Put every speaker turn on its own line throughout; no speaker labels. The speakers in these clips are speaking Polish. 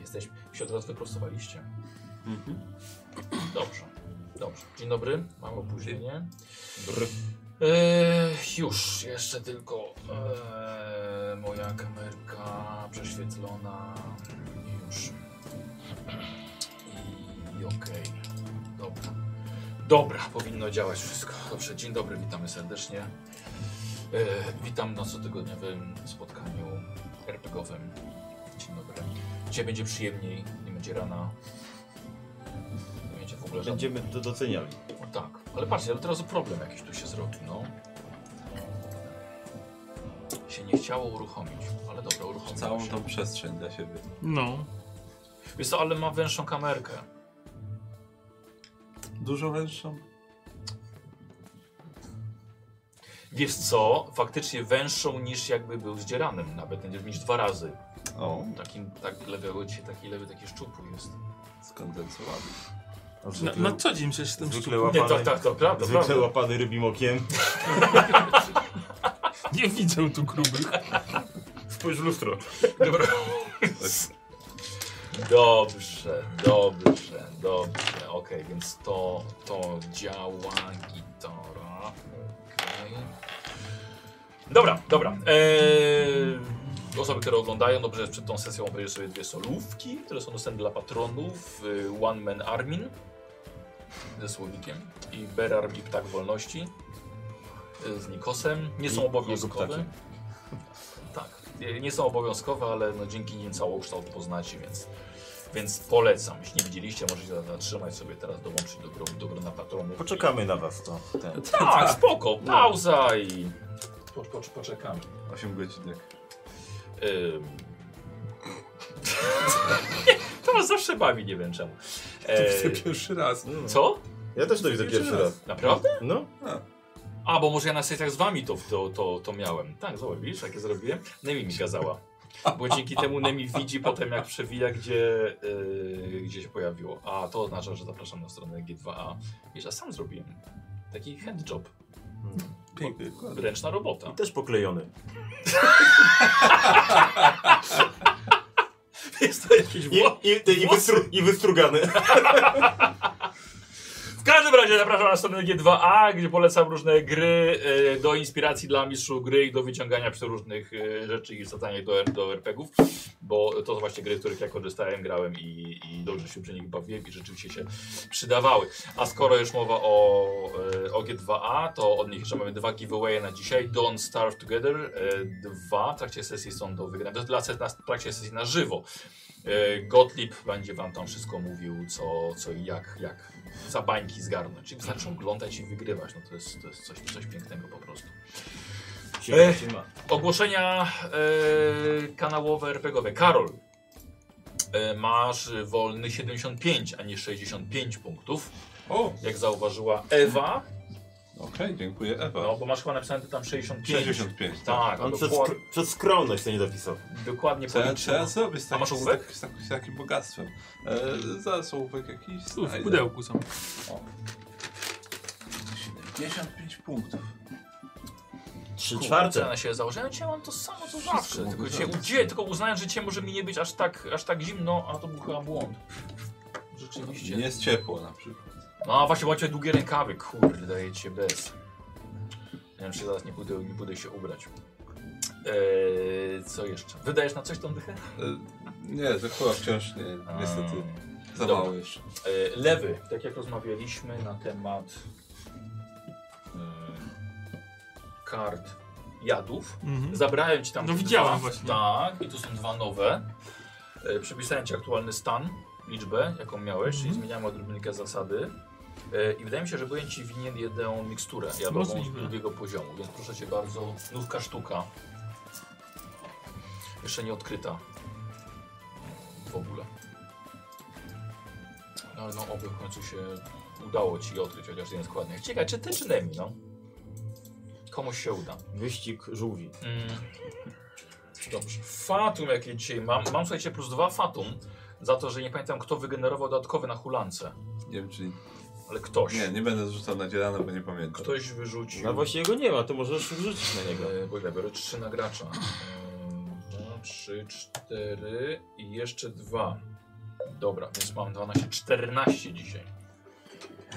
jesteśmy. Się od razu wyprostowaliście.
Mhm.
Dobrze. Dobrze. Dzień dobry. Mam opóźnienie.
Brr.
Eee, już. Jeszcze tylko eee, moja kamerka prześwietlona. Już. I okej. Dobra. Dobra. Powinno działać wszystko. Dobrze. Dzień dobry. Witamy serdecznie. Eee, witam na cotygodniowym spotkaniu RPGowym. Dzień dobry. Dzisiaj będzie przyjemniej. Nie będzie rana. Nie będzie w ogóle żadnych
Będziemy to doceniali.
no tak, ale patrzcie, ale teraz problem jakiś tu się zrobił, no. Się nie chciało uruchomić, ale dobra, uruchomiło
Całą
się.
tą przestrzeń dla siebie.
No.
Wiesz co, ale ma węższą kamerkę.
Dużo węższą?
Wiesz co, faktycznie węższą niż jakby był zdzieranym, nawet niż dwa razy.
O,
Takim, tak lewego, ci- taki lewy, taki szczupły jest.
Skondensowany.
a
Na,
zwykle,
na co dzień przecież jestem
zwykle,
szczupły.
Nie,
łapany,
tak, tak, to prawda,
zwykle
prawda.
łapany rybim okiem.
Nie widzę tu grubych.
Spójrz w lustro.
Dobra. Dobrze, dobrze, dobrze. Okej, więc to, to działa gitara. Okej. Dobra, dobra. Eee, osoby, które oglądają, dobrze, przed tą sesją obejrzę sobie dwie solówki, które są dostępne dla patronów. Y, One Man Armin ze słowikiem i Berarm i Ptak Wolności y, z Nikosem. Nie
I
są
jego
obowiązkowe.
ptakiem.
Tak, y, nie są obowiązkowe, ale no dzięki nim całokształt poznacie, więc, więc polecam. Jeśli nie widzieliście, możecie zatrzymać sobie teraz, dołączyć do, gro- do grona patronów.
Poczekamy na was to. Ten.
Tak, spoko, pauza i... Po, po, poczekamy.
8 godzin jak.
Ym... to was zawsze bawi, nie wiem czemu.
To
E,
pierwszy raz.
co?
Ja też to widzę
Pierwszy
pierwszy raz.
Naprawdę?
No,
A, bo może ja na sesjach z wami to, to, to, to miałem. Tak, zobacz, widzisz, jakie zrobiłem? Nemi mi kazała. Bo dzięki temu Nemi widzi potem, jak przewija, gdzie, yy, gdzie się pojawiło. A to oznacza, że zapraszam na stronę G2A. Wiesz, a sam zrobiłem. Taki handjob.
Piękny.
Ręczna robota.
i też poklejony.
Jest to jakiś
I,
Włoch.
i, i, i,
Włosy.
wystru, I wystrugany.
W każdym razie zapraszam na stronę G2A, gdzie polecam różne gry e, do inspiracji dla mistrzów gry i do wyciągania przeróżnych e, rzeczy i zadania do, R- do RPG-ów, bo to są właśnie gry, w których ja korzystałem, grałem i, i dobrze się przy nich bawiłem i rzeczywiście się przydawały. A skoro już mowa o, e, o G2A, to od nich jeszcze mamy dwa giveawaye na dzisiaj. Don't Starve Together e, dwa w trakcie sesji są do wygrania. To jest dla ses- na- w trakcie sesji na żywo. E, Gottlieb będzie wam tam wszystko mówił, co, co i jak, jak za bańki zgarnąć. Czyli wystarczy oglądać i wygrywać. No to jest, to jest coś, coś pięknego po prostu.
Siema, siema.
Ogłoszenia e, kanałowe RPGowe. Karol, e, masz wolny 75, a nie 65 punktów.
O!
Jak zauważyła Ewa,
Okej, dziękuję Ewa.
no bo masz chyba napisane tam 65.
65. Tak.
Tak,
On przez,
dokład,
skr- przez skromność to nie dopisał.
dokładnie
Trzeba,
policzyłem.
trzeba zrobić z
A masz
takim, z,
ołówek?
takim, z, takim, z takim bogactwem. E, zaraz ołówek jakiś
Tu w
znajdę.
pudełku są.
O. 75 punktów.
Trzy
Kurde,
czwarte.
cena się założyłem, ja mam to samo co
Wszystko
zawsze.
mogę
Tylko, cię,
zrobić.
udzie, tylko uznałem, że cię może mi nie być aż tak, aż tak zimno, a to był chyba błąd. Rzeczywiście.
Nie jest ciepło na przykład.
No a właśnie macie długie rękawy, kurde, daje ci się bez. Nie wiem, czy zaraz nie pójdę, nie pójdę się ubrać. Eee, co jeszcze? Wydajesz na coś tą dychę?
E, nie, to chyba wciąż nie, niestety.
Mm.
Za
Dobra.
mało jeszcze.
Eee, lewy, tak jak rozmawialiśmy na temat eee, kart jadów.
Mhm.
Zabrałem ci tam.
No
te dwa.
widziałem właśnie.
Tak, i tu są dwa nowe. E, przypisałem ci aktualny stan, liczbę, jaką miałeś, czyli
Mhm.
zmieniamy odrobinkę zasady. E, I wydaje mi się, że byłem ci winien jedną miksturę jadową
Możliwe.
z drugiego poziomu, więc proszę cię bardzo, nówka sztuka. Jeszcze nie odkryta. W ogóle. No, Ale no oby w końcu się udało ci odkryć chociaż jeden składnik. Ciekawe, czy ty czy Nemi, no? Komuś się uda.
Wyścig żółwi.
Mm. Dobrze. Fatum, jakie dzisiaj mam. Mam, słuchajcie, plus dwa fatum. Za to, że nie pamiętam, kto wygenerował dodatkowe na hulance.
Nie wiem, czy.
Ale ktoś.
Nie, nie będę zrzucał na dzielano, bo nie pamiętam.
Ktoś wyrzucił.
No właśnie jego nie ma, to możesz wrzucić na niego.
E, Bo ile biorę? Trzy na gracza. E, Dwa, trzy, cztery i jeszcze dwa. Dobra, więc mam 12, 14 dzisiaj.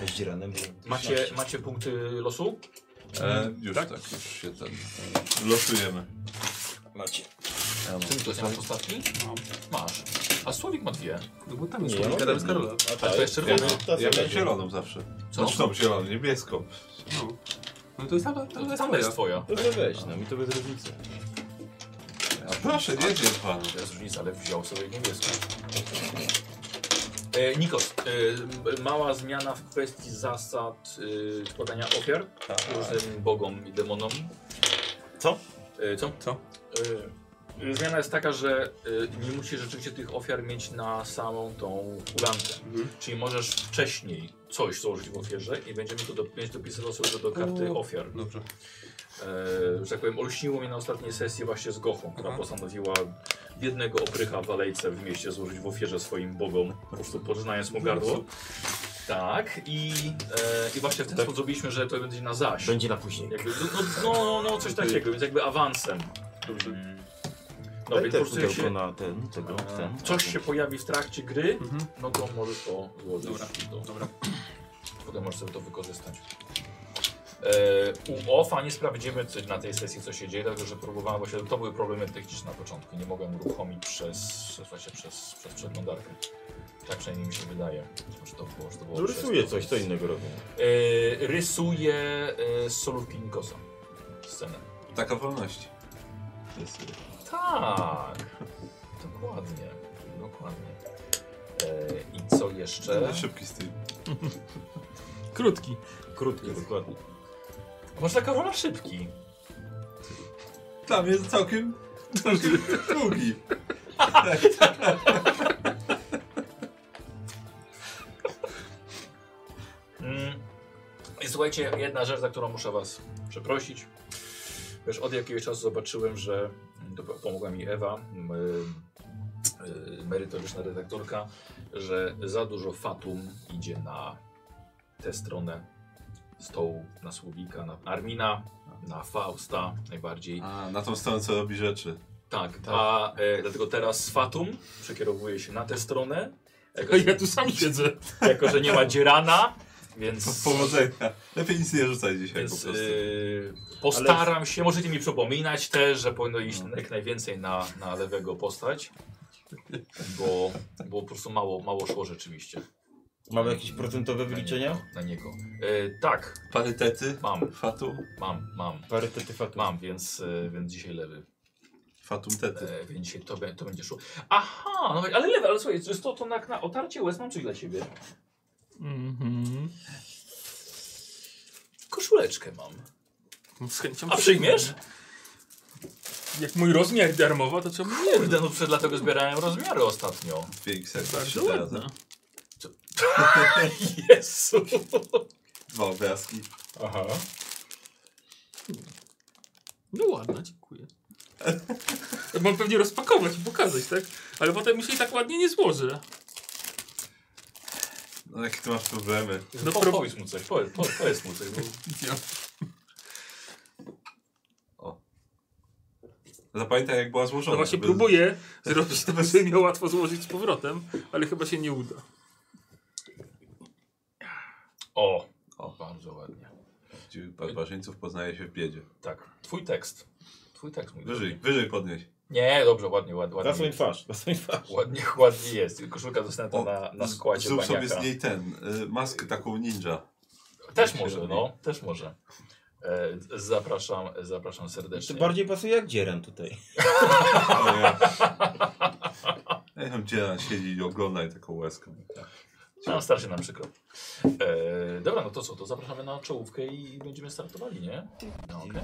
Zdziranem.
Macie, macie punkty losu?
E, już tak? już się ten... e, Losujemy.
Macie.
Ja mam.
Ty to jest masz ostatni? Masz. A Słowik ma dwie.
No bo tam jest
Nie,
słowik
no,
Adam z
nie.
Karola.
A
to jest
Ja,
czerwony.
No, to
mam- ja mam
będzie.
zieloną zawsze.
No Co?
Znaczy tą zieloną, niebieską.
No. no to jest ta, ta,
To, to,
ta,
to, to jest twoja.
To że weź, no mi to bez różnicy.
A proszę, nie wiem pan.
To jest różnica, ale wziął sobie niebieską. E, Nikos, e, m- mała zmiana w kwestii zasad e, składania ofiar
Tak.
różnym bogom i demonom.
Co?
E, co?
Co?
E, zmiana jest taka, że e, nie musisz rzeczywiście tych ofiar mieć na samą tą hulankę.
Mhm.
Czyli możesz wcześniej coś założyć w ofierze i będziemy to dop- będziesz dopisywał sobie to do karty ofiar.
Dobrze.
E, że tak powiem, olśniło mnie na ostatniej sesji właśnie z Gochą, która
Aha.
postanowiła biednego oprycha w alejce w mieście złożyć w ofierze swoim bogom, po prostu podrzynając mu gardło. Tak, i, e, i właśnie w ten
Tak.
sposób zrobiliśmy, że to będzie na zaś.
Będzie na później.
Jakby, no, no, no, no, coś takiego, więc jakby awansem. Mm. No,
Daj
więc
te
po prostu jak
pudełko
się,
na ten, tego,
e,
ten.
coś się pojawi w trakcie gry,
Mhm.
no to możesz to złożyć.
Dobra,
do,
Dobra.
Potem możesz sobie to wykorzystać. E, u OFA nie sprawdzimy co, na tej sesji, co się dzieje, dlatego że próbowałem właśnie, to były problemy techniczne na początku, nie mogłem uruchomić przez, przez, właśnie przez, przez przeglądarkę. Tak przynajmniej mi się wydaje, że to było, że to było
No,
przez
Rysuję
to.
coś, co innego robię.
E, rysuję e, z solówki Nikosa scenę.
Taka wolność.
Tak, dokładnie, dokładnie. E, I co jeszcze?
Będę szybki z tym.
Krótki.
Krótkie, dokładnie.
Może taka rola szybki.
Tam jest całkiem długi.
Mm. I Słuchajcie, jedna rzecz, za którą muszę was przeprosić. Wiesz, od jakiegoś czasu zobaczyłem, że mm, to pomogła mi Ewa, m, y, y, merytoryczna redaktorka, że za dużo Fatum idzie na tę stronę stołu, na Słowika, na Armina, na Fausta najbardziej.
A, na tą stronę, co robi rzeczy.
Tak, a e, dlatego teraz Fatum przekierowuje się na tę stronę, jako,
Ja tu sam siedzę.
jako że nie ma dzierana, więc...
Powodzenia. Lepiej nic nie rzucaj dzisiaj Tak,
Więc
po prostu.
e,
yy, postaram się, możecie mi przypominać też, że powinno iść
No.
jak najwięcej na, na lewego postać. Bo, bo po prostu mało, mało szło rzeczywiście
Mamy jakieś procentowe wyliczenia?
na niego. Yy, tak,
Parytety,
mam,
fatum,
mam, mam,
Parytety fatu.
mam, więc, yy, więc dzisiaj lewy.
fatum tety.
Yy, więc dzisiaj to, be- to będzie szło. Aha, no, ale lewy, ale słuchaj, jest to, to na, na otarcie łez mam coś dla ciebie.
Mhm.
Koszuleczkę mam.
Z chęcią
A przyjmiesz?
Jak mój rozmiar darmowa, to czemu nie?
Kurde, no przed dlatego zbierałem rozmiary ostatnio.
Dwie x
Bardzo ładna.
Jezu.
Dwa obrazki.
Aha.
No ładna, dziękuję. Ja mam pewnie rozpakować i pokazać, tak? Ale potem mi się i tak ładnie nie złoży.
No jakie ty masz problemy?
No,
No,
po,
pro-
powiedz mu coś, powiedz, po, powiedz mu coś. Bo...
Ja.
Zapamiętaj jak była złożona.
No właśnie
żeby-
próbuję zrobić to, żeby mnie łatwo złożyć z powrotem, ale chyba się nie uda.
O, o, bardzo ładnie.
Dziu- Barbarzyńców poznaje się w biedzie.
Tak, twój tekst. Twój tekst mój.
Wyżej,
drogi.
wyżej podnieś.
Nie, dobrze, ładnie, ład-
Zasłoń
ładnie.
twarz, zasłoń twarz.
Ładnie, ładnie jest. Koszulka dostępna
O,
na, na składzie
Zrób sobie
baniaka.
z niej ten, y, maskę taką ninja.
Też może, no, też może. E, zapraszam, zapraszam serdecznie.
To bardziej pasuje jak dzieran tutaj.
O ja. Ja tam dzielan siedzi i oglądaj taką łezkę.
No, starszy nam przykro. E, dobra, no to co, to zapraszamy na czołówkę i będziemy startowali, nie? No, okej.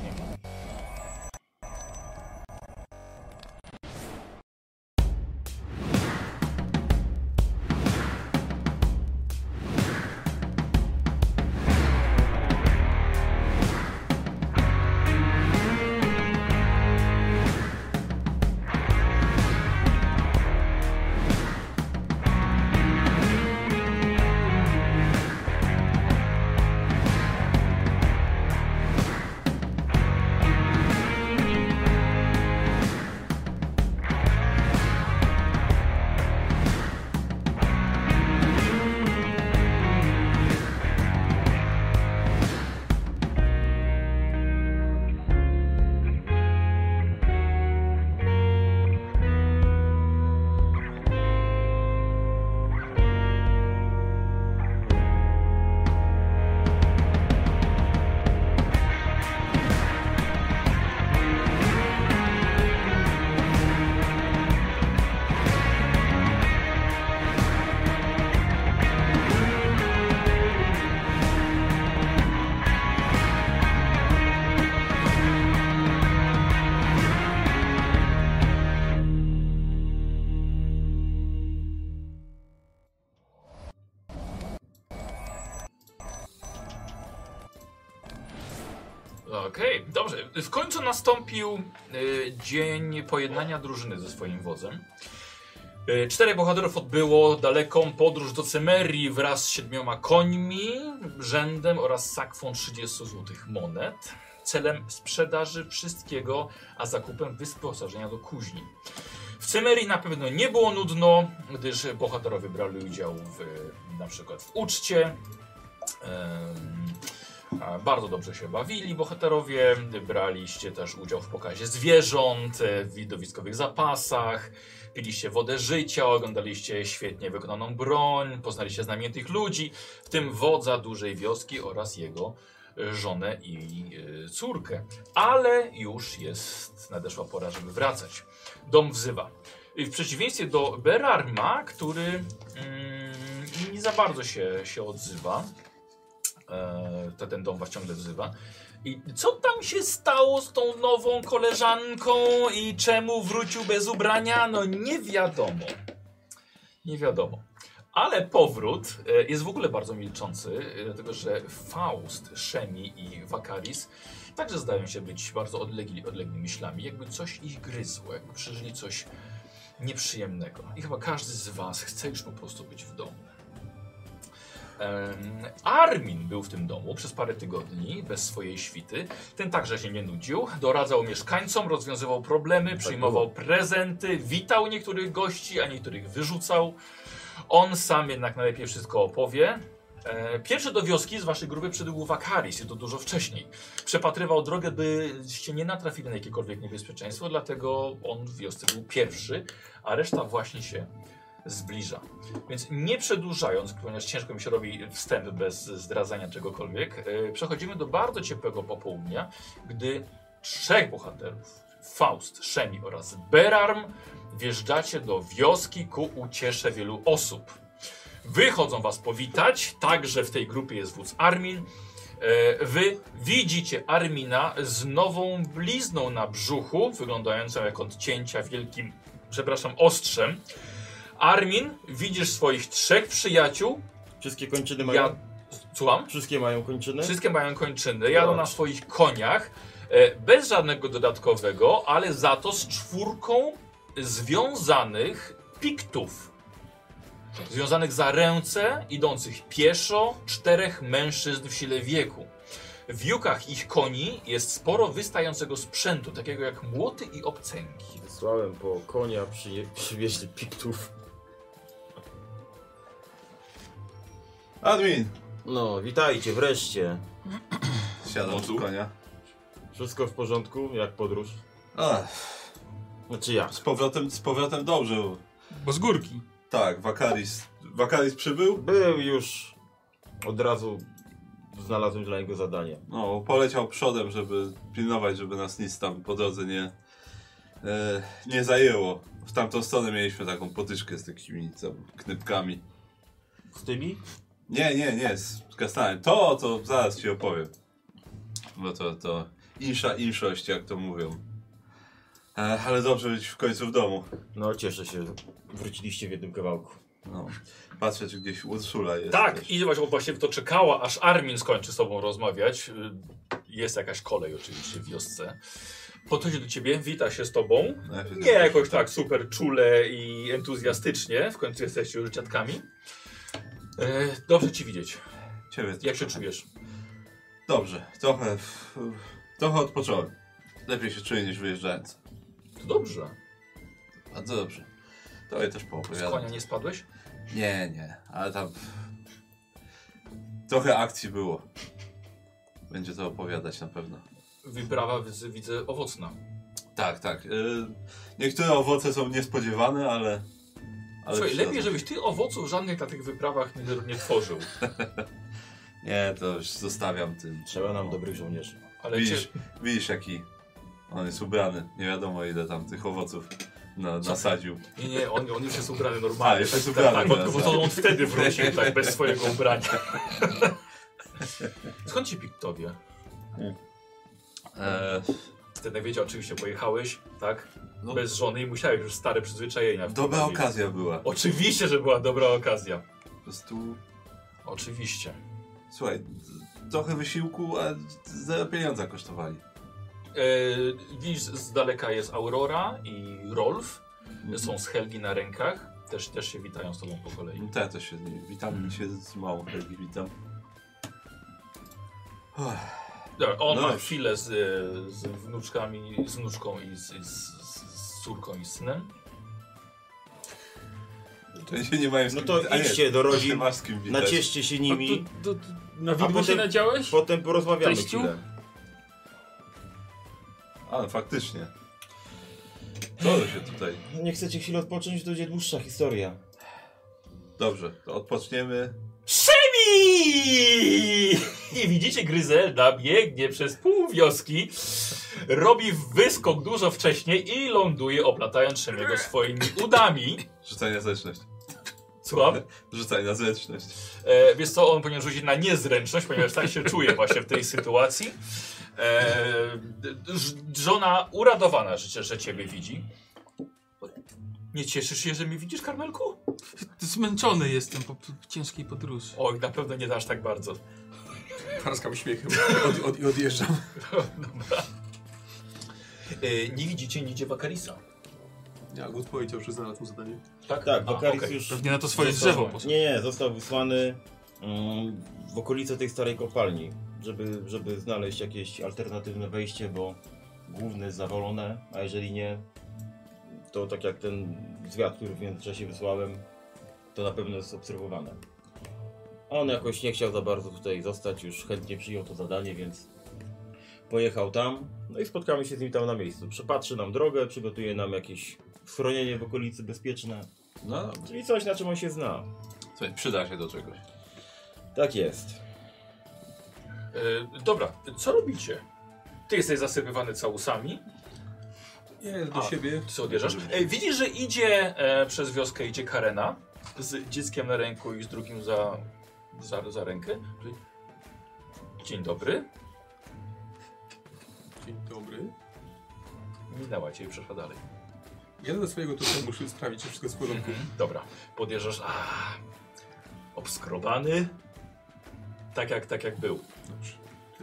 No okej, dobrze. W końcu nastąpił y, dzień pojednania drużyny ze swoim wodzem. Y, Czterech bohaterów odbyło daleką podróż do Cemerii wraz z siedmioma końmi, rzędem oraz sakwą 30 złotych monet celem sprzedaży wszystkiego, a zakupem wyposażenia do kuźni. W Cemerii na pewno nie było nudno, gdyż bohaterowie brali udział w, e, na przykład w uczcie. Em, a Bardzo dobrze się bawili bohaterowie, braliście też udział w pokazie zwierząt, e, w widowiskowych zapasach, piliście wodę życia, oglądaliście świetnie wykonaną broń, poznaliście znamienitych ludzi, w tym wodza dużej wioski oraz jego e, żonę i e, córkę. Ale już jest, nadeszła pora, żeby wracać. Dom wzywa. W przeciwieństwie do Berarma, który mm, nie za bardzo się, się odzywa, e, to ten dom was ciągle wzywa. I co tam się stało z tą nową koleżanką i czemu wrócił bez ubrania? No nie wiadomo. Nie wiadomo. Ale powrót e, jest w ogóle bardzo milczący, e, dlatego że Faust, Szemi i Wakaris także zdają się być bardzo odlegli, odległymi ślami, jakby coś ich gryzło, jakby przeżyli coś nieprzyjemnego. I chyba każdy z was chce już po prostu być w domu. Em, Armin był w tym domu przez parę tygodni bez swojej świty. Ten także się nie nudził. Doradzał mieszkańcom, rozwiązywał problemy, przyjmował prezenty, witał niektórych gości, a niektórych wyrzucał. On sam jednak najlepiej wszystko opowie. E, Pierwszy do wioski z waszej grupy przybył Wakaris, i to dużo wcześniej. Przepatrywał drogę, byście nie natrafili na jakiekolwiek niebezpieczeństwo, dlatego on w wiosce był pierwszy, a reszta właśnie się zbliża. Więc nie przedłużając, ponieważ ciężko mi się robi wstęp bez zdradzania czegokolwiek, e, przechodzimy do bardzo ciepłego popołudnia, gdy trzech bohaterów, Faust, Szemi oraz Berarm, wjeżdżacie do wioski ku uciesze wielu osób. Wychodzą was powitać, także w tej grupie jest wódz Armin. E, Wy widzicie Armina z nową blizną na brzuchu, wyglądającą jak odcięcia wielkim, przepraszam, ostrzem. Armin, widzisz swoich trzech przyjaciół.
Wszystkie kończyny mają.
Ja. Słucham?
Wszystkie mają kończyny?
Wszystkie mają kończyny, jadą na swoich koniach. e, Bez żadnego dodatkowego, ale za to z czwórką związanych piktów. Związanych za ręce, idących pieszo, czterech mężczyzn w sile wieku. W jukach ich koni jest sporo wystającego sprzętu, takiego jak młoty i obcęgi.
Wysłałem po konia, przyje... przywieźli piktów.
Admin!
No, witajcie wreszcie.
Siadam z
Mocu?
konia.
Wszystko w porządku, jak podróż?
Ach,
Znaczy ja.
z powrotem, z powrotem dobrze. bo-
Bo z górki.
Tak, Wakaris. Wakaris przybył?
Był już. Od razu znalazłem dla niego zadanie.
No, poleciał przodem, żeby pilnować, żeby nas nic tam po drodze nie, e, nie zajęło. W tamtą stronę mieliśmy taką potyczkę z takimi tam knypkami.
Z tymi?
Nie, nie, nie, z Kastanem. To, to zaraz ci opowiem. Bo to, to insza inszość, jak to mówią. E, ale dobrze być w końcu w domu.
No, cieszę się. Wróciliście w jednym kawałku.
No. Patrzę, czy gdzieś Ursula jest.
Tak,
też.
i właśnie, właśnie to czekała, aż Armin skończy z tobą rozmawiać. Y, Jest jakaś kolej oczywiście w wiosce. Podchodzi do ciebie, wita się z tobą.
Najpierw-
Nie jakoś tak super czule i entuzjastycznie, w końcu jesteście już dziadkami. E, dobrze ci widzieć.
Ciebie
Jak się
trochę.
czujesz?
Dobrze, trochę. w- Trochę odpocząłem. Lepiej się czuję niż wyjeżdżając.
To dobrze.
Bardzo dobrze. To ja też
Z
poopowiadam.
konia nie spadłeś?
Nie, nie, ale tam. Trochę akcji było. Będzie to opowiadać na pewno.
Wyprawa widzę, widzę owocna.
Tak, tak. y, niektóre owoce są niespodziewane, ale. ale
Słuchaj,
przydatne.
lepiej, żebyś ty owoców żadnych na tych wyprawach nie, nie tworzył.
Nie, to już zostawiam tym.
Trzeba nam dobrych żołnierzy.
Ale cię,
Widzisz, widzisz jaki on jest ubrany. Nie wiadomo ile tam tych owoców na, nasadził.
Nie, nie, on, on już jest ubrany
A,
normalnie.
już jest
tak,
ubrany,
tak, bo, bo
tak.
to on wtedy wrócił, tak, bez swojego ubrania. Skąd ci piktowie?
E,
Ty nie wiedział, oczywiście pojechałeś, tak?
No.
Bez żony i musiałeś już stare przyzwyczajenia.
dobra
wprowadzić.
okazja była.
Oczywiście, że była dobra okazja.
Po prostu.
Oczywiście.
Słuchaj, trochę wysiłku, a zero pieniądza kosztowali.
E, widzisz, z daleka jest Aurora i Rolf.
Mhm.
Są z Helgi na rękach. Też, też się witają z tobą po kolei.
Te No też się z nimi witam, się z małą Helgi witam.
Dobra, on
No
ma
dobrze.
chwilę z, e, z wnuczkami, z wnuczką i z, z, z córką i z synem.
To się nie mają z
No
kim
to
witać. A nie,
idźcie do
to się
rodzin,
masz z kim witać.
Nacieszcie się
A
nimi,
tu, tu, tu, na
A
widmo się
potem-
nadziałeś?
potem porozmawiamy
Teściu?
chwilę.
A, no faktycznie. To się tutaj.
Nie chcecie chwilę odpocząć, to będzie dłuższa historia.
Dobrze, to odpoczniemy.
Szemi! I widzicie, Gryzelda biegnie przez pół wioski, robi wyskok dużo wcześniej i ląduje, oplatając Szemiego swoimi udami.
Rzucaj na zręczność.
Słucham?
Rzucaj na zręczność.
E, wiesz co, on powinien rzucić na niezręczność, ponieważ tak się czuje właśnie w tej sytuacji. E, ż- żona uradowana, że, cię- że ciebie widzi. Nie cieszysz się, że mnie widzisz, Karmelku?
Zmęczony jestem po p- ciężkiej podróży.
Oj, na pewno nie dasz tak bardzo.
Parskam śmiechem i od, od, i odjeżdżam.
Dobra. E, nie widzicie nigdzie Wakarisa.
Ja Gut powiedział, że znalazł mu zadanie.
Tak,
A,
Wakaris
okej.
już...
Pewnie na to swoje
Został-
drzewo poszedł.
Nie, nie, został wysłany mm, w okolice tej starej kopalni, żeby, żeby znaleźć jakieś alternatywne wejście, bo główne jest zawalone, a jeżeli nie, to tak jak ten zwiat, który w międzyczasie wysłałem, to na pewno jest obserwowane. A On jakoś nie chciał za bardzo tutaj zostać, już chętnie przyjął to zadanie, więc pojechał tam. No i spotkamy się z nim tam na miejscu. Przepatrzy nam drogę, przygotuje nam jakieś schronienie w okolicy bezpieczne,
No dobra.
czyli coś na czym on się zna.
Słuchaj, przyda się do czegoś.
Tak jest.
E, dobra, co robicie? Ty jesteś zasypywany całusami.
Nie,
do
siebie.
Ty co odjeżdżasz? E, widzisz, że idzie e, przez wioskę idzie Karena z dzieckiem na ręku i z drugim za, za, za rękę. Dzień dobry.
Dzień dobry.
Minęła cię i przeszła dalej.
Jadę do swojego tutaj, muszę sprawdzić, czy wszystko jest w porządku.
Dobra, podjeżdżasz. A, obskrobany. Tak jak, tak jak był.
Dobrze.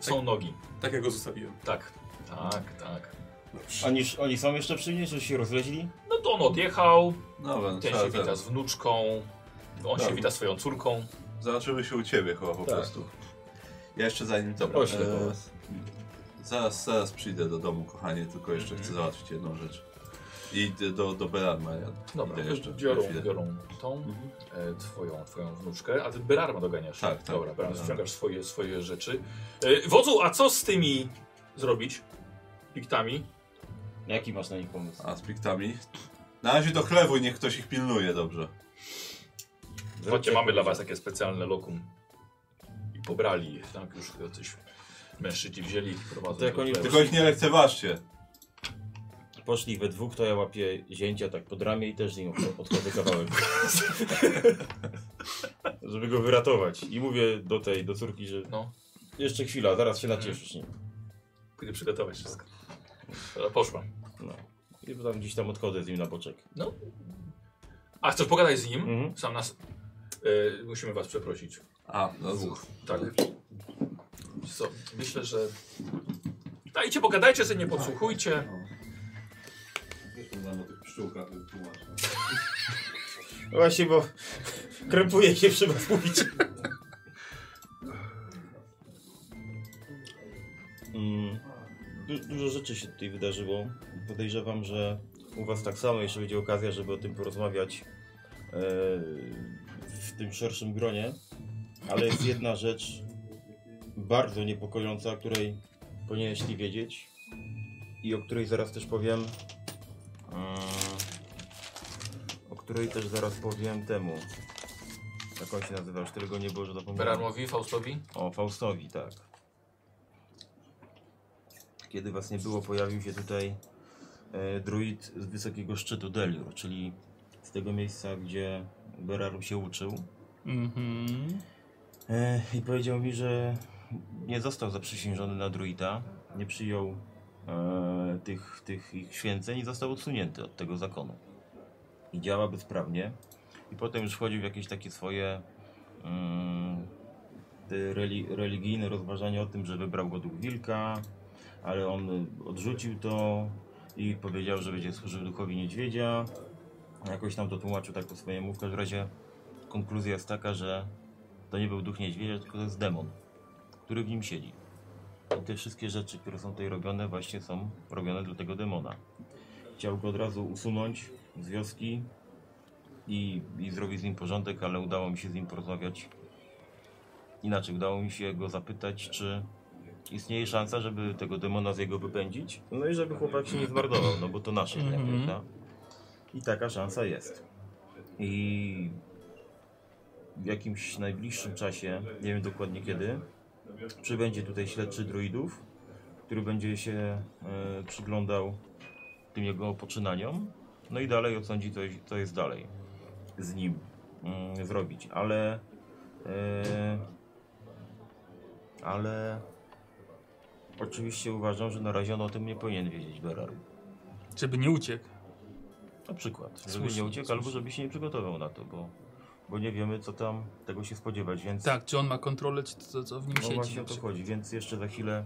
Są nogi.
Tak jak go zostawiłem.
Tak, tak, tak.
Dobrze.
Oni, oni są jeszcze przy mnie, że się rozleźli?
No to on odjechał,
Dobra,
ten
no, trzeba
się
ten.
wita z wnuczką, on się
Dobra.
wita swoją córką.
Zobaczymy się u ciebie chyba po
Tak.
prostu. Ja jeszcze zanim to e,
Poślę po was.
Zaraz, zaraz przyjdę do domu, kochanie, tylko jeszcze chcę załatwić jedną rzecz. I d- do, do Belarma. Ja
Dobra,
idę jeszcze. na
biorą,
chwilę.
biorą tą,
Mhm.
e, twoją, twoją wnuczkę, a ty Berarma doganiasz.
Tak, tak,
Dobra, Berarma,
tak.
ściągasz swoje, swoje rzeczy. E, wodzu, a co z tymi zrobić? Piktami?
Jaki masz na nich pomysł?
A z piktami? Na razie do chlewu i niech ktoś ich pilnuje dobrze.
Chodźcie, mamy dla was takie specjalne lokum. I pobrali je, tak? Już jacyś mężczyźni wzięli i prowadzą.
To jak
do
oni-
chlewu.
Tylko ich nie lekceważcie.
Poszli we dwóch, to ja łapię zięcia tak pod ramię i też z nim odchodzę kawałek. Żeby go wyratować. I mówię do tej, do córki, że
No,
jeszcze chwila, zaraz się nacieszysz nim.
kiedy przygotować wszystko. Dobra, Poszła.
No. I potem gdzieś tam odchodzę z nim na boczek.
A chcesz pogadać z nim?
Mhm.
Sam nas... E, musimy was przeprosić.
A, no dwóch.
Tak. Co? Myślę, że. Dajcie, pogadajcie sobie, nie podsłuchujcie.
Wiesz, o tych pszczółkach wytłumaczę.
No Właśnie, bo krępuje się przy was mówić. Mm, du- dużo rzeczy się tutaj wydarzyło. Podejrzewam, że u was tak samo jeszcze będzie okazja, żeby o tym porozmawiać e, w tym szerszym gronie. Ale jest jedna rzecz bardzo niepokojąca, której powinieneście wiedzieć i o której zaraz też powiem. Mm, o której też zaraz powiem temu. Jak on się nazywa? Już tyle go nie było, że zapomniałem.
Berarmowi, Faustowi.
O, Faustowi, tak. Kiedy was nie było, pojawił się tutaj e, druid z wysokiego szczytu Deliur, czyli z tego miejsca, gdzie Beraru się uczył.
Mhm.
E, I powiedział mi, że nie został zaprzysiężony na druida, nie przyjął e, tych, tych ich święceń i został odsunięty od tego zakonu. I działa bezprawnie. I potem już wchodził w jakieś takie swoje mm, te reli, religijne rozważania o tym, że wybrał go duch wilka, ale on y, odrzucił to i powiedział, że będzie służył duchowi niedźwiedzia. Jakoś tam to tłumaczył tak po swojemu. W każdym razie konkluzja jest taka, że to nie był duch niedźwiedzia, tylko to jest demon, który w nim siedzi. I te wszystkie rzeczy, które są tutaj robione, właśnie są robione dla tego demona. Chciał go od razu usunąć z wioski i, i zrobić z nim porządek, ale udało mi się z nim porozmawiać inaczej. Udało mi się go zapytać, czy istnieje szansa, żeby tego demona z jego wypędzić. No i żeby chłopak się nie zmarnował, no bo to nasze, jednak,
Mhm.
prawda? I taka szansa jest. I w jakimś najbliższym czasie, nie wiem dokładnie kiedy, przybędzie tutaj śledczy druidów, który będzie się e, przyglądał tym jego poczynaniom, no i dalej odsądzi, co, co jest dalej z nim mm, zrobić, ale e, ale oczywiście uważam, że na razie on o tym nie powinien wiedzieć, Berar.
Żeby nie uciekł.
Na przykład, żeby
Słusznie,
nie uciekł albo żeby się nie przygotował na to, bo, bo nie wiemy co tam tego się spodziewać, więc
Tak, czy on ma kontrolę, czy to, co w nim
no
siedzi.
właśnie
na
o to
przykład.
chodzi, więc jeszcze za chwilę,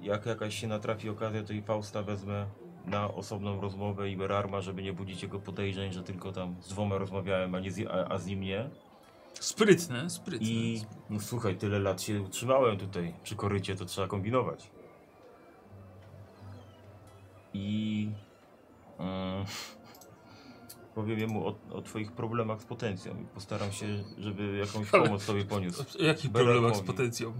jak jakaś się natrafi okazja, to i Fausta wezmę na osobną rozmowę i Berarma, żeby nie budzić jego podejrzeń, że tylko tam z dwoma rozmawiałem, a, nie z, a, a z nim nie.
Sprytne, sprytne.
I no słuchaj, tyle lat się utrzymałem tutaj przy korycie, to trzeba kombinować. I mm, powiem mu o, o twoich problemach z potencją i postaram się, żeby jakąś
Ale-
pomoc sobie poniósł.
O jakich
Beramowi.
problemach z potencją?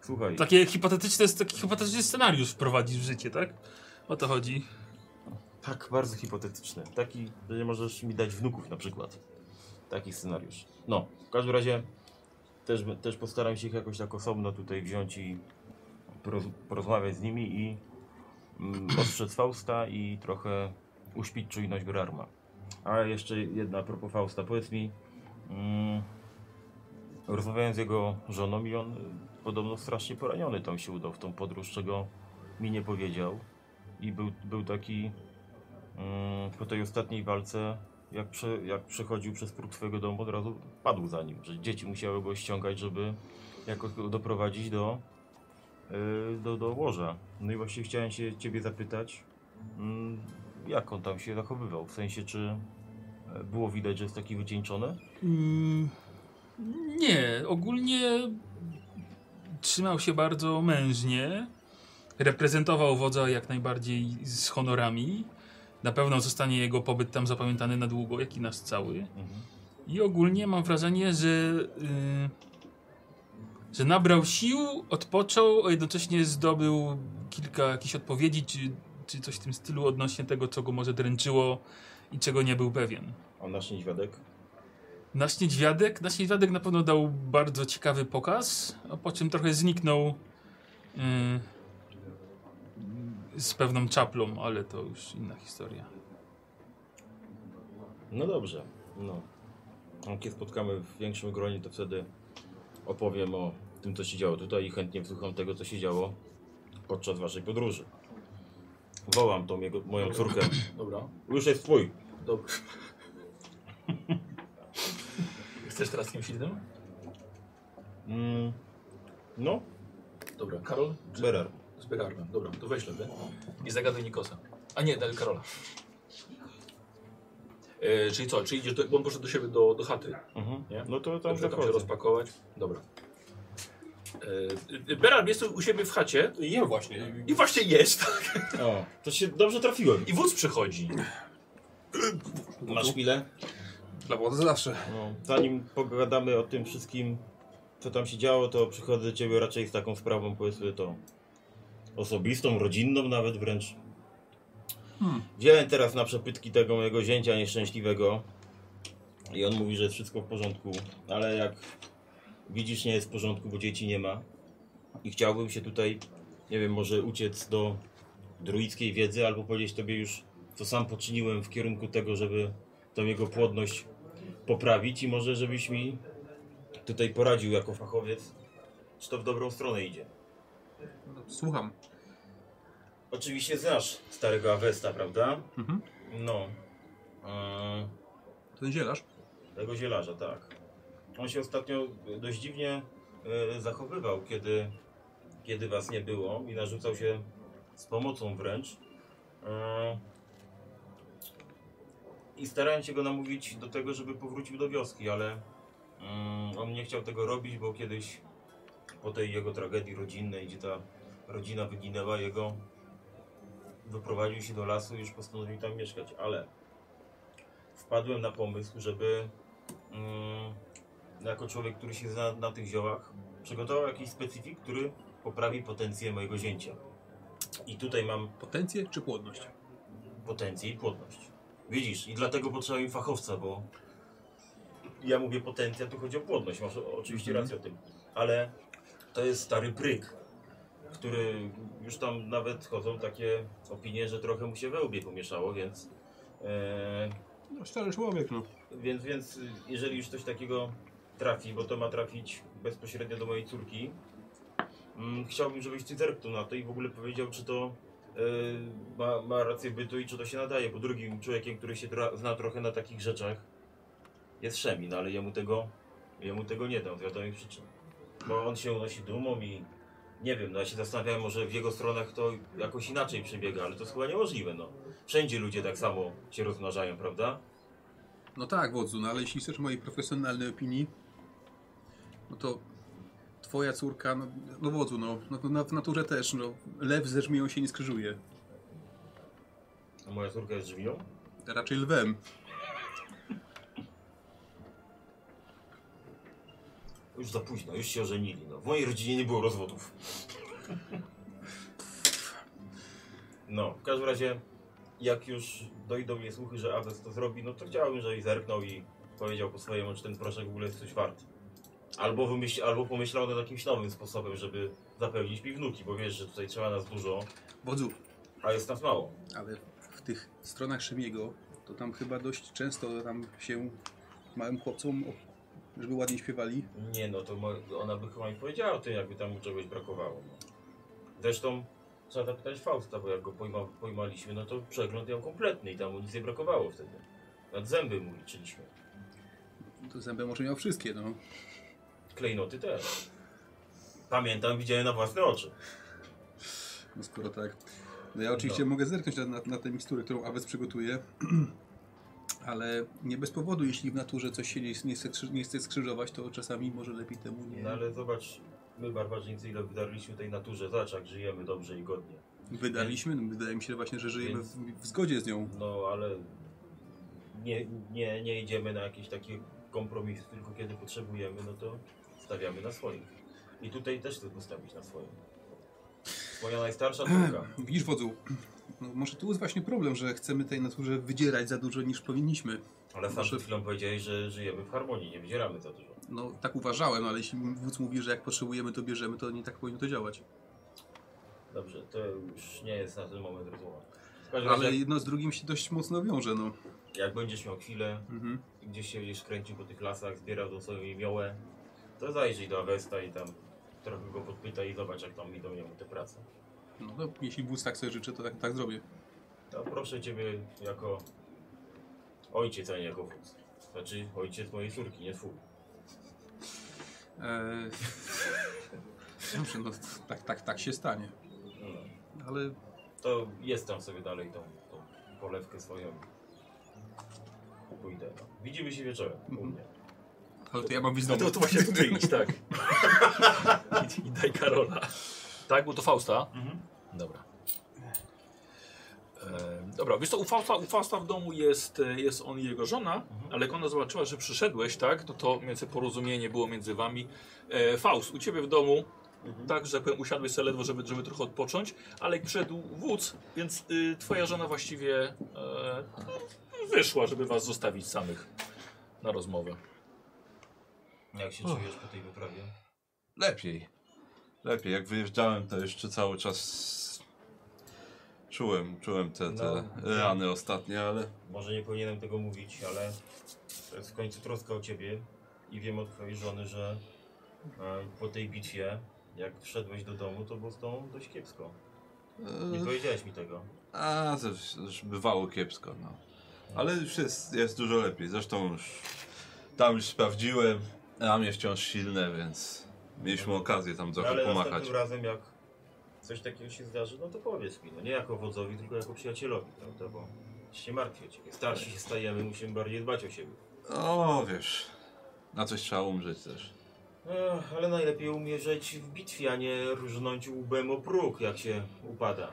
Słuchaj,
Takie hipotetyczne, taki hipotetyczny scenariusz wprowadzić w życie, tak? O to chodzi.
Tak, bardzo hipotetyczny. Taki, że nie możesz mi dać wnuków na przykład. Taki scenariusz. No, w każdym razie też, też postaram się ich jakoś tak osobno tutaj wziąć i poroz, porozmawiać z nimi i mm, ostrzec Fausta i trochę uśpić czujność Grarma. A jeszcze jedna a propos Fausta. Powiedz mi, mm, rozmawiałem z jego żoną i on y, podobno strasznie poraniony tam się udał w tą podróż, czego mi nie powiedział. I był, był taki Mm, po tej ostatniej walce, jak, prze, jak przechodził przez próg twojego domu, od razu padł za nim, że dzieci musiały go ściągać, żeby jakoś go doprowadzić do, yy, do, do łoża. No i właśnie chciałem się ciebie zapytać, mm, jak on tam się zachowywał, w sensie czy e, było widać, że jest taki wycieńczony?
Mm, nie, ogólnie trzymał się bardzo mężnie. Reprezentował wodza jak najbardziej z honorami. Na pewno zostanie jego pobyt tam zapamiętany na długo, jak i nasz cały. I ogólnie mam wrażenie, że, y, że nabrał sił, odpoczął, a jednocześnie zdobył kilka jakichś odpowiedzi, czy, czy coś w tym stylu odnośnie tego, co go może dręczyło i czego nie był pewien.
A nasz niedźwiadek?
Nasz niedźwiadek, nasz niedźwiadek na pewno dał bardzo ciekawy pokaz, a po czym trochę zniknął y, z pewną czaplą, ale to już inna historia.
No dobrze, no. A Kiedy spotkamy w większym gronie, to wtedy opowiem o tym, co się działo tutaj i chętnie wsłucham tego, co się działo podczas waszej podróży. Wołam tą jego, moją córkę.
Dobra.
Już jest twój.
Dobra. Chcesz teraz kimś innym?
Mm, no,
Dobra, Karol? Czy-
Berar.
Z Berardem. Dobra, to weź lewy. I zagaduj Nikosa. A nie, daj Karola. E, czyli co, czyli idziesz do, bo on poszedł do siebie, do, do chaty.
Mhm.
Nie?
No to tam
Dobrze, tam się
zachodzę.
rozpakować. Dobra. E, Berard jest tu u siebie w chacie
Jem właśnie.
i właśnie jest.
O, to się dobrze trafiłem.
I wódz przychodzi.
Masz chwilę?
Dla władzy zawsze.
No, zanim pogadamy o tym wszystkim, co tam się działo, to przychodzę do ciebie raczej z taką sprawą, powiedzmy to osobistą, rodzinną nawet wręcz.
Hmm.
Wziąłem teraz na przepytki tego mojego zięcia nieszczęśliwego i on mówi, że jest wszystko w porządku, ale jak widzisz, nie jest w porządku, bo dzieci nie ma i chciałbym się tutaj, nie wiem, może uciec do druickiej wiedzy albo powiedzieć tobie już, co sam poczyniłem w kierunku tego, żeby tą jego płodność poprawić i może żebyś mi tutaj poradził jako fachowiec, czy to w dobrą stronę idzie.
Słucham.
Oczywiście znasz starego Avesta, prawda?
Mhm.
No. E, Eee,
To niedzielasz?
tego zielarza, tak. On się ostatnio dość dziwnie e, zachowywał, kiedy, kiedy was nie było i narzucał się z pomocą wręcz. E, I starałem się go namówić do tego, żeby powrócił do wioski, ale mm, on nie chciał tego robić, bo kiedyś po tej jego tragedii rodzinnej, gdzie ta rodzina wyginęła jego, wyprowadził się do lasu i już postanowił tam mieszkać, ale wpadłem na pomysł, żeby mm, jako człowiek, który się zna na tych ziołach, przygotował jakiś specyfik, który poprawi potencję mojego zięcia. I tutaj mam
Potencję czy płodność?
potencję i płodność. Widzisz, i dlatego potrzeba mi fachowca, bo ja mówię potencja, tu chodzi o płodność, masz o- oczywiście rację o tym, ale to jest stary pryk, który już tam nawet chodzą takie opinie, że trochę mu się we łbie pomieszało, więc e,
No, szczery człowiek, no.
więc, więc y, jeżeli już coś takiego trafi, bo to ma trafić bezpośrednio do mojej córki, mm, chciałbym, żebyś ty zerknął na to i w ogóle powiedział, czy to y, ma, ma rację bytu i czy to się nadaje. Bo drugim człowiekiem, który się tra- zna trochę na takich rzeczach, jest Szemin, ale jemu tego, jemu tego nie dam z wiadomych przyczyn. Bo on się unosi dumą i nie wiem, no ja się zastanawiałem, może w jego stronach to jakoś inaczej przebiega, ale to jest chyba niemożliwe, no. Wszędzie ludzie tak samo się rozmnażają, prawda?
No tak, wodzu, no ale jeśli chcesz mojej profesjonalnej opinii, no to twoja córka, no, no wodzu, no, no to na, w naturze też, no, lew ze żmiją się nie skrzyżuje.
A moja córka jest żmiją?
Raczej lwem.
Już za późno, już się ożenili. No. W mojej rodzinie nie było rozwodów. No, w każdym razie, jak już dojdą mnie słuchy, że Aves to zrobi, no to chciałbym, żebyś zerknął i powiedział po swojemu, czy ten proszek w ogóle jest coś wart. Albo, wymyśl, albo pomyślał nad jakimś nowym sposobem, żeby zapełnić piwnuki, bo wiesz, że tutaj trzeba nas dużo,
Wodzu,
a jest nas mało.
ale w tych stronach Szymiego, to tam chyba dość często tam się małym chłopcom, o, żeby ładnie śpiewali.
Nie no, to mo- ona by chyba mi powiedziała o tym, jakby tam mu czegoś brakowało. No. Zresztą trzeba zapytać Fausta, bo jak go pojma, pojmaliśmy, no to przegląd miał kompletny i tam mu nic nie brakowało wtedy. Nad zęby mu liczyliśmy.
To zęby może miał wszystkie, no.
Klejnoty też. Pamiętam, widziałem na własne oczy.
No skoro tak. No ja oczywiście
No.
mogę zerknąć na, na, na tę miksturę, którą Awes przygotuje, ale nie bez powodu, jeśli w naturze coś się nie, nie, chce, krzy- nie chce skrzyżować, to czasami może lepiej temu nie
No ale zobacz, my barbarzyńcy ile wydarliśmy tej naturze, zobacz jak żyjemy dobrze i godnie.
wydaliśmy. No, Wydaje mi się właśnie, że żyjemy
Więc-
w, w zgodzie z nią.
No ale nie, nie, nie idziemy na jakieś takie kompromisy, tylko kiedy potrzebujemy, no to stawiamy na swoim. I tutaj też chcę postawić na swoim. Moja najstarsza córka.
Widzisz, wodzu, no, może tu jest właśnie problem, że chcemy tej naturze wydzierać za dużo niż powinniśmy.
Ale sam
Proszę.
przed chwilą powiedziałeś, że żyjemy w harmonii, nie wydzieramy za dużo.
No tak uważałem, ale jeśli wódz mówi, że jak potrzebujemy, to bierzemy, to nie tak powinno to działać.
Dobrze, to już nie jest na ten moment rozmowa. W każdym razie,
Ale jedno z drugim się dość mocno wiąże, no.
jak będziesz miał chwilę,
Mhm.
i gdzieś się będziesz kręcił po tych lasach, zbierał do sobie miołę, to zajrzyj do Avesta i tam trochę go podpytaj i zobacz, jak tam idą jemu te prace.
No to jeśli wódz tak sobie życzy, to tak, tak zrobię.
To proszę Ciebie jako ojciec, a nie jako wódz. Znaczy ojciec mojej córki, nie twój.
Eee... Dobrze, no tak, tak, tak się stanie.
No.
Ale
To jest tam sobie dalej tą, tą polewkę swoją. Pójdę. No. Widzimy się wieczorem u mnie.
Ale to ja mam wizytę.
No to, to właśnie tutaj idź, tak. I, I daj Karola. Tak, bo to Fausta? Dobra. E, dobra, wiesz co, u Fausta, u Fausta w domu jest, e, jest on i jego żona, ale jak ona zobaczyła, że przyszedłeś, tak, no to między porozumienie było między wami. E, Faust, u ciebie w domu, tak, że tak powiem, usiadłeś sobie ledwo, żeby, żeby trochę odpocząć, ale jak przyszedł wódz, więc y, twoja żona właściwie e, wyszła, żeby was zostawić samych na rozmowę.
Jak się czujesz po tej wyprawie?
Lepiej. Lepiej. Jak wyjeżdżałem, to jeszcze cały czas czułem, czułem te, te
No.
rany ostatnie, ale
Może nie powinienem tego mówić, ale to jest w końcu troska o ciebie i wiem od twojej żony, że e, po tej bitwie, jak wszedłeś do domu, to było z tobą dość kiepsko. Nie
e,
powiedziałeś mi tego.
A, to już- to już bywało kiepsko, no. Ale już jest, jest dużo lepiej. Zresztą już tam już sprawdziłem. Ramię wciąż silne, więc mieliśmy okazję tam trochę
No, Ale
pomachać.
następnym razem jak coś takiego się zdarzy, no to powiedz mi, no nie jako wodzowi, tylko jako przyjacielowi, prawda, bo się martwię o ciebie. Starsi się stajemy, musimy bardziej dbać o siebie.
O, wiesz, na coś trzeba umrzeć też.
Ech, ale najlepiej umierzeć w bitwie, a nie różnąć łbem o próg, jak się upada.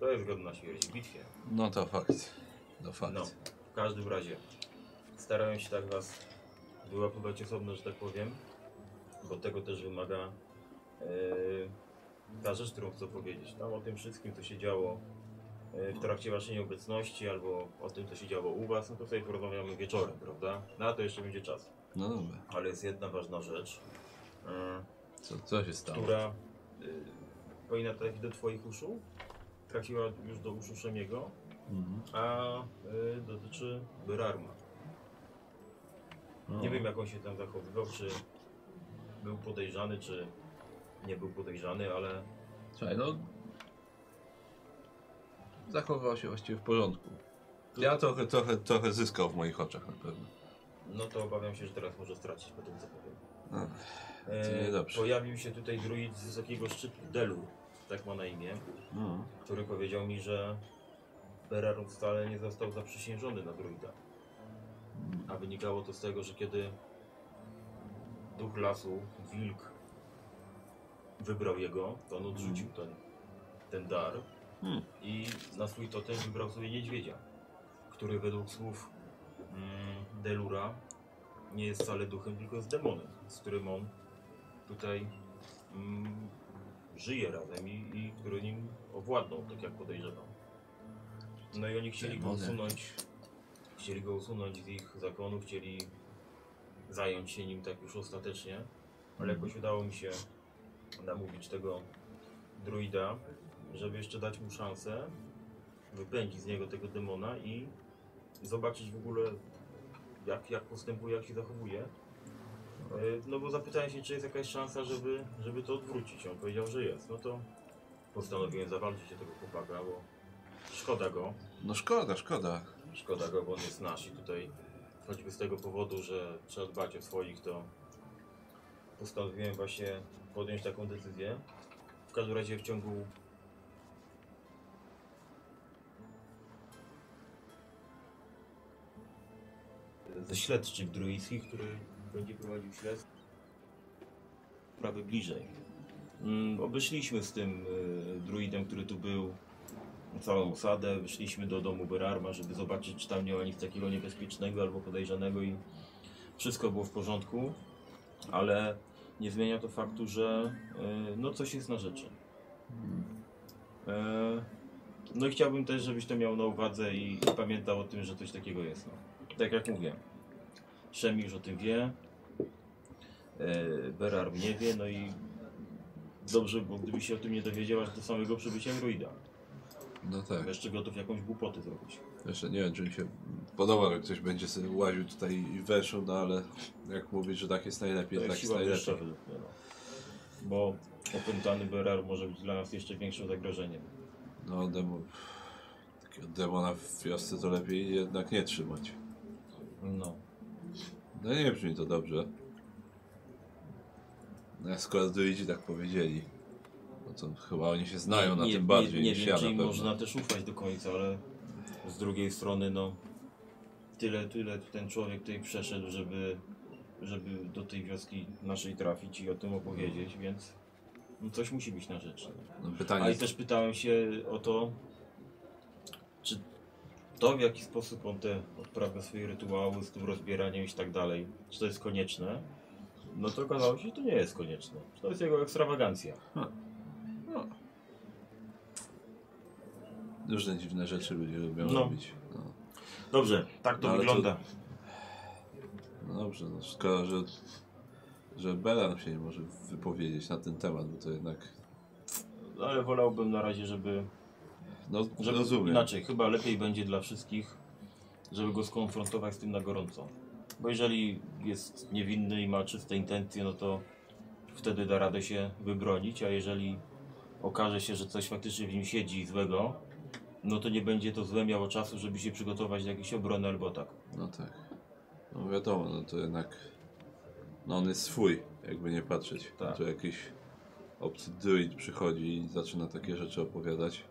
To jest godna śmierć w bitwie.
No to fakt. To fakt.
No, w każdym razie starałem się tak was wyłapywać osobno, że tak powiem, bo tego też wymaga yy, ta rzecz, którą chcę powiedzieć. Tam o tym wszystkim, co się działo yy, w trakcie waszej nieobecności, albo o tym, co się działo u was, no to sobie porozmawiamy wieczorem, prawda? Na to jeszcze będzie czas.
No dobra.
Ale jest jedna ważna rzecz. Yy,
Co, co się stało?
która y, powinna trafić do Twoich uszu. Trafiła już do uszu Szemiego,
Mhm.
a y, dotyczy Byrarma. Nie wiem, jak on się tam zachowywał, czy był podejrzany, czy nie był podejrzany, ale
Słuchaj, no. Zachował się właściwie w porządku. Ja trochę, trochę, trochę zyskał w moich oczach na pewno.
no to obawiam się, że teraz może stracić po tym, co powiem.
No,
E,
niedobrze.
pojawił się tutaj druid z wysokiego szczytu, Delu, tak ma na imię,
no.
który powiedział mi, że Berarum wcale nie został zaprzysiężony na druida. A wynikało to z tego, że kiedy duch lasu, wilk, wybrał jego, to on odrzucił ten, ten dar
Hmm.
i na swój totem wybrał sobie niedźwiedzia, który według słów mm, Delura nie jest wcale duchem, tylko jest demonem, z którym on tutaj mm, żyje razem i, i który nim owładnął, tak jak podejrzewam. No i oni chcieli go
Demonem.
usunąć, chcieli go usunąć z ich zakonu, chcieli zająć się nim tak już ostatecznie, ale jakoś udało mi się namówić tego druida, żeby jeszcze dać mu szansę, wypędzić z niego tego demona i zobaczyć w ogóle jak, jak postępuje, jak się zachowuje. E, No bo zapytałem się, czy jest jakaś szansa, żeby, żeby to odwrócić. On powiedział, że jest. No to postanowiłem zawalczyć o tego chłopaka, bo szkoda go.
no szkoda, szkoda.
Szkoda go, bo on jest nasz i tutaj choćby z tego powodu, że trzeba dbać o swoich, to postanowiłem właśnie podjąć taką decyzję. W każdym razie w ciągu ze śledczych druidzkich, który będzie prowadził śledztwo sprawy bliżej. Mm, Obeszliśmy z tym y, druidem, który tu był, całą osadę, wyszliśmy do domu Berarma, żeby zobaczyć, czy tam nie ma nic takiego niebezpiecznego albo podejrzanego i wszystko było w porządku, ale nie zmienia to faktu, że y, no coś jest na rzeczy. E, No i chciałbym też, żebyś to miał na uwadze i i pamiętał o tym, że coś takiego jest. No. Tak jak mówię, Szemi już o tym wie, e, Berarm nie wie, no i dobrze, bo gdyby się o tym nie dowiedział aż do samego przybycia Druida.
No tak.
Jeszcze gotów jakąś głupotę zrobić.
Jeszcze nie wiem, czy mi się podoba, jak ktoś będzie sobie łaził tutaj i weszł, no ale jak mówić, że tak jest najlepiej,
To
tak
jest
jest
No siła wyższa
najlepiej.
według mnie. No. Bo opętany Berar może być dla nas jeszcze większym zagrożeniem.
No demo, takiego demona w wiosce to lepiej jednak nie trzymać.
No.
No nie brzmi to dobrze. No jak skoro druidzi tak powiedzieli, no to chyba oni się znają na
nie,
tym bardziej
nie, nie
niż
wiem,
ja na
czy im
pewno.
można też ufać do końca, ale z drugiej strony no tyle, tyle ten człowiek tutaj przeszedł, żeby, żeby do tej wioski naszej trafić i o tym opowiedzieć, więc no, coś musi być na rzeczy.
No
Ale
pytanie,
też pytałem się o to, czy to w jaki sposób on te odprawia swoje rytuały z tym rozbieraniem i tak dalej, czy to jest konieczne? No to okazało się, że to nie jest konieczne. Że To jest jego ekstrawagancja.
różne dziwne rzeczy ludzie lubią
No.
robić. No.
Dobrze, tak to
No, ale
wygląda.
no dobrze, no szkoda, że, że Belan się nie może wypowiedzieć na ten temat, bo to jednak,
No, Ale wolałbym na razie, żeby,
no
żeby
rozumiem.
inaczej. Chyba lepiej będzie dla wszystkich, żeby go skonfrontować z tym na gorąco. Bo jeżeli jest niewinny i ma czyste intencje, no to wtedy da radę się wybronić, a jeżeli okaże się, że coś faktycznie w nim siedzi złego, no to nie będzie to złe miało czasu, żeby się przygotować do jakiejś obrony albo tak.
No tak. No wiadomo, no to jednak No on jest swój, jakby nie patrzeć.
Tak.
Tu jakiś obcy druid przychodzi i zaczyna takie rzeczy opowiadać.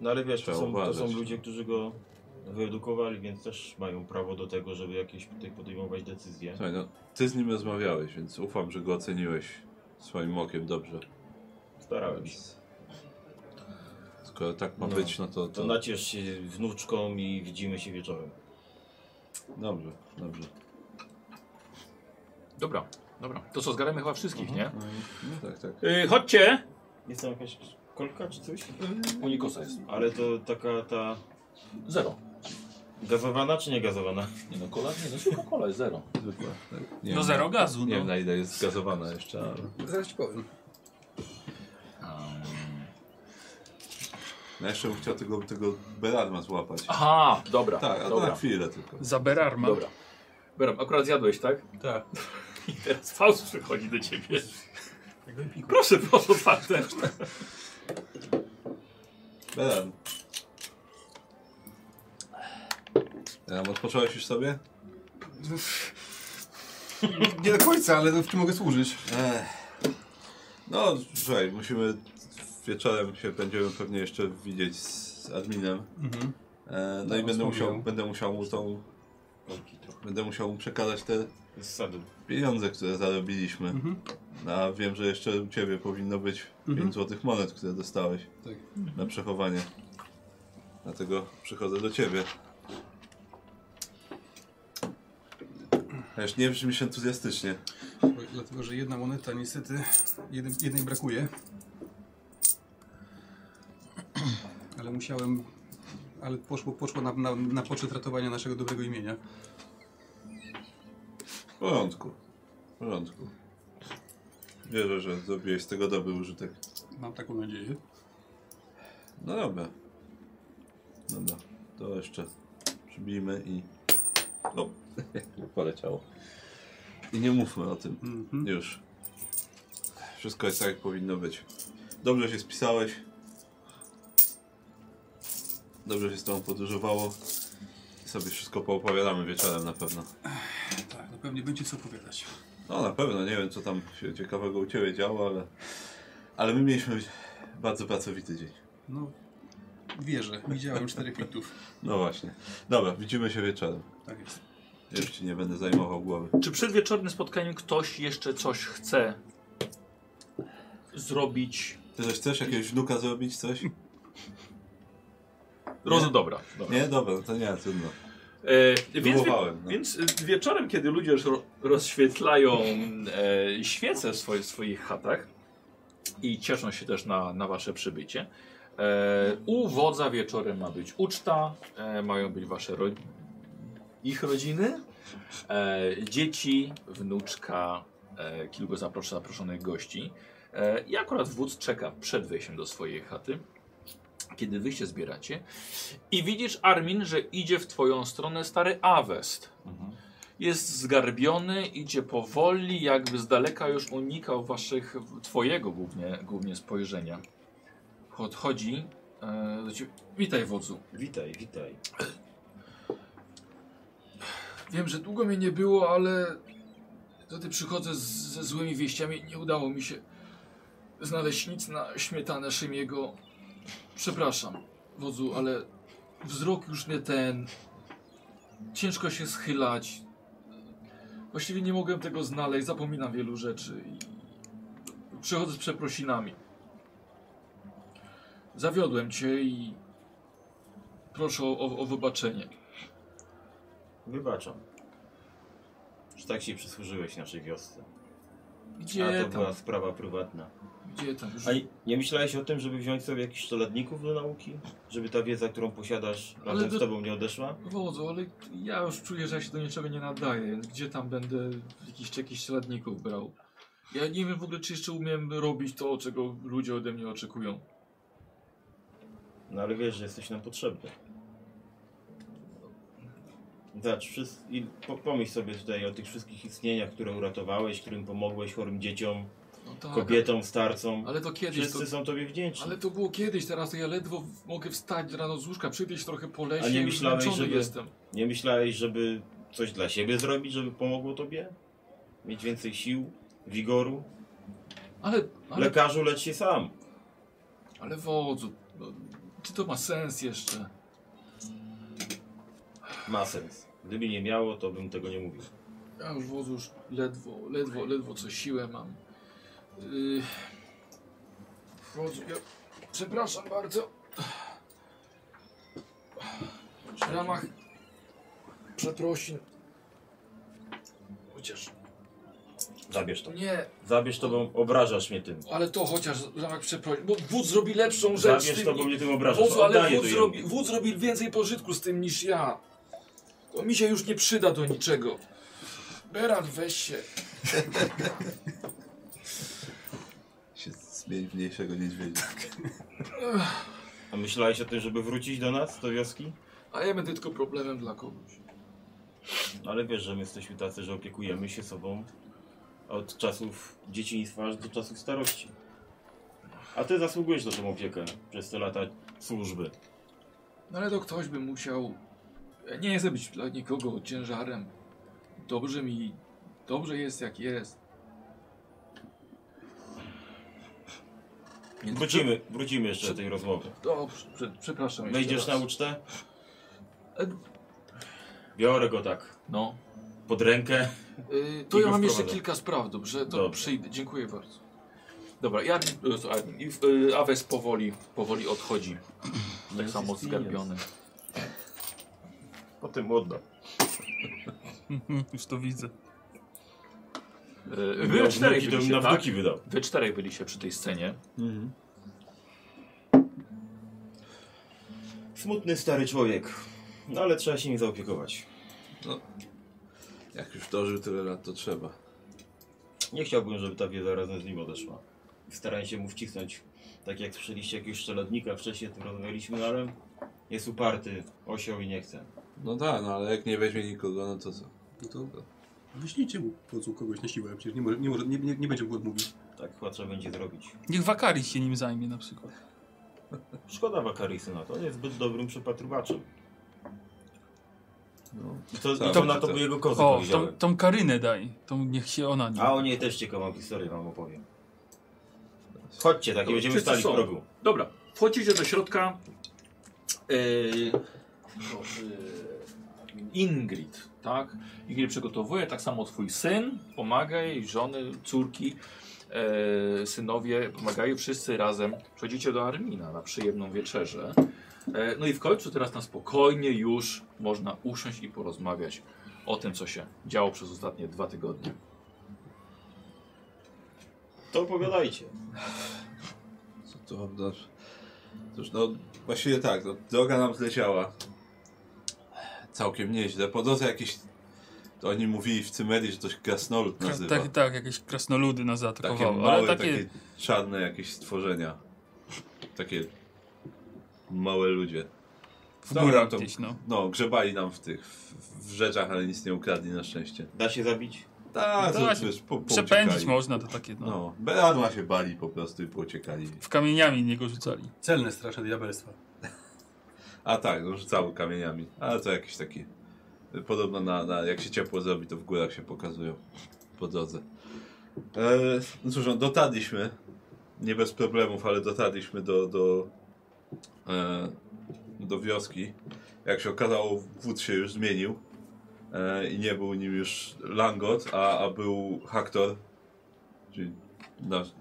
No ale wiesz, to
Trzeba
są, to są
uważać.
ludzie, którzy go wyedukowali, więc też mają prawo do tego, żeby jakieś tutaj podejmować decyzje.
Słuchaj, no, ty z nim rozmawiałeś, więc ufam, że go oceniłeś swoim okiem dobrze.
Starałem się.
Skoro tak ma
No,
być, no to...
To naciesz się wnuczką i widzimy się wieczorem.
Dobrze, dobrze.
Dobra, dobra. To co, zgaramy chyba wszystkich, nie?
No tak, tak.
Yy, chodźcie!
Jest tam jakaś kolka czy coś?
U Nikosa jest.
Ale to taka ta
Zero.
gazowana czy nie gazowana?
Nie no, kola, nie no, Coca-Cola jest zero.
Zwykłe. tak. Nie
No
wiem,
zero gazu,
Nie
no.
wiem na ile jest gazowana jeszcze, ale...
Zaraz ci powiem.
No jeszcze bym chciał tego, tego Berarma złapać.
Aha, dobra,
tak, a to na
dobra,
chwilę tylko.
Za Berarma.
dobra. Beram, akurat zjadłeś, tak?
Tak.
I teraz Faust przychodzi do ciebie. Proszę, proszę, Faustem.
Beran. Beran, odpocząłeś już sobie?
Nie do końca, ale w czym mogę służyć?
No, słuchaj, musimy... Wieczorem się będziemy pewnie jeszcze widzieć z adminem.
Mhm.
E, no
Tak,
i będę musiał,
wspomniał.
będę musiał mu tą... Będę musiał mu przekazać te
Z sadu.
pieniądze, które zarobiliśmy.
Mhm.
No, a wiem, że jeszcze u ciebie powinno być 5 złotych monet, które dostałeś
Tak.
na przechowanie. Dlatego przychodzę do ciebie. Wiesz, nie brzmisz entuzjastycznie.
Bo- Dlatego, że jedna moneta niestety, jednej, jednej brakuje. Ale musiałem, ale poszło, poszło na, na, na poczet ratowania naszego dobrego imienia.
W porządku. W porządku. Wierzę, że zrobiłeś z tego dobry użytek.
Mam taką nadzieję.
No dobra. Dobra. To jeszcze przybijmy i... O, poleciało. I nie mówmy o tym.
Mhm.
Już. Wszystko jest tak, jak powinno być. Dobrze się spisałeś. Dobrze się z tobą podróżowało. I sobie wszystko poopowiadamy wieczorem na pewno.
Tak, no pewnie będzie co opowiadać.
No na pewno, nie wiem co tam się ciekawego u ciebie działo, ale... Ale my mieliśmy bardzo pracowity dzień.
No, wierzę, widziałem czterech mitów.
No właśnie. Dobra, widzimy się wieczorem.
Tak jest.
Już ci nie będę zajmował głowy.
Czy przed wieczornym spotkaniem ktoś jeszcze coś chce zrobić?
Ty coś chcesz? Jakiegoś wnuka zrobić? Coś?
Rozum, dobra. dobra.
Nie? Dobra, no to nie, trudno.
E, więc, wie,
Próbowałem. No.
więc e, wieczorem, kiedy ludzie już ro, rozświetlają e, świece w swoich, swoich chatach i cieszą się też na, na wasze przybycie, e, u wodza wieczorem ma być uczta, e, mają być wasze ro, ich rodziny, e, dzieci, wnuczka, e, kilku zapros zaproszonych gości. E, I akurat wódz czeka przed wejściem do swojej chaty, kiedy wy się zbieracie. I widzisz, Armin, że idzie w twoją stronę stary Awest. Jest zgarbiony, idzie powoli, jakby z daleka już unikał waszych, twojego głównie, głównie spojrzenia. Podchodzi e, do ciebie. Witaj, wodzu.
Witaj, witaj.
Wiem, że długo mnie nie było, ale to ty przychodzę z, ze złymi wieściami. Nie udało mi się znaleźć nic na śmietanę Szymiego. Przepraszam, wodzu, ale wzrok już nie ten. Ciężko się schylać. Właściwie nie mogłem tego znaleźć, zapominam wielu rzeczy i przychodzę z przeprosinami. Zawiodłem cię i proszę o, o wybaczenie.
Wybaczam. Że tak się przysłużyłeś naszej wiosce. A
Gdzie
to
tam?
była sprawa prywatna.
Gdzie tam? Już...
A i- nie myślałeś o tym, żeby wziąć sobie jakichś czeladników do nauki? Żeby ta wiedza, którą posiadasz,
Ale
razem
to-
z tobą nie odeszła?
Wodzu, ale ja już czuję, że ja się do niczego nie nadaję, więc gdzie tam będę jakichś, jakichś śladników brał? Ja nie wiem w ogóle, czy jeszcze umiem robić to, czego ludzie ode mnie oczekują.
No ale wiesz, że jesteś nam potrzebny. Zobacz, wszyscy, i po, pomyśl sobie tutaj o tych wszystkich istnieniach, które uratowałeś, którym pomogłeś, chorym dzieciom,
No tak,
kobietom, starcom.
ale to kiedyś, to,
Wszyscy są tobie wdzięczni.
ale to było kiedyś, teraz to ja ledwo w- mogę wstać rano z łóżka, przyjść trochę po lesie,
A nie
już
myślałeś,
zmęczony
żeby-
jestem.
Nie myślałeś, żeby coś dla siebie zrobić, żeby pomogło tobie? mieć więcej sił, wigoru.
Ale, ale,
Lekarzu lecz się sam.
ale wodzu, no, czy to ma sens jeszcze?
Ma sens. Gdyby nie miało, to bym tego nie mówił.
Ja już wodzu już ledwo, ledwo, ledwo co siłę mam. Yy, wodzu, ja, przepraszam bardzo. W ramach przeprosin. Chociaż
Zabierz to.
nie,
Zabierz to, bo obrażasz mnie tym.
ale to chociaż w ramach przeprosin. Bo wódz zrobi lepszą rzecz. z
Zabierz
tym
to, bo mnie tym obrażasz.
Wodzu, ale
Oddaję
wódz
to
zrobi,
jemu.
wódz zrobi więcej pożytku z tym niż ja. To mi się już nie przyda do niczego. Beran, weź się.
Się zmień w mniejszego niedźwiedzia.
Tak.
A myślałeś o tym, żeby wrócić do nas, do wioski?
A ja będę tylko problemem dla kogoś.
No ale wiesz, że my jesteśmy tacy, że opiekujemy się sobą od czasów dzieciństwa aż do czasów starości. A ty zasługujesz na tą opiekę przez te lata służby.
No ale to ktoś by musiał... Ja Nie chcę być dla nikogo ciężarem. Dobrze mi... Dobrze jest jak jest. Nie,
Wrócimy, wrócimy jeszcze do tej rozmowy.
Dobrze, prze, przepraszam jeszcze
Wejdziesz na
raz.
ucztę?
E,
Biorę go tak
No.
pod rękę.
Y, to
I
ja
go
mam jeszcze
wprowadzę.
kilka spraw, dobrze? To
Dobrze.
przyjdę, dziękuję bardzo. Dobra, ja, y, słuchaj, y, Awes powoli, powoli odchodzi. Tak samo zgarbiony.
Potem odda.
Mm, Już to widzę.
Y, Wy
Miał
czterech
wnuki, to bym
byliście,
na
tak?
wnuki wydał.
Wy czterech byliście przy tej scenie.
Smutny stary człowiek. No ale trzeba się nim zaopiekować.
Jak już dożył tyle lat, to trzeba.
Nie chciałbym, żeby ta wiedza razem z nim odeszła. Starałem się mu wcisnąć, tak jak słyszeliście jakiegoś szczeladnika, wcześniej o tym rozmawialiśmy, no, ale jest uparty, osioł i nie chce.
No tak, no ale jak nie weźmie nikogo, no to co?
No to wyślijcie mu po prostu kogoś na siłę, przecież nie, może, nie, może, nie, nie, nie będzie mógł odmówić.
Tak chyba trzeba będzie zrobić.
Niech Wakari się nim zajmie na przykład.
Szkoda Wakarisy na to, on jest zbyt dobrym przypatrywaczem.
No.
I to,
Tak,
i to na
tak.
to by jego kozy
O, tą,
powiedziały.
tą Karynę daj. Tą niech się ona nim.
A o niej też ciekawą historię wam opowiem. Chodźcie, tak, i będziemy
wszyscy
stali w
są.
progu.
Dobra, wchodzicie do środka. Yy, Ingrid, tak? Ingrid przygotowuje, tak samo twój syn pomaga jej, żony, córki, e, synowie pomagają wszyscy razem. Przechodzicie do Armina na przyjemną wieczerzę. E, no i w końcu teraz na spokojnie już można usiąść i porozmawiać o tym, co się działo przez ostatnie dwa tygodnie.
To opowiadajcie.
Co to wam dasz? Cóż, no właściwie tak, no, droga nam zleciała. Całkiem nieźle. Po drodze jakiś... To oni mówili w Cymerii, że to się gasnolud
Kra-
nazywa.
tak, tak, jakieś krasnoludy nas
Takie
zaatakowały.
małe,
ale
takie...
takie,
czarne jakieś stworzenia. Takie małe ludzie.
w
Dobra,
górę
to-
gdzieś, no.
No, grzebali nam w tych w, w rzeczach, ale nic nie ukradli na szczęście.
Da się zabić?
Tak,
No to
to,
właśnie,
wiesz, po, po
Przepędzić można to takie, no.
No, beradła się bali po prostu i pouciekali.
W kamieniami niego rzucali.
Celne straszne diabelstwa.
A tak, no, rzucały kamieniami. Ale to jakieś takie... Podobno na, na, jak się ciepło zrobi, to w górach się pokazują po drodze. E, no cóż, no, dotarliśmy. Nie bez problemów, ale dotarliśmy do, do, e, do wioski. Jak się okazało, wód się już zmienił. E, I nie był nim już Langot, a, a był Haktor. Czyli nasz,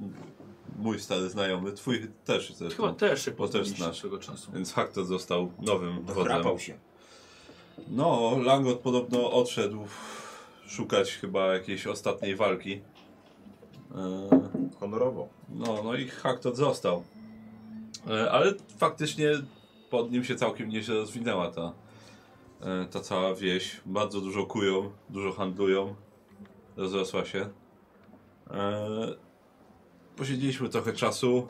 mój stary znajomy, twój też zresztą.
Chyba też się
Bo to jest
poznaliście
nasz.
swego czasu.
Więc Haktor został nowym wodzem.
Chrapał się.
No, Langot podobno odszedł szukać chyba jakiejś ostatniej walki. E,
Honorowo.
No, no i Haktor został. E, Ale faktycznie pod nim się całkiem nieźle rozwinęła ta, e, ta cała wieś. Bardzo dużo kują, dużo handlują. Rozrosła się. E, Posiedzieliśmy trochę czasu.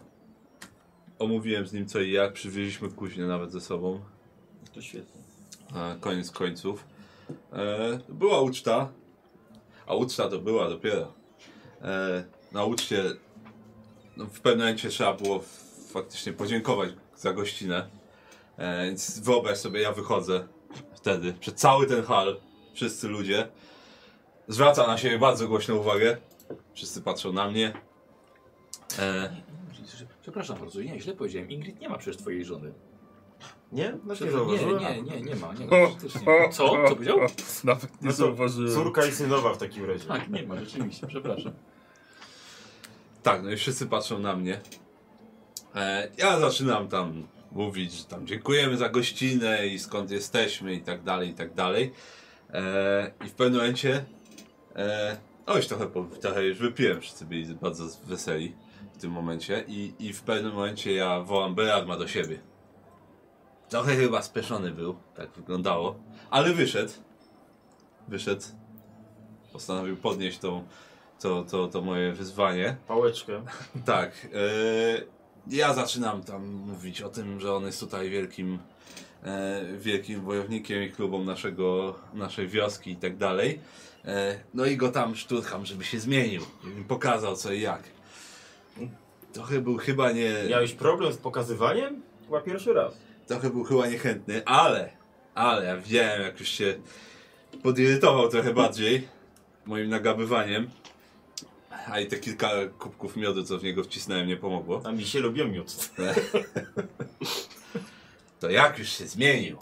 Omówiłem z nim co i jak. Przywieźliśmy kuźnię nawet ze sobą.
To świetnie.
E, koniec końców. E, była uczta, a uczta to była dopiero. E, na uczcie no, w pewnym momencie trzeba było f- faktycznie podziękować za gościnę. E, więc wyobraź sobie, ja wychodzę wtedy, przed cały ten hal, wszyscy ludzie. Zwraca na siebie bardzo głośną uwagę. Wszyscy patrzą na mnie. E,
Przepraszam bardzo, nie, źle powiedziałem. Ingrid nie ma przecież twojej żony.
Nie? Znaczy, nie
Nie,
zauważyłem.
nie, nie, nie ma. Nie ma przecież nie ma. Co? Co powiedział?
Nawet nie
No to
zauważyłem.
Córka i synowa w takim razie.
Tak, nie ma, rzeczywiście, przepraszam.
tak, no i wszyscy patrzą na mnie. E, ja zaczynam tam mówić, że tam dziękujemy za gościnę i skąd jesteśmy i tak dalej, i tak dalej. E, I w pewnym momencie E, o, już trochę, po- trochę już wypiłem, wszyscy byli bardzo weseli w tym momencie i, i w pewnym momencie ja wołam Beradma do siebie. Trochę chyba speszony był, tak wyglądało, ale wyszedł. Wyszedł. Postanowił podnieść tą, to, to, to moje wyzwanie.
Pałeczkę.
Tak. e, ja zaczynam tam mówić o tym, że on jest tutaj wielkim, e, wielkim wojownikiem i klubą naszego, naszej wioski i tak dalej. E, no i go tam szturcham, żeby się zmienił, żebym pokazał co i jak. Trochę był chyba nie...
Miałeś problem z pokazywaniem? Chyba pierwszy raz.
Trochę był chyba niechętny, ale, ale ja widziałem, jak już się podirytował trochę bardziej moim nagabywaniem. A i te kilka kubków miodu, co w niego wcisnąłem, nie pomogło.
A mi się lubią miód.
To jak już się zmienił,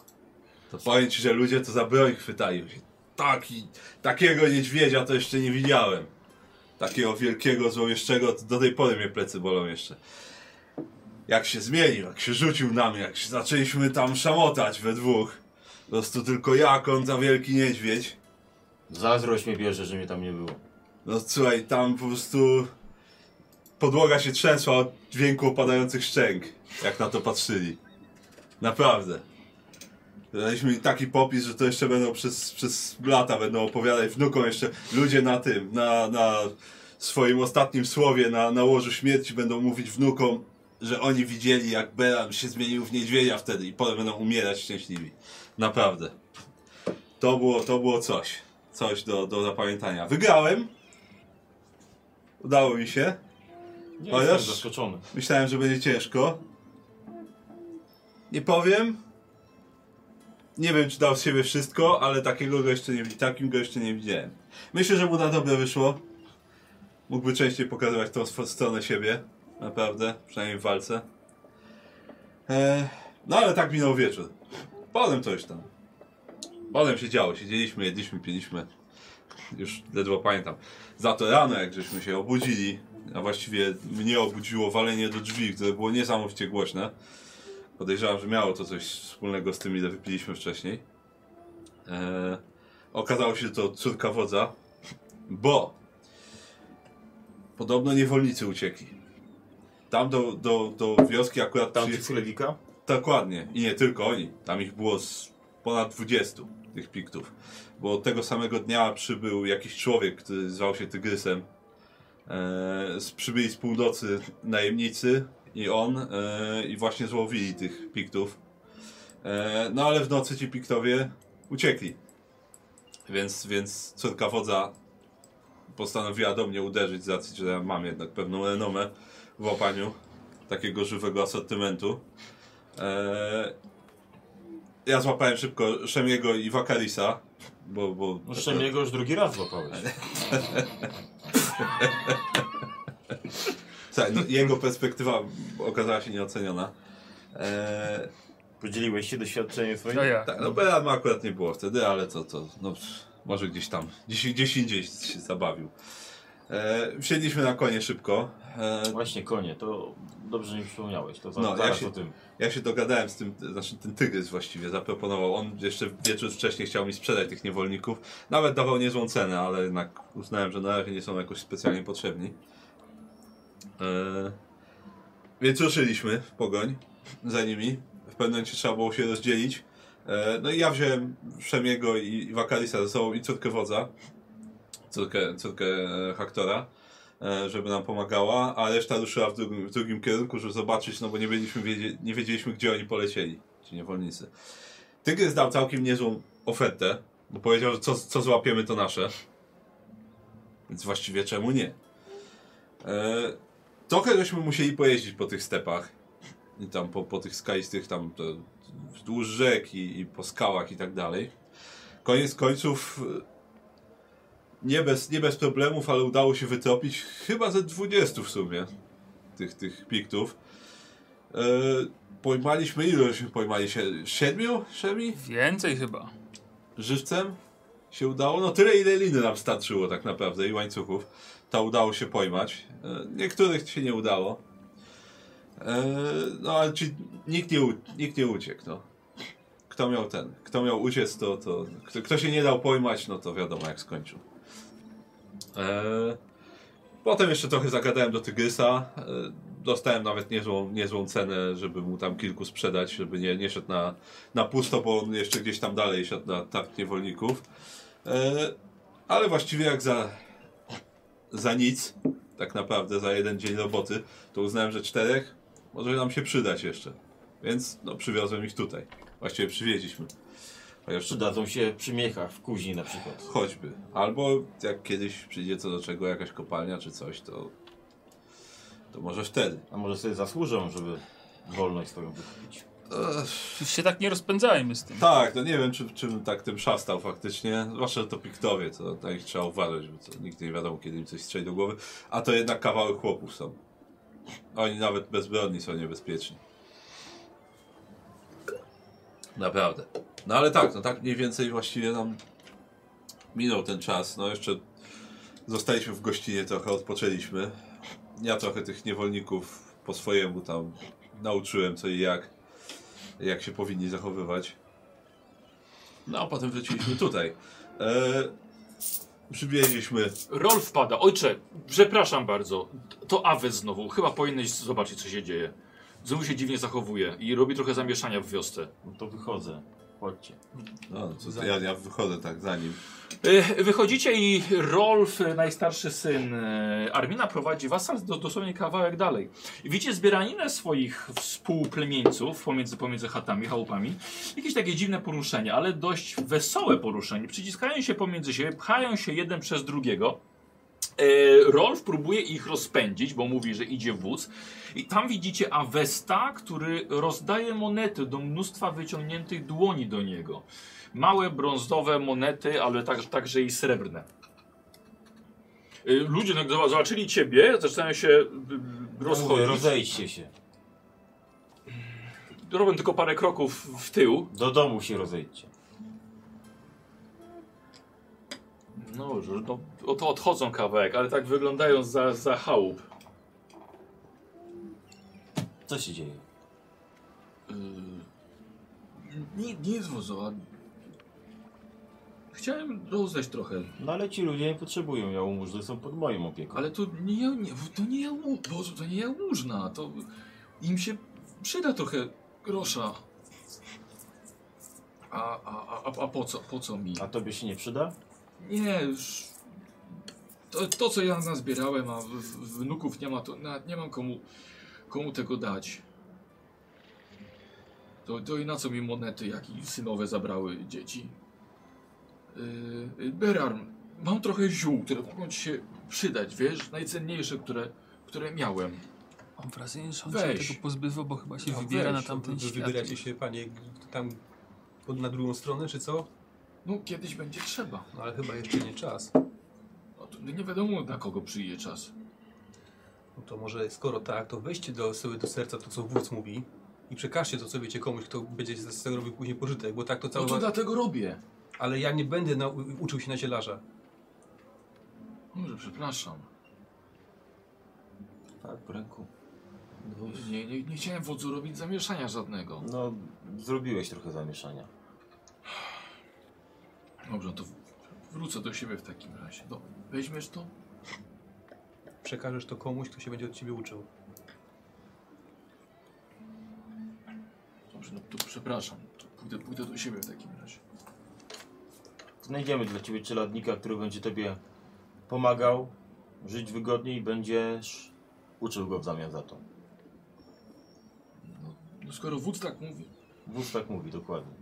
to powiem ci, że ludzie to za broń chwytają się. Taki, takiego niedźwiedzia to jeszcze nie widziałem. Takiego wielkiego, złowieszczego, to do tej pory mnie plecy bolą jeszcze. Jak się zmienił, jak się rzucił na mnie, jak się zaczęliśmy tam szamotać we dwóch. Po prostu tylko jak on za wielki niedźwiedź.
Zazdrość mnie bierze, że mnie tam nie było.
No słuchaj, tam po prostu podłoga się trzęsła od dźwięku opadających szczęk, jak na to patrzyli. Naprawdę. Daliśmy im taki popis, że to jeszcze będą przez, przez lata będą opowiadać wnukom jeszcze ludzie na tym, na, na swoim ostatnim słowie na, na łożu śmierci będą mówić wnukom, że oni widzieli jak Beram się zmienił w niedźwiedzia wtedy i potem będą umierać szczęśliwi. Naprawdę. To było, to było coś. Coś do, do zapamiętania. Wygrałem, Udało mi się.
Nie
Chociaż-
jestem zaskoczony.
Myślałem, że będzie ciężko. Nie powiem. Nie wiem, czy dał z siebie wszystko, ale takiego go jeszcze nie, wi- takim go jeszcze nie widziałem. Myślę, że mu na dobre wyszło. Mógłby częściej pokazywać tą swo- stronę siebie. Naprawdę, przynajmniej w walce. E, no ale tak minął wieczór. Potem coś tam. Potem się działo, siedzieliśmy, jedliśmy, piliśmy. Już ledwo pamiętam. Za to rano, jak żeśmy się obudzili, a właściwie mnie obudziło walenie do drzwi, które było niesamowicie głośne. Podejrzewam, że miało to coś wspólnego z tym, ile wypiliśmy wcześniej. Eee, okazało się że to córka wodza, bo podobno niewolnicy uciekli. Tam do, do, do wioski akurat
Tam
przyje-
tych królewika?
Dokładnie. I nie tylko oni. Tam ich było z ponad 20 tych piktów. Bo tego samego dnia przybył jakiś człowiek, który zwał się Tygrysem. Eee, z- przybyli z północy najemnicy i on eee, i właśnie złowili tych piktów. Eee, no ale w nocy ci piktowie uciekli. Więc, więc córka wodza postanowiła do mnie uderzyć z racji, że ja mam jednak pewną renomę w łapaniu takiego żywego asortymentu. Eee, ja złapałem szybko Szemiego i Wakarisa, bo... bo
Muszę mnie go już drugi raz złapałeś.
Słuchaj, no, jego perspektywa okazała się nieoceniona. Eee,
Podzieliłeś się doświadczeniem swoim?
A ja.
tak, no Beran akurat nie było wtedy, ale to, to no, pff, może gdzieś tam, gdzieś, gdzieś indziej się zabawił. Eee, wsiedliśmy na konie szybko. Eee,
Właśnie konie, to dobrze mi przypomniałeś. To za,
No, ja
zaraz
się-
o tym.
Ja się dogadałem z tym, znaczy ten tygrys właściwie zaproponował. On jeszcze wieczór wcześniej chciał mi sprzedać tych niewolników. Nawet dawał niezłą cenę, ale jednak uznałem, że na razie nie są jakoś specjalnie potrzebni. Eee, więc ruszyliśmy w pogoń za nimi. W pewnym momencie trzeba było się rozdzielić. Eee, no i ja wziąłem Szemiego i i Wakarisa ze sobą i córkę wodza, córkę, córkę e, Haktora e, żeby nam pomagała, a reszta ruszyła w drugim, w drugim kierunku, żeby zobaczyć, no bo nie, byliśmy wiedzie, nie wiedzieliśmy, gdzie oni polecieli, ci niewolnicy. Tygrys dał całkiem niezłą ofertę, bo powiedział, że co, co złapiemy, to nasze. Więc właściwie czemu nie? E, trochę żeśmy musieli pojeździć po tych stepach i tam po, po tych skaistych, tam to, wzdłuż rzek i, i po skałach i tak dalej. Koniec końców e, nie bez, nie bez problemów, ale udało się wytopić chyba ze 20 w sumie tych, tych piktów. E, pojmaliśmy, ile żeśmy pojmali? Sie- Siedmiu? Szemi?
Więcej chyba.
żywcem się udało. No tyle ile liny nam starczyło tak naprawdę i łańcuchów. To udało się pojmać. E, Niektórych się nie udało. E, No ale ci, nikt, nie, u- nikt nie uciekł, no. Kto miał ten, kto miał uciec, to, to kto, kto się nie dał pojmać, no to wiadomo jak skończył. E, Potem jeszcze trochę zagadałem do Tygrysa. E, Dostałem nawet niezłą, niezłą cenę, żeby mu tam kilku sprzedać, żeby nie, nie szedł na, na pusto, bo on jeszcze gdzieś tam dalej siadł na targ niewolników. E, ale właściwie jak za, za nic, tak naprawdę za jeden dzień roboty, to uznałem, że czterech może nam się przydać jeszcze. Więc no, przywiozłem ich tutaj. Właściwie przywieźliśmy. Chociaż
Przydadzą się przy miechach w kuźni na przykład.
Choćby. Albo jak kiedyś przyjdzie co do czego jakaś kopalnia czy coś, to. To może wtedy.
A może sobie zasłużą, żeby wolność swoją wykupić.
Już się tak nie rozpędzajmy z tym.
Tak, no nie wiem, czy, czym tak tym szastał faktycznie. Zwłaszcza że to piktowie, to na ich trzeba uważać, bo to nigdy nie wiadomo, kiedy im coś strzeli do głowy. A to jednak kawały chłopów są. Oni nawet bezbronni są niebezpieczni. Naprawdę. No ale tak, no tak mniej więcej właściwie nam minął ten czas. No jeszcze zostaliśmy w gościnie trochę, odpoczęliśmy. Ja trochę tych niewolników po swojemu tam nauczyłem co i jak, jak się powinni zachowywać. No a potem wróciliśmy tutaj. E, przywieźliśmy
Rol wpada. Ojcze, przepraszam bardzo. To Awe znowu. Chyba powinieneś zobaczyć, co się dzieje. Znowu się dziwnie zachowuje i robi trochę zamieszania w wiosce.
No to wychodzę. Chodźcie.
No, to ja, ja wychodzę tak za nim.
E, Wychodzicie i Rolf, e, najstarszy syn e, Armina, prowadzi was aż do, dosłownie kawałek dalej. I Widzicie zbieraninę swoich współplemieńców pomiędzy, pomiędzy chatami, chałupami. Jakieś takie dziwne poruszenie, ale dość wesołe poruszenie. Przyciskają się pomiędzy siebie, pchają się jeden przez drugiego. E, Rolf próbuje ich rozpędzić, bo mówi, że idzie wóz. I tam widzicie Avesta, który rozdaje monety do mnóstwa wyciągniętych dłoni do niego. Małe brązowe monety, ale tak, także i srebrne. Y, Ludzie, no, gdy zobaczyli ciebie, zaczynają się y, y,
Mówię,
rozchodzić.
Rozejdźcie się.
Robią tylko parę kroków w tył.
Do domu się rozejdźcie.
No, już, no od- odchodzą kawałek, ale tak wyglądają za, za chałup.
Co się dzieje?
Nie, nie z wozu, a... Chciałem rozdać trochę,
No ale ci ludzie nie potrzebują jałmużny, są pod moją opieką.
ale to nie, ja- nie, to nie, ja, Boże, to nie jałmużna, to im się przyda trochę grosza. A, a, a, a po co, po co mi?
A tobie się nie przyda?
Nie, już. To, to co ja nazbierałem, a w, w, wnuków nie ma, to nawet nie mam komu, komu tego dać. To, to i na co mi monety, jak i synowe zabrały dzieci? Yy, Berarm, mam trochę ziół, które mogą ci się przydać, wiesz? Najcenniejsze, które, które miałem.
Mam wrażenie, że on
Weź.
się tego pozbywa, bo chyba się
No
wybiera
weź,
na tamten
wy- wy
świat.
Wybieracie się, panie, tam pod- na drugą stronę, czy co?
No, kiedyś będzie trzeba.
No ale chyba jeszcze nie czas.
No, to nie wiadomo, na kogo przyjdzie czas.
No to może skoro tak, to weźcie do, sobie do serca to, co wódz mówi i przekażcie to, co wiecie komuś, kto będzie z z tego robił później pożytek, bo tak to
No
cały...
to dlatego robię.
Ale ja nie będę na, u- uczył się na zielarza.
Może, przepraszam.
Tak, po ręku.
Nie, nie, nie chciałem wodzu robić zamieszania żadnego.
No, zrobiłeś trochę zamieszania.
Dobrze, no to w- wrócę do siebie w takim razie. No, weźmiesz to?
Przekażesz to komuś, kto się będzie od ciebie uczył.
Dobrze, no to przepraszam. To pójdę, pójdę do siebie w takim razie.
Znajdziemy dla ciebie czeladnika, który będzie tobie pomagał żyć wygodniej i będziesz uczył go w zamian za to.
No, no skoro wódz tak mówi.
Wóz tak mówi, dokładnie.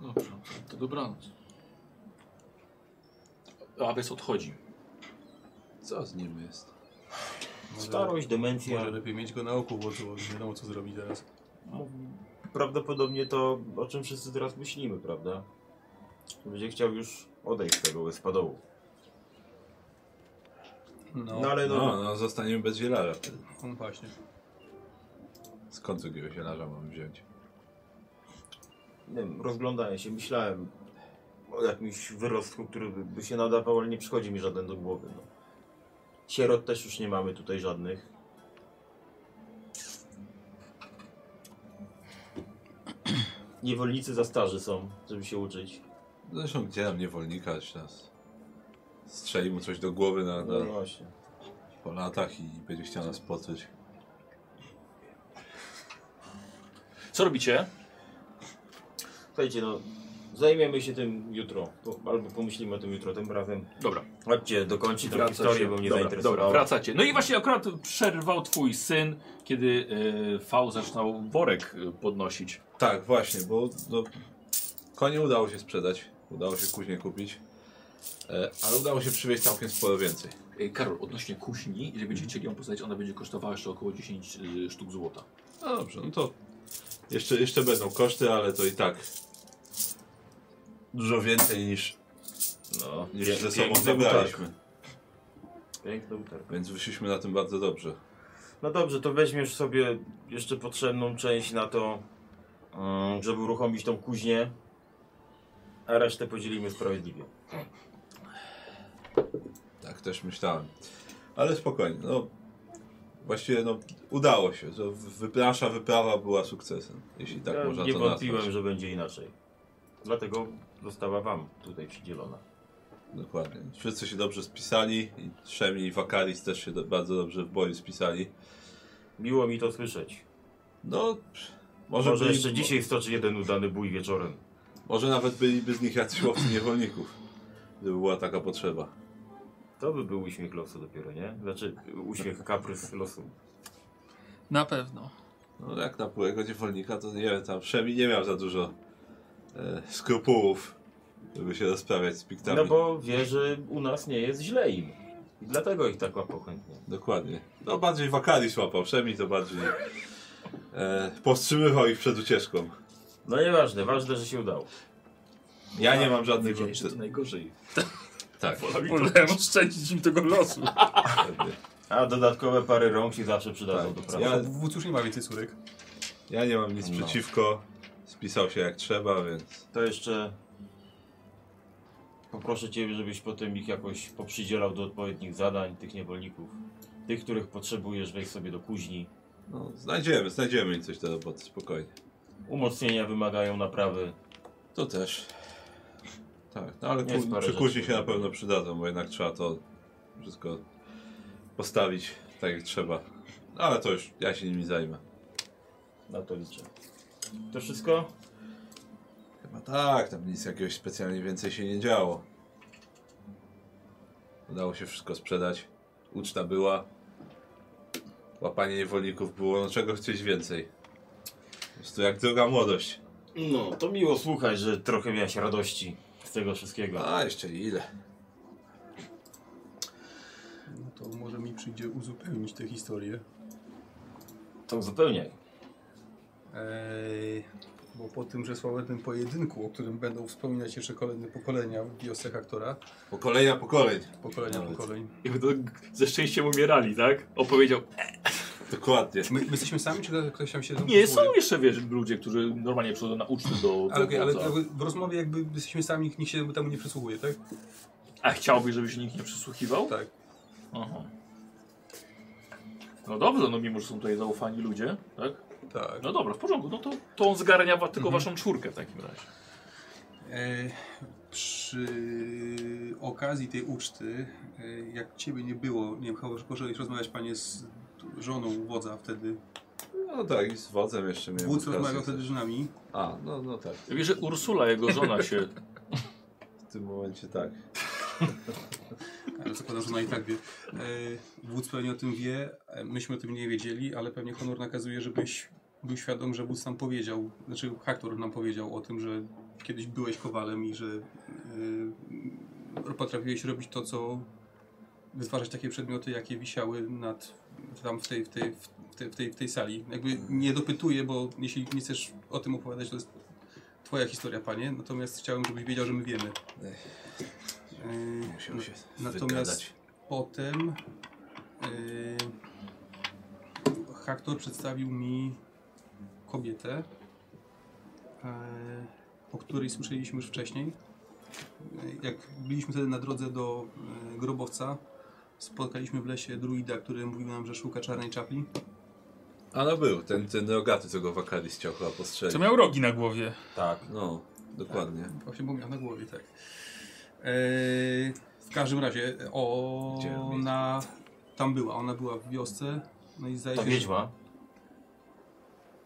Dobrze, to dobranoc. Abes odchodzi.
Co z nim jest?
Może,
Starość, demencja.
Może lepiej mieć go na oku wodzu, bo nie wiadomo, co zrobić teraz.
no, Prawdopodobnie to, o czym wszyscy teraz myślimy, prawda? Będzie chciał już odejść z tego wyspadołu.
No,
No ale no,
No, no, zostaniemy bez zielarza wtedy.
no właśnie.
Skąd drugiego zielarza mamy wziąć?
nie wiem, rozglądałem się, myślałem o jakimś wyrostku, który by, by się nadawał, ale nie przychodzi mi żaden do głowy. No. Sierot też już nie mamy tutaj żadnych. Niewolnicy za starzy są, żeby się uczyć.
Zresztą gdzie nam niewolnika aż nas? Strzeli mu coś do głowy na, na,
No właśnie.
po latach i będzie chciał nas poczuć.
Co robicie?
Słuchajcie, no zajmiemy się tym jutro. Po, albo pomyślimy o tym jutro, tym razem.
Dobra.
Chodźcie, dokończcie tę historię, bo mnie
dobra,
zainteresowało.
dobra, wracacie. No i właśnie akurat przerwał twój syn, kiedy e, V zaczynał worek e, podnosić.
Tak, właśnie, bo no, konie udało się sprzedać, udało się później kupić, e, ale udało się przywieźć całkiem sporo więcej.
E, Karol, odnośnie kuźni, jeżeli będziecie chcieli ją postawić, ona będzie kosztowała jeszcze około 10 e, sztuk złota.
No dobrze, no to jeszcze, jeszcze będą koszty, ale to i tak dużo więcej niż,
No,
niż
pie-
ze sobą
piękny utarg.
zabraliśmy,
Piękny utarg.
tak. więc wyszliśmy na tym bardzo dobrze.
No dobrze, to weźmiesz sobie jeszcze potrzebną część na to, mm, żeby uruchomić tą kuźnię, a resztę podzielimy sprawiedliwie.
Tak też myślałem. Ale spokojnie, no właściwie no, udało się. To wy- nasza wyprawa była sukcesem, jeśli tak
ja
można
nie
to
wątpiłem,
nazwać.
że będzie inaczej. Dlatego została wam tutaj przydzielona.
Dokładnie. Wszyscy się dobrze spisali i Szemi i Wakaris też się do, bardzo dobrze w boju spisali.
Miło mi to słyszeć.
No, pff, może,
Może,
byli-
jeszcze dzisiaj stoczy jeden udany bój wieczorem.
Może nawet byliby z nich jacyś łowcy niewolników, gdyby była taka potrzeba.
To by był uśmiech losu dopiero, nie? Znaczy uśmiech kaprys losu.
Na pewno.
No, jak na byłego niewolnika, to nie wiem, tam Szemi nie miał za dużo e, skrupułów, żeby się rozprawiać z piktami.
No bo wie, że u nas nie jest źle im. I dlatego ich tak łapał chętnie.
Dokładnie. No bardziej Wakaris łapał, Szemi to bardziej e, powstrzymywał ich przed ucieczką.
No nieważne, ważne, że się udało.
Ja nie mam żadnych...
Wiedziałeś, że to najgorzej.
Tak,
Wolałem oszczędzić im tego losu.
dokładnie.
A dodatkowe pary rąk się zawsze przydadzą
No,
Tak.
do
Ja-
pracy.
Ja... W już nie ma więcej córek.
Ja nie mam nic
No.
przeciwko. Spisał się jak trzeba, więc.
To jeszcze poproszę Cię, żebyś potem ich jakoś poprzydzielał do odpowiednich zadań, tych niewolników. Tych, których potrzebujesz, weź sobie do kuźni.
No, znajdziemy, znajdziemy im coś do roboty, spokojnie.
Umocnienia wymagają naprawy.
To też. Tak, no ale
Jest
ku,
parę
przy
rzeczy,
kuźni się
które-
na pewno przydadzą, bo jednak trzeba to wszystko postawić tak jak trzeba. No, Ale to już ja się nimi zajmę.
Na to liczę. To wszystko?
Chyba tak, tam nic jakiegoś specjalnie więcej się nie działo. Udało się wszystko sprzedać. Uczta była. Łapanie niewolników było, no czego chcieć więcej. Po prostu jak droga młodość.
No, to miło słuchać, że trochę miałeś radości z tego wszystkiego.
A, jeszcze ile?
No to może mi przyjdzie uzupełnić tę historię.
To uzupełniaj.
Eee, bo po tym, że sławetnym pojedynku, o którym będą wspominać jeszcze kolejne pokolenia w wiosce aktora,
Pokolenia, pokoleń.
pokolenia
Nawet.
pokoleń.
I będą g- ze szczęściem umierali, tak? Opowiedział.
Dokładnie.
My, my jesteśmy sami, czy ktoś tam się
Nie, są jeszcze wiesz, ludzie, którzy normalnie przychodzą na uczty do. do
Ale, okej, ale
wodza.
jakby w rozmowie jakby jesteśmy sami, nikt się temu nie przysłuchuje, tak?
A chciałbyś, żeby się nikt nie przysłuchiwał?
Tak.
Aha. No dobrze, no mimo, że są tutaj zaufani ludzie, tak?
Tak.
No dobra, w porządku, no to, to on zgarnia wa
Mhm.
tylko waszą czwórkę w takim razie.
E, przy okazji tej uczty, e, jak ciebie nie było, nie wiem, chyba że poszedłeś rozmawiać panie z żoną wodza wtedy.
No tak, i z wodzem jeszcze miałem
Wódz
okazję
rozmawiał
też.
wtedy z nami.
A, no, no tak.
Wiesz, że Ursula, jego żona się...
W tym momencie tak.
Ale zakładam, że ona i tak wie. E, Wódz pewnie o tym wie, e, myśmy o tym nie wiedzieli, ale pewnie honor nakazuje, żebyś był świadom, że wódz nam powiedział, znaczy Haktor nam powiedział o tym, że kiedyś byłeś kowalem i że e, potrafiłeś robić to, co wytwarzać takie przedmioty, jakie wisiały nad, tam w tej, w tej, w tej, w tej, w tej sali. Jakby nie dopytuję, bo jeśli nie chcesz o tym opowiadać, to jest twoja historia, panie, natomiast chciałem, żebyś wiedział, że my wiemy. Yy,
Musiał się
natomiast
wygadać.
potem yy, Haktor przedstawił mi kobietę, yy, o której słyszeliśmy już wcześniej. Yy, Jak byliśmy wtedy na drodze do yy, grobowca, spotkaliśmy w lesie druida, który mówił nam, że szuka czarnej czapli.
A no był, ten, ten rogaty, co go Wakaris chciał chyba
Co
postrzelić.
miał rogi na głowie.
Tak.
No, dokładnie.
Właśnie bo miał na głowie, tak. Eee, w każdym razie
Gdzie?
ona tam była, ona była w wiosce. No i zdaje
Ta
się, że
wiedźma.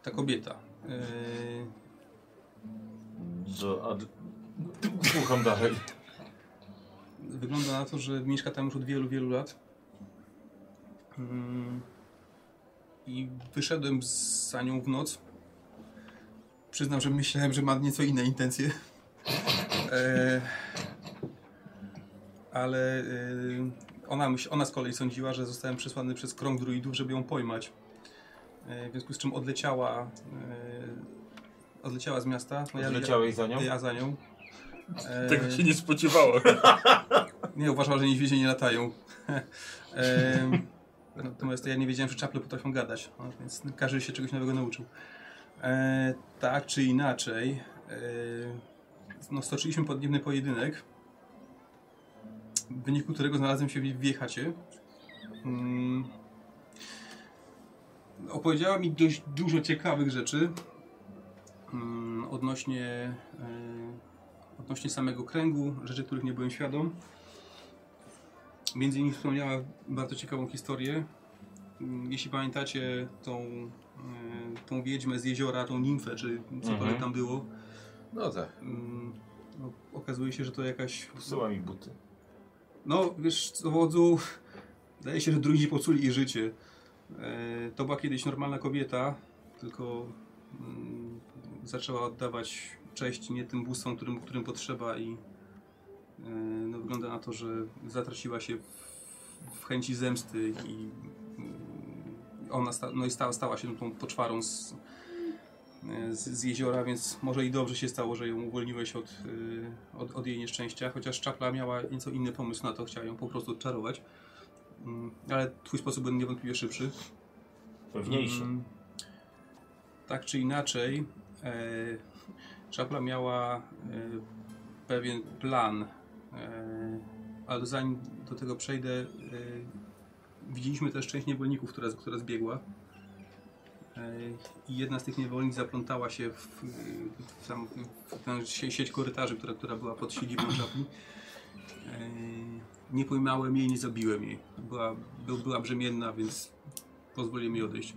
ta kobieta. Eee,
Że, a, d- słucham dalej.
wygląda na to, że mieszka tam już od wielu, wielu lat. Mm, I wyszedłem z- za nią w noc. Przyznam, że myślałem, że ma nieco inne intencje. Eee, ale e, ona, myśl, ona z kolei sądziła, że zostałem przesłany przez krąg druidów, żeby ją pojmać. E, w związku z czym odleciała, e, odleciała z miasta. No ja-
Zleciałeś za nią?
Ja, ja za nią. Eee,
Tego się nie spodziewało.
nie, uważał, że niedźwiedzie nie latają. Em, Natomiast ja nie wiedziałem, że czaple potrafią gadać, no, więc każdy się czegoś nowego nauczył. E, tak czy inaczej, e, no, stoczyliśmy podniebny pojedynek, w wyniku którego znalazłem się w Wiechacie. Mm. Opowiedziała mi dość dużo ciekawych rzeczy mm, odnośnie, e, odnośnie samego kręgu, rzeczy, których nie byłem świadom. Między innymi wspomniała bardzo ciekawą historię. Mm, Jeśli pamiętacie tą, e, tą wiedźmę z jeziora, tą nimfę, czy cokolwiek
Mhm.
tam było,
No tak.
Mm, no, okazuje się, że to jakaś.
Wsyła mi buty.
No, wiesz, co wodzu. Wydaje się, że drugi popsuli jej życie. E, to była kiedyś normalna kobieta, tylko mm, zaczęła oddawać cześć nie tym bóstwom, którym, którym potrzeba, i e, no, wygląda na to, że zatraciła się w, w chęci zemsty i mm, ona sta, no i stała, stała się tą poczwarą z, e, z, z jeziora, więc może i dobrze się stało, że ją uwolniłeś od, y, od, od jej nieszczęścia, chociaż czapla miała nieco inny pomysł na to, chciała ją po prostu odczarować. Mm, Ale twój sposób był niewątpliwie szybszy.
Pewniejszy.
Mm, Tak czy inaczej, e, Czapla miała e, pewien plan, e, ale zanim do tego przejdę, e, widzieliśmy też część niewolników, która, która zbiegła. E, I jedna z tych niewolnic zaplątała się w, w, tam, w tę sie- sieć korytarzy, która, która była pod siedzibą Czapli. E, Nie pojmałem jej, nie zabiłem jej. Była, by, była brzemienna, więc pozwoliłem jej odejść.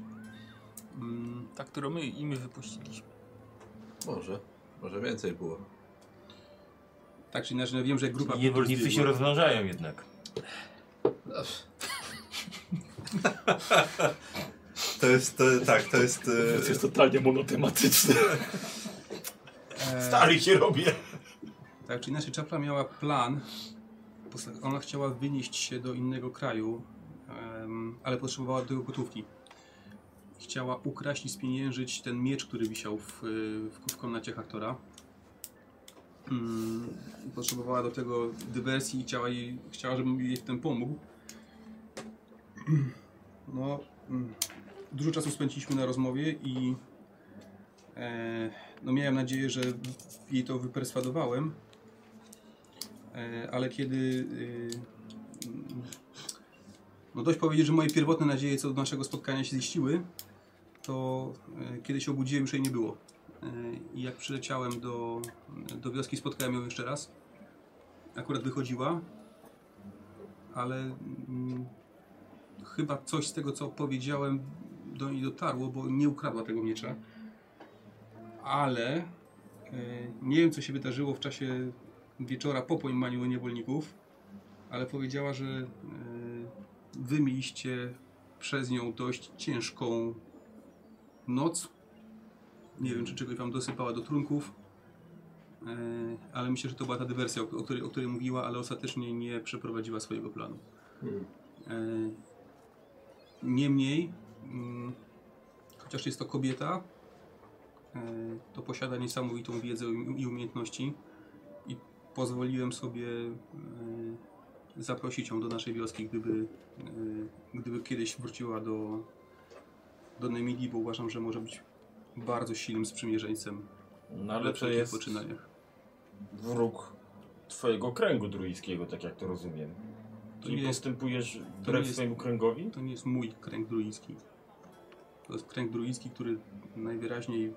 Mm,
Ta, Tak, którą my i my wypuściliśmy.
Może. Może więcej było.
tak czy inaczej, no wiem, że grupa...
Niewolnicy się rozmnażają jednak.
To jest, e, tak, to jest... e,
To jest totalnie monotematyczne.
e,
Stary się robię.
tak czy inaczej, Czapla miała plan. Posta- Ona chciała wynieść się do innego kraju, em, ale potrzebowała do tego gotówki. Chciała ukraść i spieniężyć ten miecz, który wisiał w, y, w, w komnacie Haktora. Mm, potrzebowała do tego dywersji i chciała, jej, chciała żebym jej w tym pomógł. No, mm, dużo czasu spędziliśmy na rozmowie i e, no miałem nadzieję, że w- jej to wyperswadowałem, e, ale kiedy y, mm, no dość powiedzieć, że moje pierwotne nadzieje co do naszego spotkania się ziściły, to e, kiedy się obudziłem już jej nie było. E, I jak przyleciałem do, do wioski spotkałem ją jeszcze raz. Akurat wychodziła, ale mm, chyba coś z tego, co powiedziałem, do niej dotarło, bo nie ukradła tego miecza. Ale e, nie wiem, co się wydarzyło w czasie wieczora po pojmaniu niewolników, ale powiedziała, że e, wy mieliście przez nią dość ciężką noc. Nie wiem, czy czegoś wam dosypała do trunków, e, ale myślę, że to była ta dywersja, o, o, której, o której mówiła, ale ostatecznie nie przeprowadziła swojego planu. E, Niemniej, mm, chociaż jest to kobieta, e, to posiada niesamowitą wiedzę i i umiejętności i pozwoliłem sobie e, zaprosić ją do naszej wioski, gdyby, e, gdyby kiedyś wróciła do, do Nemili, bo uważam, że może być bardzo silnym sprzymierzeńcem
No
we
ale to
wszelkich
jest
poczynaniach.
wróg twojego kręgu druidzkiego, tak jak to rozumiem.
To
Czyli
nie, jest,
postępujesz
nie
wbrew
jest-
swojemu kręgowi?
to nie jest mój kręg druidzki. To jest kręg druidzki, który najwyraźniej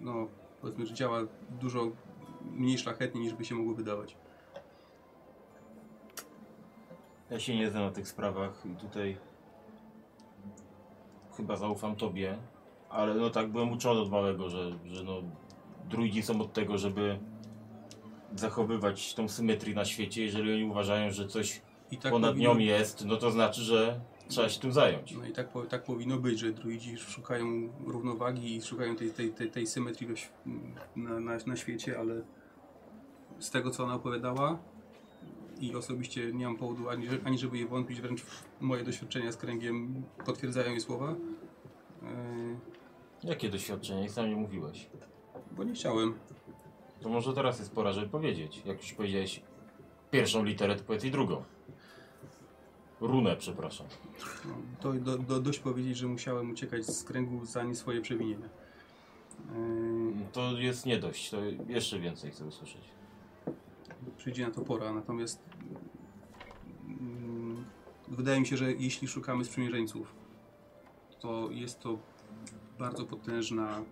no, powiedzmy, że działa dużo mniej szlachetnie niż by się mogło wydawać.
Ja się nie znam na tych sprawach i tutaj chyba zaufam tobie, ale no tak byłem uczony od małego, że, że no druidzi są od tego, żeby zachowywać tą symetrię na świecie. Jeżeli oni uważają, że coś
I tak
ponad
powinno,
nią jest, no to znaczy, że trzeba się tym zająć.
No i tak, po- tak powinno być, że druidzi szukają równowagi i szukają tej, tej, tej, tej symetrii we, św- na, na, na świecie, ale z tego co ona opowiadała i osobiście nie mam powodu ani, że- ani żeby jej wątpić, wręcz moje doświadczenia z kręgiem potwierdzają jej słowa, yy,
Jakie doświadczenia? Jak sam nie mówiłeś.
bo nie chciałem.
To może teraz jest pora, żeby powiedzieć. Jak już powiedziałeś pierwszą literę, to powiedz i drugą. Runę, przepraszam.
No, To do, do, dość powiedzieć, że musiałem uciekać z kręgu za nie swoje przewinienia. Yy,
To jest nie dość, to jeszcze więcej chcę usłyszeć.
przyjdzie na to pora. Natomiast mm, wydaje mi się, że jeśli szukamy sprzymierzeńców, to jest to bardzo potężna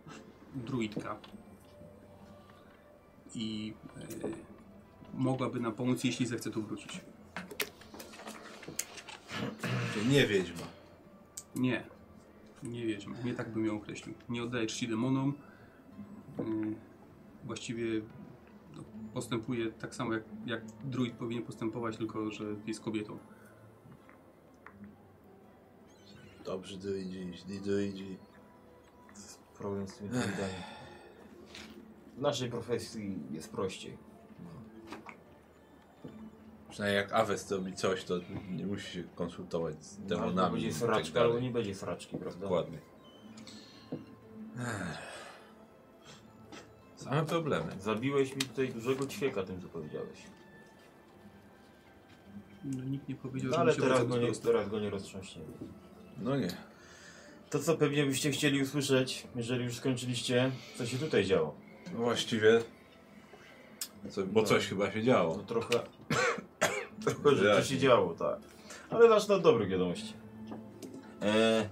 druidka. I e, mogłaby nam pomóc, jeśli zechce tu wrócić.
Czyli nie wiedźma.
Nie. Nie wiedźmy. Nie tak bym ją określił. Nie oddaje czci demonom. Yy, Właściwie no, postępuje tak samo jak, jak druid powinien postępować, tylko że jest kobietą.
Dobrze dojdzie, źli dojdzie.
Problem z tymi druidami. W naszej profesji jest prościej.
Przynajmniej jak Aves zrobi coś, to nie musi się konsultować z
Albo
demonami.
będzie
i
sraczka,
tak dalej.
albo nie będzie sraczki, prawda?
Dokładnie. Same problemy.
Zabiłeś mi tutaj dużego ćwieka tym, co powiedziałeś.
No, nikt nie powiedział,
No,
że
ale
mi się
teraz
bardzo
go, nie,
prosto.
teraz go nie roztrząśniemy.
No nie.
To, co pewnie byście chcieli usłyszeć, jeżeli już skończyliście, co się tutaj działo.
No właściwie. Co, bo
No.
coś chyba się
No
działo.
trochę... trochę rzeczy
Wyraźnie.
się działo, tak. Ale zacznę od dobrych wiadomości. E,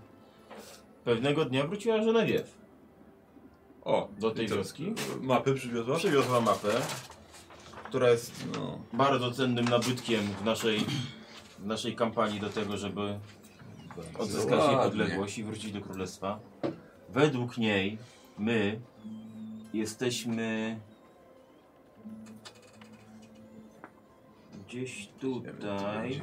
pewnego dnia wróciła Genevieve.
O,
Do tej
i to-
wioski?
Mapy przywiozła?
Przywiozła mapę, która jest
No.
bardzo cennym nabytkiem w naszej, w naszej kampanii do tego, żeby odzyskać jej
Ładnie.
podległość i wrócić do królestwa. Według niej my jesteśmy gdzieś tutaj.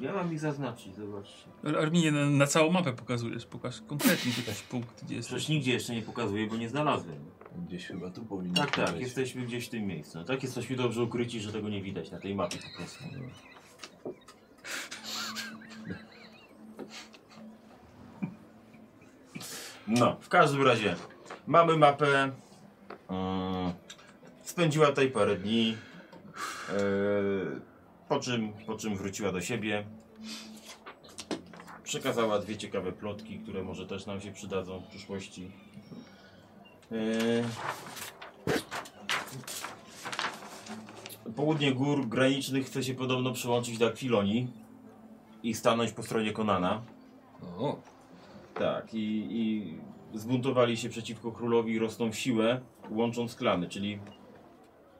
Ja mam ich zaznaczyć, zobaczcie.
Arminie, na, na całą mapę pokazujesz. Pokaż konkretnie jakiś punkt, gdzie jesteś.
Przecież nigdzie jeszcze nie pokazuję, bo nie znalazłem.
Gdzieś chyba tu powinno
Tak, tak,
być.
jesteśmy gdzieś w tym miejscu. Tak jesteśmy dobrze ukryci, że tego nie widać na tej mapie po prostu. No, w każdym razie mamy mapę. Mm, Spędziła tutaj parę dni. e, Po czym, po czym wróciła do siebie. Przekazała dwie ciekawe plotki, które może też nam się przydadzą w przyszłości. E, Południe gór granicznych chce się podobno przyłączyć do Akwilonii i stanąć po stronie Konana.
O,
Tak, i, i zbuntowali się przeciwko królowi i rosną w siłę, łącząc klany, czyli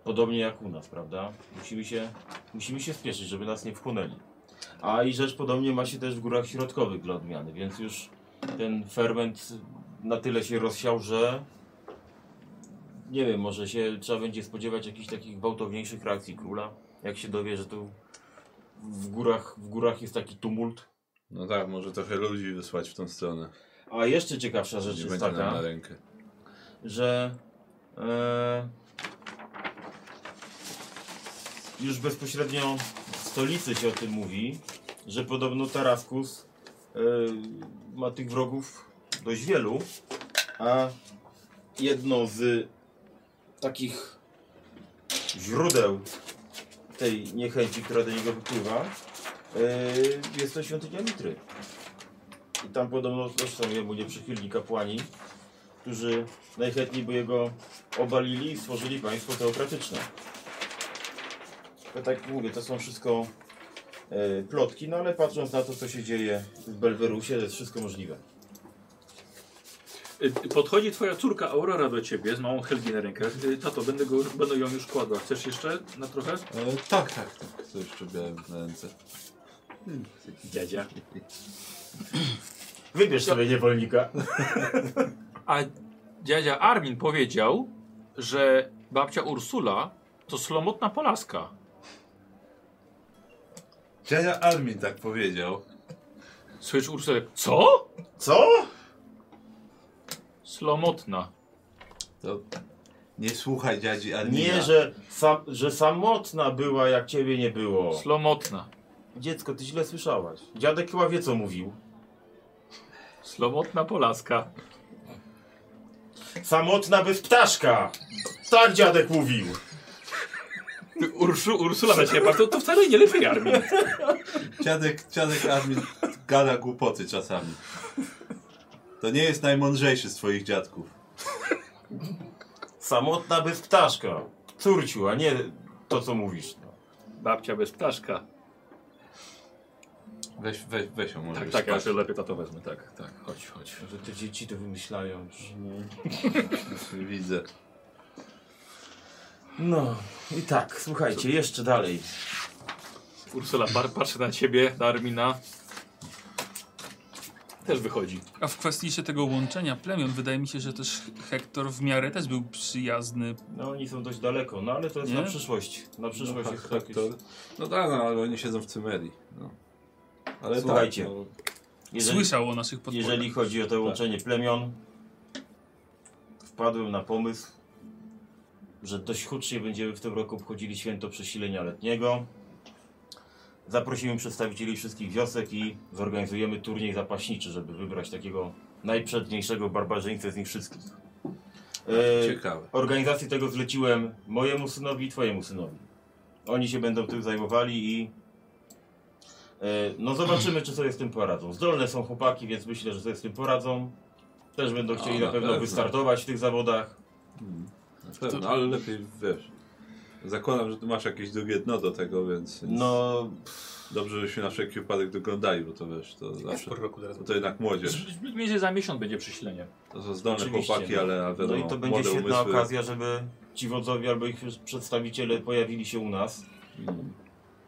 podobnie jak u nas, prawda? Musimy się, musimy się spieszyć, żeby nas nie wchłonęli. A i rzecz podobnie ma się też w górach środkowych dla odmiany, więc już ten ferment na tyle się rozsiał, że nie wiem, może się trzeba będzie spodziewać jakichś takich gwałtowniejszych reakcji króla, jak się dowie, że tu w górach, w górach jest taki tumult.
no tak, może trochę ludzi wysłać w tą stronę.
A jeszcze ciekawsza rzecz
Nie
jest
będzie nam
taka,
na rękę.
że e, już bezpośrednio w stolicy się o tym mówi, że podobno Taraskus e, ma tych wrogów dość wielu a jedno z takich źródeł tej niechęci, która do niego wypływa, yy, jest to świątynia Mitry. I tam podobno też są jemu nieprzychylni kapłani, którzy najchętniej by jego obalili i stworzyli państwo teokratyczne. Ja tak jak mówię, to są wszystko e, plotki, no ale patrząc na to, co się dzieje w Belwerusie, to jest wszystko możliwe.
Y, Podchodzi twoja córka Aurora do ciebie z małą Helgi na rękach. Y, Tato, będę, go, będę ją już kładła. Chcesz jeszcze na trochę?
E, tak, tak, tak. To jeszcze miałem na ręce.
Dziadzia.
Wybierz sobie niewolnika.
A dziadzia Armin powiedział, że babcia Ursula to slomotna Polaska.
Dziadzia Armin tak powiedział.
Słyszysz Ursulę, co?
Co?
Slomotna.
To nie słuchaj dziadzi Armina.
Nie, że, sam, że samotna była, jak ciebie nie było.
Slomotna.
Dziecko, ty źle słyszałaś. Dziadek chyba wie, co mówił.
Slomotna Polaska.
Samotna bez ptaszka! Tak dziadek mówił.
Ty, Urszu, Ursula na ciebie patrzy, to, to wcale nie lepiej Armin.
Dziadek, dziadek Armin gada głupoty czasami. To nie jest najmądrzejszy z twoich dziadków.
Samotna bez ptaszka. Córciu, a nie to, co mówisz. No.
Babcia bez ptaszka.
Weź, weź, weź ją może
Tak,
już
tak, ja
spać.
się lepiej tato wezmę, tak, tak, chodź, chodź.
Że te dzieci to wymyślają już.
Widzę.
No i tak, słuchajcie, jeszcze dalej.
Ursula bar patrzy na ciebie, na Armina. Też wychodzi.
A w kwestii się tego łączenia plemion, wydaje mi się, że też Hektor w miarę też był przyjazny.
No oni są dość daleko, no ale to jest
Nie?
na przyszłość. Na przyszłość
No,
jest
tak,
tak,
to- No tak, no, ale oni siedzą w Cymerii. No. Ale
Słuchajcie.
Tak, no,
jeżeli,
Słyszał o naszych podporach.
jeżeli chodzi o
Tak.
to łączenie plemion, wpadłem na pomysł, że dość hucznie będziemy w tym roku obchodzili święto przesilenia letniego. Zaprosimy przedstawicieli wszystkich wiosek i zorganizujemy turniej zapaśniczy, żeby wybrać takiego najprzedniejszego barbarzyńcę z nich wszystkich. E,
Tak, ciekawe.
Organizację tego zleciłem mojemu synowi i twojemu synowi. Oni się będą tym zajmowali i... e, No zobaczymy, czy sobie z tym poradzą. Zdolne są chłopaki, więc myślę, że sobie z tym poradzą. Też będą chcieli
A,
na,
na
pewno
pewno.
wystartować w tych zawodach.
Na pewno, ale lepiej wiesz. Zakładam, że ty masz jakieś drugie dno do tego, więc więc
No,
dobrze, żeśmy na wszelki wypadek doglądali, bo to wiesz, to zawsze.
Po roku teraz.
Bo to jednak młodzież.
Między za miesiąc będzie przesilenie.
To są zdolne
Oczywiście,
chłopaki,
no.
ale a
no
wiadomo,
i to będzie
młode
świetna
umysły.
okazja, żeby ci wodzowie albo ich przedstawiciele pojawili się u nas.
Mm.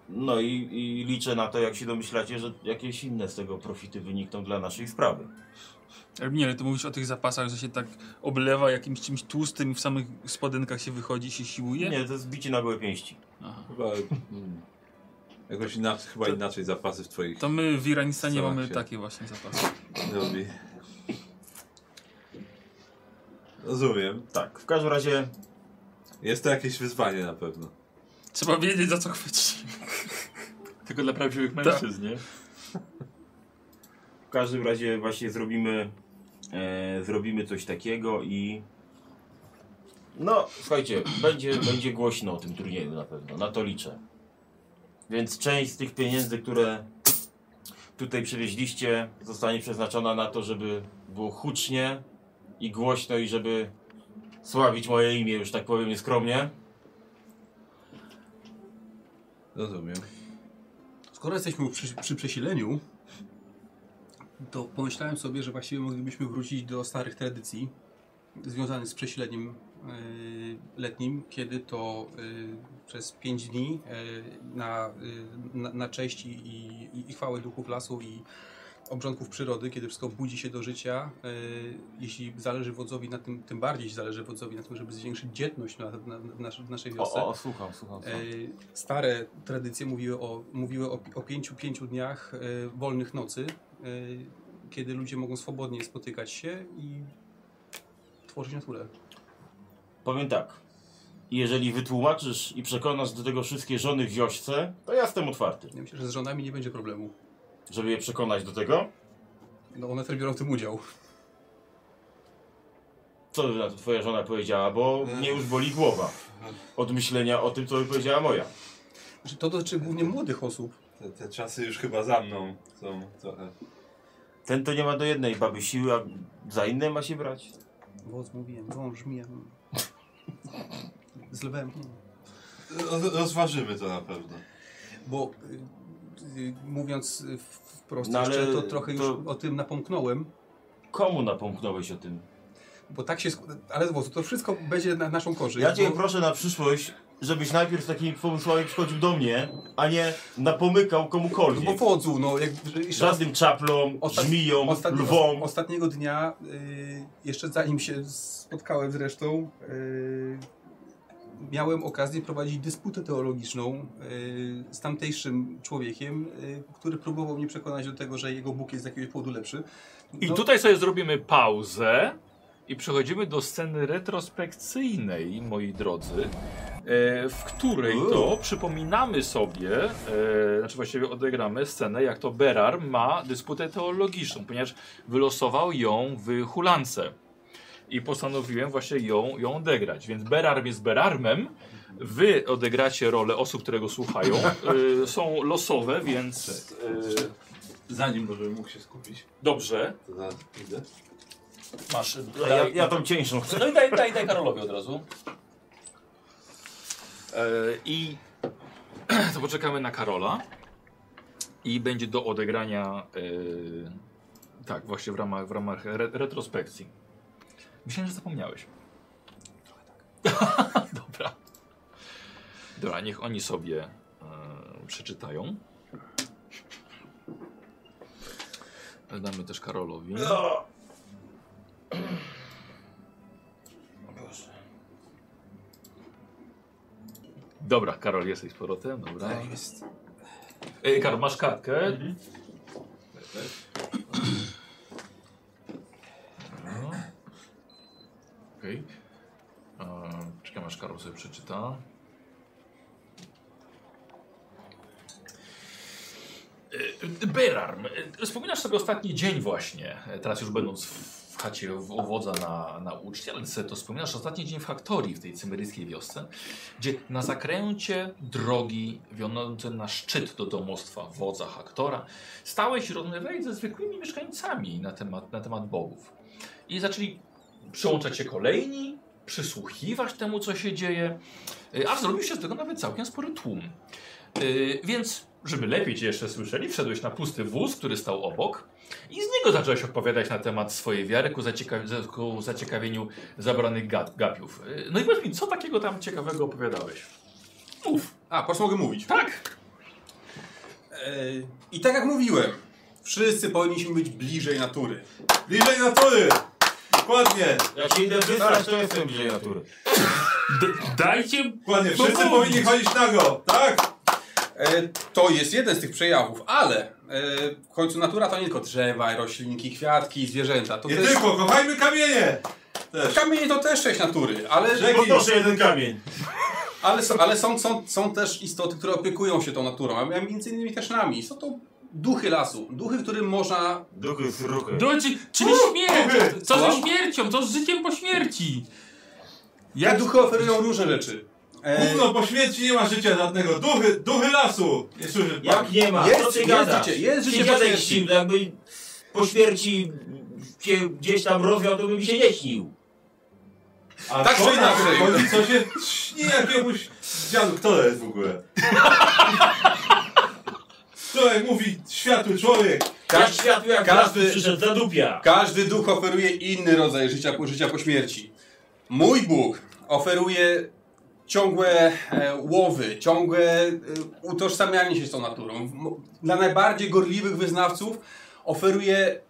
No i, i liczę na to, jak się domyślacie, że jakieś inne z tego profity wynikną dla naszej sprawy.
Arminie, ale ty mówisz o tych zapasach, że się tak oblewa jakimś czymś tłustym i w samych spodenkach się wychodzi, się siłuje?
Nie, to jest bicie na gołe pięści.
Aha.
Chyba, mm, jakoś inaczej, chyba
To-
inaczej zapasy w twoich
To my w Iranistanie
Staram
mamy
się.
takie właśnie zapasy.
robi. Rozumiem.
Tak, w każdym razie
Jest to jakieś wyzwanie na pewno.
Trzeba wiedzieć, za co chwycić.
Tylko dla prawdziwych mężczyzn, nie?
W każdym razie właśnie zrobimy, e, zrobimy coś takiego i no słuchajcie, będzie, będzie głośno o tym turnieju na pewno, na to liczę. Więc część z tych pieniędzy, które tutaj przywieźliście zostanie przeznaczona na to, żeby było hucznie i głośno i żeby sławić moje imię, już tak powiem nieskromnie.
Rozumiem.
Skoro jesteśmy przy, przy przesileniu, to pomyślałem sobie, że właściwie moglibyśmy wrócić do starych tradycji związanych z przesileniem y, letnim, kiedy to y, przez 5 dni y, na, y, na, na cześć i, i, i chwałę duchów lasu i obrządków przyrody, kiedy wszystko budzi się do życia, y, jeśli zależy wodzowi na tym, tym bardziej zależy wodzowi na tym, żeby zwiększyć dzietność na, na, w, nasz, w naszej wiosce.
O, o, słucham, słucham. słucham.
E, Stare tradycje mówiły o, mówiły o, o pięciu, pięciu dniach e, wolnych nocy, e, kiedy ludzie mogą swobodnie spotykać się i tworzyć naturę.
Powiem tak. Jeżeli wytłumaczysz i przekonasz do tego wszystkie żony w wiosce, to ja jestem otwarty.
Ja myślę, że z żonami nie będzie problemu.
Żeby je przekonać do tego?
No one też biorą w tym udział.
Co na to twoja żona powiedziała, bo mnie już boli głowa od myślenia o tym, co powiedziała moja.
Znaczy, to dotyczy głównie młodych osób.
Te, te czasy już chyba za mną są e, trochę.
Ten to nie ma do jednej baby siły, a za inne ma się brać.
Wąż mówiłem, wąż miałem. Z lwem. no.
Roz, rozważymy to na pewno.
Bo y, y, mówiąc y, wprost
No, ale
jeszcze, to trochę już
to-
o tym napomknąłem.
Komu napomknąłeś o tym?
Bo tak się. sk- Ale znowu, to wszystko będzie na naszą korzyść.
Ja cię
bo-
proszę na przyszłość, żebyś najpierw z takimi pomysłami przychodził do mnie, a nie napomykał komukolwiek.
Bo wodzu, no jak że- jeszcze raz-
Żadnym czaplom,
Ostat-
żmiją,
ostatni-
lwom.
os- Ostatniego dnia, y, jeszcze zanim się spotkałem zresztą, y, miałem okazję prowadzić dysputę teologiczną y, z tamtejszym człowiekiem, y, który próbował mnie przekonać do tego, że jego Bóg jest z jakiegoś powodu lepszy.
I
No,
tutaj sobie zrobimy pauzę i przechodzimy do sceny retrospekcyjnej, moi drodzy, e, w której to przypominamy sobie, e, znaczy właściwie odegramy scenę, jak to Berar ma dysputę teologiczną, ponieważ wylosował ją w hulance. I postanowiłem właśnie ją, ją odegrać. Więc Berarm jest Berarmem. Wy odegracie rolę osób, które go słuchają. E, są losowe, więc e,
Zanim może mógł się skupić,
dobrze.
to zaraz idę.
Masz.
A Ja, ja tą cieńszą chcę.
No i daj, daj, daj Karolowi od razu. E, I to poczekamy na Karola. I będzie do odegrania. e, tak, właśnie w ramach, w ramach re, retrospekcji. Myślałem, że zapomniałeś. Trochę tak. Dobra. Dobra, niech oni sobie e, przeczytają. Damy też Karolowi. Dobra, Karol, jesteś z powrotem. Dobra.
jest.
Ej, Karol, masz kartkę. No. Okej. Okay. Czekam aż Karol sobie przeczyta. E, Berarm, e, wspominasz sobie ostatni dzień właśnie, e, teraz już będąc w w chacie w- u wodza na, na uczcie, ale sobie to wspominasz ostatni dzień w Haktorii, w tej cymeryjskiej wiosce, gdzie na zakręcie drogi wiodącej na szczyt do domostwa wodza Haktora stałeś i rozmawiałeś ze zwykłymi mieszkańcami na temat, na temat bogów. I zaczęli przyłączać się kolejni, przysłuchiwać temu, co się dzieje, y, a zrobił się z tego nawet całkiem spory tłum. Y, Więc, żeby lepiej Cię jeszcze słyszeli, wszedłeś na pusty wóz, który stał obok i z niego zacząłeś odpowiadać na temat swojej wiary ku, zacieka za- ku zaciekawieniu zabranych gap gapiów. Y, No i powiedz mi, co takiego tam ciekawego opowiadałeś? Mów.
A, po prostu mogę mówić.
Tak.
Yy, I tak jak mówiłem, wszyscy powinniśmy być bliżej natury.
Bliżej natury! Dokładnie!
Jak się idę wysrać, to jestem bliżej natury.
D- dajcie
Dokładnie,
To
wszyscy
mówić.
powinni chodzić nago, tak?
E, To jest jeden z tych przejawów, ale e, w końcu natura to nie tylko drzewa, roślinki, kwiatki, zwierzęta. To
Nie
też,
tylko, kochajmy kamienie! Też.
kamienie to też część natury, ale,
Rzeki!
Podnoszę jeden kamień.
ale, są, ale są, są, są też istoty, które opiekują się tą naturą, a między innymi też nami. Są to duchy lasu, duchy, którym można...
Duchy, fruchy.
Drodzy, czyli śmierć! Co ze śmiercią? Co z życiem po śmierci?
Te duchy oferują różne rzeczy. E,
Gówno, po śmierci nie ma życia żadnego. Duchy, duchy lasu! Nie słyszę,
Jak nie ma?
Jest-
co ty
jest
gadasz?
życie, jest
Ty
życie
gadaj
po śmierci.
z nim, Jakby po śmierci się gdzieś tam rozwiał, to bym się nie śnił.
A
Tak
to
czy inaczej.
Chodzi, co się śni jakiemuś dziadu. Kto to jest w ogóle? Człowiek mówi, światły człowiek.
Jak
Każ,
światło jak
każdy-
każdy przyszedł za dupia.
każdy duch oferuje inny rodzaj życia, po- życia po śmierci. Mój Bóg oferuje ciągłe e, łowy, ciągłe e, utożsamianie się z tą naturą. M- Dla najbardziej gorliwych wyznawców oferuje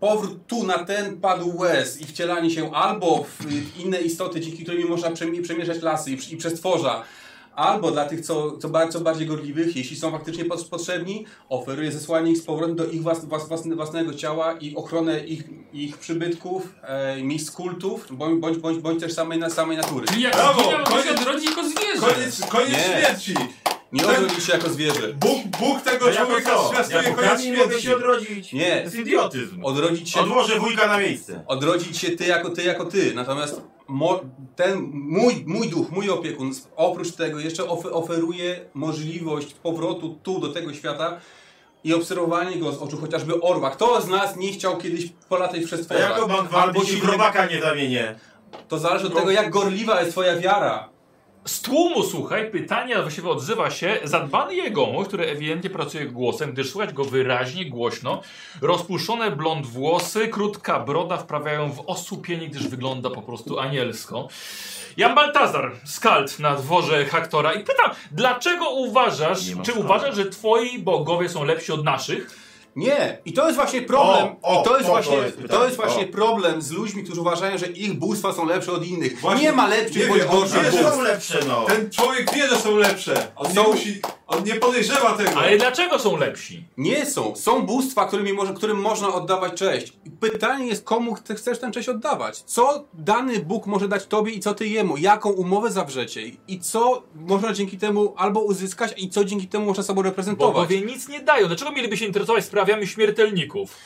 powrót tu na ten padł łez i wcielanie się albo w y, inne istoty, dzięki którymi można przemie- przemieszać lasy i, przy- i przestworza, albo dla tych, co, co, bardzo, co bardziej gorliwych, jeśli są faktycznie pot- potrzebni, oferuje zesłanie ich z powrotem do ich włas, włas, własne, własnego ciała i ochronę ich, ich przybytków, e, miejsc kultów, bądź, bądź, bądź, bądź też samej, na samej natury.
Czyli jak
Brawo,
zginęło, to się
koniec-
odrodzi jako zwierzę.
Koniec, koniec
Nie.
śmierci.
Nie odrodził się jako zwierzę.
Bóg, Bóg tego człowieka zwiastuje koniec
Kamień mogę się
śmierci.
odrodzić. To
Nie,
jest idiotyzm.
odrodzić się,
Odłożę wujka na miejsce.
odrodzić się ty jako ty, jako ty. Natomiast mo, ten mój, mój duch, mój opiekun, s- oprócz tego jeszcze ofe- oferuje możliwość powrotu tu do tego świata i obserwowanie go z oczu chociażby orła. Kto z nas nie chciał kiedyś polatać przez
A
stworzenia?
jak oban
Albo
walczy,
ci
w robaka nie zamienię.
To zależy od tego, jak gorliwa jest twoja wiara.
Z tłumu, słuchaj, pytania właściwie odzywa się zadbany jegomość, który ewidentnie pracuje głosem, gdyż słychać go wyraźnie, głośno. Rozpuszczone blond włosy, krótka broda wprawiają w osłupienie, gdyż wygląda po prostu anielsko. Jan Baltazar, skald na dworze Haktora i pytam, dlaczego uważasz,
Nie mam
czy
skalda.
uważasz, że twoi bogowie są lepsi od naszych?
Nie, i to jest właśnie problem.
O, o,
I to jest
o, to
właśnie, to
jest
jest,
pytanie,
właśnie
o.
problem z ludźmi, którzy uważają, że ich bóstwa są lepsze od innych.
Właśnie,
nie ma
nie
lepszych bądź
wiem, on
gorszych
wie,
Wiesz,
że-
bóstw.
są lepsze, no.
Ten człowiek wie, że są lepsze. On nie
Są-
musi, on nie podejrzewa tego.
Ale dlaczego są lepsi?
Nie są. Są bóstwa, którymi może, którym można oddawać cześć. I pytanie jest, komu ty chcesz ten cześć oddawać? Co dany Bóg może dać tobie i co ty jemu? Jaką umowę zawrzecie? I co można dzięki temu albo uzyskać i co dzięki temu można sobą reprezentować?
Bogowie nic nie dają. Dlaczego mieliby się interesować sprawami śmiertelników?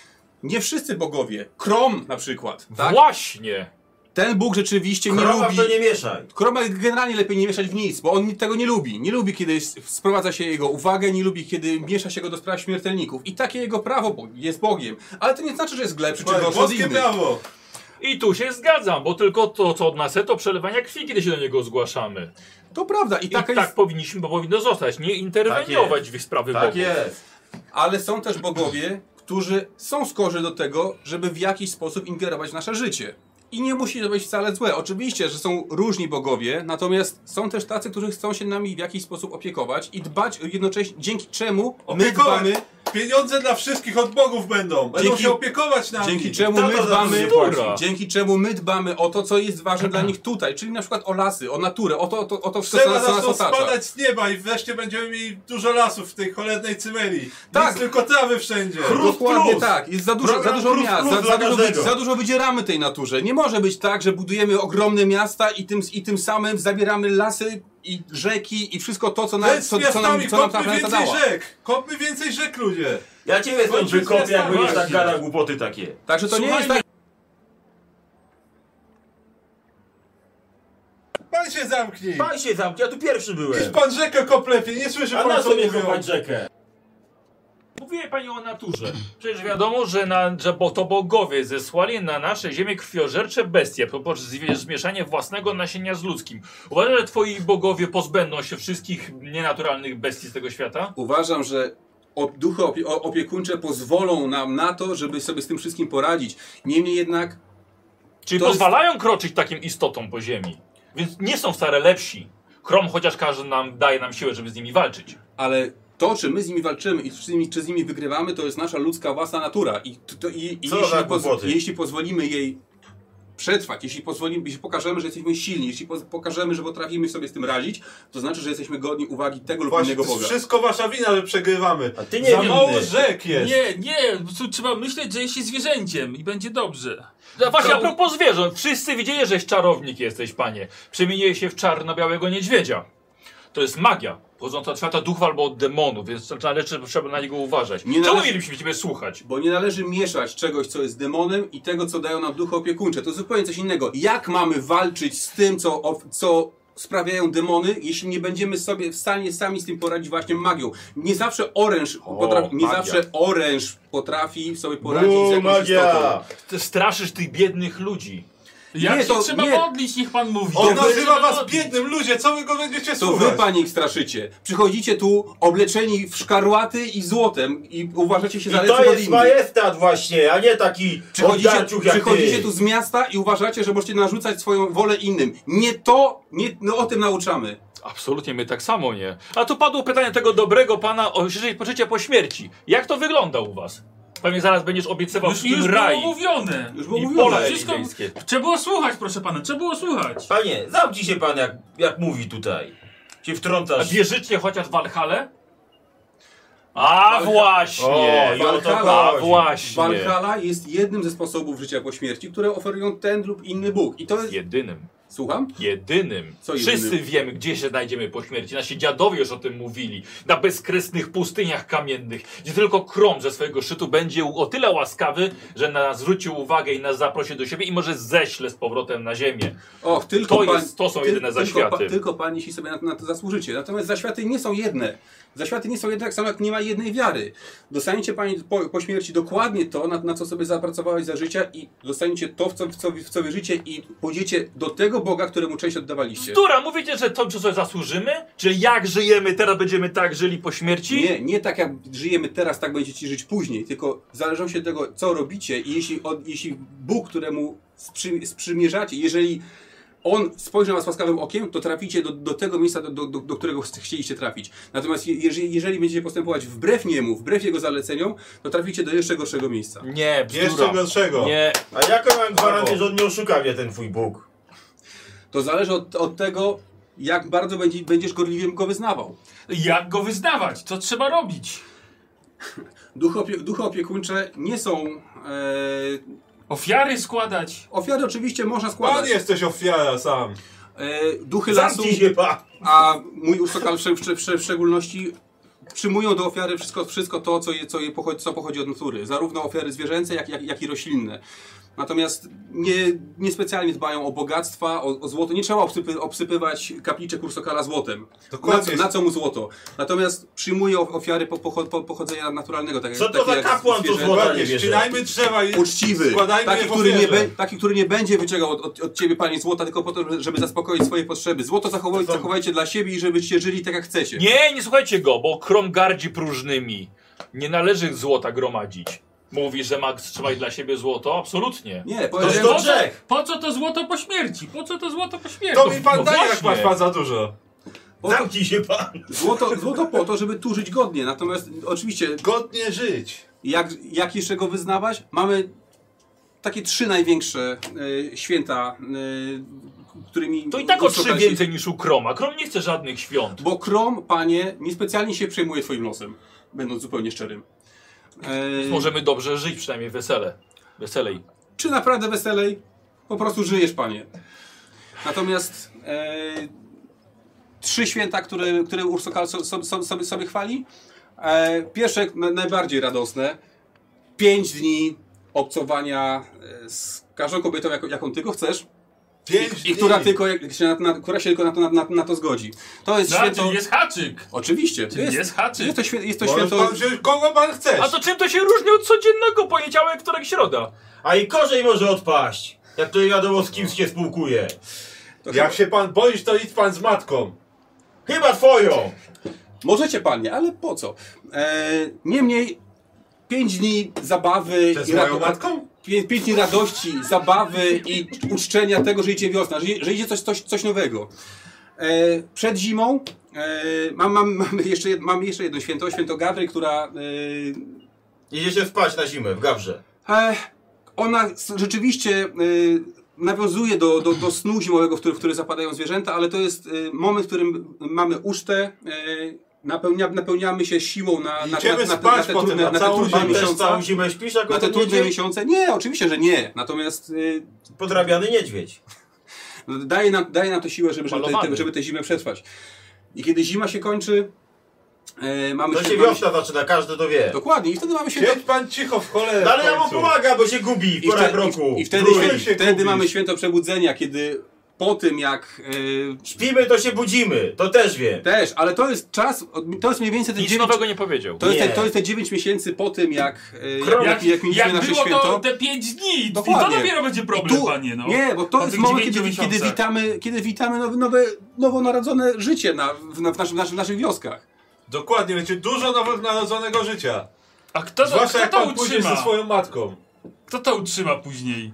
Nie wszyscy bogowie. Krom na przykład. Tak?
Właśnie.
Ten Bóg rzeczywiście nie
Krowa
lubi...
w to nie mieszaj.
Kroma generalnie lepiej nie mieszać w nic, bo on ni- tego nie lubi. Nie lubi, kiedy s- sprowadza się jego uwagę, nie lubi, kiedy miesza się go do spraw śmiertelników. I takie jego prawo bo jest Bogiem. Ale to nie znaczy, że jest glebszy czy
Słuchaj,
gorszy od
Boskie
innych.
prawo.
I tu się zgadzam, bo tylko to, co od nas chce, to przelewania krwi, kiedy się do niego zgłaszamy.
To prawda. I,
I
taka
tak
jest...
powinniśmy, bo powinno zostać. Nie
Tak
interweniować w ich sprawy
Tak
Bogu.
jest.
Ale są też bogowie, którzy są skorzy do tego, żeby w jakiś sposób ingerować w nasze życie. I nie musi to być wcale złe. Oczywiście, że są różni bogowie, natomiast są też tacy, którzy chcą się nami w jakiś sposób opiekować i dbać jednocześnie, dzięki czemu my
Opiekować.
dbamy
Pieniądze dla wszystkich od bogów będą. Będą
Dzięki-
się opiekować nami.
Dzięki czemu,
Tata
my
za
dbamy,
dużo
płaci.
dzięki czemu my dbamy o to, co jest ważne dla nich tutaj, czyli na przykład o lasy, o naturę, o to, o to, o to wszystko, co
Trzeba
nas, co nas
zaczną
otacza.
spadać z nieba i wreszcie będziemy mieli dużo lasów w tej cholernej cymerii. Tak.
Tak.
Nic, tylko trawy wszędzie.
Dokładnie tak, jest za dużo, za
Program
dużo
plus,
miast,
plus
za,
dla
za, dużo,
każdego.
wy- za dużo wydzieramy tej naturze. Nie może być tak, że budujemy ogromne miasta i tym, i tym samym zabieramy lasy i rzeki i wszystko to, co nam,
Lec z
co, co nam,
miastami,
co nam ta
kopmy
planeta
więcej
dała.
rzek! Kopmy więcej rzek, ludzie!
Ja ciebie stąd
Kończy
wykopię, jak
zwiastun.
będziesz tak
Właśnie.
gada głupoty takie.
Także to nie
Słuchajmy.
jest tak,
Pan się zamknij!
Pan się zamknie, ja tu pierwszy
Niż
byłem.
pan rzekę koplepie, nie słyszy
A
pan
na
co
sobie
mówią.
kopać rzekę.
Mówiła pani o naturze. Przecież wiadomo, że, na, że bo to bogowie zesłali na nasze ziemię krwiożercze bestie poprzez zwie- zmieszanie własnego nasienia z ludzkim. Uważasz, że twoi bogowie pozbędą się wszystkich nienaturalnych bestii z tego świata?
Uważam, że op- duchy opie o- opiekuńcze pozwolą nam na to, żeby sobie z tym wszystkim poradzić. Niemniej jednak
Czyli
To jest-
pozwalają kroczyć takim istotom po ziemi. Więc nie są wcale lepsi. Krom chociaż każdy nam daje nam siłę, żeby z nimi walczyć.
Ale to, czy my z nimi walczymy i czy z nimi, czy z nimi wygrywamy, to jest nasza ludzka własna natura. I, t- to, i, i
Co
jeśli,
za głupoty.
jeśli pozwolimy jej przetrwać, jeśli, pozwolimy, jeśli pokażemy, że jesteśmy silni, jeśli poz- pokażemy, że potrafimy sobie z tym radzić, to znaczy, że jesteśmy godni uwagi tego lub
Właśnie,
innego
to jest
Boga.
wszystko wasza wina, że przegrywamy.
A ty nie
Za
winny.
mało rzek jest!
Nie, nie, po prostu trzeba myśleć, że jest się zwierzęciem i będzie dobrze.
No właśnie,
To-
a propos zwierząt. Wszyscy widzieli, żeś czarownik jesteś, panie. Przemieniłeś się w czarno-białego niedźwiedzia. To jest magia, pochodząca od świata duchów albo od demonu, więc należy, trzeba na niego uważać.
Nie
Czemu
należy-
mielibyśmy ciebie słuchać?
Bo nie należy mieszać czegoś, co jest demonem i tego, co dają nam duchy opiekuńcze. To zupełnie coś innego. Jak mamy walczyć z tym, co, of- co sprawiają demony, jeśli nie będziemy sobie w stanie sami z tym poradzić właśnie magią? Nie zawsze oręż, potrafi, nie
magia.
zawsze oręż potrafi sobie poradzić z jakąś istotą.
Ty straszysz tych biednych ludzi.
Jak
Nie,
się
to-
trzeba
nie.
modlić, niech pan mówi.
On
Jak się
nazywa
trzeba
was
modlić?
biednym, ludzie, co wy go będziecie
To wy,
słuchać?
panie, ich straszycie. Przychodzicie tu obleczeni w szkarłaty i złotem i uważacie się
I
za
to
lepszych od
jest
innych.
majestat właśnie, a nie taki
Przychodzicie,
oddarciuch jak
przychodzicie
ty.
tu z miasta i uważacie, że możecie narzucać swoją wolę innym. Nie to, nie, no o tym nauczamy.
Absolutnie my tak samo nie. A tu padło pytanie tego dobrego pana o życie pożycie po śmierci. Jak to wygląda u was? Pewnie zaraz będziesz obiecywał
Już, już
wszystkim
było
raj
mówione.
Już było
i
mówione.
pole
Wszystko-
wszystko...
Trzeba było słuchać, proszę pana, trzeba było słuchać.
Panie, zamknij się pan jak, jak mówi tutaj. Się
A
wtrącasz.
wierzycie chociaż w Walhalę? A właśnie!
O, i o to
A
chodzi.
właśnie!
Valhalla jest jednym ze sposobów życia po śmierci, które oferują ten lub inny Bóg. I to jest,
Jedynym.
Słucham?
Jedynym.
Co jedynym?
Wszyscy wiemy, gdzie się znajdziemy po śmierci. Nasi dziadowie już o tym mówili. Na bezkresnych pustyniach kamiennych, gdzie tylko krom ze swojego szczytu będzie o tyle łaskawy, że na nas zwrócił uwagę i nas zaprosi do siebie i może ześle z powrotem na ziemię.
Och, tylko
To
pan-
jest- to są
tyl-
jedyne zaświaty.
Tylko, pa- tylko pan, jeśli sobie na, na to zasłużycie. Natomiast zaświaty nie są jedne. Zaświaty nie są jedne, tak samo jak nie ma jednej wiary. Dostaniecie pani po, po śmierci dokładnie to, na, na co sobie zapracowałeś za życia i dostaniecie to, w co, w, co, w co wierzycie i pójdziecie do tego Boga, któremu część oddawaliście.
Która, mówicie, że to, czy sobie zasłużymy? Czy jak żyjemy, teraz będziemy tak żyli po śmierci?
Nie, nie tak jak żyjemy teraz, tak będziecie żyć później, tylko zależą się tego, co robicie i jeśli, od, jeśli Bóg, któremu sprzy, sprzymierzacie, jeżeli On spojrzy na was łaskawym okiem, to traficie do, do tego miejsca, do, do, do, do którego ch- chcieliście trafić. Natomiast je- jeżeli, jeżeli będziecie postępować wbrew Niemu, wbrew Jego zaleceniom, to traficie do jeszcze gorszego miejsca.
Nie, bzdura.
Jeszcze gorszego.
Nie,
A jaką mam gwarancję, że on nie oszuka mnie, ten twój Bóg?
To zależy od, od tego, jak bardzo będzie, będziesz gorliwym Go wyznawał.
Jak go wyznawać? Co trzeba robić?
Duchy, opie, duchy opiekuńcze nie są... E,
Ofiary składać.
ofiary oczywiście można
Pan
składać.
jesteś ofiara sam.
E, duchy lasu...
Zamknij się, pa!
A mój uszokal w, w, w, w szczególności przyjmują do ofiary wszystko, wszystko to, co, je, co, je pochodzi, co pochodzi od natury. Zarówno ofiary zwierzęce, jak, jak, jak i roślinne. Natomiast nie, niespecjalnie dbają o bogactwa, o, o złoto. Nie trzeba obsypy, obsypywać kapliczek ursokala złotem. Na co,
Dokładnie.
na co mu złoto? Natomiast przyjmują ofiary po, pocho- po, pochodzenia naturalnego. Tak, jak-
Co to
takie
za
jak
kapłan tu
zwierzęta.
złota nie
Dokładnie.
bierze?
Ścinajmy drzewa i
Uczciwy,
składajmy
taki
je w
który, nie
ofierze.
be, taki, który nie będzie wyciągał od, od, od ciebie pani złota, tylko po to, żeby zaspokoić swoje potrzeby. Złoto zachowaj,
To są-
zachowajcie dla siebie i żebyście żyli tak, jak chcecie.
nie, nie słuchajcie go, bo krom gardzi próżnymi. Nie należy złota gromadzić. Mówi, że ma trzymać dla siebie złoto? Absolutnie.
Nie,
To
powiedziałem,
jest do grzech!
Po co to złoto po śmierci? Po co to złoto po śmierci?
To mi pan
No
daje, jak
właśnie.
masz pan za dużo.
po to,
Zamknij się, pan!
złoto, złoto po to, żeby tu żyć godnie. Natomiast oczywiście,
Godnie żyć.
jak, jak jeszcze go wyznawać? Mamy takie trzy największe e, święta, e, którymi...
To i tak o trzy
uszczekali
więcej niż u Kroma. Krom nie chce żadnych świąt.
Bo Krom, panie, niespecjalnie się przejmuje twoim losem. Będąc zupełnie szczerym. E,
Możemy dobrze żyć, przynajmniej wesele. Weselej.
czy naprawdę weselej? Po prostu żyjesz, panie. Natomiast e, trzy święta, które, które Ursokal so, so, so, sobie, sobie chwali. E, pierwsze, na, najbardziej radosne. Pięć dni obcowania e, z każdą kobietą, jaką, jaką tylko chcesz.
Pięć
I która,
dni.
tylko, jak się, na, na, która się tylko na to, na, na to zgodzi. To jest
Znaczy,
święto...
jest haczyk.
Oczywiście. To
Jest,
jest,
jest haczyk.
jest to, świę, jest to
Możesz
święto...
pan wziąć kogo pan chcesz.
A to czym to się różni od codziennego poniedziałek, wtorek, środa?
A i korzej może odpaść! Jak to nie wiadomo z kim się spłukuje.
to
Jak się pan boisz, to idź pan z matką.
Chyba twoją!
Możecie, panie, ale po co? E, niemniej, pięć dni zabawy
Ze
i
swoją
rado-
matką?
pię- pięć dni radości, zabawy i uczczenia tego, że idzie wiosna, że, i- że idzie coś, coś, coś nowego. E, przed zimą e, mam, mam, mamy, jeszcze, jed- mamy jeszcze jedno święto, święto Gawry, która
Idzie się spać na zimę, w Gawrze.
e, e, ona s- rzeczywiście e, nawiązuje do, do, do snu zimowego, w który, w który zapadają zwierzęta, ale to jest e, moment, w którym mamy ucztę, e, napełnia, napełniamy się siłą na, na, na,
Idziemy
na, na,
spać
te
potem
trudne,
na
na te
całą
trudne
Pan
zimę.
też
miesiące.
całą zimę śpisz, jako
Na te
ten
trudne
niedźwiedź?
miesiące? Nie, oczywiście, że nie. Natomiast y,
Podrabiany niedźwiedź.
daje, nam, daje nam to siłę, żeby, żeby,
Malowany.
te, żeby tę zimę przetrwać. I kiedy zima się kończy, y, mamy
To
świę-
się
mamy
wiosna zaczyna, każdy to wie.
Dokładnie, i wtedy mamy święto.
Siedź pan cicho w cholerę.
No ale ja
w
mu
końcu.
pomaga, bo się gubi w
I,
porach
wtedy-
roku.
i, i wtedy,
Wróć
świę-
się
wtedy
gubisz.
mamy święto przebudzenia, kiedy po tym jak. y,
Śpimy, to się budzimy. To też wiem.
też, ale to jest czas, to jest mniej więcej te
Nic
9,
nowego nie powiedział.
to jest te,
Nie.
to jest te 9 miesięcy po tym, jak, y,
Krok.
jak, jak mieliśmy
Jak
nasze
było
święto.
to te pięć dni. I
Dokładnie.
to dopiero będzie problem,
I tu-
panie. No.
Nie, bo to
Po
jest
tych
moment,
dziewięciu
kiedy, kiedy
miesiącach.
witamy, kiedy witamy nowe, nowe, nowonarodzone życie na, w, na, w, naszym, naszym, naszych wioskach.
Dokładnie, będzie dużo nowych narodzonego życia.
A kto to,
Zwłaszcza
kto
jak
to
pan pójdzie ze
utrzyma?
swoją matką.
Kto to utrzyma później?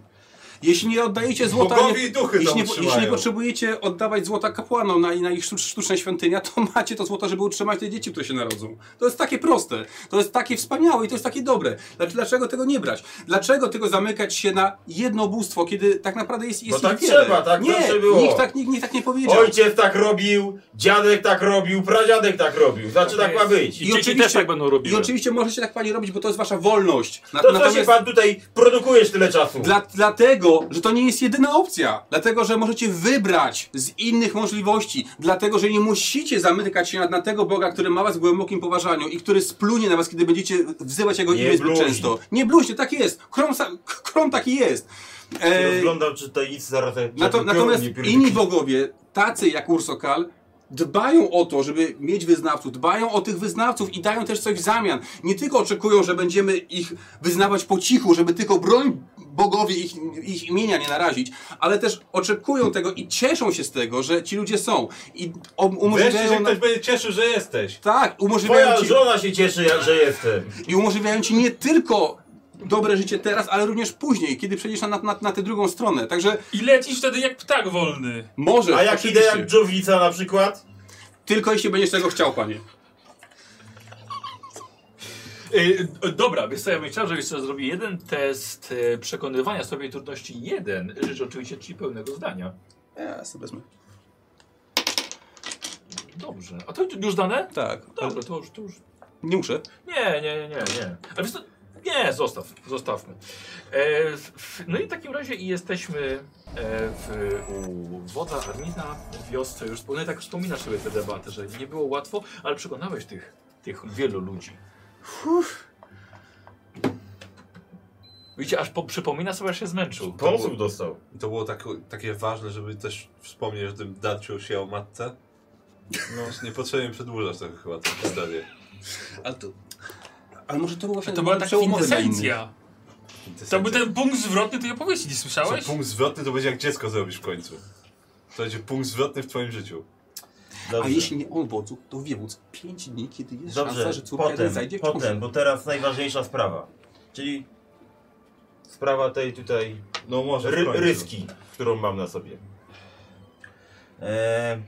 Jeśli nie oddajecie złota,
Bogowie
nie,
i duchy to
jeśli, nie,
utrzymają.
jeśli nie potrzebujecie oddawać złota kapłanom na, na ich sztuc- sztuczne świątynia, to macie to złoto, żeby utrzymać te dzieci, które się narodzą. To jest takie proste, to jest takie wspaniałe i to jest takie dobre. Dlaczego, dlaczego tego nie brać? Dlaczego tego zamykać się na jedno bóstwo, kiedy tak naprawdę jest, jest
Bo
ich
tak
wiele?
trzeba, tak zawsze
nie,
było.
Nikt, tak, nikt, nikt tak nie powiedział.
Ojciec tak robił, dziadek tak robił, pradziadek tak robił. Znaczy tak ma być.
I, dzieci też tak będą
I
robiły.
oczywiście możecie tak pani robić, bo to jest wasza wolność. Na-
To co się pan tutaj produkujesz tyle czasu?
Dla, dlatego Dlatego, że to nie jest jedyna opcja. Dlatego, że możecie wybrać z innych możliwości. Dlatego, że nie musicie zamykać się na, na tego Boga, który ma was w głębokim poważaniu i który splunie na was, kiedy będziecie wzywać jego
Nie
imię zbyt
bluźnij.
często. Nie bluźcie, tak jest. Krom, sa- k- krom taki jest.
Się
E,
Rozglądam, czy to nic zaraz...
Nato,
żeby
natomiast
piorun nie
inni
pierdolił.
bogowie, tacy jak Ursokal, dbają o to, żeby mieć wyznawców, dbają o tych wyznawców i dają też coś w zamian. Nie tylko oczekują, że będziemy ich wyznawać po cichu, żeby tylko broń bogowie ich, ich imienia nie narazić, ale też oczekują tego i cieszą się z tego, że ci ludzie są. I o-
Wreszcie się
umożliwiają...
ktoś
nam-
będzie cieszył, że jesteś.
Tak, umożliwiają
Twoja
ci...
żona się cieszy, ja- że jestem.
I umożliwiają ci nie tylko dobre życie teraz, ale również później, kiedy przejdziesz na, na, na tę drugą stronę. Także
I lecisz wtedy jak ptak wolny.
możesz,
A jak idę
oczywiście.
jak dżownica na przykład?
Tylko jeśli będziesz tego chciał, panie.
Y, d- dobra, więc co, ja bym chciał, żebyś sobie zrobił jeden test y, przekonywania sobie trudności jeden. Życzę oczywiście ci pełnego zdania.
Ja E, sobie wezmę.
Dobrze. A to już dane?
Tak.
Dobrze, to już, to już.
Nie muszę.
Nie, nie, nie, nie, nie. Ale wiesz co? Nie, zostaw, zostawmy. E, f- f- no i w takim razie i jesteśmy e, w, u wodza Armina w wiosce. Już, no i tak wspominasz sobie tę debatę, że nie było łatwo, ale przekonałeś tych, tych wielu ludzi. Widzicie, aż po, przypomina sobie, aż się zmęczył.
Konsul dostał.
To było tak, takie ważne, żeby też wspomnieć o tym darciu się o matce. No, niepotrzebnie przedłużasz tego chyba tę historię.
Ale to... Ale może to był właśnie
To była
moment
taka
przełomowy dla
kwintesencja. To był ten punkt zwrotny tej opowieści, nie
Co,
słyszałeś?
punkt zwrotny to będzie jak dziecko zrobisz w końcu. To będzie punkt zwrotny w twoim życiu.
innych. A
Dobrze.
jeśli nie on wodzu, to wiewódz. Pięć dni, kiedy jest szansa,
Dobrze,
że córka jeden
potem,
zajdzie w
potem,
ciążę.
bo teraz najważniejsza sprawa. Czyli sprawa tej tutaj
No może. w
ry
końcu.
ryski, którą mam na sobie. E,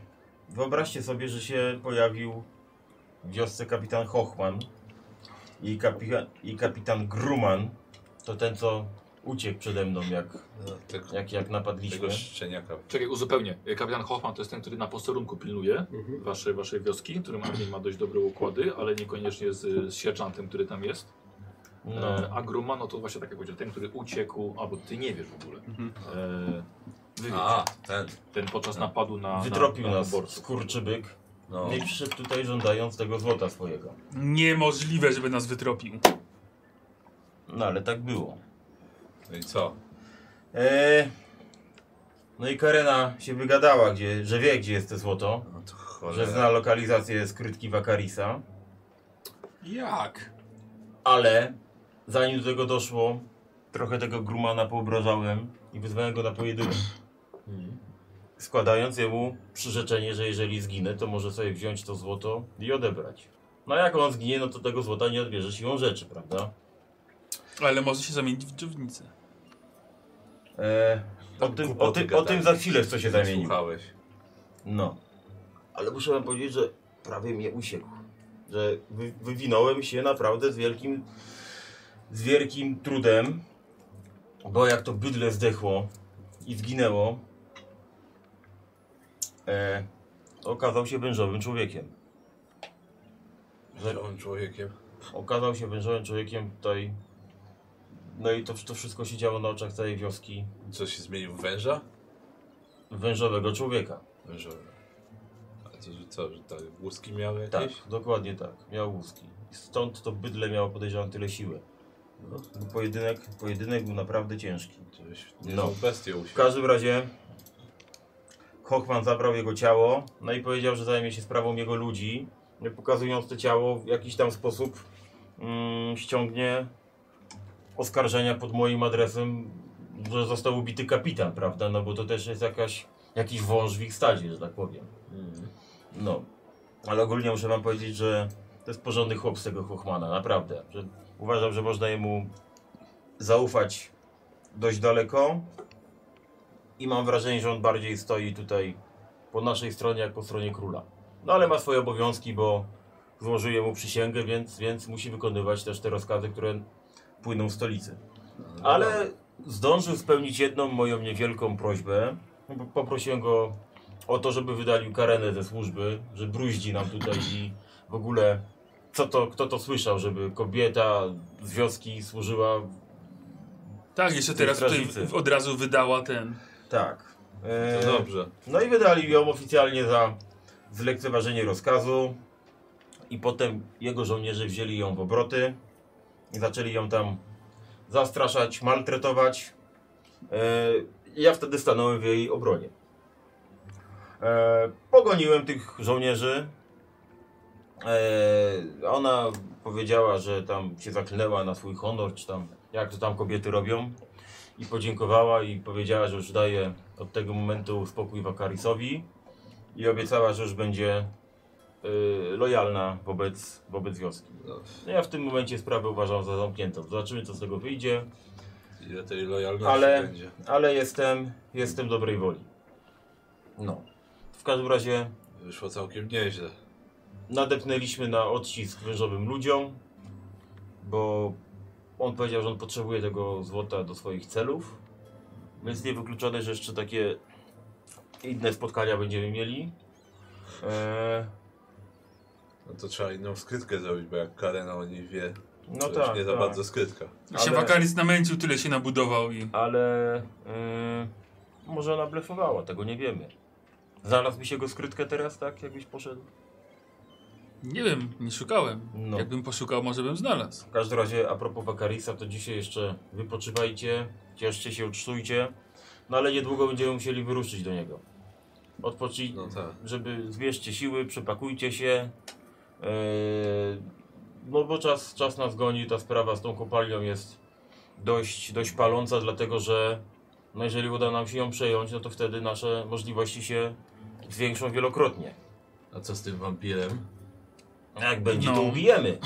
wyobraźcie sobie, że się pojawił w wiosce kapitan Hochman i, kapi i kapitan Gruman. To ten, co uciekł przede mną, jak,
No, tego,
jak, jak napadliśmy.
tego szczeniaka.
Czekaj, uzupełnię. Kapitan Hoffman to jest ten, który na posterunku pilnuje waszej, waszej wioski, który ma, ma dość dobre układy, ale niekoniecznie z, z sierżantem, który tam jest.
No.
E, a Grumano to właśnie tak jak powiedział, ten, który uciekł, albo ty nie wiesz w ogóle.
Mhm.
E, wy wiecie.
A, ten.
ten podczas napadu na
No. Wytropił
na, na
nas,
wyborców.
skurczybyk.
No.
No i przyszedł tutaj żądając tego złota swojego.
Niemożliwe, żeby nas wytropił.
No ale tak było.
no i co?
Eee, no i Karena się wygadała, gdzie, że wie, gdzie jest to złoto.
No to
Że
cholera.
zna lokalizację skrytki Wakarisa.
Jak?
Ale zanim do tego doszło, trochę tego grumana poobrażałem i wyzwałem go na pojedynek. Składając jemu przyrzeczenie, że jeżeli zginę, to może sobie wziąć to złoto i odebrać. No a jak on zginie, no to tego złota nie odbierze siłą rzeczy, prawda?
Ale może się zamienić w dżownicę.
Eee, o, tym, o, tym, o tym za chwilę co się zamienił.
Słuchałeś.
No. Ale muszę wam powiedzieć, że prawie mnie usiekł. Że wy, wywinąłem się naprawdę z wielkim, z wielkim trudem, bo jak to bydle zdechło i zginęło, e, okazał się wężowym człowiekiem.
Że on człowiekiem.
Okazał się wężowym człowiekiem tutaj. No i to, to wszystko się działo na oczach całej wioski
Co się zmienił w węża?
wężowego człowieka.
Wężowy. A to, że co, że tak łuski miał
Tak,
jakieś?
dokładnie tak. Miał łuski. Stąd to bydle miało podejrzewam tyle siły.
No,
Bo Pojedynek, pojedynek był naprawdę ciężki.
to byś nie
No.
no. bestię
W
usiadł.
każdym razie Hochman zabrał jego ciało, no i powiedział, że zajmie się sprawą jego ludzi, no i pokazując to ciało w jakiś tam sposób mm, ściągnie oskarżenia pod moim adresem, że został ubity kapitan, prawda? No bo to też jest jakaś, jakiś wąż w ich stadzie, że tak powiem. No, ale ogólnie muszę wam powiedzieć, że to jest porządny chłop z tego Hochmana, naprawdę. Że uważam, że można jemu zaufać dość daleko i mam wrażenie, że on bardziej stoi tutaj po naszej stronie, jak po stronie króla. No ale ma swoje obowiązki, bo złożył mu przysięgę, więc, więc musi wykonywać też te rozkazy, które płyną z stolicy. Ale zdążył spełnić jedną moją niewielką prośbę. Bo Poprosiłem go o to, żeby wydalił karenę ze służby, że bruździ nam tutaj i w ogóle co to, kto to słyszał, żeby kobieta z wioski służyła
Tak, jeszcze
tej
teraz tutaj
strażnicy.
w- od razu wydała ten.
Tak. E,
To dobrze.
No i wydali ją oficjalnie za zlekceważenie rozkazu. I potem jego żołnierze wzięli ją w obroty i zaczęli ją tam zastraszać, maltretować. E, ja wtedy stanąłem w jej obronie. E, pogoniłem tych żołnierzy. E, ona powiedziała, że tam się zaklęła na swój honor, czy tam jak to tam kobiety robią i podziękowała i powiedziała, że już daje od tego momentu spokój Wakarisowi i obiecała, że już będzie y, lojalna wobec, wobec wioski.
No,
No ja w tym momencie sprawę uważam za zamkniętą. Zobaczymy, co z tego wyjdzie,
ile tej lojalności
Ale-
będzie.
ale jestem, jestem dobrej woli. No. W każdym razie
Wyszło całkiem nieźle.
nadepnęliśmy na odcisk wężowym ludziom, bo on powiedział, że on potrzebuje tego złota do swoich celów. Więc niewykluczone, że jeszcze takie inne spotkania będziemy mieli. Eee,
No to trzeba inną skrytkę zrobić, bo jak Karena o niej wie,
no
to już
tak,
nie za
tak.
bardzo skrytka.
Ale... Się
Ale-
Wakaris namęcił, tyle się nabudował i...
Ale eee, może ona blefowała, tego nie wiemy. Znalazł mi się go skrytkę teraz, tak? Jakbyś poszedł?
Nie wiem, nie szukałem.
No.
Jakbym poszukał, może bym znalazł.
W każdym razie, a propos Wakarisa, to dzisiaj jeszcze wypoczywajcie, cieszcie się, ucztujcie, no ale niedługo będziemy musieli wyruszyć do niego. Odpoczyj,
No tak.
żeby zbierzcie siły, przepakujcie się, yy, no bo czas, czas nas goni, ta sprawa z tą kopalnią jest dość, dość paląca, dlatego że no jeżeli uda nam się ją przejąć, no to wtedy nasze możliwości się zwiększą wielokrotnie.
A co z tym wampirem?
A Jak będzie,
No.
to ubijemy.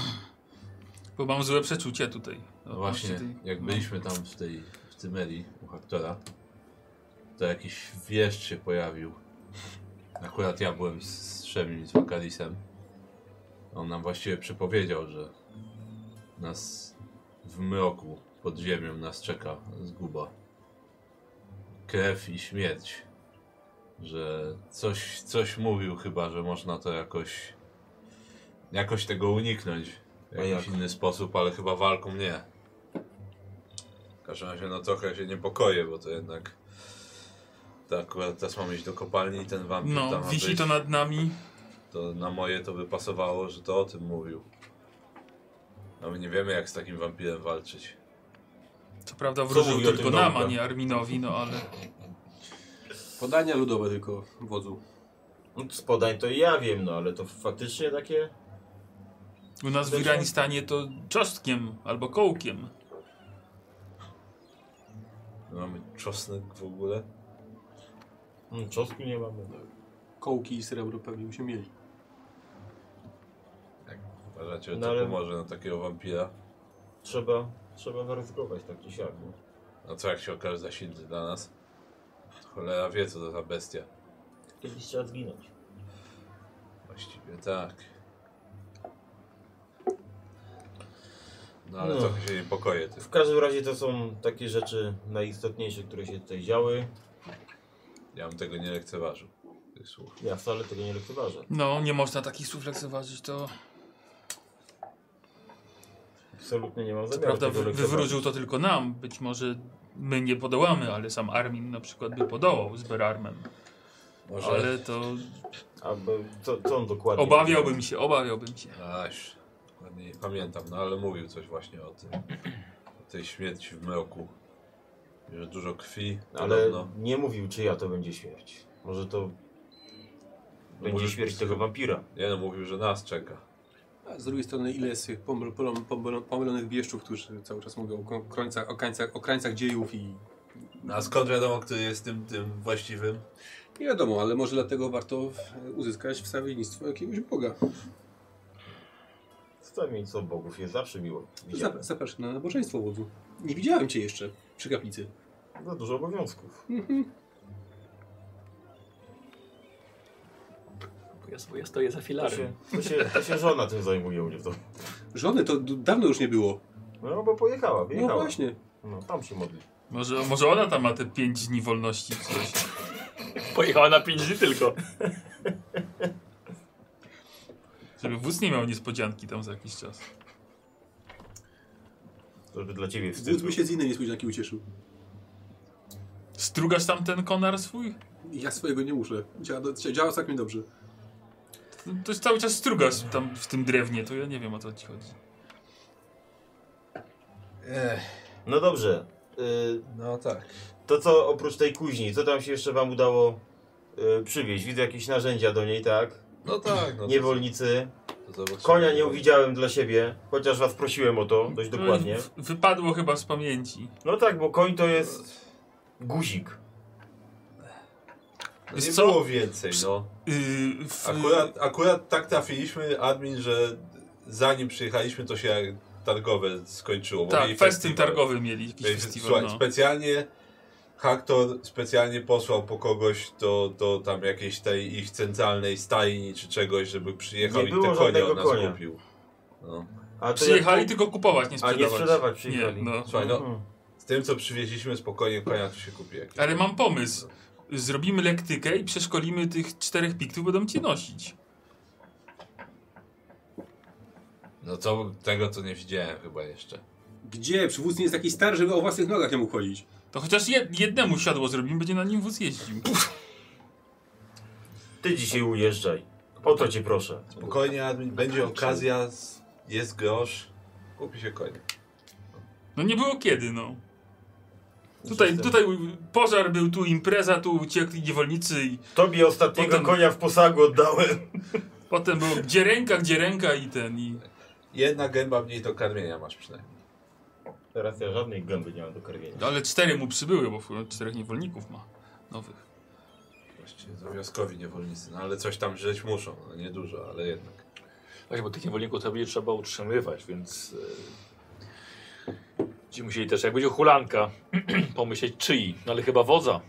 Bo mam złe przeczucia tutaj.
No właśnie, jak byliśmy tam w tej w Cymerii u Haktora, to jakiś wieszcz się pojawił. Akurat ja byłem z z Szemim i z Wakalisem. On nam właściwie przepowiedział, że nas w mroku pod ziemią nas czeka zguba. Krew i śmierć. Że coś, coś mówił chyba, że można to jakoś jakoś tego uniknąć. W
A
jakiś
jak?
inny sposób, ale chyba walką nie.
W każdym razie no trochę się niepokoję, bo to jednak... To akurat teraz mamy iść do kopalni i ten wampir
No,
tam ma
wisi
być.
to nad nami.
To na moje to by pasowało, że to o tym mówił. A my nie wiemy jak z takim wampirem walczyć.
Co prawda
Co
wróżył
mówi o
tylko
tym
nam, a
nauka?
nie Arminowi, no ale...
Podania ludowe tylko wodzu.
No, z podań to ja wiem, no ale to faktycznie takie...
U nas w
Zresztą-
Iranistanie to czosnkiem albo kołkiem.
My mamy czosnek w ogóle.
Mm, Czosnku nie mamy.
Kołki i srebro pewnie byśmy mieli.
Uważacie, że
No,
to
ale-
pomoże na takiego wampira?
Trzeba, trzeba zaryzykować tak czy siak. no.
A co jak się okaże za silny dla nas? Cholera wie co to za bestia.
Kiedyś trzeba zginąć.
Właściwie tak. No ale
No.
trochę się niepokoję tym.
W każdym razie to są takie rzeczy najistotniejsze, które się tutaj działy.
Ja bym tego nie lekceważył. Tych słów.
Ja wcale tego nie lekceważę.
No, nie można takich słów lekceważyć, to...
Absolutnie nie mam
Co
zamiaru
prawda
tego
wy-
lekceważyć.
wywróżył to tylko nam. Być może my nie podołamy, ale sam Armin na przykład by podołał z Berarmem.
Może...
Ale to...
A bo co, co on dokładnie?
Obawiałbym się, obawiałbym się.
Aś, dokładnie nie pamiętam, no ale mówił coś właśnie o tym. O tej śmierci w mroku. Że dużo krwi,
Ale
podobno.
nie mówił, czyja to będzie śmierć. Może to będzie
może-
śmierć tego wampira.
Nie no, mówił, że nas czeka.
A z drugiej strony ile jest tych pomyl, pomyl, pomyl, pomylonych bieszczów, którzy cały czas mówią o ko- krańcach, o krańcach, o krańcach dziejów i
No, a skąd wiadomo, kto jest tym, tym właściwym?
nie wiadomo, ale może dlatego warto w- uzyskać wstawiennictwo jakiegoś Boga.
Stawień co bogów jest zawsze miło. Widziałem.
Zap- Zapraszam na nabożeństwo wodzu. Nie widziałem cię jeszcze przy kaplicy.
Za dużo obowiązków.
Ja, ja stoję za
To
filarem.
się, to się, to się żona tym zajmuje u mnie. To.
Żony to d- dawno już nie było.
No bo pojechała,
No
wyjechała.
właśnie.
No, tam się modli.
Może, może ona tam ma te 5 dni wolności czy coś.
Pojechała na 5 dni tylko.
Żeby wódz nie miał niespodzianki tam za jakiś czas.
To by dla ciebie wstyd.
Wódz by
był.
się z innej niespodzianki ucieszył.
Strugasz tam ten konar swój?
Ja swojego nie muszę. Działa, działa całkiem dobrze.
To jest cały czas strugasz tam w tym drewnie, to ja nie wiem o co ci chodzi.
No dobrze. Y,
No tak.
To co oprócz tej kuźni, co tam się jeszcze wam udało y, przywieźć? Widzę jakieś narzędzia do niej, tak?
No tak, no.
Niewolnicy.
to zobaczymy.
Konia nie uwidziałem dla siebie, chociaż was prosiłem o to dość dokładnie.
W- Wypadło chyba z pamięci.
No tak, bo koń to jest guzik.
No
Wiesz
nie
co?
było więcej, no.
Yy, w,
Akurat, akurat tak trafiliśmy, admin, że zanim przyjechaliśmy, to się jak targowe skończyło. bo
tak,
mieli
festyn
festiwal.
targowy mieli jakiś
Więc,
festiwal.
Słuchaj,
No.
specjalnie Haktor specjalnie posłał po kogoś do, do tam jakiejś tej ich centralnej stajni czy czegoś, żeby przyjechał
Nie
i
było
te konie
żadnego
od nas
konia.
kupił. No.
A to
Przyjechali
jak-
tylko kupować, nie
A
sprzedawać.
nie sprzedawać
nie,
przyjechali.
no.
Słuchaj, no,
Mhm.
z tym co przywieźliśmy spokojnie konia tu się kupi jakieś.
Ale mam pomysł. Zrobimy lektykę i przeszkolimy tych czterech piktów, będą cię nosić.
No to tego to nie widziałem chyba jeszcze.
Gdzie? Przywódz nie jest taki stary, żeby o własnych nogach nie mógł chodzić.
To chociaż jed, jednemu siadło zrobimy, będzie na nim wóz jeździł.
Ty dzisiaj ujeżdżaj. O to cię proszę.
Spokojnie admin, będzie okazja, z- jest grosz, kupi się konia.
No nie było kiedy, no. Tutaj, tutaj pożar był, tu impreza, tu uciekli niewolnicy i
Tobie ostatniego
Potem-
konia w posagu oddałem.
potem było gdzie ręka, gdzie ręka i ten i...
Jedna gęba mniej do karmienia masz przynajmniej.
Teraz ja żadnej gęby nie mam do karmienia.
No, ale cztery mu przybyły, bo w- czterech niewolników ma nowych.
Właściwie to wioskowi niewolnicy, no ale coś tam żyć muszą, no nie dużo, ale jednak.
Właśnie, bo tych niewolników to będzie trzeba utrzymywać, więc... e, Będziemy musieli też, jak będzie hulanka, pomyśleć czyj, no ale chyba wodza.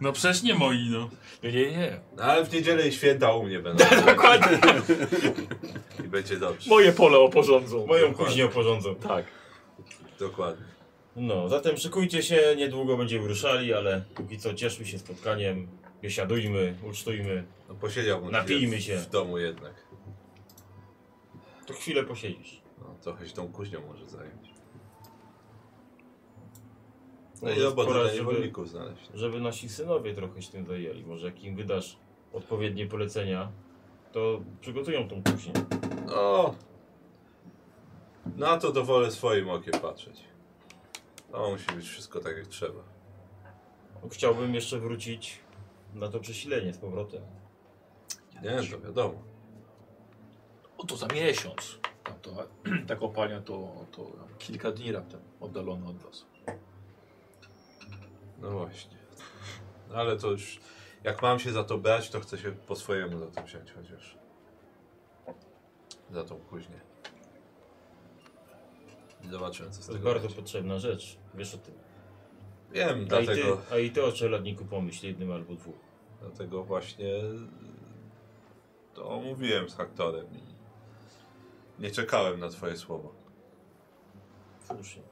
No przecież nie moi, no.
Nie, nie, nie.
No ale w niedzielę i święta u mnie będą.
Dokładnie.
I będzie dobrze.
Moje pole
No
oporządzą.
Moją kuźnię oporządzą.
Tak.
Dokładnie.
No, zatem szykujcie się, niedługo będziemy ruszali, ale póki co cieszmy się spotkaniem, biesiadujmy, ucztujmy.
No posiedziałbym
Napijmy
chwilę w-
się.
w domu jednak.
To chwilę posiedzisz.
No, trochę się tą kuźnią może zająć. No
Może
i robotę
pora,
dla
żeby-
niewolników znaleźć.
Żeby nasi synowie trochę się tym zajęli. Może jak im wydasz odpowiednie polecenia, to przygotują tą kuźnię.
No. Na to to wolę swoim okiem patrzeć. To musi być wszystko tak jak trzeba.
Chciałbym jeszcze wrócić na to przesilenie z powrotem.
Nie, to wiadomo.
O, to za miesiąc. Tam to, ta kopalnia to, to kilka dni raptem oddalona od was.
No właśnie. No ale to już... Jak mam się za to brać, to chcę się po swojemu za to wziąć chociaż. Za tą kuźnię. I zobaczymy co z
To jest
tego
bardzo
będzie.
potrzebna rzecz. Wiesz o tym.
Wiem,
A i, ty,
dlatego,
a i ty o czeladniku pomyśl jednym albo dwóch.
dlatego właśnie to mówiłem z aktorem i nie czekałem na twoje słowa.
Słusznie.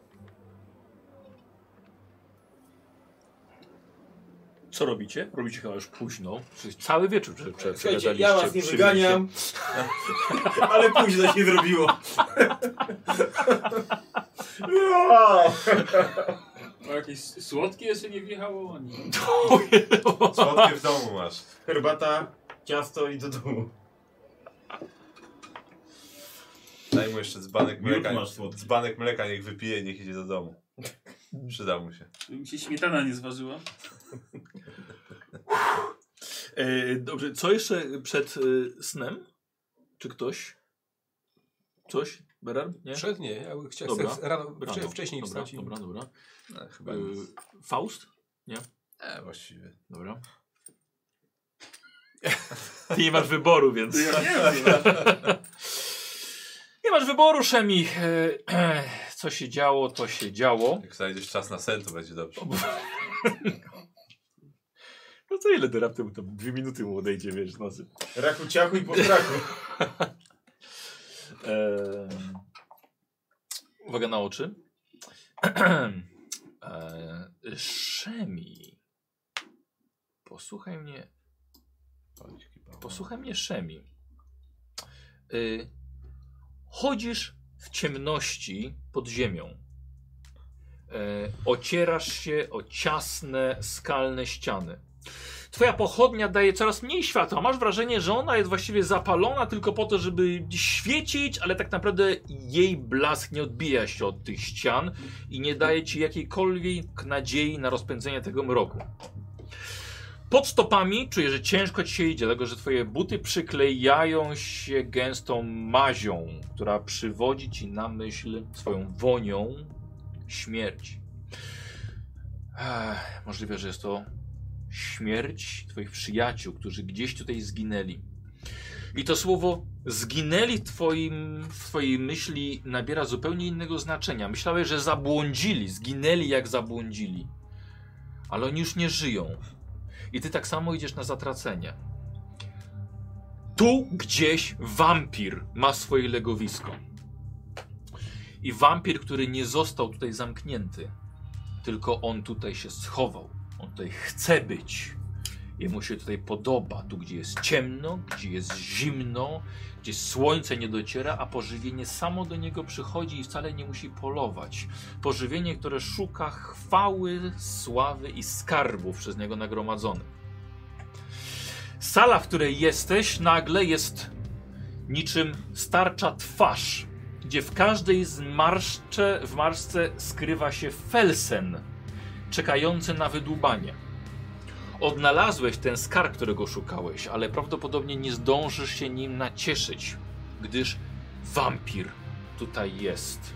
Co robicie? Robicie chyba już późno. Czyli Cały wieczór prze, prze,
Słuchajcie,
przegadaliście
ja was nie
przy
wyganiam, ale późno się zrobiło.
A No jakieś słodkie jeszcze nie wjechało? Nie.
Słodkie w domu masz.
Herbata, ciasto i do domu.
Daj mu jeszcze dzbanek
Miód
mleka.
masz słodki.
Dzbanek mleka niech wypije, niech idzie do domu. Przyda mu się.
Mi się śmietana nie zważyła.
E, dobrze, co jeszcze przed e, snem? Czy ktoś? Coś? Berar? Nie?
Przed nie, ja bym chciał
Dobra.
chcę rano,
Rano.
wcześniej
dobra,
wstać. i-
dobra, dobra.
No, chyba
E,
nic.
Faust?
E, właściwie.
Dobra. Ty nie masz wyboru, więc... Nie masz wyboru, Szemi. E, Co się działo, to się działo.
Jak znajdziesz czas na sen, to będzie dobrze.
No to ile derapty mu to dwie minuty mu odejdzie, wiesz, nocy.
Raku ciachu i po strachu.
Eee, uwaga na oczy. Eee, Szemi. Posłuchaj mnie. Posłuchaj mnie, Szemi. Y, chodzisz w ciemności pod ziemią. E, ocierasz się o ciasne, skalne ściany. Twoja pochodnia daje coraz mniej światła. Masz wrażenie, że ona jest właściwie zapalona tylko po to, żeby świecić, ale tak naprawdę jej blask nie odbija się od tych ścian i nie daje ci jakiejkolwiek nadziei na rozpędzenie tego mroku. Pod stopami czuję, że ciężko ci się idzie, dlatego że twoje buty przyklejają się gęstą mazią, która przywodzi ci na myśl swoją wonią śmierć. Ech, możliwe, że jest to śmierć twoich przyjaciół, którzy gdzieś tutaj zginęli. I to słowo zginęli w twoim, w twojej myśli nabiera zupełnie innego znaczenia. Myślałeś, że zabłądzili, zginęli jak zabłądzili. Ale oni już nie żyją. I ty tak samo idziesz na zatracenie. Tu gdzieś wampir ma swoje legowisko. I wampir, który nie został tutaj zamknięty, tylko on tutaj się schował. On tutaj chce być. Jemu się tutaj podoba. Tu, gdzie jest ciemno, gdzie jest zimno, gdzie słońce nie dociera, a pożywienie samo do niego przychodzi i wcale nie musi polować. Pożywienie, które szuka chwały, sławy i skarbów przez niego nagromadzonych. Sala, w której jesteś, nagle jest niczym starcza twarz, gdzie w każdej z marszcze, w marszce skrywa się felsen, czekający na wydłubanie. Odnalazłeś ten skarb, którego szukałeś, ale prawdopodobnie nie zdążysz się nim nacieszyć, gdyż wampir tutaj jest.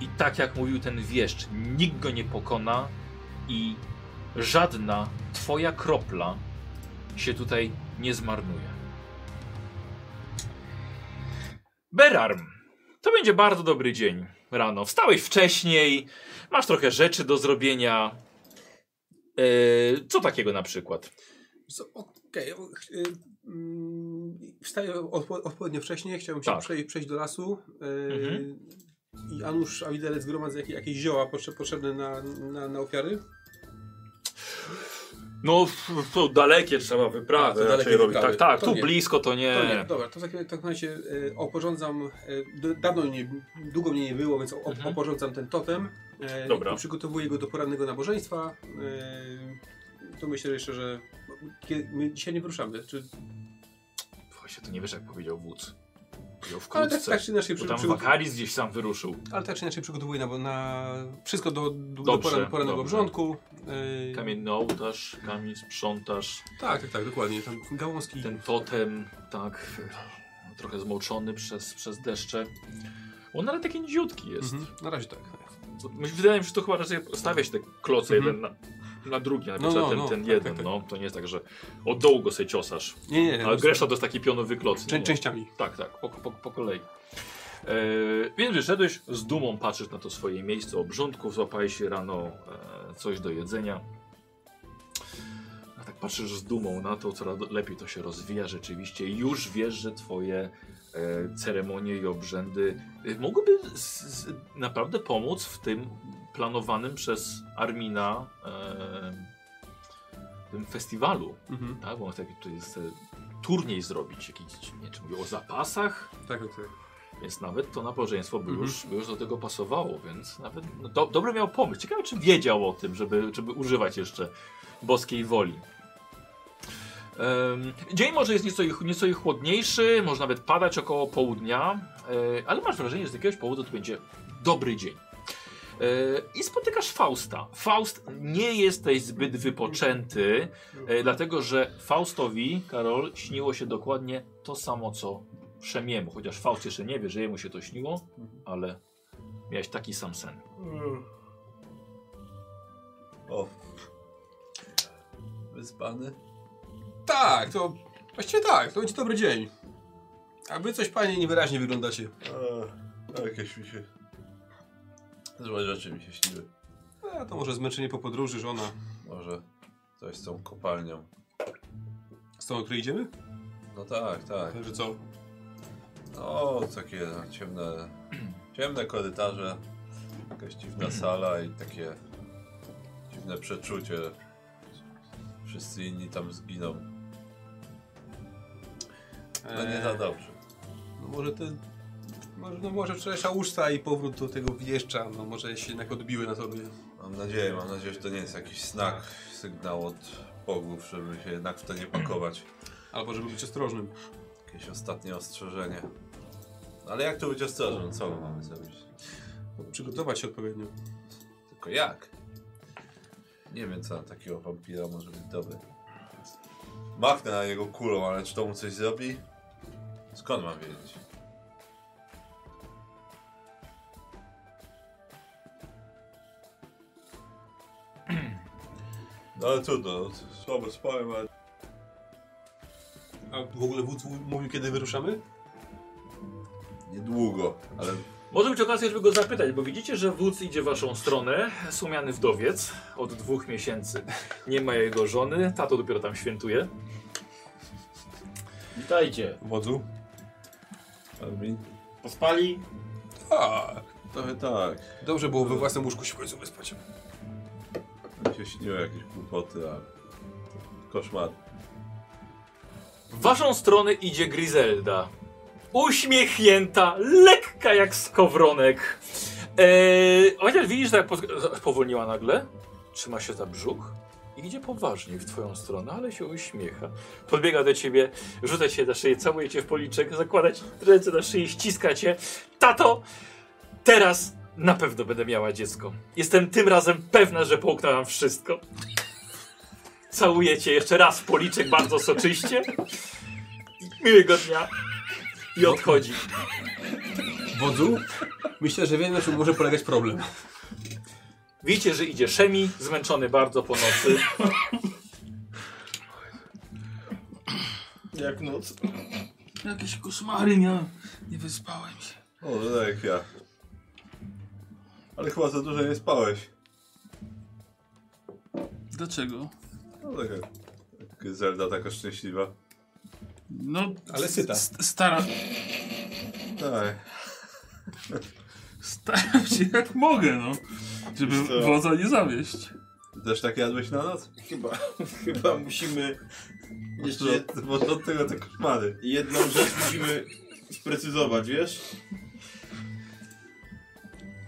I tak jak mówił ten wieszcz, nikt go nie pokona i żadna twoja kropla się tutaj nie zmarnuje. Berarm, to będzie bardzo dobry dzień rano. Wstałeś wcześniej, masz trochę rzeczy do zrobienia. Eee, co takiego na przykład?
So, Okej, o, ch- y, mm, wstaję odpo- odpowiednio wcześnie, chciałbym się
Tak.
przej- przejść do lasu. y,
Mhm.
I Anusz Awidelec gromadzi jak- jakieś zioła potrze- potrzebne na, na, na ofiary.
No, to dalekie trzeba
A, to
wyprawy
dalekie wyprawy.
Tak, tak,
To
tu
nie.
blisko to E, nie.
To nie, dobra, to w takim, w takim razie e, oporządzam, e, d- dawno nie, długo mnie nie było, więc o,
Mhm.
oporządzam ten totem e,
Dobra.
i przygotowuję go do porannego nabożeństwa. E, to myślę jeszcze, że kiedy, my dzisiaj nie wyruszamy, czy,
Właśnie to nie wiesz jak powiedział wódz. Powiedział
ale tak,
wkrótce.
tak czy inaczej
Bo
przy,
tam
przy,
Wakaris gdzieś sam wyruszył.
ale tak czy inaczej przygotowuję na, na wszystko do, do, do
Dobrze,
poran, porannego
dobrze.
obrządku. E,
Kamienny ołtarz, kamień sprzątasz,
Tak, tak, tak, dokładnie, tam gałązki.
ten totem, tak, trochę zmoczony przez, przez deszcze. On ale taki niziutki jest.
Mhm, na razie tak.
To my- Wydaje mi się, że to chyba raczej stawia się te kloce
Mhm.
jeden na, na drugi, na
No, no,
ten,
no,
ten
tak,
jeden.
tak, tak.
No, to nie jest tak, że od dołu go sobie ciosasz.
Nie, nie,
Ale
no,
Gresza to jest taki pionowy kloc. nie?
czę, częściami.
Tak, tak, po, po, po kolei. Yy, więc wyszedłeś, z dumą patrzysz na to swoje miejsce obrządków, złapałeś się rano e, coś do jedzenia. A tak patrzysz z dumą na to, coraz lepiej to się rozwija rzeczywiście. Już wiesz, że twoje e, ceremonie i obrzędy e, mogłyby z, z, naprawdę pomóc w tym planowanym przez Armina e, tym festiwalu.
Mhm,
Tak, bo on chce taki tutaj jest, e, turniej zrobić, jakiś, nie wiem, czy mówił o zapasach,
tak, tak, tak.
więc nawet to nabożeństwo by
Mhm.
już, by już do tego pasowało, więc nawet no, do, dobry miał pomysł. Ciekawe, czy wiedział o tym, żeby, żeby używać jeszcze boskiej woli. Em, dzień może jest nieco, ich- nieco ich chłodniejszy, może nawet padać około południa, e, ale masz wrażenie, że z jakiegoś powodu to będzie dobry dzień. E, I spotykasz Fausta. Faust, nie jesteś zbyt wypoczęty, E, dlatego, że Faustowi, Karol, śniło się dokładnie to samo, co Przemiemu. Chociaż Faust jeszcze nie wie, że jemu się to śniło, ale miałeś taki sam sen.
O. Wyspany?
Tak, to właściwie tak, to będzie dobry dzień. A wy coś panie niewyraźnie wyglądacie.
A, jakieś mi się... Złe rzeczy mi się śniły.
A to może zmęczenie po podróży, żona.
Może coś z tą kopalnią.
Z tą, o której idziemy?
No tak, tak.
Że co?
No, takie ciemne, ciemne korytarze, jakaś dziwna sala i takie dziwne przeczucie. Wszyscy inni tam zginą. No nie za dobrze.
E, No może te... Może, no może wczorajsza usta i powrót do tego wieszcza, no może się jednak odbiły na tobie.
Mam nadzieję, mam nadzieję, że to nie jest jakiś znak, sygnał od bogów, żeby się jednak w to nie pakować.
Albo żeby być ostrożnym.
Jakieś ostatnie ostrzeżenie. Ale jak to być ostrożnym? Co my mamy zrobić?
No, Przygotować się odpowiednio.
Tylko jak? Nie wiem, co na takiego wampira może być dobry. Machnę na niego kulą, ale czy to mu coś zrobi? Skąd mam wiedzieć? No ale trudno, no, słabo spałem, ale...
A w ogóle wódz mówił, kiedy wyruszamy?
Niedługo, ale
Może być okazja, żeby go zapytać, bo widzicie, że wódz idzie w waszą stronę. Sumiany wdowiec od dwóch miesięcy. Nie ma jego żony, tato dopiero tam świętuje.
Witajcie.
Wodzu?
Armin?
Pospali?
Tak.
Trochę tak.
Dobrze było we własnym łóżku się w końcu wyspać.
Mi się śniły jakieś głupoty, a... Koszmar.
W waszą stronę idzie Griselda. Uśmiechnięta, lekka jak skowronek. Eee, chociaż widzisz, że jak poz- spowolniła nagle, trzyma się za brzuch i idzie poważnie w twoją stronę, ale się uśmiecha. Podbiega do ciebie, rzuca cię na szyję, całuje cię w policzek, zakłada ci ręce na szyję, ściska cię. Tato, teraz na pewno będę miała dziecko. Jestem tym razem pewna, że połknęłam wszystko. Całuję cię jeszcze raz w policzek bardzo soczyście. Miłego dnia. I odchodzi.
Wodzu? Myślę, że wiem, na czym może polegać problem.
Widzicie, że idzie Szemi, zmęczony bardzo po nocy.
Jak noc.
Jakieś koszmary miałem. Nie wyspałem się.
O, no tak jak ja. Ale chyba za dużo nie spałeś.
Dlaczego?
No tak jak... jak Zelda taka szczęśliwa.
No,
Ale syta.
st- staram,
Tak.
staram się jak mogę, no. Żeby
Wiesz co?
wodza nie zawieść.
Ty też tak jadłeś na noc?
Chyba, chyba musimy... Jeszcze jed-
Może, może od tego te koszmary.
jedną rzecz musimy sprecyzować, wiesz?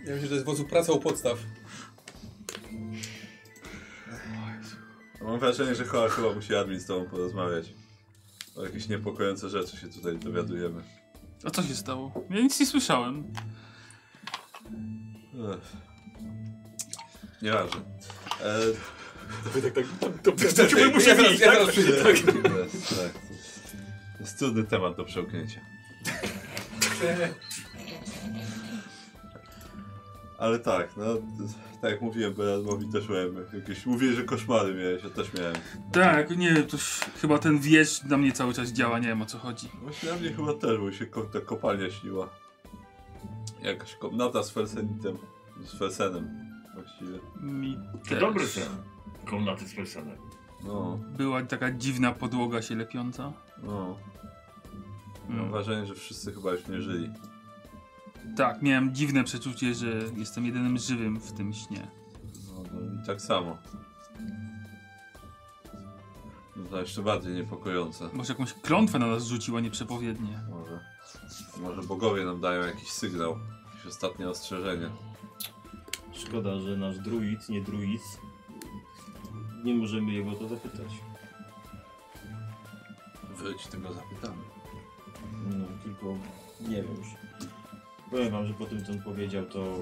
Ja myślę, że to jest wodzu praca u podstaw.
Mam wrażenie, że chyba, chyba musi admin z tobą porozmawiać. O jakieś niepokojące rzeczy się tutaj dowiadujemy.
A co się stało? Ja nic nie słyszałem.
Ech. Nieważne. E,
To byśmy
ja zaraz,
musieli iść,
ja
tak?
zaraz przyjdę.
to jest, tak, to jest- to jest trudny temat do przełknięcia. Ale tak, no, t- tak jak mówiłem, Berazmowi też miałem jakieś... Mówię, że koszmary miałeś, ja też miałem.
Tak, nie, to ś- chyba ten wieś na mnie cały czas działa, nie wiem o co chodzi.
Właśnie na mnie chyba też, bo mi się ko- ta kopalnia śniła. Jakaś komnata z Felsenitem. Z Felsenem właściwie.
Mi
To
też.
dobry sen. Komnaty z personem.
No,
Była taka dziwna podłoga się lepiąca.
no. Mam
Mm.
wrażenie, że wszyscy chyba już nie żyli.
Tak, miałem dziwne przeczucie, że jestem jedynym żywym w tym śnie.
No, no i tak samo. No to jeszcze bardziej niepokojące.
Może jakąś klątwę na nas rzuciła nieprzepowiednie.
Może. Może bogowie nam dają jakiś sygnał. Jakieś ostatnie ostrzeżenie.
Szkoda, że nasz druid, nie druid. Nie możemy jego o to zapytać.
Wróć, tego zapytamy.
No, tylko nie wiem już. Powiem wam, że po tym, co on powiedział, to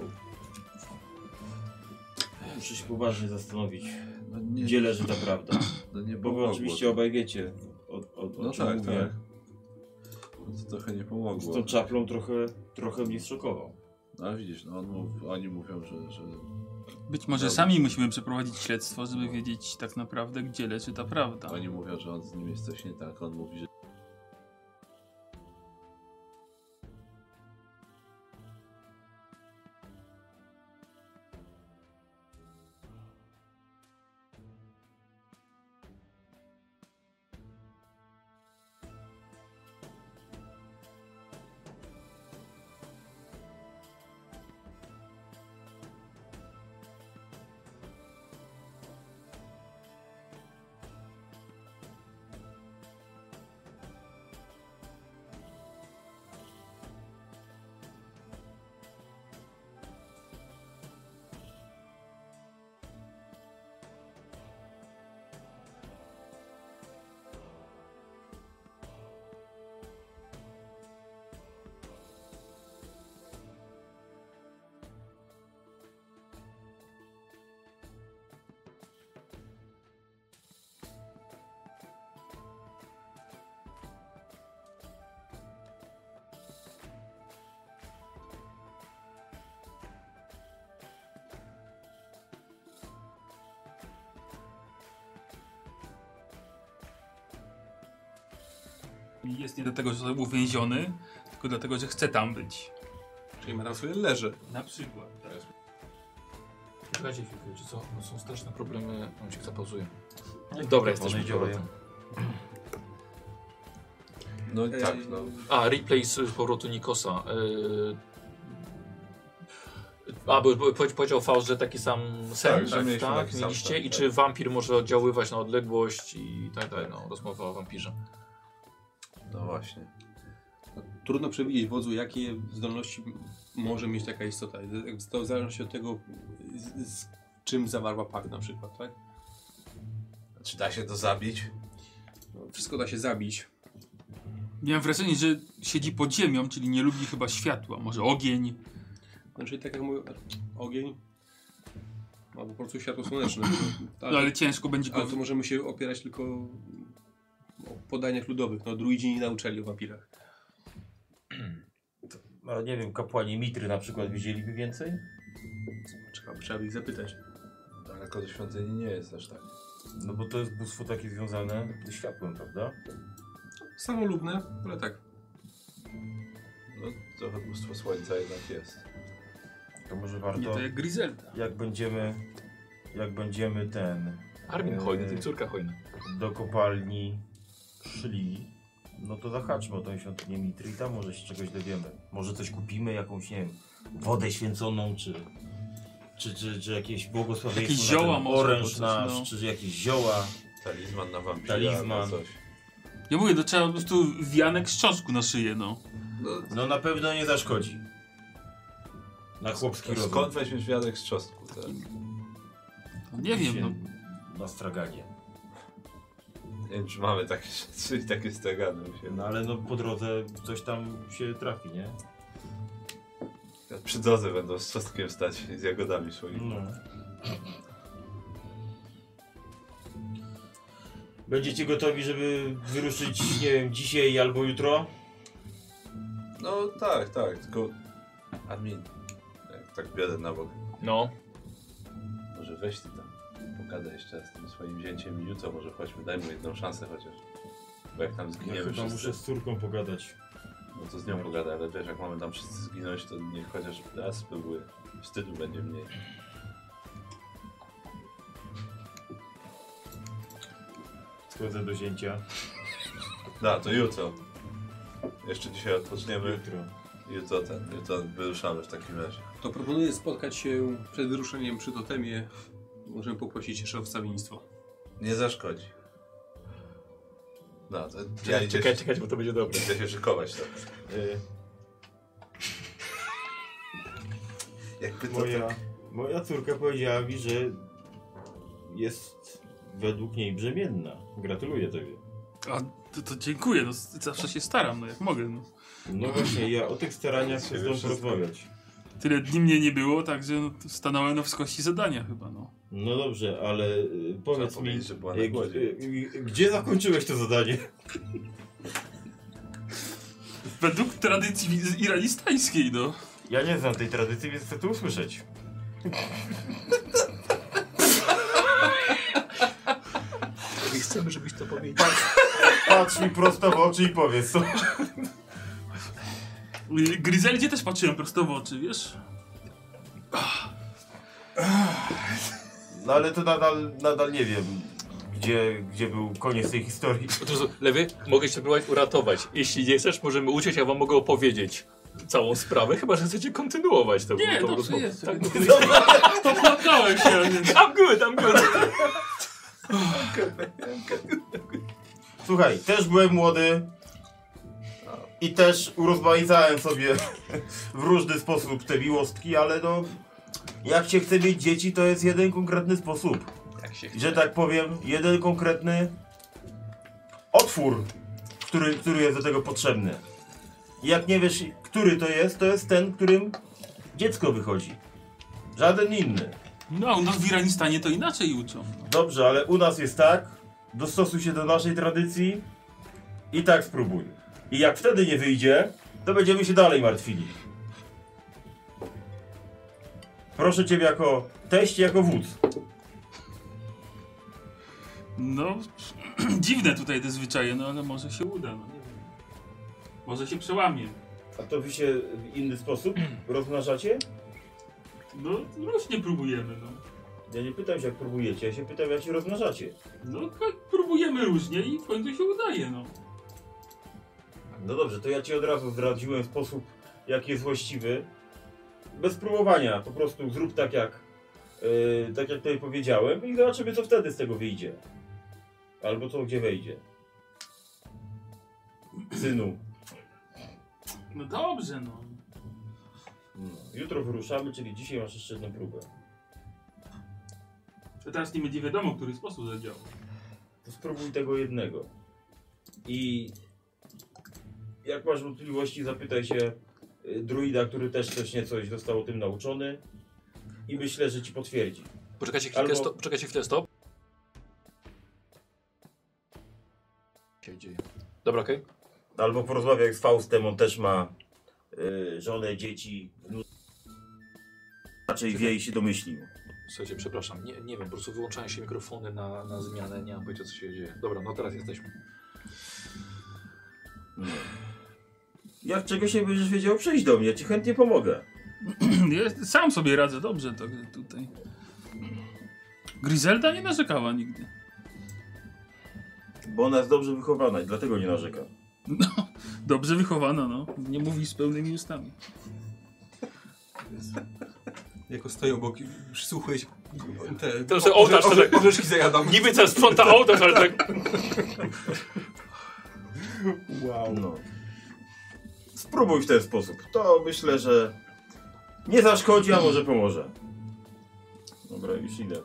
muszę się poważnie zastanowić,
No nie,
gdzie leży ta prawda.
no nie
Bo wy
pomogło.
oczywiście obaj wiecie, o, o, o
No
czym
tak,
mówię.
tak. No to trochę nie pomogło.
Z tą czaplą trochę, trochę mnie zszokował.
No ale widzisz, no on mów, oni mówią, że, że
Być może
Dobra.
sami musimy przeprowadzić śledztwo, żeby wiedzieć tak naprawdę, gdzie leży ta prawda.
oni mówią, że on z nim jest coś nie tak, on mówi, że
Jest nie dlatego, że został uwięziony, tylko dlatego, że chce tam być.
Czyli Metal sobie leży.
Na przykład. Tak.
Czekajcie chwilkę, wiecie co? No są straszne problemy, on się zapauzuje. Dobra, jesteśmy z powrotem.
No i tak,
Ej,
no.
A, replay z z powrotu Nikosa. Yy... A, bo bo powie- powiedział Faust, że taki sam sen,
Tak,
tak,
że mieliśmy taki sam
mieliście?
sen,
I
tak.
czy wampir może oddziaływać na odległość i tak dalej, no, rozmowa o wampirze.
No właśnie.
Trudno przewidzieć wodzu, jakie zdolności m- może mieć taka istota. To zależy od tego, z, z czym zawarła pakt na przykład, tak?
Czy da się to zabić?
No, Wszystko da się zabić.
Miałem wrażenie, że siedzi pod ziemią, czyli nie lubi chyba światła. Może ogień.
Znaczy, tak jak mówię, ogień albo po prostu światło słoneczne.
No, ale ciężko będzie go...
Ale to możemy się opierać tylko o podaniach ludowych. No, druidzi nie nauczali o wampirach.
No nie wiem, kapłani Mitry na przykład widzieliby więcej?
Trzeba, trzeba by ich zapytać.
Daleko do świątyni nie jest aż tak.
No bo to jest bóstwo takie związane ze światłem, prawda?
Samolubne, ale tak.
No trochę bóstwo słońca jednak jest.
To może
Nie,
warto,
to jak Griselda.
jak będziemy, jak będziemy ten,
Armin
Eee.
hojny, ty córka hojna.
do kopalni szli, no to zahaczmy o tą świątynię Mitry i tam może się czegoś dowiemy. Może coś kupimy, jakąś, nie wiem, wodę święconą, czy, czy, czy, czy jakieś błogosławieństwo
Jakieś
na ten
zioła może,
oręż
bo coś,
nasz,
no.
czy jakieś zioła.
Talizman na wampira
Talizman.
albo coś.
Ja mówię, to trzeba po prostu wianek z cząstku na szyję, no.
No na pewno nie zaszkodzi. Na chłopski rozum.
Skąd weźmiesz wiadek z czosnku tak? teraz?
Nie wiem, no.
Na straganie.
Nie wiem, czy mamy takie rzeczy i takie stragany u siebie.
No ale no po drodze coś tam się trafi, nie?
Przy drodze będą z czosnkiem stać i z jagodami swoimi.
No. Będziecie gotowi, żeby wyruszyć, nie wiem, dzisiaj albo jutro?
No tak, tak, tylko... Admin. Jak tak biorę na bok.
No,
Może weź ty tam. Pogadaj jeszcze z tym swoim zięciem i jutro może chodźmy, daj mu jedną szansę chociaż. Bo jak tam
Ja
zginiemy
chyba
wszyscy,
muszę z córką pogadać.
no to z nią pogadaj, ale wiesz, jak mamy tam wszyscy zginąć, to niech chociaż raz spróbuję. Wstydu będzie mniej.
Schodzę do zięcia.
Da, No, to jutro. Jeszcze dzisiaj odpoczniemy.
Jutro.
Jutro ten, jutro wyruszamy w takim razie.
To proponuję spotkać się przed wyruszeniem przy totemie. Możemy poprosić jeszcze o wstawiennictwo.
Nie zaszkodzi. No, to ja
czekaj,
idę,
czekaj, czekaj, bo to będzie dobre.
idę się szykować tak.
Y,
Jakby to
moja,
tak...
moja córka powiedziała mi, że jest według niej brzemienna. Gratuluję tobie.
A to, to dziękuję, no s- zawsze się staram, no jak mogę, no.
No właśnie, ja o tych staraniach chcę
Ciebie
z tobą
wszystko.
porozmawiać.
Tyle dni mnie nie było, także no, stanąłem na wskości zadania chyba, no.
No dobrze, ale y, powiedz
Trzeba
mi,
powiedzieć, że była na
y,
głodzie.
y, y, gdzie zakończyłeś to zadanie?
Według tradycji wiz- iranistańskiej, no.
Ja nie znam tej tradycji, więc chcę to usłyszeć.
I chcemy, żebyś to powiedział.
Patrz mi prosto w oczy i powiedz co.
Y, Gryzeldzie też patrzyłem prosto w oczy, wiesz?
No ale to nadal, nadal nie wiem, gdzie, gdzie był koniec tej historii.
Lewy, mogę cię próbować uratować. Jeśli nie chcesz, możemy uciec, ja wam mogę opowiedzieć całą sprawę, chyba, że chcecie kontynuować tę
Nie,
tą
dobrze
rozmowę.
jest.
Tak,
Popłakałem się, więc...
I'm good, I'm good.
Słuchaj, też byłem młody i też urozmaicałem sobie w różny sposób te miłostki, ale no... Jak się chce mieć dzieci, to jest jeden konkretny sposób.
Jak się
Że tak powiem, jeden konkretny otwór, który, który jest do tego potrzebny. I jak nie wiesz, który to jest, to jest ten, którym dziecko wychodzi. Żaden inny.
No, no w Iranistanie to inaczej uczą. No.
Dobrze, ale u nas jest tak. Dostosuj się do naszej tradycji i tak spróbuj. I jak wtedy nie wyjdzie, to będziemy się dalej martwili. Proszę ciebie jako teść, jako wódz.
No, dziwne tutaj te zwyczaje, no ale może się uda, no nie wiem.
Może się przełamie.
A to wy się w inny sposób rozmnażacie?
No, rośnie próbujemy, no.
Ja nie pytam się jak próbujecie, ja się pytam jak się rozmnażacie.
No, tak próbujemy różnie i w końcu się udaje, no.
No dobrze, to ja ci od razu zdradziłem sposób jaki jest właściwy. Bez próbowania, po prostu zrób tak jak, yy, tak jak tutaj powiedziałem i zobaczymy co wtedy z tego wyjdzie. Albo co gdzie wejdzie. Synu.
No dobrze, no.
No. Jutro wyruszamy, czyli dzisiaj masz jeszcze jedną próbę.
To teraz nie będzie wiadomo, który sposób zadziała.
To spróbuj tego jednego. I jak masz wątpliwości, zapytaj się y, druida, który też wcześniej coś został o tym nauczony. I myślę, że ci potwierdzi.
Poczekajcie chwilkę,
Albo-
stop, poczekajcie chwilę, stop. Się dzieje. Dobra, okej.
Albo porozmawiaj z Faustem, on też ma y, żonę, dzieci, wnuk. Raczej wie i się domyślił.
Słuchajcie, przepraszam, nie, nie wiem, po prostu wyłączają się mikrofony na, na zmianę, nie mam pojęcia co się dzieje. Dobra, no teraz jesteśmy.
Jak czegoś nie będziesz wiedział, przyjdź do mnie, ci chętnie pomogę.
Ja sam sobie radzę dobrze tak, tutaj. Griselda nie narzekała nigdy.
Bo ona jest dobrze wychowana i dlatego nie narzeka.
Dobrze wychowana, no. Nie mówi z pełnymi ustami.
Jako stoję obok i przysłuchuję się te...
To sobie ołtarz
orze-
sobie-
Orzeszki zajadam.
Niby ten sprząta ołtarz, ale tak...
Wow.
No. Spróbuj w ten sposób. To myślę, że nie zaszkodzi, a może pomoże. Dobra, już idę.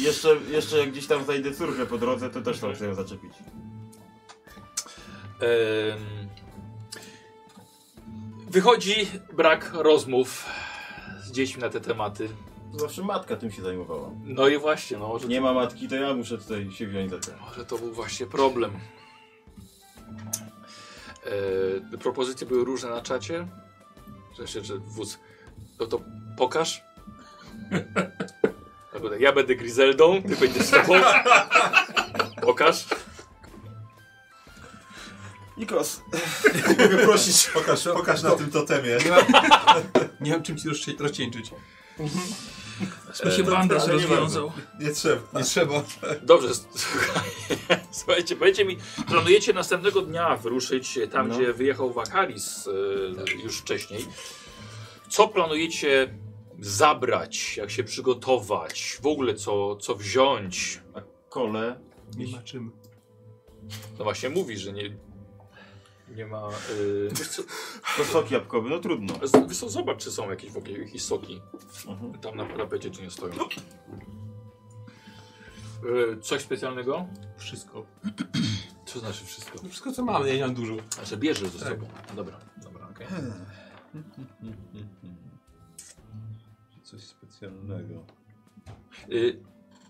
Jeszcze, jeszcze jak gdzieś tam znajdę córkę po drodze, to też tam chcę ją zaczepić.
Em, Wychodzi brak rozmów z dziećmi na te tematy.
Zawsze matka tym się zajmowała.
No i właśnie, no może,
Nie ma matki, to ja muszę tutaj się wziąć za to.
może to był właśnie problem. E, propozycje były różne na czacie. Zresztą, że wóz. No to pokaż. Albo tak, Ja będę Grizeldą, ty będziesz sobą. Pokaż.
Nikos, mogę prosić.
Pokaż, pokaż na tym totemie.
Nie mam czym ci rozcie- rozcieńczyć.
E,
Aż mi się bandaż
ale nie
rozwiązał.
Nie trzeba.
Nie trzeba.
Dobrze, s- słuchaj- słuchajcie, powiedzcie mi, planujecie następnego dnia wyruszyć tam,
No.
gdzie wyjechał Wakaris y, już wcześniej. Co planujecie zabrać, jak się przygotować, w ogóle co, co wziąć?
Kole.
Nie ma czym.
No właśnie mówi, że nie, nie ma... Y, wiesz co,
To sok jabłkowy, no trudno.
z- wiesz co, zobacz, czy są jakieś w ogóle jakieś soki
Mhm. No.
tam na parapecie, czy nie stoją. Y, coś specjalnego?
Wszystko.
Co znaczy wszystko?
No wszystko co mamy, ja nie mam dużo.
Znaczy bierzesz ze
Tak.
sobą. Dobra, dobra, okej.
Coś specjalnego.
Y,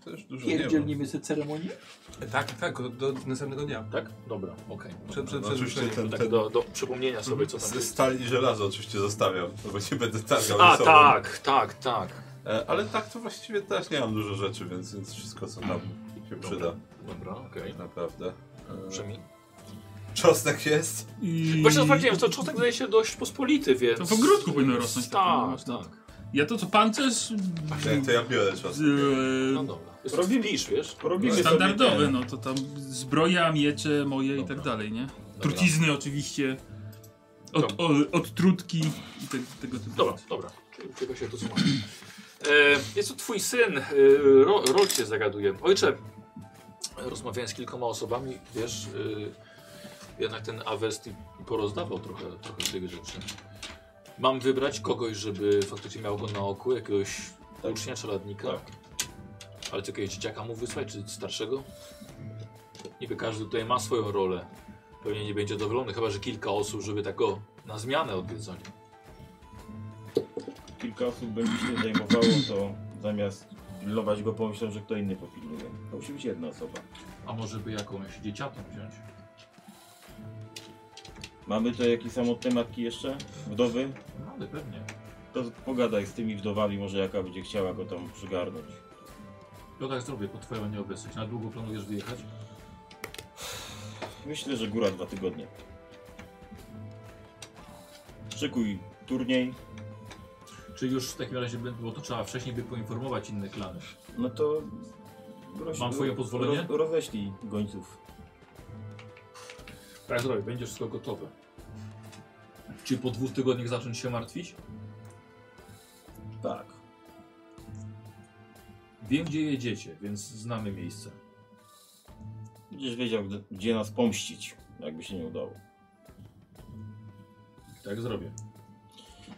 To już dużo nie ma.
Pierdzielnimy sobie ceremonię?
Tak, tak, do, do następnego dnia.
Tak? Dobra, okej.
Przed, przed,
No,
przed
oczywiście
ruszeniem.
ten,
Tak,
ten
do, do przypomnienia sobie, co tam
z-
jest.
stal i żelazo oczywiście zostawiam, no bo nie będę targał
A,
ze sobą.
tak, tak, tak.
E, ale tak to właściwie też nie mam dużo rzeczy, więc, więc wszystko co tam się przyda.
Dobra, okej.
Tak naprawdę.
Brzmi.
Czosnek jest?
I...
Właśnie sprawdziłem, że to cząstek wydaje się dość pospolity, więc...
To w ogródku powinno rosnąć.
Tak, tak.
Ja to co pancerz...
Tak, to ja biorę czosnek.
yy,
No dobra. Robimy. Pisz, wiesz?
Robimy
Standardowy,
sobie
no to tam zbroja, miecze moje i tak dalej, nie? Trucizny oczywiście, od, o, odtrutki i te, tego typu.
Dobra,
rzeczy.
dobra. Czego się tu słucha? E, jest to twój syn, e, Ro- Rol cię zagaduje. Ojcze, rozmawiałem z kilkoma osobami, wiesz, e, jednak ten Avesti porozdawał trochę, trochę tych rzeczy. Mam wybrać kogoś, żeby faktycznie miał go na oku, jakiegoś ucznia, czeladnika. Ale tylko jakiegoś dzieciaka mu wysłać, czy starszego? Niby każdy tutaj ma swoją rolę. Pewnie nie będzie dowolony, chyba że kilka osób, żeby tak o, na zmianę odwiedzali.
kilka osób będzie się zajmowało, to zamiast pilnować go pomyślą, że kto inny popilnuje. To musi być jedna osoba.
A może by jakąś dzieciatę wziąć?
Mamy tutaj jakieś samotne matki jeszcze? Wdowy?
Mamy No, pewnie.
To pogadaj z tymi wdowami, może jaka będzie chciała go tam przygarnąć.
To tak zrobię po twoją nieobecność. Na długo planujesz wyjechać?
Myślę, że góra dwa tygodnie. Szykuj turniej.
Czy już w takim razie, by- bo to trzeba wcześniej by poinformować inne klany.
No to... Roś,
Mam twoje pozwolenie?
Ro, roześlij gońców.
Tak zrobię, będzie wszystko gotowe. Czy po dwóch tygodniach zacząć się martwić?
Tak.
Wiem, gdzie jedziecie, więc znamy miejsce.
Będziesz wiedział, gdy- gdzie nas pomścić, jakby się nie udało.
Tak zrobię.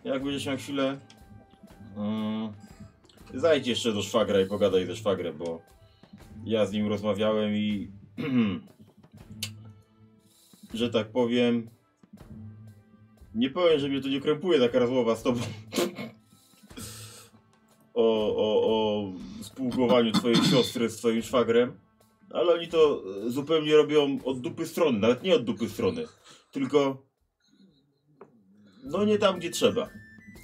Jak będziesz miał chwilę... mm, zajdź jeszcze do szwagra i pogadaj ze szwagrem, bo... Ja z nim rozmawiałem i... że tak powiem... Nie powiem, że mnie to nie krępuje taka rozmowa z tobą. o, o, o spółkowaniu twojej siostry z twoim szwagrem. Ale oni to e, zupełnie robią od dupy strony, nawet nie od dupy strony. Tylko... No nie tam, gdzie trzeba.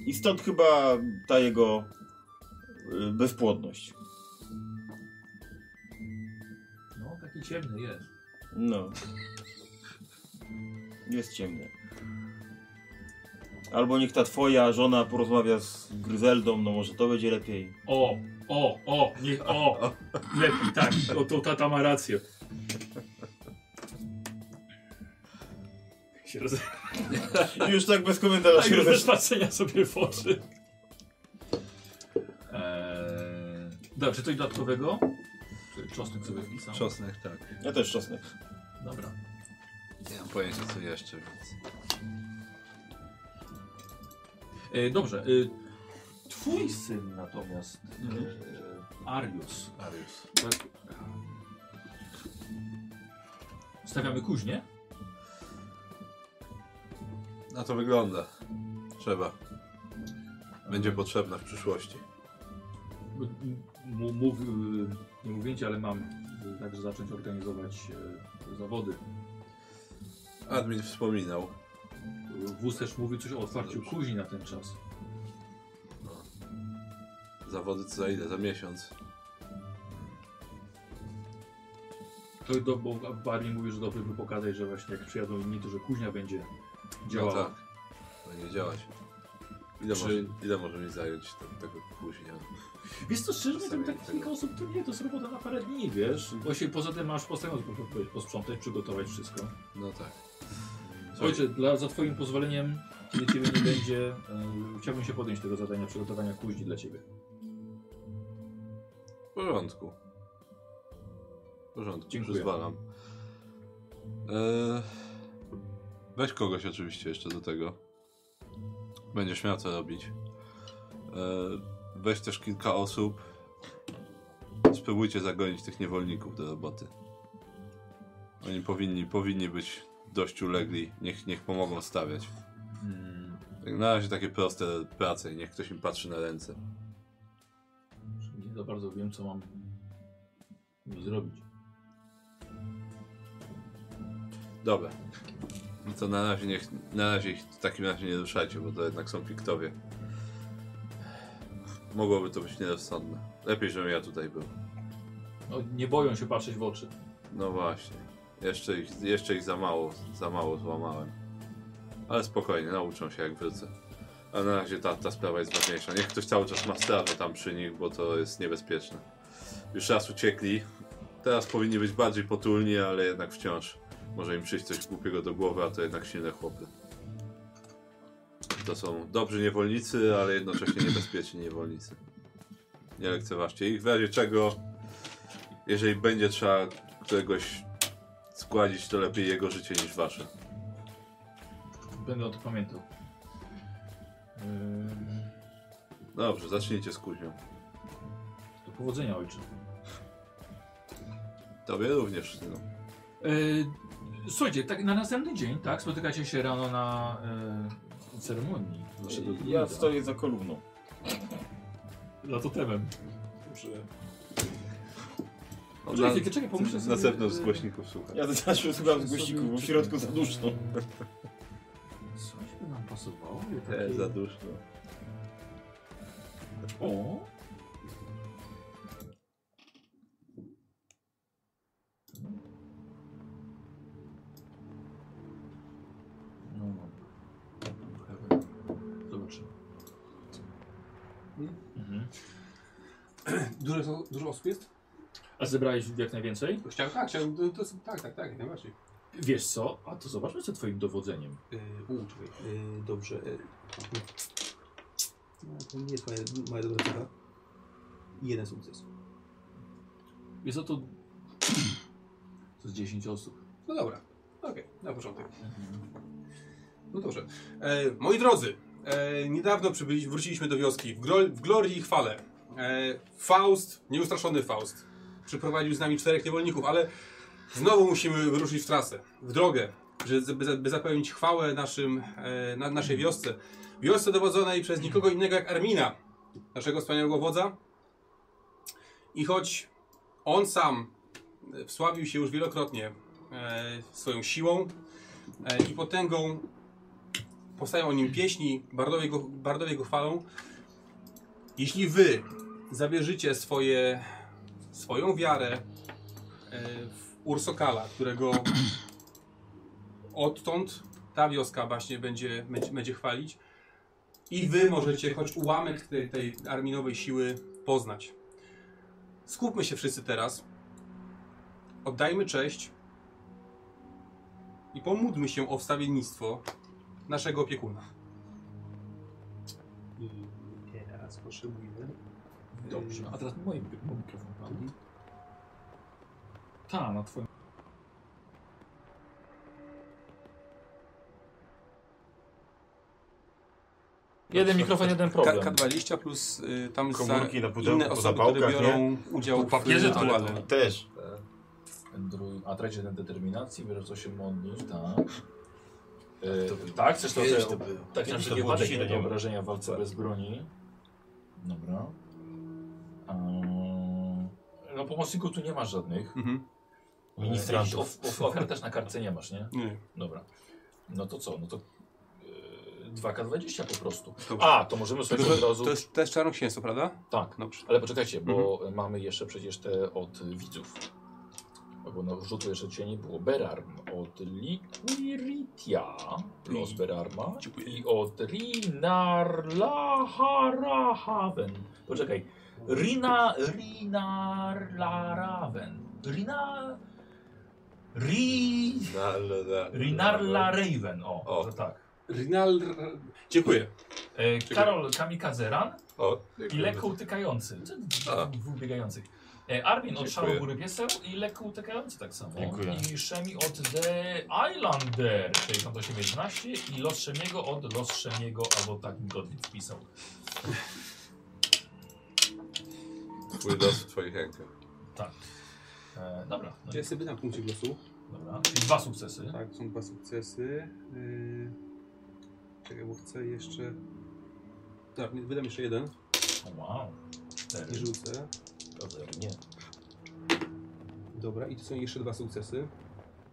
I stąd chyba ta jego e, bezpłodność.
No, taki ciemny jest.
No. Jest ciemne. Albo niech ta twoja żona porozmawia z Gryzeldą, no może to będzie lepiej.
O, o, o, niech, o! Lepiej, tak, o, to tata ma rację. Się roz...
I już tak bez komentarza
Tak,
się
już bez
rozesz...
patrzenia sobie w oczy. Eee, dobra, czy coś dodatkowego? Czy czosnek sobie wpisał?
Czosnek, tak.
Ja też czosnek.
Dobra.
Nie mam pojęcia co jeszcze, więc...
E, dobrze. E, twój syn natomiast, e, Arius,
Arius.
stawiamy kuźnię?
Na to wygląda. Trzeba. Będzie potrzebna w przyszłości.
M- m- Mów, e, nie mówięcie, ale mam e, także zacząć organizować e, zawody.
Admin wspominał.
y, Wóz też mówi coś o otwarciu
Dobrze.
kuźni na ten czas.
Zawody co za ile? Za miesiąc.
To do, bo Barney mówi, że dobrze by pokazać, że właśnie jak przyjadą inni, to że kuźnia będzie działała.
No tak. Będzie działać. Ile,
Czy-
może, ile może mi zająć te- tego później?
Wiesz co, szczerze mówiąc,
Czasami
tak
tego.
kilka osób to nie, to jest robota na parę dni, wiesz. Właśnie poza tym masz postanowić posprzątać, przygotować wszystko.
No tak.
Słuchajcie, dla, za twoim pozwoleniem, kiedy ciebie nie będzie, e, chciałbym się podjąć tego zadania przygotowania kuźni dla ciebie.
W porządku. W porządku,
Dziękuję.
pozwalam. Eee, weź kogoś oczywiście jeszcze do tego. Będziesz miał co robić. Eee, weź też kilka osób. Spróbujcie zagonić tych niewolników do roboty. Oni powinni, powinni być dość ulegli. Niech, niech pomogą stawiać.
Hmm,
Jak na razie takie proste prace i niech ktoś im patrzy na ręce.
nie za bardzo wiem, co mam mi zrobić.
Dobra. No to na razie, niech, na razie ich w takim razie nie ruszajcie, bo to jednak są piktowie. Mogłoby to być nierozsądne. Lepiej, żebym ja tutaj był.
No, nie boją się patrzeć w oczy.
No właśnie. Jeszcze ich, jeszcze ich za mało, za mało złamałem. Ale spokojnie, nauczą się jak wrócę. A na razie ta, ta sprawa jest ważniejsza. Niech ktoś cały czas ma strawę tam przy nich, bo to jest niebezpieczne. Już raz uciekli. Teraz powinni być bardziej potulni, ale jednak wciąż. Może im przyjść coś głupiego do głowy, a to jednak silne chłopy. To są dobrzy niewolnicy, ale jednocześnie niebezpieczni niewolnicy. Nie lekceważcie ich. W razie czego, jeżeli będzie trzeba któregoś składzić, to lepiej jego życie niż wasze.
Będę o tym pamiętał. Eee, Ym,
Dobrze, zacznijcie z kuźnią.
do powodzenia, ojcze.
Tobie również. No.
Yy, słuchajcie, tak na następny dzień, tak? Spotykacie się rano na yy, ceremonii. Waszego druida.
Ja stoję za kolumną.
Za totemem. Dobrze.
On
Czekaj, czekaj, czekaj, pomyślę
na
sobie,
zewnątrz
y,
z głośników słuchaj.
Ja zawsze słucham z głośników, bo w środku za duszno.
Coś by nam pasowało?
Też
E,
Takie-
za duszno.
O!
Dużo, są- dużo osób jest?
A zebrałeś jak najwięcej?
Chciałem, tak, chciałem, to, to, tak, tak, tak, najbardziej.
Wiesz co? A to zobaczmy co twoim dowodzeniem.
Yy, u, czekaj, yy, dobrze. Yy. No, to nie jest moja, moja dobra cecha. Jeden sukces.
Jest to to z 10 osób.
No dobra, okej, na początek. No dobrze. E, moi drodzy, e, niedawno przybyli, wróciliśmy do wioski w, gro, w glorii i chwale. E, Faust, nieustraszony Faust, przyprowadził z nami czterech niewolników, ale znowu musimy wyruszyć w trasę, w drogę, że- by, za- by zapewnić chwałę naszym, e, na, naszej wiosce. Wiosce dowodzonej przez nikogo innego jak Armina, naszego wspaniałego wodza. I choć on sam e, wsławił się już wielokrotnie e, swoją siłą e, i potęgą. Powstają o nim pieśni, bardowie go, bardowie go chwalą. Jeśli wy zawierzycie swoje, swoją wiarę e, w Ursokala, którego odtąd ta wioska właśnie będzie, będzie, będzie chwalić, i wy możecie choć ułamek tej, tej arminowej siły poznać. Skupmy się wszyscy teraz. Oddajmy cześć i pomódlmy się o wstawiennictwo naszego opiekuna.
I teraz potrzebujemy.
Dobrze. A teraz moim mój mikrofon padł. Ta, na twoim. Jeden mikrofon, jeden
K-
problem.
K20 plus y, tam za
Komórki na pudełku,
inne
po
osoby,
zapałkach,
które biorą udział
Po papierze
w rytuale.
toaletowym.
Też.
Android, a tracisz na determinacji, bierzesz 8 modów, tak. E, tak, chcesz to
Wiesz,
też.
to było.
Tak,
Kiedyś
na
to
wszelki
było
wypadek
dzisiaj,
nie
nie
do
wiem.
obrażenia w walce bez broni. Dobra. Eee, No pomocników tu nie masz żadnych.
Mhm.
Ministrantów.
Jakichś Of, of, ofiar też na kartce nie masz, nie?
Nie,
Dobra. No to co? No to yy, 2K20 po prostu.
Dobrze.
A, to możemy sobie
to,
od razu...
to jest też czarnoksięstwo, prawda?
Tak.
Dobrze.
Ale poczekajcie, bo mamy jeszcze przecież te od widzów. Bo no, rzutu jeszcze dzisiaj nie było. Berarm od Liquiritia plus
I-
Berarma
Dziękuję.
i od Rinarlaharahaven. Poczekaj. Rina... Rinarlaraven. Rina... Ri...
Na, na, na,
Rinarlaraven. O,
O.
o. tak.
Rinal... Dziękuję.
E, Karol Kamikazeran
O,
i
dziękuję.
lekko utykający. Czy
A.
dwóch biegających. E, Armin od
Dziękuję.
Szaru Góry Pieseł i lekko utykający tak samo.
Dziękuję.
I Szemi od The Islander 6811 i Los Szemiego od Los Szemiego, albo tak mi Godwin wpisał.
Twój los w twoich rękach.
E, dobra, no,
Ja sobie na punkcie głosu.
dobra. Czyli dwa sukcesy.
Tak, są dwa sukcesy. Yy... Czekaj, bo chcę jeszcze... Tak, wydam jeszcze jeden.
Wow. Cztery.
I rzucę.
Nie.
Dobra, i tu są jeszcze dwa sukcesy.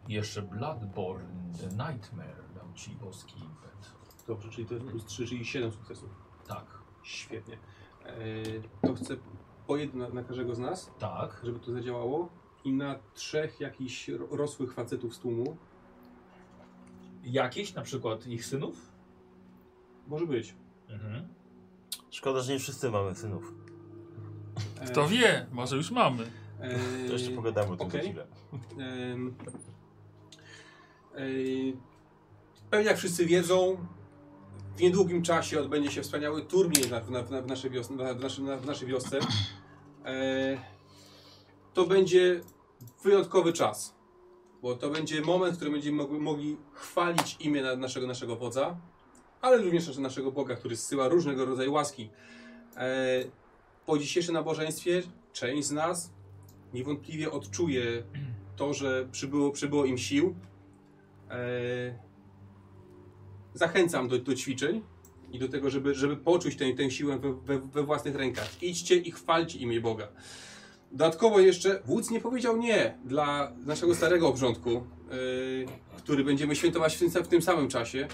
Jeszcze Bloodborne The Nightmare dał ci boski impet.
Dobrze, czyli to jest plus 3, czyli 7 sukcesów.
Tak,
Świetnie. Eee, to chcę po jedno na każdego z nas,
tak.
żeby to zadziałało. I na trzech jakichś ro- rosłych facetów z tłumu.
Jakieś na przykład ich synów?
Może być.
Mhm.
Szkoda, że nie wszyscy mamy synów.
Eee,
Kto wie, może już mamy.
eee,
To jeszcze pogadamy o tym
okej.
za chwilę.
Em, em, Pewnie jak wszyscy wiedzą, w niedługim czasie odbędzie się wspaniały turniej na, na, na, w, naszej wiosce, na, w, naszym, na, w naszej wiosce. E, to będzie wyjątkowy czas, bo to będzie moment, w którym będziemy mogli, mogli chwalić imię na, naszego, naszego wodza, ale również nasze- naszego Boga, który zsyła różnego rodzaju łaski. E, po dzisiejszym nabożeństwie część z nas niewątpliwie odczuje to, że przybyło, przybyło im sił. Eee, zachęcam do, do ćwiczeń i do tego, żeby, żeby poczuć tę, tę siłę we, we, we własnych rękach. Idźcie i chwalcie imię Boga. Dodatkowo jeszcze wódz nie powiedział nie dla naszego starego obrządku, eee, który będziemy świętować w tym, sa- w tym samym czasie.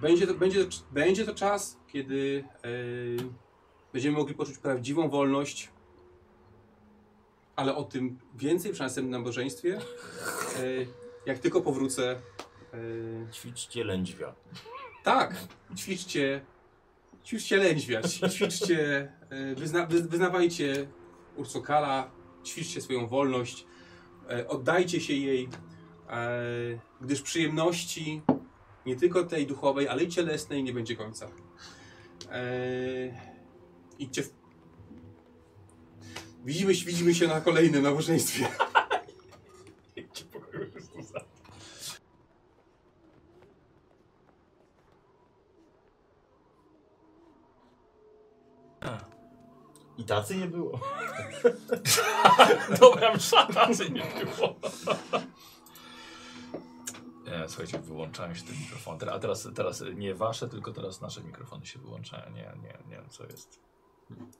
Będzie to, będzie, to- będzie to czas, kiedy eee, będziemy mogli poczuć prawdziwą wolność, ale o tym więcej przy następnym nabożeństwie. E, jak tylko powrócę. E,
Ćwiczcie lędźwia.
tak, ćwiczcie Ćwiczcie lędźwiać, ćwiczcie, y, wyzna, wy, wyznawajcie Ursokala, ćwiczcie swoją wolność, y, oddajcie się jej, y, gdyż przyjemności nie tylko tej duchowej, ale i cielesnej nie będzie końca. Y, Idźcie w... Widzimy, się- widzimy się na kolejnym nabożeństwie.
I tacy nie było.
Dobra, msza tacy nie było. Nie, słuchajcie, wyłączają się te mikrofony. Teraz- A teraz, teraz nie wasze, tylko teraz nasze mikrofony się wyłączają. Nie, nie, nie wiem co jest.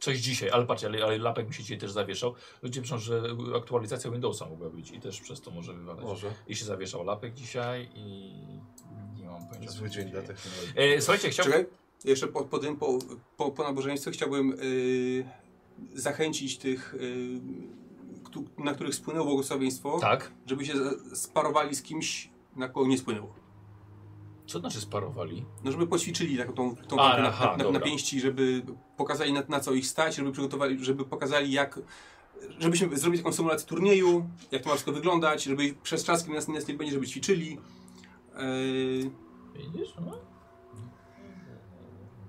Coś dzisiaj, ale patrz, ale, ale lapek mi się dzisiaj też zawieszał. Ludzie piszą, że aktualizacja Windowsa mogła być i też przez to może wywalać.
Może.
I się zawieszał lapek dzisiaj i nie mam pojęcia. co
Zły
się
dzień dla
dzieje.
technologii.
E, słuchajcie, chciałbym...
Czekaj, jeszcze po, po, tym, po, po, po nabożeństwie chciałbym y, zachęcić tych, y, któ- na których spłynęło błogosławieństwo,
Tak?
żeby się za- sparowali z kimś, na kogo nie spłynęło.
Co znaczy sparowali?
No, żeby poćwiczyli taką, tą, tą
A,
walkę na,
aha,
na, na, na
dobra.
pięści, żeby pokazali na, na co ich stać, żeby przygotowali, żeby pokazali jak, żebyśmy zrobili taką symulację turnieju, jak to ma wszystko wyglądać, żeby przez czas, kiedy nas, nas nie będzie, żeby ćwiczyli. Yy,
Widzisz? No,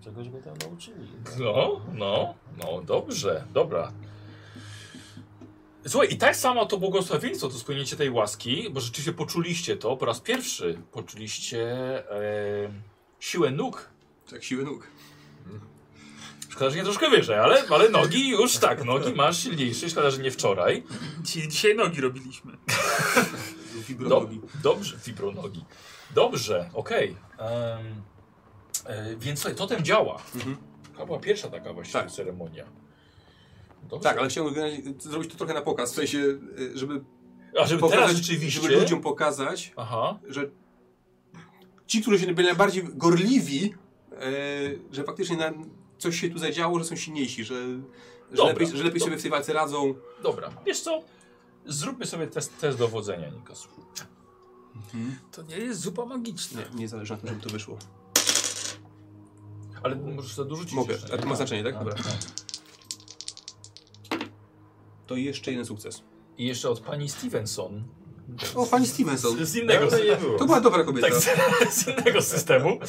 Czegoś by tam nauczyli.
no, no, no dobrze, dobra. Słuchaj, i tak samo to błogosławieństwo, to spełnienie tej łaski, bo rzeczywiście poczuliście to po raz pierwszy. Poczuliście e, siłę nóg.
tak siły nóg.
Szkoda, że nie troszkę wyżej, ale, ale nogi już tak, nogi masz silniejsze, szkoda, że nie wczoraj.
Dzisiaj, dzisiaj nogi robiliśmy.
Dob
Wibronogi.
dobrze, fibronogi. Dobrze, okej. Em, e, więc słuchaj, totem działa.
Mhm.
To była pierwsza taka właściwie
Tak.
ceremonia. Dobrze.
Tak, ale chciałbym generalnie zrobić to trochę na pokaz, w sensie, y, żeby,
A żeby teraz rzeczywiście...
żeby ludziom pokazać,
Aha.
że ci, którzy się byli najbardziej gorliwi, y, że faktycznie na, coś się tu zadziało, że są silniejsi, że, że
Dobra.
lepiej, że lepiej sobie w tej walce radzą.
Dobra, wiesz co? Zróbmy sobie test, test dowodzenia, Nikos.
Mhm.
To nie jest zupa magiczna.
Nie, nie zależy na tym, żeby to wyszło.
Ale możesz to dorzucić
Mogę,
jeszcze,
a to
nie?
ma znaczenie, tak?
Tak,
Dobra.
tak.
To jeszcze jeden sukces.
I jeszcze od pani Stevenson.
O, pani Stevenson.
Z innego,
to nie było.
No, To była dobra kobieta.
tak, z, z innego systemu.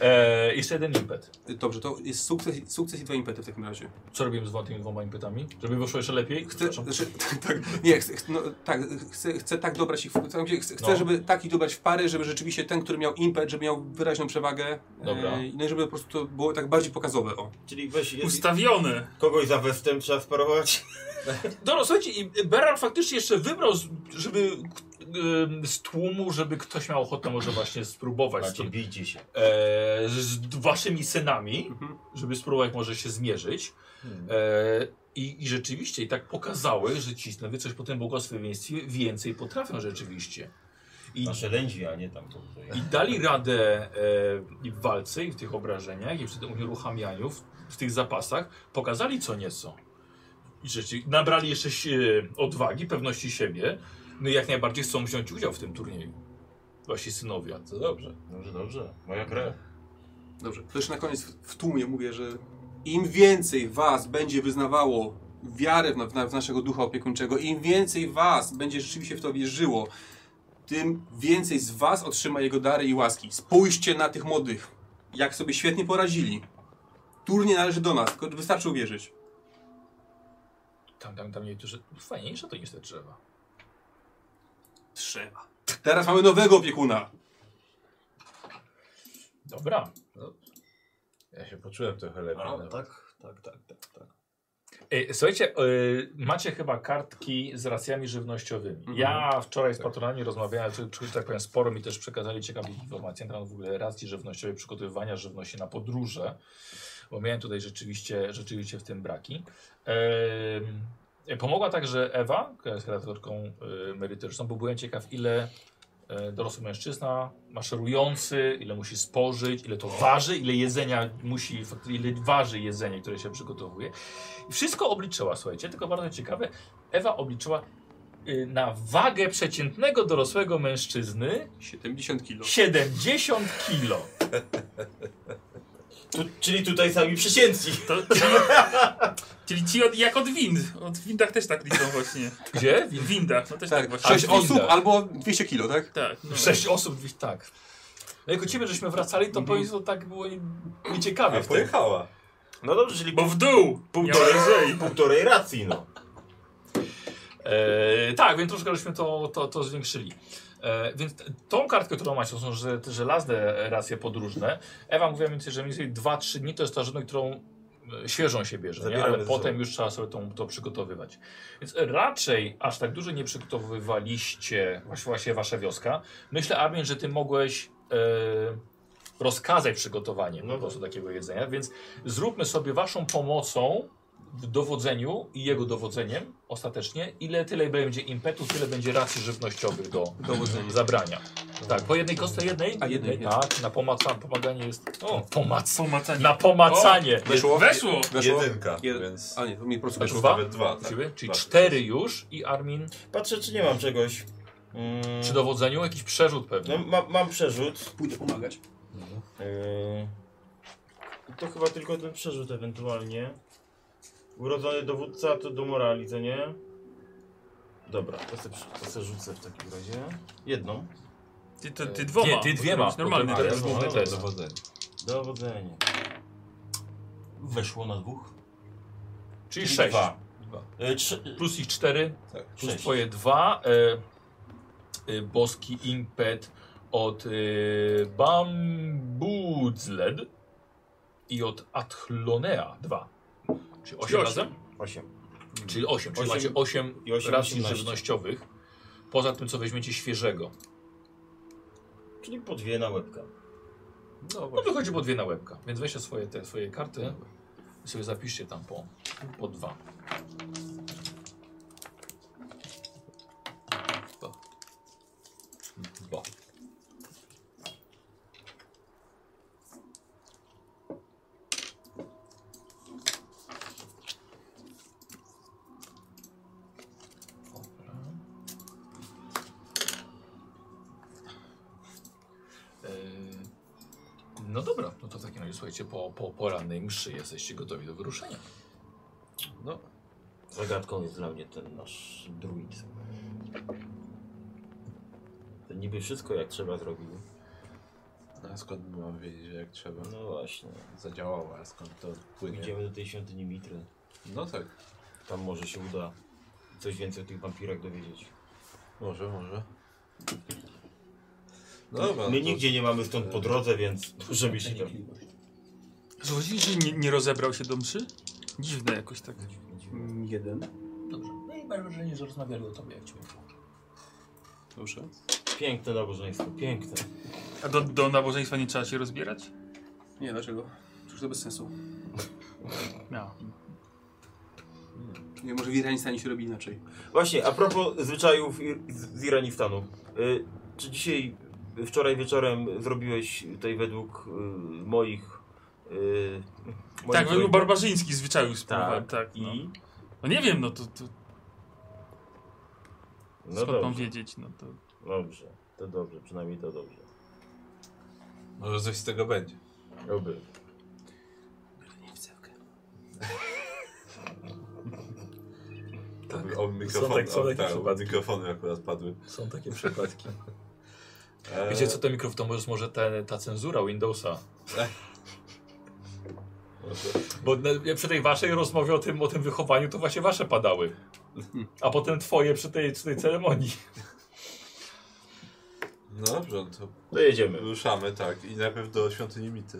E, jeszcze jeden impet.
Dobrze, to jest sukces, sukces i dwa impety w takim razie.
Co robimy z dwoma- tymi dwoma impetami? Żeby wyszło jeszcze lepiej?
Chcę,
Przepraszam.
znaczy, tak, nie, chcę, no, tak, chcę, chcę tak dobrać ich, w- chcę, chcę
No.
żeby taki dobrać w pary, żeby rzeczywiście ten, który miał impet, żeby miał wyraźną przewagę.
Dobra.
E, no i żeby po prostu to było tak bardziej pokazowe, o.
Czyli weź je-
Ustawione.
kogoś za westem trzeba sparować.
Dobra, słuchajcie, i Berar faktycznie jeszcze wybrał, z- żeby ym, z tłumu, żeby ktoś miał ochotę może właśnie spróbować z,
Macie,
tym,
bijcie się.
e, z waszymi synami,
Mhm.
żeby spróbować może się zmierzyć. E, i, I rzeczywiście, i tak pokazały, że ci synowie coś po tym błogosławieństwie więcej potrafią rzeczywiście. I,
Nasze lędźwi, a nie tam to.
i dali radę e, i w walce, i w tych obrażeniach, i przy tym unieruchamianiu, w, w tych zapasach, pokazali co nieco. I rzeczy, nabrali jeszcze si- odwagi, pewności siebie, no i jak najbardziej chcą wziąć udział w tym turnieju. Wasi synowie.
To dobrze.
Dobrze, dobrze. Moja krew.
Dobrze. To jeszcze na koniec w w tłumie mówię, że im więcej was będzie wyznawało wiarę w, na- w, na- w naszego ducha opiekuńczego, im więcej was będzie rzeczywiście w to wierzyło, tym więcej z was otrzyma jego dary i łaski. Spójrzcie na tych młodych, jak sobie świetnie poradzili. Turnie należy do nas, tylko wystarczy uwierzyć.
Tam, tam, tam niektórzy. Fajniejsze to niż te drzewa.
Trzeba. Teraz mamy nowego opiekuna.
Dobra. No.
Ja się poczułem trochę lepiej. nawet.
tak, tak, tak, tak, tak.
E, słuchajcie, e, macie chyba kartki z racjami żywnościowymi.
Mhm.
Ja wczoraj z
Tak.
patronami rozmawiałem, czy, czy, tak powiem, sporo mi też przekazali ciekawych informacji na temat w ogóle racji żywnościowej, przygotowywania żywności na podróże, bo miałem tutaj rzeczywiście, rzeczywiście w tym braki. Em, E, pomogła także Ewa, która jest kreatorką e, merytoryczną, bo byłem ciekaw, ile e, dorosły mężczyzna maszerujący, ile musi spożyć, ile to waży, ile jedzenia musi, fakty- ile waży jedzenie, które się przygotowuje. I wszystko obliczyła, słuchajcie, tylko bardzo ciekawe, Ewa obliczyła y, na wagę przeciętnego dorosłego mężczyzny
70 kilo.
70 kilo.
Tu, czyli tutaj sami przysięci.
To, czyli ci od, jak od wind. Od windach też tak liczą właśnie.
Gdzie?
W windach, no też tak,
Tak,
właśnie.
6
A,
osób
winda.
albo 200 kilo, tak?
Tak, no.
Sześć osób, dwie- tak. No jako ciebie, żeśmy wracali, to powiedz, to tak było i- nieciekawie. wtedy.
pojechała.
No dobrze, czyli
Bo w dół!
Półtorej.
Miałem lżej.
półtorej racji, no.
E, tak, więc troszkę żeśmy to, to, to zwiększyli. E, więc t- tą kartkę, którą macie, to są że, te żelazne racje podróżne. Ewa mówiła mi, więcej, że mniej więcej 2-3 dni to jest ta żona, którą e, świeżą się bierze, nie?
Zabieramy
ale
ze
potem
sobą.
już trzeba sobie tą, to przygotowywać. Więc raczej aż tak dużo nie przygotowywaliście właśnie, właśnie wasza wioska. Myślę, Armin, że ty mogłeś e, rozkazać przygotowanie
No
po prostu
tak.
takiego jedzenia, więc zróbmy sobie waszą pomocą w dowodzeniu i jego dowodzeniem ostatecznie, ile tyle będzie impetu, tyle będzie racji żywnościowych do
Dowodzenie.
zabrania. Tak, po jednej kostce jednej?
A, jednej,
Tak, na pomaca, pomaganie jest... O, pomac...
Pomacanie.
Na pomacanie!
Weszło?
Weszło!
Weszło?
Jedynka,
Jed-
więc
A nie, to mi po prostu
Weszło
weszło.
dwa?
nawet dwa. Tak.
Ciebie? Czyli
Tak.
cztery już i Armin
Patrzę, czy nie mam czegoś. Mm,
przy dowodzeniu jakiś przerzut
no,
pewnie.
ma, mam przerzut.
Pójdę pomagać.
Yy, to chyba tylko ten przerzut ewentualnie. Urodzony dowódca to do morali, co nie? Dobra, to se, to se rzucę w takim razie. Jedną.
Ty, to, ty dwoma.
Nie, ty dwiema,
To jest Normalny
bo to-
test.
jest główny
test.
Dowodzenie.
Dowodzenie. Weszło na dwóch.
Czyli sześć.
Dwa.
Dwa.
Yy, trzy,
Plus ich cztery,
Tak.
plus
Sześć.
twoje dwa. E, e, boski impet od e, Bambudzled i od Athlonea dwa. Czyli osiem
osiem.
razem?
osiem.
Czyli osiem. Czyli
Osiem
macie osiem
i osiem,
racji
18.
żywnościowych. Poza tym, co weźmiecie świeżego.
Czyli po dwie na łebka.
No wychodzi po dwie na łebka. Więc weźcie swoje, te, swoje karty i sobie zapiszcie tam po, po dwa.
Dwa.
Yy, No dobra, no to w takim razie słuchajcie, po, po porannej mszy jesteście gotowi do wyruszenia. No,
Zagadką jest dla mnie ten nasz druid. To niby wszystko jak trzeba zrobił.
No, A skąd mam wiedzieć, że jak trzeba?
No właśnie.
Zadziałało, a skąd to płynie?
Idziemy do tej świątyni Mitry.
No tak,
Tam może się uda coś więcej o tych wampirach dowiedzieć.
może, może. No dobra,
My
to-
nigdzie nie mamy stąd po drodze, więc żeby się tam...
Zauważyłeś, że nie, nie rozebrał się do mszy? Dziwne jakoś tak.
Jeden.
Dobrze. No i mam wrażenie, że rozmawiali o tobie, jak cię
Dobrze.
Piękne nabożeństwo, piękne.
A do, do nabożeństwa nie trzeba się rozbierać?
Nie, dlaczego? Cóż to bez sensu.
No.
Nie, może w Iranistanie się robi inaczej.
Właśnie, a propos zwyczajów Ir- z z Iranistanu. Y, Czy dzisiaj, wczoraj wieczorem zrobiłeś tutaj według y, moich... y, moich
Tak, był
druidów?
barbarzyński zwyczaj spływa,
Tak,
tak. No.
i...
no nie wiem, no to, to
No
skąd mam
dobrze,
wiedzieć, no to...
dobrze, to dobrze, przynajmniej to dobrze.
Może coś z tego będzie.
Oby.
Tak. O, mikrofon,
Są tak- są
o,
takie
tak,
przypadki.
oba mikrofony akurat padły.
Są takie przypadki.
E,
Wiecie co, ten mikrofon to może, może te, ta cenzura Windowsa. Bo na, ja przy tej waszej rozmowie o tym, o tym wychowaniu to właśnie wasze padały. A potem twoje przy tej, przy tej ceremonii.
No dobrze, no to
To jedziemy.
ruszamy, tak. I najpierw do świątyni Mity.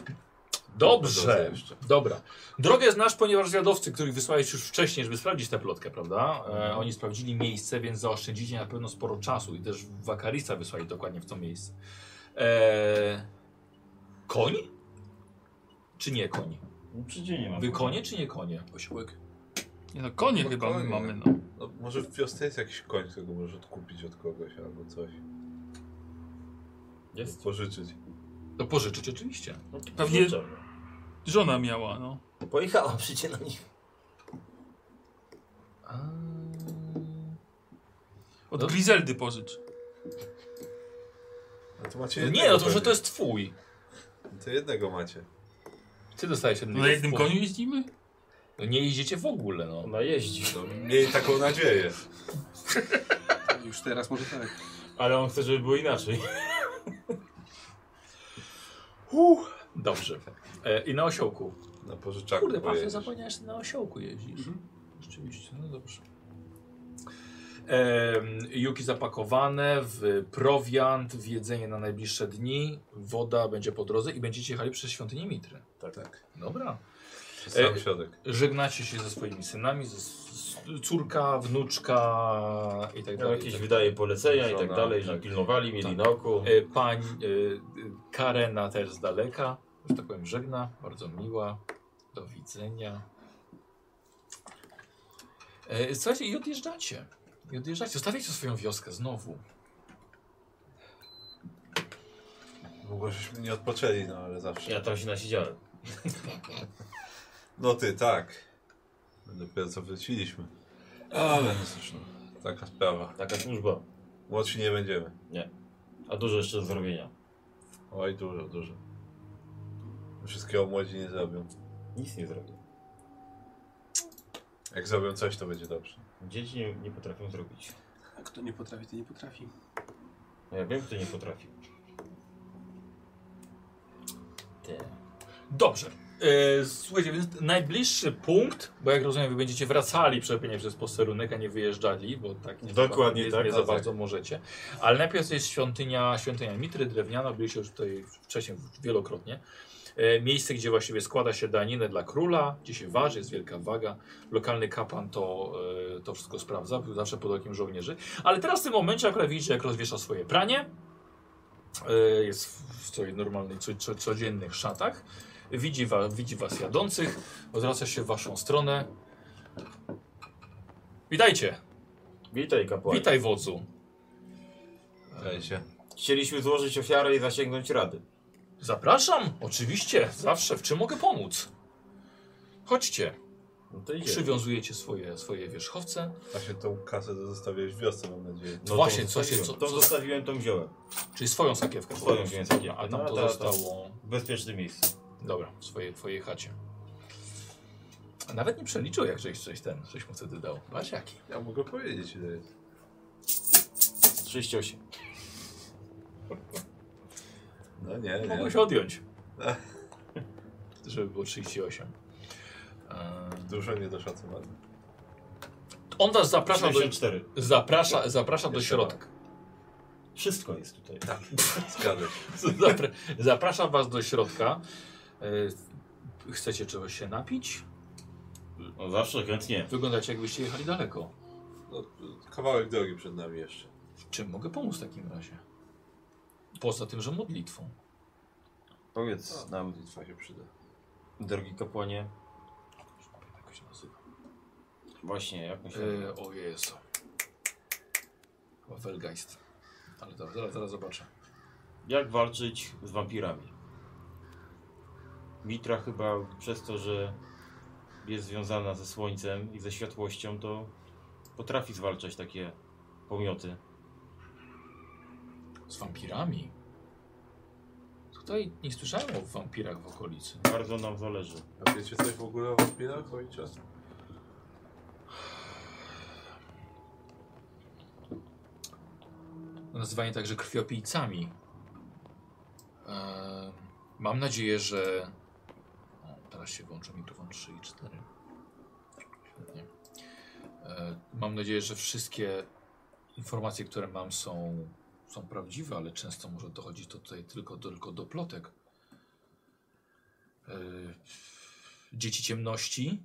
Dobrze
Dobrze.
jeszcze.
Dobra. Drogę znasz, ponieważ zwiadowcy, których wysłałeś już wcześniej, żeby sprawdzić tę plotkę, prawda? E, oni sprawdzili miejsce, więc zaoszczędzicie na pewno sporo czasu i też wakarista wysłali dokładnie w to miejsce. E, koń? Czy nie koń?
No, Przecież nie mam.
Wy konie czy nie konie?
Osiołek.
Nie no, konie
No
chyba
konie.
mamy, no.
No, może w wiosce jest jakiś koń, którego możesz odkupić od kogoś albo coś.
Jest.
Pożyczyć.
No pożyczyć oczywiście.
No to
Pewnie-
wrzucam.
Żona miała, no.
Pojechała przecież na nich.
Od
No.
Grizeldy pożycz.
No to macie
No
jednego
nie, no to może
pewnie.
to jest twój.
To jednego macie.
Ty dostałeś od
Na jednym koniu jeździmy?
No nie jeździcie w ogóle, no.
Ona jeździ.
No, miej taką nadzieję.
Już teraz może tak.
Ale on chce, żeby było inaczej.
Uff, dobrze. E, I na osiołku.
Na pożyczaku.
Kurde, Paweł,
pojedziesz.
zapomniałeś, że na osiołku jeździsz. Rzeczywiście, no dobrze. Em, juki zapakowane w prowiant, w jedzenie na najbliższe dni, woda będzie po drodze i będziecie jechali przez świątynię Mitry.
Tak, tak.
Dobra.
Przez sam środek.
Żegnacie się ze swoimi synami, ze z, z córka, wnuczka i tak
Miał
dalej.
No, jakieś
i tak
wydaje polecenia i tak
Żona,
dalej, że
tak.
pilnowali, mieli
Tak.
na oku.
E, Pani e, e, Karena też z daleka, że tak powiem, żegna, bardzo miła. Do widzenia. E, Słuchajcie, i odjeżdżacie. I odjeżdżacie. Zostawiacie swoją wioskę znowu.
Długo No żeśmy nie odpoczęli, no ale zawsze.
Ja tam się nasiedziałem.
No ty, tak. Dopiero co wróciliśmy. Ale no cóż, no, taka sprawa.
Taka służba.
Młodsi nie będziemy.
A dużo jeszcze do zrobienia.
Oj, dużo, dużo. Wszystkiego młodzi nie zrobią.
Nic nie zrobię.
Jak zrobią coś, to będzie dobrze.
Dzieci nie, nie potrafią zrobić.
A kto nie potrafi, to nie potrafi.
No Ja wiem, kto nie potrafi.
Dobrze. E, Słuchajcie, więc najbliższy punkt, bo jak rozumiem, wy będziecie wracali przepięknie przez posterunek, a nie wyjeżdżali, bo tak nie,
Dokładnie
nie,
tak,
nie
a
za
tak.
bardzo możecie. Ale najpierw jest świątynia, świątynia Mitry Drewniana, byliście już tutaj wcześniej wielokrotnie. E, Miejsce, gdzie właściwie składa się daninę dla króla, gdzie się waży, jest wielka waga. Lokalny kapłan to, e, to wszystko sprawdza, był zawsze pod okiem żołnierzy. Ale teraz w tym momencie akurat widzicie, jak rozwiesza swoje pranie. E, Jest w- w swojej normalnej, co- co- codziennych szatach. Widzi, wa, widzi was jadących, odwraca się w waszą stronę. Witajcie,
Witaj, kapłan.
witaj wodzu.
Wydaje się.
Chcieliśmy złożyć ofiarę i zasięgnąć rady.
Zapraszam, oczywiście, zawsze, w czym mogę pomóc? Chodźcie,
No to idzie.
przywiązujecie swoje, swoje wierzchowce.
Właśnie tą kasę to zostawiłeś w wiosce, mam nadzieję.
No
Właśnie,
tą
coś
zostawiłem.
jest-
Tą
co- co-
zostawiłem, tą wziąłem.
Czyli swoją sakiewkę.
Swoją
włożyć.
wziąłem sakiewkę,
A tam
no,
to
ta- ta-
zostało.
W bezpiecznym miejscu.
Dobra, w swojej, twojej chacie. A nawet nie przeliczył, jak żeś coś ten, żeś mu wtedy dał. Patrz jaki.
Ja mogę powiedzieć, ile jest.
38.
No nie, nie.
Mogłeś odjąć. Żeby było 38. Eee,
Dużo niedoszacowane.
On was zaprasza do,
64.
zaprasza, zaprasza do
Jeszcze
środka.
Wszystko jest tutaj.
Tak.
Zgadza się.
Zapra zaprasza was do środka. E, Chcecie czegoś się napić?
No zawsze chętnie.
Wyglądacie jakbyście jechali daleko.
No, kawałek drogi przed nami jeszcze.
Czym mogę pomóc w takim razie? Poza tym, że modlitwą.
No.
Powiedz nam,
Litwa się przyda.
drogi kapłanie,
Jak się nazywa?
właśnie jak myślisz?
E, o Jezu. Chyba Welgeist. Ale zaraz, zaraz, zaraz zobaczę.
Jak walczyć z wampirami? Mitra chyba przez to, że jest związana ze słońcem i ze światłością, to potrafi zwalczać takie pomioty.
Z wampirami. Tutaj nie słyszałem o wampirach w okolicy.
Bardzo nam zależy.
A wiecie coś w ogóle o wampirach? Oj, czas.
nazywani także krwiopijcami. Eee, mam nadzieję, że. O, teraz się włączą mikrofon 3 i 4. Świetnie. Eee, mam nadzieję, że wszystkie informacje, które mam, są, są prawdziwe, ale często może dochodzić to tutaj tylko, tylko do plotek. Eee, dzieci ciemności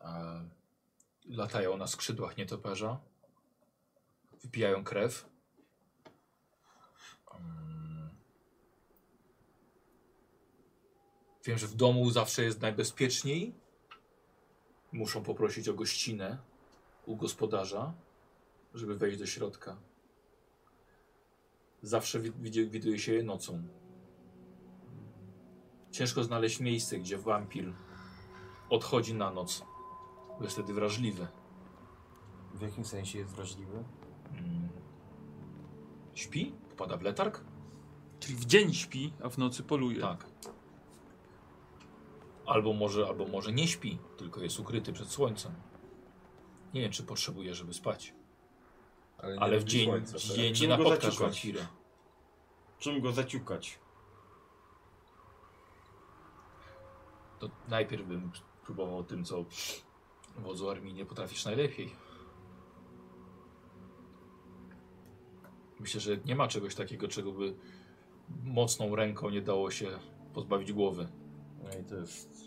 eee, latają na skrzydłach nietoperza wypijają krew. Mm. Wiem, że w domu zawsze jest najbezpieczniej. Muszą poprosić o gościnę u gospodarza, żeby wejść do środka. Zawsze wi- widzi- widuje się je nocą. Ciężko znaleźć miejsce, gdzie wampir odchodzi na noc, bo jest wtedy wrażliwy.
W jakim sensie jest wrażliwy?
Mm. Śpi? Popada w letarg?
Tak.
Czyli w dzień śpi, a w nocy poluje.
Tak. Albo może, albo może nie śpi, tylko jest ukryty przed słońcem. Nie wiem, czy potrzebuje, żeby spać.
nie
Ale w
lubi
dzień,
słońca, tak?
w dzień nie
Czym go
napotka
zaciukać?
wampira.
Czym go zaciukać?
To najpierw bym próbował tym, co wodzu armii nie potrafisz najlepiej. Myślę, że nie ma czegoś takiego, czego by mocną ręką nie dało się pozbawić głowy.
No i to jest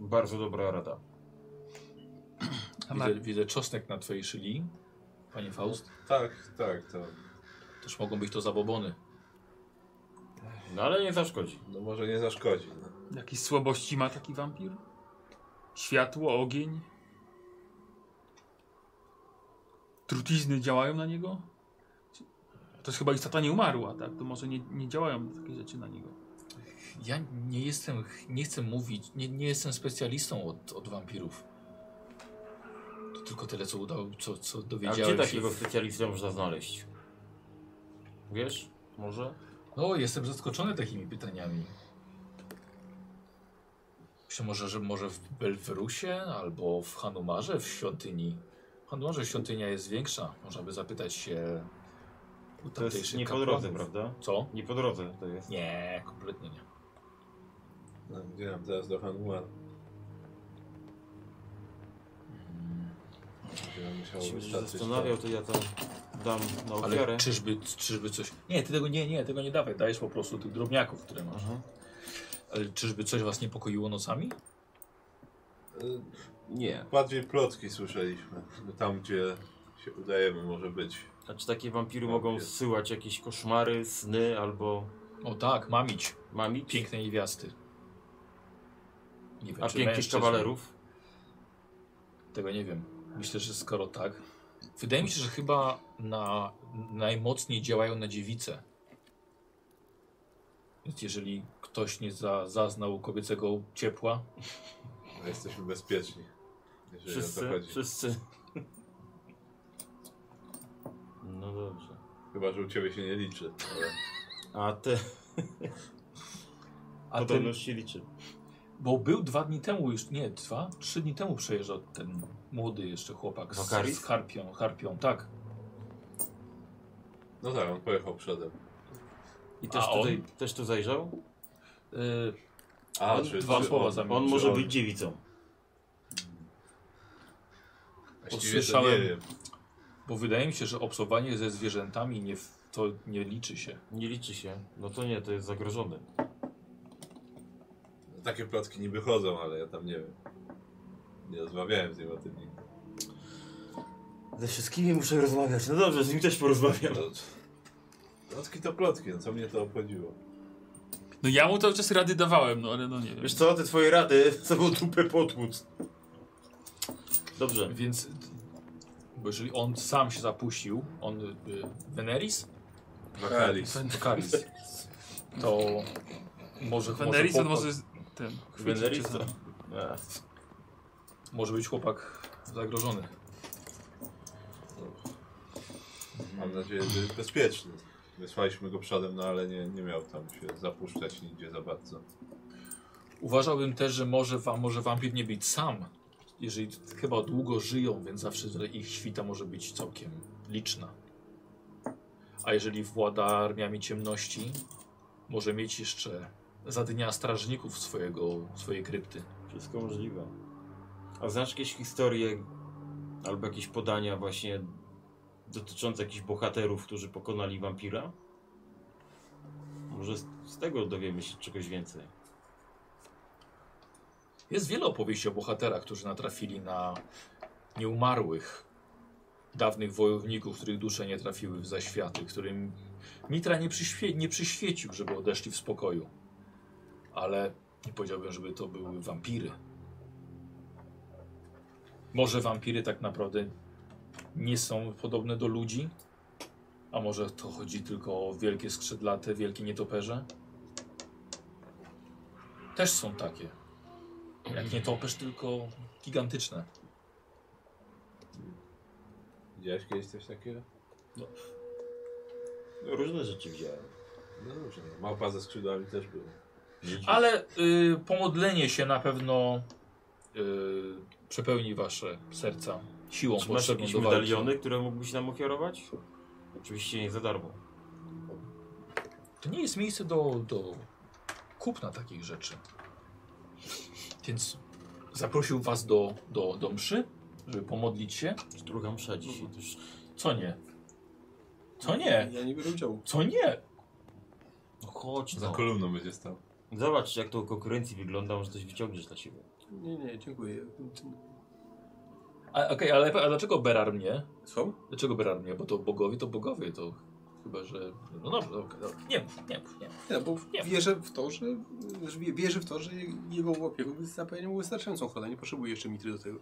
bardzo dobra rada.
A ma-
Widzę, widzę czosnek na twojej szyi, panie Faust.
Tak, tak, to.
Też mogą być to zabobony.
No ale nie zaszkodzi.
No może nie zaszkodzi. No.
Jakieś słabości ma taki wampir? Światło, ogień? Trucizny działają na niego? To jest chyba istota nie umarła, tak? To może nie, nie działają takie rzeczy na niego.
Ja nie jestem, nie chcę mówić, nie, nie jestem specjalistą od, od wampirów. To tylko tyle, co udało, co, co
A
dowiedziałem
gdzie
się.
takiego specjalistę można znaleźć? Wiesz? Może?
No, jestem zaskoczony takimi pytaniami. Myślę, może, że może w Belwerusie albo w Hanumarze w świątyni. W Hanumarze świątynia jest większa. Można by zapytać się u
To jest
tamtejszych
nie po drodze,
kapłanów.
prawda?
Co?
Nie po drodze to jest.
Nie, kompletnie nie.
No, gdzie nam teraz do Hanuar? Gdzie nam musiało
Jeśli
być
się
tacy-
zastanawiał, to ja tam dam na
Ale
ofiarę.
czyżby, czyżby coś... Nie, ty tego nie, nie, tego nie dawaj. Dajesz po prostu tych drobniaków, które masz.
Aha.
Ale czyżby coś was niepokoiło nocami?
Y,
Nie.
Bardziej plotki słyszeliśmy. że Tam, gdzie się udajemy, może być.
A czy takie wampiry
Wampir.
mogą zsyłać jakieś koszmary, sny albo
O tak, mamić.
mamić?
Piękne niewiasty. Nie wiem,
A
czy
pięknych
mężczyzn.
kawalerów?
Tego nie wiem. Myślę, że skoro tak. Wydaje mi się, że chyba na, najmocniej działają na dziewice. Więc jeżeli ktoś nie za, zaznał kobiecego ciepła,
No, jesteśmy bezpieczni. Jeżeli o to
Wszyscy?
chodzi.
Wszyscy.
No dobrze.
Chyba, że u ciebie się nie liczy. Ale...
A te
a ten,
podobność się liczy.
bo był dwa dni temu już, nie, dwa, trzy dni temu przejeżdżał ten młody jeszcze chłopak z,
Wakaris?
z harpią, harpią, tak.
No tak, on pojechał przodem.
I też
A on?
tutaj, też tu zajrzał?
Yy,
A,
On dwa słowa zamienił.
On może być dziewicą.
Usłyszałem-
Usłyszałem. Nie wiem.
bo wydaje mi się, że obsowanie ze zwierzętami nie, w- to nie liczy się.
Nie liczy się. No to nie, to jest zagrożony.
Takie plotki niby chodzą, ale ja tam nie wiem. Nie rozmawiałem z nim o tym nigdy.
Ze wszystkimi muszę rozmawiać. No dobrze, z nim też porozmawiam.
No, Plotki to plotki, no co mnie to obchodziło?
No ja mu cały czas rady dawałem, no ale no nie wiem.
Wiesz co, te twoje rady sobą trupę potłuc. Dobrze.
Więc, bo jeżeli on sam się zapuścił, on y, Veneris?
Wakaris.
Wakaris. To może, może,
Fenderis on
chłopak,
może
może...
z- ten chwycić
Veneris
czasem.
to... A,
być chłopak zagrożony.
Mam nadzieję, że bezpieczny. Wysłaliśmy go przodem, no ale nie, nie miał tam się zapuszczać nigdzie za bardzo.
Uważałbym też, że może, wam, może wampir nie być sam. Jeżeli chyba długo żyją, więc zawsze ich świta może być całkiem liczna. A jeżeli włada armiami ciemności, może mieć jeszcze za dnia strażników swojego, swojej krypty.
wszystko możliwe.
A znasz jakieś historie albo jakieś podania właśnie dotyczące jakichś bohaterów, którzy pokonali wampira? Może z, z tego dowiemy się czegoś więcej.
Jest wiele opowieści o bohaterach, którzy natrafili na nieumarłych, dawnych wojowników, których dusze nie trafiły w zaświaty, którym Mitra nie, przyświe nie przyświecił, żeby odeszli w spokoju. Ale nie powiedziałbym, żeby to były wampiry. Może wampiry tak naprawdę nie są podobne do ludzi? A może to chodzi tylko o wielkie skrzydlate, wielkie nietoperze? Też są takie. Jak nie topesz, tylko gigantyczne.
Widziałeś kiedyś coś takiego?
Różne rzeczy widziałem.
No dobrze, no. małpa ze skrzydłami też była.
Ale y, pomodlenie się na pewno y, przepełni wasze serca siłą
Czy masz
potrzebną
jakieś
do walki.
medaliony, które mógłbyś nam ofiarować? Oczywiście nie za darmo.
To nie jest miejsce do, do kupna takich rzeczy. Więc zaprosił was do, do, do mszy, żeby pomodlić się.
Druga msza dzisiaj też.
Co nie? Co nie?
Ja nie biorę udziału.
Co nie?
No chodź
Za
no.
kolumną będzie stał.
Zobacz jak to u konkurencji wygląda, może coś wyciągniesz dla siebie.
Nie, nie, dziękuję.
A, okej, ale a dlaczego Berar mnie?
Słucham?
Dlaczego Berar mnie? Bo to bogowie to bogowie, to chyba, że... No dobrze, dobra, dobra. Nie mów, nie mów, nie mów.
Nie, bo
Nie.
wierzę w to, że, że wie- wierzę w to, że jego łopieku jest zapewniał wystarczającą ochronę. Nie potrzebuję jeszcze mitry do tego.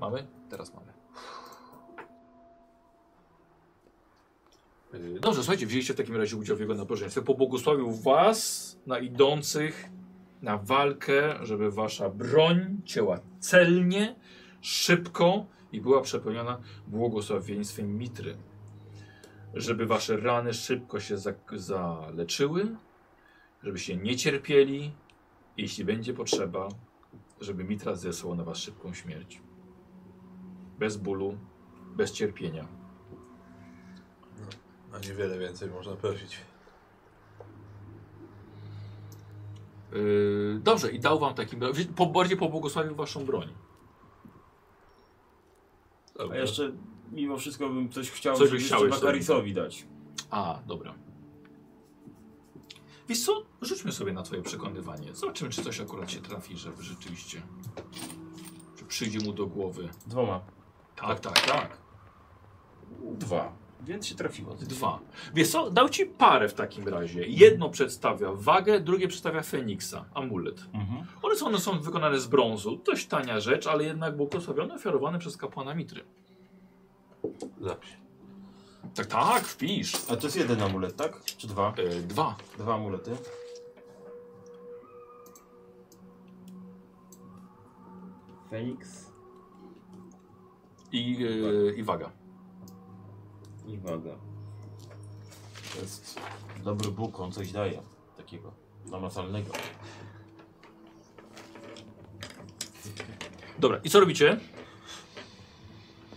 Mamy? Teraz mamy. Yy, Dobrze, słuchajcie, wzięliście w takim razie udział w jego nabożeństwie. Pobłogosławił was na idących na walkę, żeby wasza broń cięła celnie, szybko i była przepełniona błogosławieństwem mitry. Żeby wasze rany szybko się za- zaleczyły, żebyście nie cierpieli, i jeśli będzie potrzeba, żeby mitra zesłała na was szybką śmierć bez bólu, bez cierpienia.
A No niewiele więcej można prosić.
Yy, dobrze, i dał wam takim. wi- Po, bardziej pobłogosławił waszą broń.
A jeszcze mimo wszystko bym coś chciał,
Coś
żeby
byś
jeszcze
chciał jeszcze?
Bakarisowi dać.
A, dobra. Wiesz co, rzućmy sobie na twoje przekonywanie. Zobaczymy, czy coś akurat się trafi, że rzeczywiście. Czy przyjdzie mu do głowy.
Dwoma.
Tak, tak, tak.
Dwa. Więc się trafiło.
Dwa. Wiesz co, dał ci parę w takim razie. Jedno przedstawia wagę, drugie przedstawia Feniksa, amulet.
Mhm.
One są, one są wykonane z brązu. Dość tania rzecz, ale jednak błogosławione, ofiarowane przez kapłana Mitry.
Zapisz.
Tak, tak, wpisz.
A to jest jeden amulet, tak? Czy dwa?
E, dwa.
Dwa amulety. Feniks
I, e, I waga.
i waga. To jest dobry Bóg, on coś daje takiego namacalnego.
Dobra, i co robicie?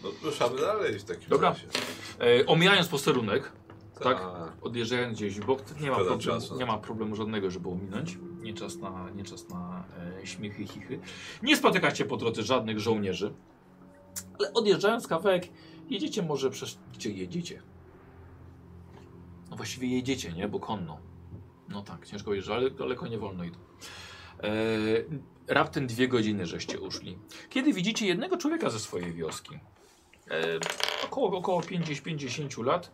No ruszamy dalej w takim
Dobra.
razie.
E, omijając posterunek, tak?
Tak.
Odjeżdżając gdzieś w bok, to nie ma,
Szkoda
problemu,
czasu.
nie ma problemu żadnego, żeby ominąć. Nie czas na, nie czas na e, śmiechy i chichy. Nie spotykacie po drodze żadnych żołnierzy, ale odjeżdżając kawałek, jedziecie może przez... Gdzie jedziecie? No właściwie jedziecie, nie? Bo konno. No tak, ciężko jeżdżę, ale daleko nie wolno idą. E, raptem dwie godziny żeście uszli. Kiedy widzicie jednego człowieka ze swojej wioski, e, około, około 50-50 lat,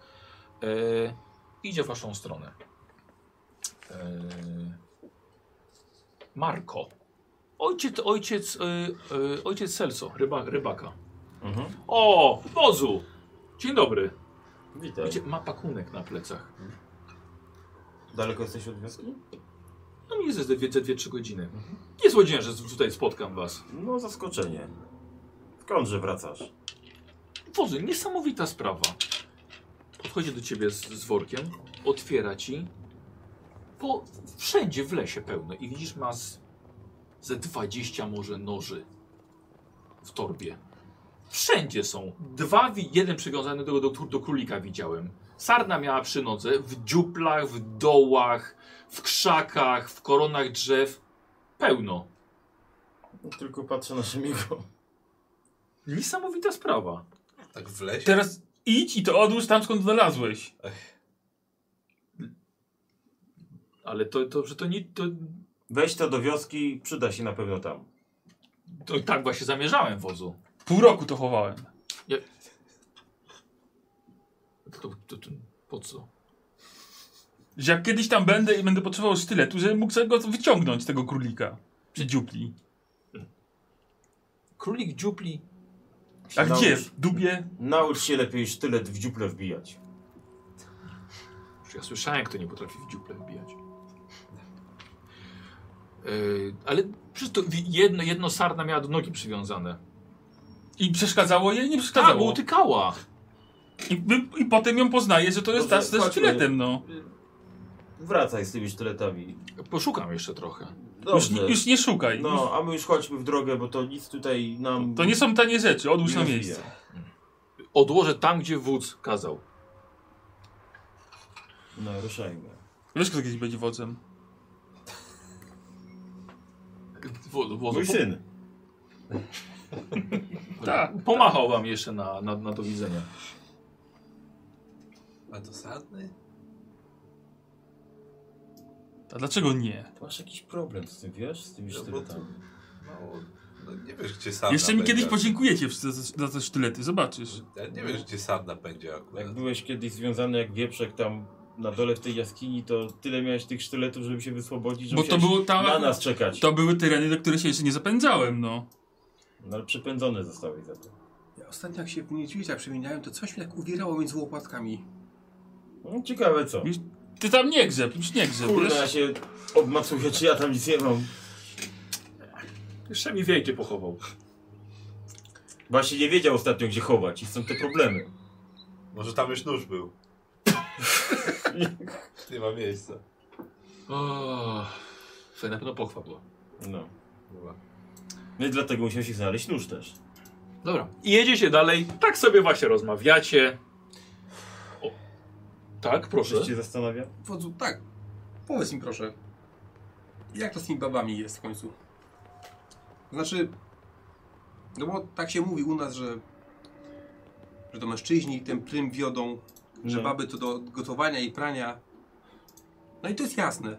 e, idzie w waszą stronę. E, Marko. Ojciec, ojciec, e, e, ojciec Celso, ryba, rybaka.
Mhm.
O, wozu! Dzień dobry.
Witaj.
Wiecie, ma pakunek na plecach.
Daleko jesteś od wioski?
No nie ze 2-3 godziny. Nie słodziłem, że z- tutaj spotkam was.
No, zaskoczenie. Skądże wracasz?
Wozu, niesamowita sprawa. Podchodzi do ciebie z, z workiem, otwiera ci. Po, wszędzie w lesie pełno i widzisz, ma z, ze 20 może noży w torbie. Wszędzie są. Dwa, wi- jeden przywiązany do, do, do królika widziałem. Sarna miała przy nodze w dziuplach, w dołach, w krzakach, w koronach drzew. Pełno.
No, tylko patrzę na Szymiego.
Niesamowita sprawa.
Tak w lesie?
Teraz idź i to odłóż tam, skąd znalazłeś.
Ale to, to, że to nie, to,
Weź to do wioski, przyda się na pewno tam.
to tak właśnie zamierzałem wozu.
Pół roku to chowałem.
To, to, to, po co?
Że jak kiedyś tam będę i będę potrzebował sztyletu, żebym mógł sobie go wyciągnąć, tego królika. Przy dziupli.
Królik dziupli.
A
Naucz-
gdzie? W dubie?
Naucz się lepiej sztylet w dziuple wbijać.
Już Ja słyszałem, kto nie potrafi w dziuple wbijać. Yy, ale przecież to wi- jedno, jedno sarna miała do nogi przywiązane.
I przeszkadzało jej? Nie
Tak, bo
przeszkadzało.
utykała.
I, by- I potem ją poznaje, że to jest ta
Dobrze,
ze
chodźmy.
sztyletem, no.
Wracaj z tymi sztyletami.
Poszukam jeszcze trochę.
Już,
Dobrze.
nie- już nie szukaj.
No, a my już chodźmy w drogę, bo to nic tutaj nam...
To nie są tanie rzeczy, odłóż na
Nie
miejsce.
Odłożę tam, gdzie wódz kazał.
No, ruszajmy.
Wiesz, kto kiedyś będzie wodzem.
Wo- wodzu
No
Mój
po-
syn.
Tak.
Pomachał wam jeszcze na, na, na to widzenie.
A to sadny?
A dlaczego nie?
Masz jakiś problem z tym, wiesz? Z tymi
No, bo
sztyletami.
Mało, no nie wiesz gdzie sadna
Jeszcze mi
będzie.
kiedyś podziękujecie w- za, za te sztylety, zobaczysz.
Ja nie wiesz gdzie sadna będzie akurat.
Jak byłeś kiedyś związany jak wieprzek tam na dole w tej jaskini, to tyle miałeś tych sztyletów, żeby się wyswobodzić, że
Bo to
musiałeś
było
na
tam...
nas czekać.
To były tereny, do których się jeszcze nie zapędzałem, no.
No ale przepędzony zostałeś za to.
Ja ostatnio jak się w niedźwiedzia przemieniałem, to coś mi tak uwierało między łopatkami.
No, ciekawe co.
Ty tam nie grzeb, już nie grzeb,
No Kurde, ja
wiesz?
się obmacuję, czy ja tam nic nie mam.
Jeszcze mi wiejcie pochował.
Właśnie nie wiedział ostatnio, gdzie chować i są te problemy.
Może tam już nóż był. nie ma miejsca.
O, Słuchaj, na pewno pochwa była.
No. No i dlatego musiał się znaleźć nóż też.
Dobra. I jedziecie dalej, tak sobie właśnie rozmawiacie. O. Tak, proszę.
Coś cię zastanawia?
Wodzu, tak. Powiedz mi proszę. Jak to z tymi babami jest w końcu? Znaczy... No bo tak się mówi u nas, że... Że to mężczyźni ten prym wiodą, że
No.
baby to do gotowania i prania. No i to jest jasne.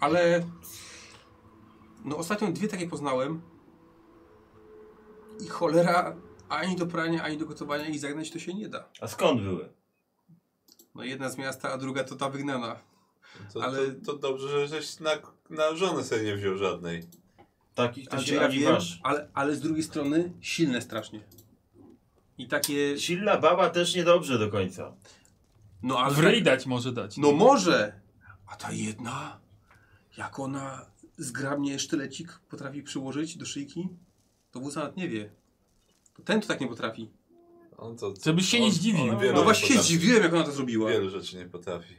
Ale... No ostatnio dwie takie poznałem. I cholera, ani do prania, ani do gotowania i zagnać to się nie da.
A skąd były?
No jedna z miasta, a druga to ta wygnana.
To,
Ale-
Ale to, to dobrze, że żeś na, na żonę sobie nie wziął żadnej.
Takich to
Ale
się
ja
jawi
wiem,
masz.
ale, ale z drugiej strony silne strasznie. I takie...
Silna baba też niedobrze do końca.
No ale...
W ryj
tak-
dać może dać.
No może! A ta jedna, jak ona zgrabnie sztylecik potrafi przyłożyć do szyjki, to wóz nawet nie wie. To ten to tak nie potrafi.
On to,
Żebyś się nie
on-
zdziwił.
on wiele
No
nie
właśnie się
potrafi.
zdziwiłem, jak ona to zrobiła.
Wielu rzeczy nie potrafi.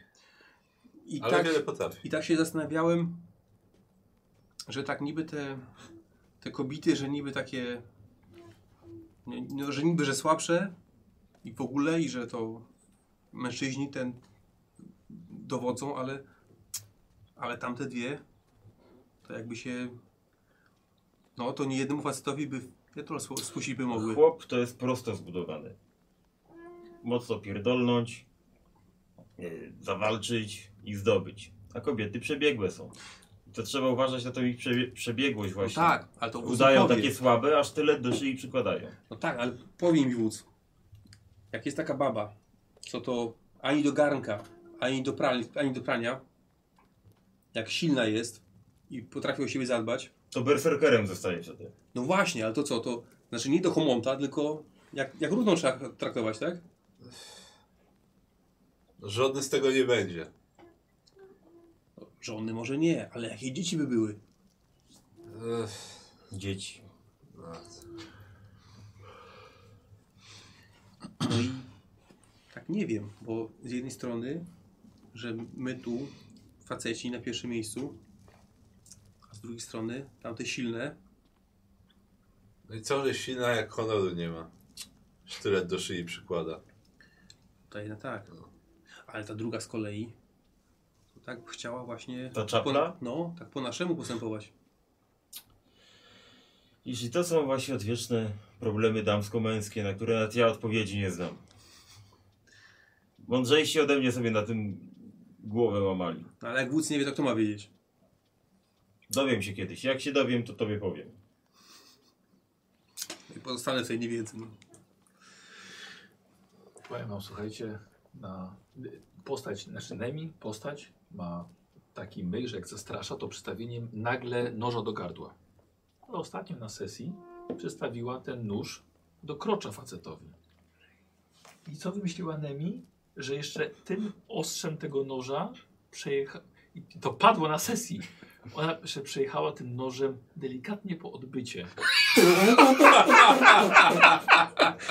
I
Ale
tak,
wiele potrafi.
I tak się zastanawiałem, że tak niby te, te kobity, że niby takie, nie- no, że niby, że słabsze i w ogóle, i że to mężczyźni ten dowodzą, ale, ale tamte dwie, to jakby się, no to nie jednemu facetowi by pietro skusić by mogły.
Chłop to jest prosto zbudowany. Mocno pierdolnąć, yy, zawalczyć i zdobyć. A kobiety przebiegłe są. I to trzeba uważać na tą ich przebie przebiegłość
No
właśnie.
tak, ale to wódz
Udają
powie.
takie słabe, aż tyle do szyi przykładają.
No tak, ale powie mi wódz, jak jest taka baba, co to ani do garnka, ani do, pralni, ani do prania, jak silna jest i potrafi o siebie zadbać,
To berserkerem zostaje wtedy.
no właśnie, ale to co, to znaczy nie do homonta, tylko jak, jak równą trzeba traktować, tak?
Żadny z tego nie będzie.
Żony może nie, ale jakie dzieci by były?
Ech,
Dzieci.
no.
No i tak nie wiem, bo z jednej strony, że my tu, faceci na pierwszym miejscu, a z drugiej strony tamte silne,
no i co, że silna jak honoru nie ma. Sztylet do szyi przykłada.
Ta jedna tak.
No.
Ale ta druga z kolei to tak chciała właśnie.
Ta czapla?
Po, no, tak po naszemu postępować.
Jeśli to są właśnie odwieczne problemy damsko-męskie, na które nawet ja odpowiedzi nie znam. Mądrzejsi ode mnie sobie na tym głowę łamali.
No, ale jak wódz nie wie, to kto ma wiedzieć?
Dowiem się kiedyś. Jak się dowiem, to tobie powiem.
I pozostanę w tej niewiedzy. No.
Powiem wam, słuchajcie, na postać, znaczy Nemi, postać ma taki myk, że jak zastrasza, to przystawieniem nagle noża do gardła. Ale ostatnio na sesji przystawiła ten nóż do krocza facetowi. I co wymyśliła Nemi? Że jeszcze tym ostrzem tego noża przejecha... I to padło na sesji. Ona jeszcze przejechała tym nożem delikatnie po odbycie.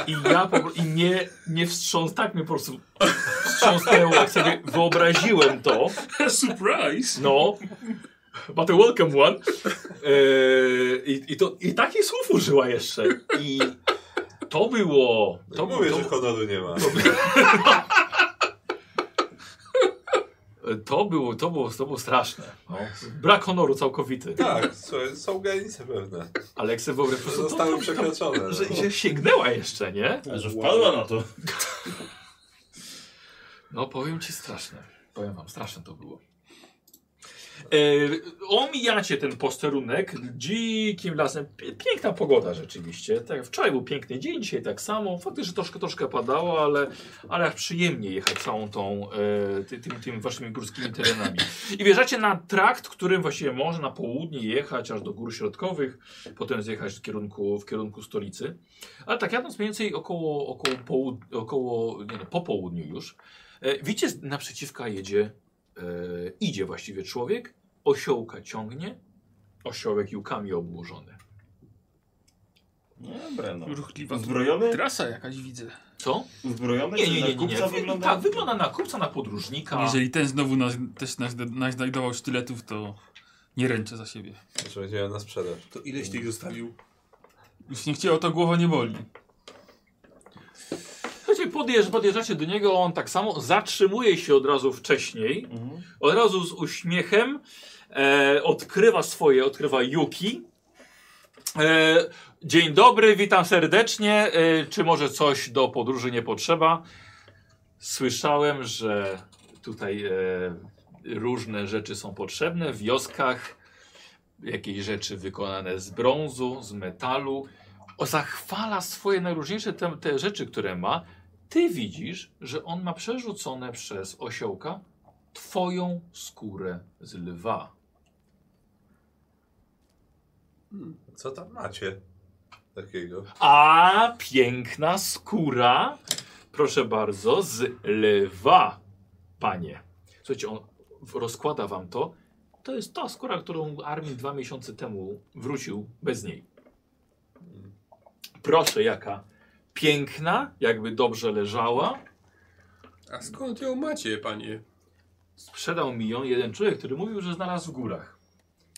I ja po prostu, i nie, nie wstrząs, tak mnie po prostu wstrząsnęło, jak sobie wyobraziłem to.
Surprise!
No. But a welcome one. Eee, i, i, to, I takich słów użyła jeszcze. I to było... To,
To No mówię,
to,
że honoru nie ma.
to było, to było, to było straszne. No. Brak honoru całkowity.
Tak, słuchaj, są granice pewne.
Ale jak sobie wyobrażasz, to- to-
Zostały przekroczone.
to- że,
no.
że sięgnęła jeszcze, nie?
A że wpadła na to.
No powiem ci straszne. Powiem wam, straszne to było. Yy, omijacie ten posterunek dzikim lasem. Pie- Piękna pogoda rzeczywiście. Tak, wczoraj był piękny dzień, dzisiaj tak samo. Faktycznie troszkę, troszkę padało, ale, ale aż przyjemnie jechać całą tą, e, ty, tym, tym waszymi górskimi terenami. I wjeżdżacie na trakt, którym właściwie można na południe jechać aż do gór środkowych, potem zjechać w kierunku, w kierunku stolicy. Ale tak jadąc mniej więcej około, około, połud- około nie, no, po południu już, E, Widzicie, z- naprzeciwka jedzie, e, idzie właściwie człowiek, osiołka ciągnie, osiołek jukami obłożony.
Nie, Breno.
Ruchliwa
Uzbrojony?
trasa jakaś widzę.
Co?
Uzbrojony?
Nie,
Czy
nie,
Znaczy, na
nie, nie, nie.
kupca
Wy,
wygląda?
tak, wygląda na kupca, na podróżnika.
Tak, Jeżeli ten znowu nas, też nas, nas znajdował sztyletów, to nie ręczę za siebie.
Znaczy będzie miał na sprzedaż.
To ileś
Mm.
tych zostawił?
Już nie chciało, to głowa nie boli.
Słuchajcie, podjeżdż, podjeżdżacie do niego, on tak samo zatrzymuje się od razu wcześniej,
Mhm.
od razu z uśmiechem e, odkrywa swoje, odkrywa Yuki. E, dzień dobry, witam serdecznie. E, czy może coś do podróży nie potrzeba? Słyszałem, że tutaj e, różne rzeczy są potrzebne w wioskach, jakieś rzeczy wykonane z brązu, z metalu o, zachwala swoje najróżniejsze te, te rzeczy, które ma. Ty widzisz, że on ma przerzucone przez osiołka twoją skórę z lwa.
Co tam macie? Takiego.
A piękna skóra, proszę bardzo, z lwa, panie. Słuchajcie, on w- rozkłada wam to. To jest ta skóra, którą armii dwa miesiące temu wrócił bez niej. Proszę, jaka piękna, jakby dobrze leżała.
A skąd ją macie, panie?
Sprzedał mi ją jeden człowiek, który mówił, że znalazł w górach.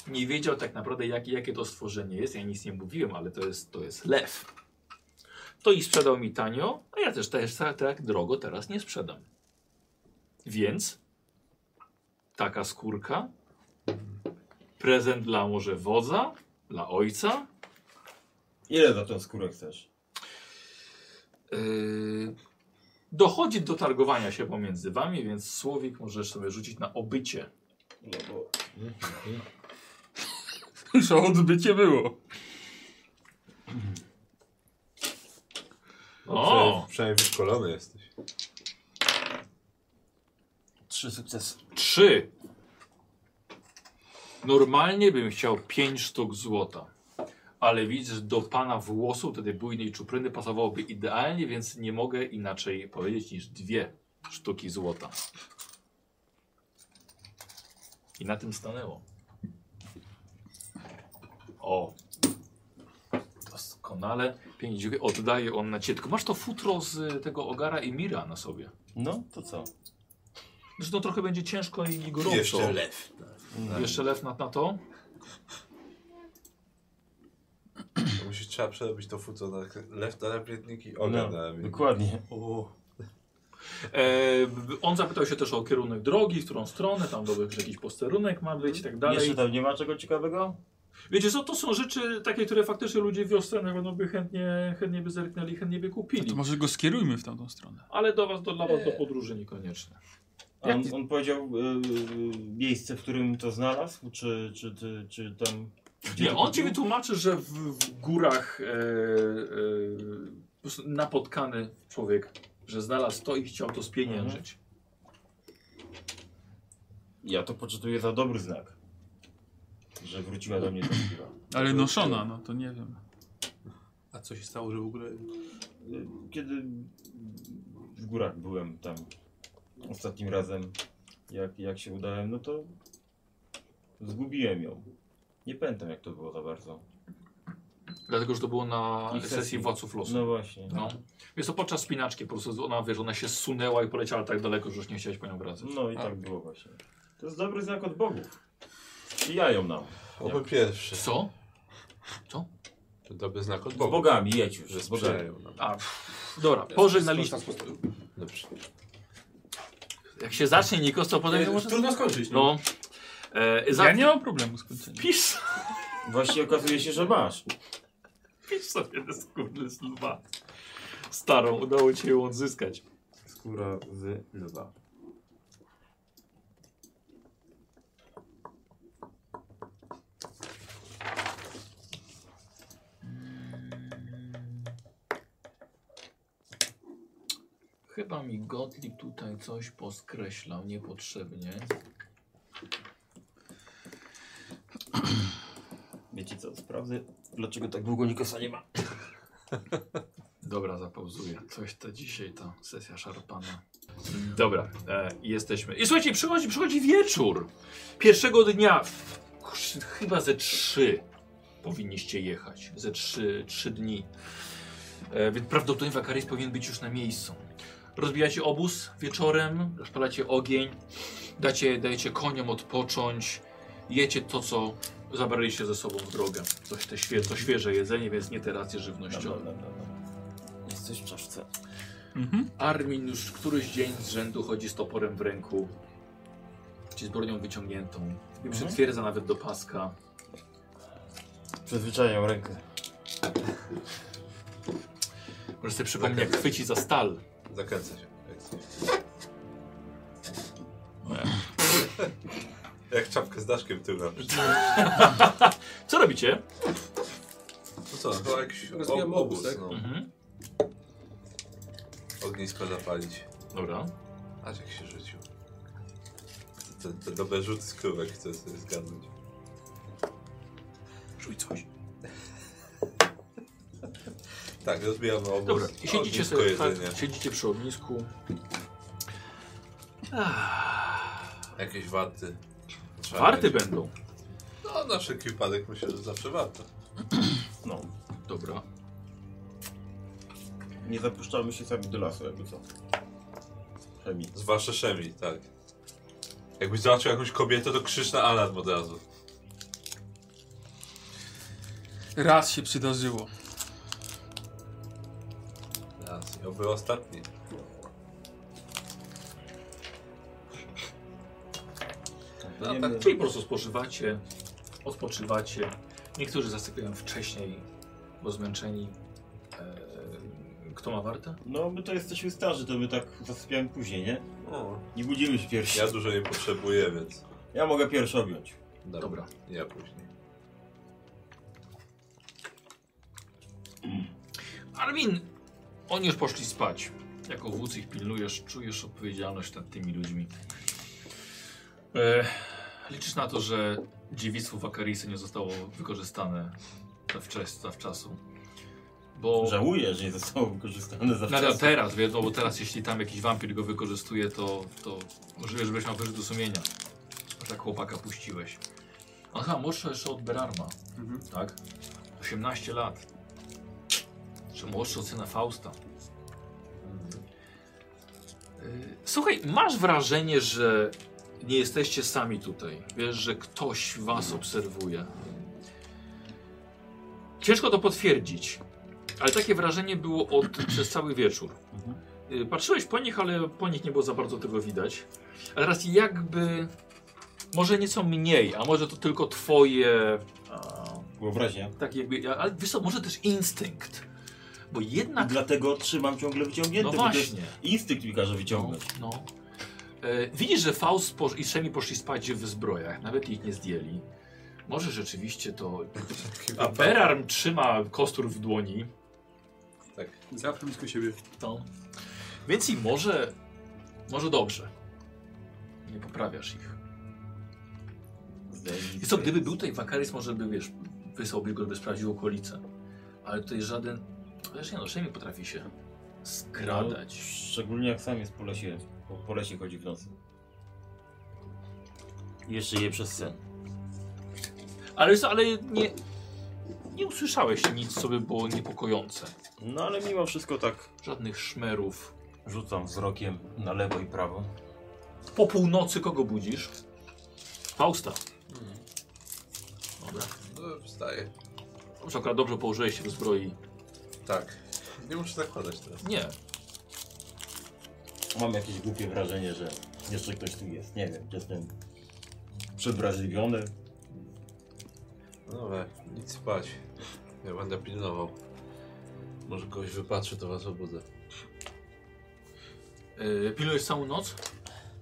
Nie wiedział tak naprawdę, jakie, jakie to stworzenie jest. Ja nic nie mówiłem, ale to jest, to jest lew. To i sprzedał mi tanio, a ja też, też tak, tak drogo teraz nie sprzedam. Więc taka skórka, prezent dla może wodza, dla ojca.
Ile za tą skórę chcesz?
Yy, dochodzi do targowania się pomiędzy wami, więc słowik możesz sobie rzucić na obycie.
No bo...
Już o odbycie było.
O!
Przynajmniej- Przynajmniej wyszkolony jesteś.
Trzy sukcesy.
Trzy. Normalnie bym chciał pięć sztuk złota. Ale widzę, że do pana włosów, wtedy bujnej czupryny pasowałoby idealnie, więc nie mogę inaczej powiedzieć niż dwie sztuki złota. I na tym stanęło. O. Doskonale. Pięć dziękuję. Oddaje on na ciebie. Tylko masz to futro z y, tego ogara i mira na sobie.
No, to co?
Zresztą trochę będzie ciężko i gorąco.
Jeszcze lew.
Tak. Jeszcze lew na, na to?
To Musisz, trzeba przerobić to futro na lew na lepietniki,
No,
ogon na lepietniki.
No, dokładnie.
E, b- on zapytał się też o kierunek drogi, w którą stronę, tam dobry że jakiś posterunek ma być i tak dalej.
Jeszcze tam nie ma czego ciekawego?
Wiecie co, to są rzeczy takie, które faktycznie ludzie w wiosce na pewno by chętnie, chętnie by zerknęli, chętnie by kupili.
To może go skierujmy w tamtą stronę.
Ale do was, do, dla was do podróży niekoniecznie.
A on, on powiedział y, y, miejsce, w którym to znalazł? Czy, czy, czy, czy tam... gdzie
Nie,
to
on ci
kupił?
wytłumaczy, że w, w górach e, e, s- napotkany człowiek, że znalazł to i chciał to spieniężyć.
Ja to poczytuję za dobry znak. Że wróciła do mnie ta skóra.
Ale noszona, no to nie wiem.
A co się stało, że w ogóle...
Y, Kiedy w górach byłem tam ostatnim razem, jak, jak się udałem, no to
Zgubiłem ją. Nie pamiętam jak to było za bardzo.
Dlatego, że to było na
I
sesji
sesji.
Władców Losu.
No właśnie.
No. Jest to podczas spinaczki, po prostu ona, wiesz, ona się zsunęła i poleciała tak daleko, że już nie chciałeś po nią wracać.
No i tak było właśnie. To jest dobry znak od bogów. Przyjają nam.
Oby pierwszy.
Co?
To dobry znak od
Z
Boga.
bogami jedź już,
Że
z bogami.
sprzyjają nam.
A, pff, dobra, pożegnaliśmy.
Dobrze.
Jak się zacznie Nikos, to potem...
Już trudno skończyć. No.
No. E, za...
Ja nie mam problemu z kończeniem.
Pisz,
Właśnie okazuje się, że masz.
pisz sobie te skórne lwa. Starą, udało ci się ją odzyskać.
Skóra z lwa.
Chyba mi Gottlieb tutaj coś poskreślał niepotrzebnie.
Wiecie co, sprawdzę dlaczego tak długo Nikosa nie ma.
Dobra, zapauzuję. Coś to dzisiaj ta sesja szarpana.
Dobra, e, jesteśmy. I słuchajcie, przychodzi, przychodzi wieczór. Pierwszego dnia, w- kurz- chyba ze trzy powinniście jechać. Ze trzy, trzy dni. E, więc prawdopodobnie Wakaris powinien być już na miejscu. Rozbijacie obóz wieczorem, rozpalacie ogień, dacie, dajecie koniom odpocząć, jecie to, co zabraliście ze sobą w drogę. Coś te świe, to świeże jedzenie, więc nie te racje żywnościowe.
No, Jest coś w czaszce.
Mhm.
Armin już któryś dzień z rzędu chodzi z toporem w ręku, czy z bronią wyciągniętą. I przytwierdza nawet do paska.
Przyzwyczajają rękę.
Może sobie przypomnę, jak chwyci za stal.
Zakręca się. Jak coś. Jak czapkę z daszkiem w tył na przykład.
Co robicie?
No co, to jakiś
Rozbijam
ob-
obóz,
obóz,
tak?
no.
Mhm.
Ognisko zapalić.
Dobra.
Aż jak się rzucił. Te, te dobre rzuty z krówek chcę sobie zgadnąć.
Rzuć coś.
Tak, rozbijamy obóz.
Dobra, i siedzicie
Ognisko
sobie,
jedzenie.
tak, siedzicie przy ognisku.
Jakieś warty. Trzeba
Warty
mieć.
będą.
No, na wszelki wypadek myślę, że zawsze warto.
No.
Dobra.
Nie zapuszczamy się sami do lasu, jakby co. Chemii.
Z waszeszemi, tak. Jakbyś zobaczył jakąś kobietę, to krzyż na alarm od razu.
Raz się przydarzyło.
Raz, i oby ostatni.
No, tak, czyli po prostu spożywacie, odpoczywacie. Niektórzy zasypiają wcześniej, bo zmęczeni. Eee, kto ma wartę?
No my to jesteśmy starzy, to my tak zasypiamy później, nie?
O,
Nie budzimy się pierwsi. Ja,
ja dużo nie potrzebuję, więc...
mogę pierwszy objąć.
Dobra.
Dobra.
Ja później.
Armin, oni już poszli spać. Jako wódz ich pilnujesz, czujesz odpowiedzialność nad tymi ludźmi. E, liczysz na to, że dziewictwo Wakarisy nie zostało wykorzystane za, wczes, za wczasu. Bo
Żałuję, że nie zostało wykorzystane za
nadal
wczasem.
teraz, wiadomo, bo teraz jeśli tam jakiś wampir go wykorzystuje, to, to możliwe, że będziesz miał wyrzut do sumienia. Że tak chłopaka puściłeś. Aha, młodszy jeszcze od Berarma,
Mhm.
tak? 18 lat. Czy młodszy od syna Fausta. Y, Słuchaj, masz wrażenie, że nie jesteście sami tutaj. Wiesz, że ktoś was obserwuje. Ciężko to potwierdzić, ale takie wrażenie było od, przez cały wieczór. Y, Patrzyłeś po nich, ale po nich nie było za bardzo tego widać. A teraz jakby, może nieco mniej, a może to tylko twoje, a,
Wyobraźnia.
tak jakby, ale wiesz co, może też instynkt. Bo
I
jednak,
dlatego trzymam ciągle wyciągnięte,
Tak. no
bo to jest
właśnie.
instynkt mi każe
No,
wyciągnąć.
no. E, widzisz, że Faust posz- i Szemi poszli spać w zbrojach, nawet ich nie zdjęli. Może rzeczywiście to... A Berarm trzyma kostur w dłoni.
Zawsze blisko siebie.
No. Więc i może... Może dobrze. Nie poprawiasz ich.
Zdejmij
No. I co,
sobie.
gdyby był tutaj Wakaris, może by, wiesz, wysłałby go, by sprawdził okolice. Ale tutaj żaden... Wiesz, nie no, Szemi potrafi się
No,
skradać.
szczególnie jak sam jest po lesie, po, po lesie chodzi w nocy. Jeszcze je przez sen.
No. Ale, wiesz co, ale nie, nie usłyszałeś nic, co by było niepokojące.
No ale mimo wszystko tak
Żadnych szmerów.
rzucam wzrokiem na lewo i prawo.
Po północy kogo budzisz? Fausta. Mhm. Dobra.
No, wstaję.
Dobrze, akurat dobrze położyłeś się w zbroi.
Tak. Nie muszę zakładać teraz.
Nie.
Mam jakieś głupie wrażenie, że jeszcze ktoś tu jest. Nie wiem, jestem przewrażliwiony.
No dobra, nic spać. Ja będę pilnował. Może kogoś wypatrzę, to was obudzę.
Yy, pilujesz całą noc?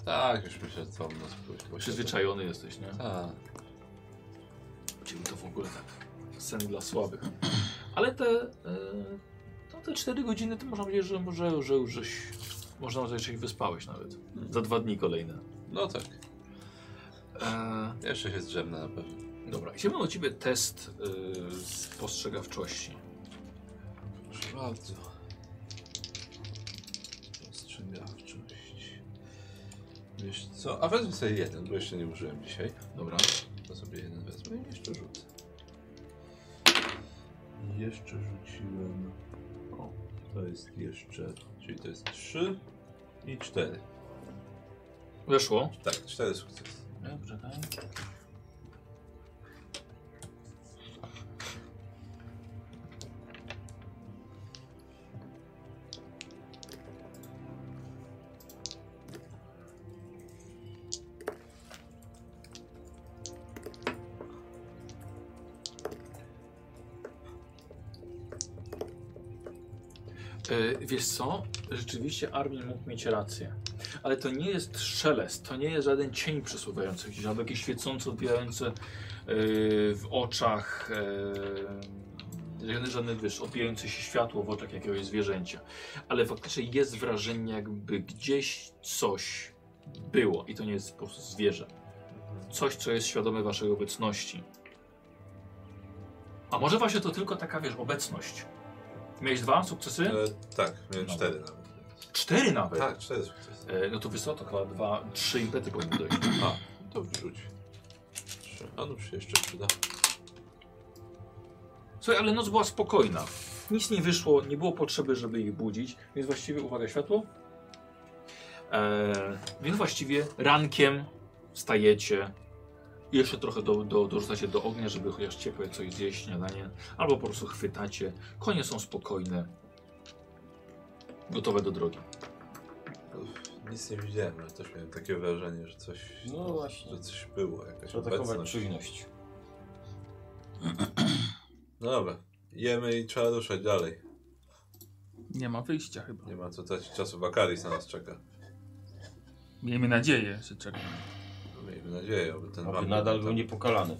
Tak, już myślę, co nas pójść.
Przyzwyczajony jesteś, nie?
Tak.
Czyli to w ogóle tak. Sen dla słabych. Ale te, e, to te 4 godziny to można powiedzieć, że może że już żeś, można powiedzieć, że się wyspałeś nawet. Za dwa dni kolejne.
No tak,
E,
jeszcze się zdrzemnę na pewno.
dobra, i chciałbym od ciebie test e, postrzegawczości.
Proszę bardzo. Ostrzegawczość. Wiesz co? A wezmę sobie jeden, bo jeszcze nie użyłem dzisiaj. Dobra. To sobie jeden wezmę i jeszcze rzucę. I Jeszcze rzuciłem. O, to jest jeszcze. Czyli to jest 3 i 4.
Weszło?
Tak, 4 sukcesy.
Dobrze, tak. E, Wiesz co? Rzeczywiście Armin mógł mieć rację. Ale to nie jest szelest, to nie jest żaden cień przesuwający się, albo jakieś świecące odbijające e, w oczach, yy, żadne, żadne wiesz, odbijające się światło w oczach jakiegoś zwierzęcia. Ale faktycznie jest wrażenie, jakby gdzieś coś było i to nie jest po prostu zwierzę. Coś, co jest świadome waszej obecności. A może właśnie to tylko taka, wiesz, obecność. Miałeś dwa sukcesy?
E, tak, miałem
No.
cztery nawet.
Cztery nawet.
Tak, cztery sukcesy.
E, no to wysoko, chyba dwa, trzy impety powinny dojść.
A, to wrzuć. Trzy. A no się jeszcze przyda.
Słuchaj, ale noc była spokojna. Nic nie wyszło, nie było potrzeby, żeby ich budzić, więc właściwie, uwaga, światło. Eee, więc właściwie rankiem wstajecie i jeszcze trochę do, do, dorzucacie do ognia, żeby chociaż ciepłe coś zjeść, śniadanie, albo po prostu chwytacie. Konie są spokojne, gotowe do drogi.
Nic nie widziałem, ale też miałem takie wrażenie, że coś.
No właśnie.
Że coś było, jakaś
Trzeba zachować
obecność.
czujność.
No dobra, jemy i trzeba ruszać dalej.
Nie ma wyjścia chyba.
Nie ma co tracić czasu, Bakaris na nas czeka.
Miejmy nadzieję, że czeka.
No, Miejmy nadzieję, aby ten
Aby nadal był niepokalany.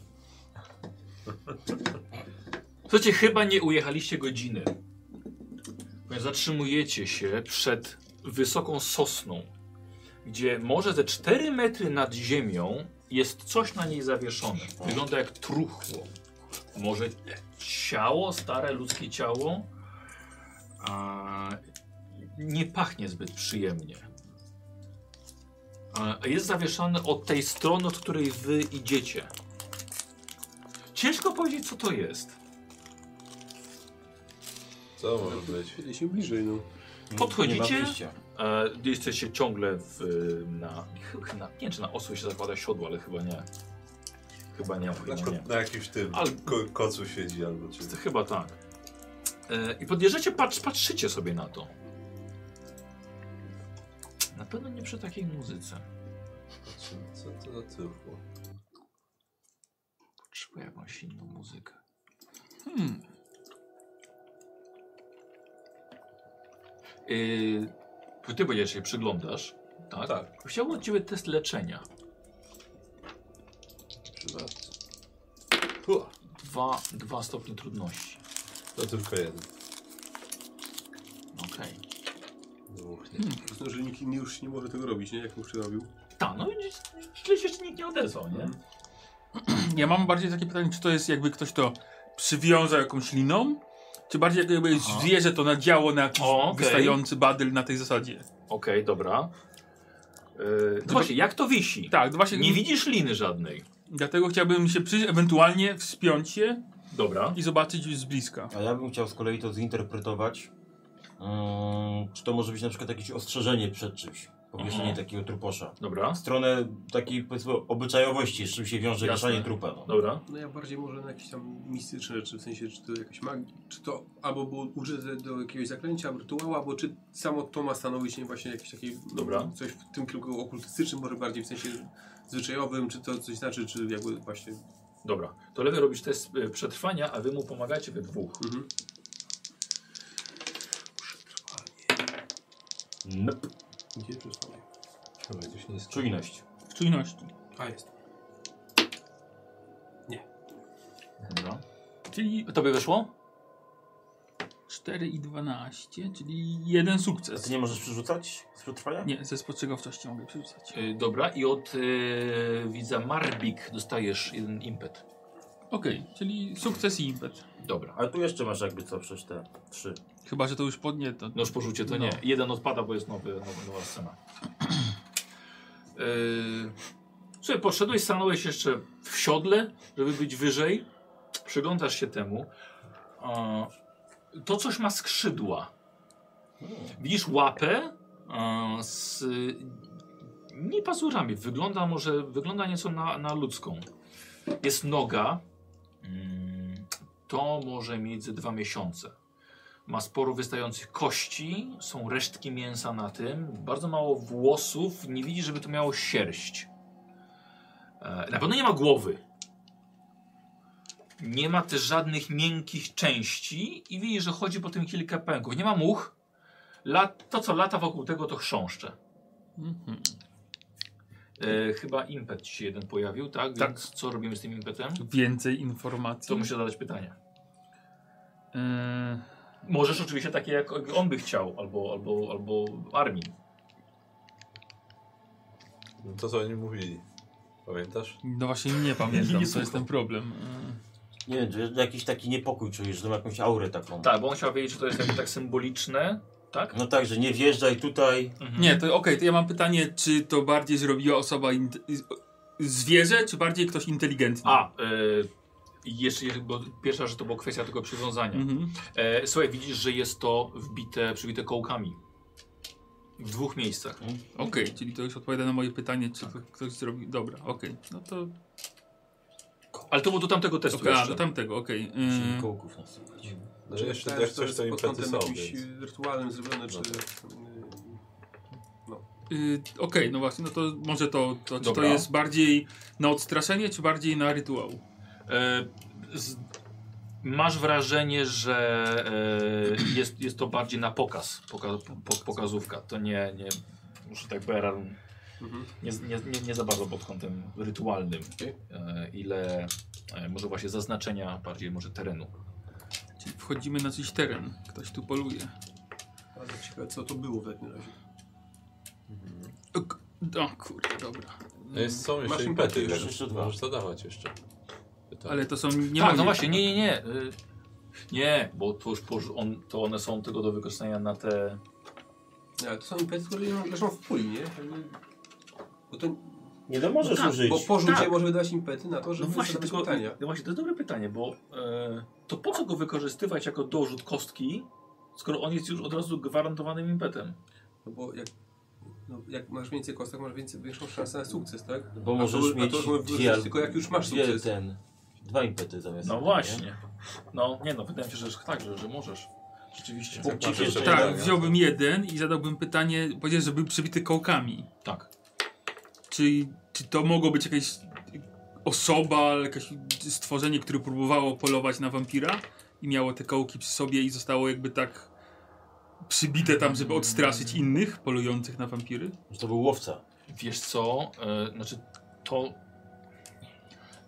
Słuchajcie, chyba nie ujechaliście godziny. Więc zatrzymujecie się przed wysoką sosną, gdzie może ze 4 metry nad ziemią jest coś na niej zawieszone. Wygląda jak truchło. Może ciało, stare ludzkie ciało. A, nie pachnie zbyt przyjemnie. A, a jest zawieszone od tej strony, od której wy idziecie. Ciężko powiedzieć, co to jest.
Co może być?
Czyli się bliżej, no.
Podchodzicie?
Nie ma wyjścia.
E, jesteście ciągle w, e, na, ch- na. Nie wiem, czy na osły się zakłada siodło, ale chyba nie. Chyba nie,
Na,
chyba
ko-
nie.
na jakimś tym
Ale-
ko- kocu siedzi albo czymś.
To chyba tak. E, I podjeżdżacie, patrz, patrzycie sobie na to. Na pewno nie przy takiej muzyce.
Co, co to za truchło?
Potrzebuję jakąś inną muzykę.
Hmm.
Yy, E, ty będziesz się przyglądasz, tak?
Tak.
Chciałbym od ciebie test leczenia.
Chyba. Ua,
Dwa, dwa stopnie trudności.
To tylko jeden.
Okej.
Dwóch nie.
Po prostu, że nikt inny już nie może tego robić, nie? Jak mu przyrobił.
Ta, no i źle się jeszcze nikt nie odezwał, nie?
Ja mam bardziej takie pytanie, czy to jest jakby ktoś to przywiązał jakąś liną? Czy bardziej jakby
Aha.
zwierzę to nadziało na jakiś
O, okej.
wystający badyl na tej zasadzie?
Okej, dobra. Yy, no właśnie, jak to wisi?
Tak, to właśnie...
Nie widzisz liny żadnej.
Dlatego chciałbym się przyjrzeć, ewentualnie wspiąć się
Dobra.
i zobaczyć z bliska.
A ja bym chciał z kolei to zinterpretować. Mm, czy to może być na przykład jakieś ostrzeżenie przed czymś? Powieszenie
Mhm.
takiego truposza.
Dobra.
W stronę takiej powiedzmy obyczajowości, z czym się wiąże
Jasne.
wieszanie trupa. No.
Dobra.
No ja bardziej może na jakieś tam mistyczne rzeczy, w sensie czy to jakaś magia, czy to albo było użyte do jakiegoś zaklęcia, rytuału, albo czy samo to ma stanowić nie właśnie jakieś takie, no,
Dobra.
coś w tym kierunku okultystycznym, może bardziej w sensie zwyczajowym, czy to coś znaczy, czy jakby właśnie,
Dobra. To lewy robisz test y, przetrwania, a wy mu pomagacie we dwóch.
mhm.
Nope.
Gdzie przesłanie?
Czujność.
W czujności.
A
No
jest.
Dobra. Czyli to by wyszło?
4 i 12, czyli jeden
A ty
sukces.
nie możesz przerzucać z przetrwania?
Nie, ze spostrzegawczości mogę przerzucać.
Y, dobra. I od y, widza Marbik dostajesz jeden impet.
Okej, czyli sukces i impet.
Dobra.
Ale tu jeszcze masz jakby co, przecież te trzy.
Chyba, że to już podnie, to
Noż porzucie to
No.
nie. Jeden odpada, bo jest nowy, nowa, nowa scena. Yy... Słuchaj, podszedłeś, stanąłeś jeszcze w siodle, żeby być wyżej. Przyglądasz się temu. E, To coś ma skrzydła. Widzisz łapę e, z nie pazurami. Wygląda może, wygląda nieco na, na ludzką. Jest noga. Mm, To może mieć ze dwa miesiące. Ma sporo wystających kości, są resztki mięsa na tym, bardzo mało włosów, nie widzi, żeby to miało sierść. E, Na pewno nie ma głowy. Nie ma też żadnych miękkich części i widzi, że chodzi po tym kilka pęków. Nie ma much. Lat, to, co lata wokół tego, to chrząszcze.
Mhm.
E, chyba impet ci się jeden pojawił, tak?
Tak.
Więc co robimy z tym impetem?
więcej informacji.
To muszę zadać pytanie.
Eee,
Możesz oczywiście takie, jak on by chciał, albo, albo, albo armii.
No to co oni mówili. Pamiętasz?
No właśnie nie pamiętam,
Nie
to jest
słucham.
ten
Mhm.
problem. Eee,
Nie wiem, czy jakiś taki niepokój czujesz, że ma jakąś aurę taką.
Tak, bo on chciał wiedzieć, czy to jest jakby tak symboliczne, tak?
No tak, że nie wjeżdżaj tutaj.
Mhm.
Nie, to okej, to ja mam pytanie, czy to bardziej zrobiła osoba int- zwierzę, czy bardziej ktoś inteligentny?
A, y, jeszcze, bo pierwsza, że to była kwestia tylko przywiązania.
Mhm.
E, słuchaj, widzisz, że jest to wbite, przybite kołkami. W dwóch miejscach.
Okej, czyli to już odpowiada na moje pytanie, czy
Tak.
to ktoś zrobił. Dobra, okej. No to.
Ale to było do tamtego testu
Okay, a,
jeszcze.
do tamtego, okej.
Czyli
Eee,
kołków nas słuchać.
No jeszcze
Pytałem,
jak
czy
coś
jest
to
pod
impety
kątem
są,
jakimś
więc...
y, rytualnym zrobione, czy...
No
y, Okej, no właśnie, no to może to. to czy to
Dobra.
jest bardziej na odstraszenie, czy bardziej na rytuał?
E, z, masz wrażenie, że e, jest, jest to bardziej na pokaz, poka, po, pokazówka. To nie, nie muszę tak BRR
Mhm.
nie, nie, nie, nie za bardzo pod kątem rytualnym,
Okej.
e, ile e, może właśnie zaznaczenia bardziej może terenu.
Czyli wchodzimy na jakiś teren, ktoś tu poluje.
Ale ciekawe, co to było w takim razie.
O, k- O kurde, dobra.
No jest, są jeszcze
Masz
impety.
impety,
już.
masz jeszcze dwa.
Możesz zadawać jeszcze. Pytanie.
Ale to są. Nie
tak, no właśnie, nie, nie, nie. y, Nie, bo to już poż- on, to one są tylko do wykorzystania na te.
Ale to są impety, które leżą w puli, nie? Jakby- Bo to
Nie no, możesz
No tak,
użyć.
Bo porzucie
Tak.
może wydawać impety na to, żeby zadać pytania.
no właśnie, to jest dobre pytanie, bo e, to po co go wykorzystywać jako dorzut kostki, skoro on jest już od razu gwarantowanym impetem?
No bo jak, no jak masz więcej kostek, masz więcej, większą szansę na sukces, tak?
Bo
A
możesz
to- a to
mieć
możemy
dwie,
wrzucić tylko jak już masz
dwie
sukces.
ten, dwa impety zamiast.
No
jednego, nie? Tak
właśnie. No nie no, wydaje mi się, że tak, że, że możesz. Rzeczywiście.
Bo ci
Masz jeszcze
wjeżdżaj-
Tak,
pytania.
wziąłbym jeden i zadałbym pytanie, powiedział, że był przybity kołkami.
Tak.
Czy, czy to mogło być jakaś osoba, jakieś stworzenie, które próbowało polować na wampira i miało te kołki przy sobie i zostało jakby tak przybite tam, żeby odstraszyć innych polujących na wampiry?
Że to był łowca.
Wiesz co, e, znaczy to,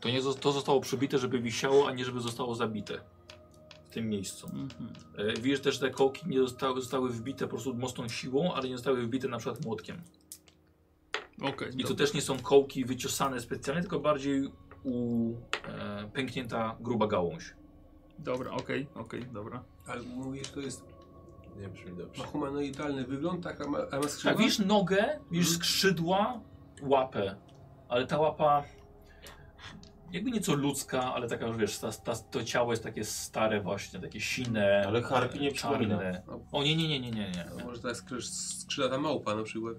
to, nie, zo- to zostało przybite, żeby wisiało, a nie żeby zostało zabite w tym miejscu.
Mhm.
E, Widzisz też, że te kołki nie zostały, zostały wbite po prostu mocną siłą, ale nie zostały wbite na przykład młotkiem.
Okej,
I to
dobra.
też nie są kołki wyciosane specjalnie, tylko bardziej u, e, pęknięta gruba gałąź.
Dobra, okej, okej, dobra.
Ale mówisz, to jest,
Nie brzmi dobrze.
ma humanoidalny wygląd, tak, a ma, a ma skrzydła?
Tak, widzisz nogę, widzisz
Mhm.
skrzydła, łapę, ale ta łapa jakby nieco ludzka, ale taka, wiesz, ta, ta, to ciało jest takie stare właśnie, takie sine,
Ale harpy nie
e, czarne.
przypomina.
O nie, nie, nie, nie, nie, nie.
No, może to jest skrz- skrzydlata małpa na przykład.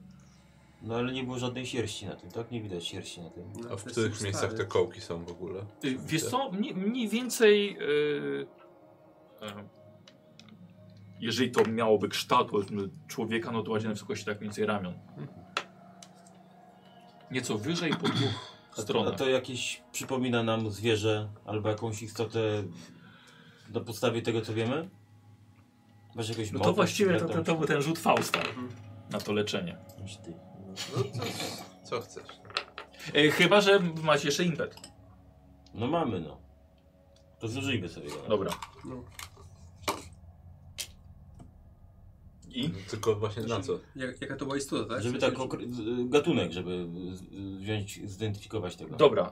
No ale nie było żadnej sierści na tym, tak? Nie widać sierści na tym.
No,
A w
to jest
których
stary.
miejscach te kołki są w ogóle?
Y, Wiesz co, mniej, mniej więcej, y, e, jeżeli to miałoby kształt powiedzmy, człowieka, no to łazie na wysokości tak mniej więcej ramion. Nieco wyżej po dwóch
A to, a
stronach.
to jakieś przypomina nam zwierzę albo jakąś istotę na podstawie tego, co wiemy? Masz jakieś
No to właściwie to, to, to był ten rzut Fausta na to leczenie.
No co, co chcesz?
E, chyba, że macie jeszcze impet.
No mamy, no. To zużyjmy sobie go.
Dobra.
No.
I?
No, tylko właśnie na co?
Jak, jaka to była istota, tak?
Żeby tak okre- z- gatunek, żeby z- wziąć, zidentyfikować tego.
Dobra.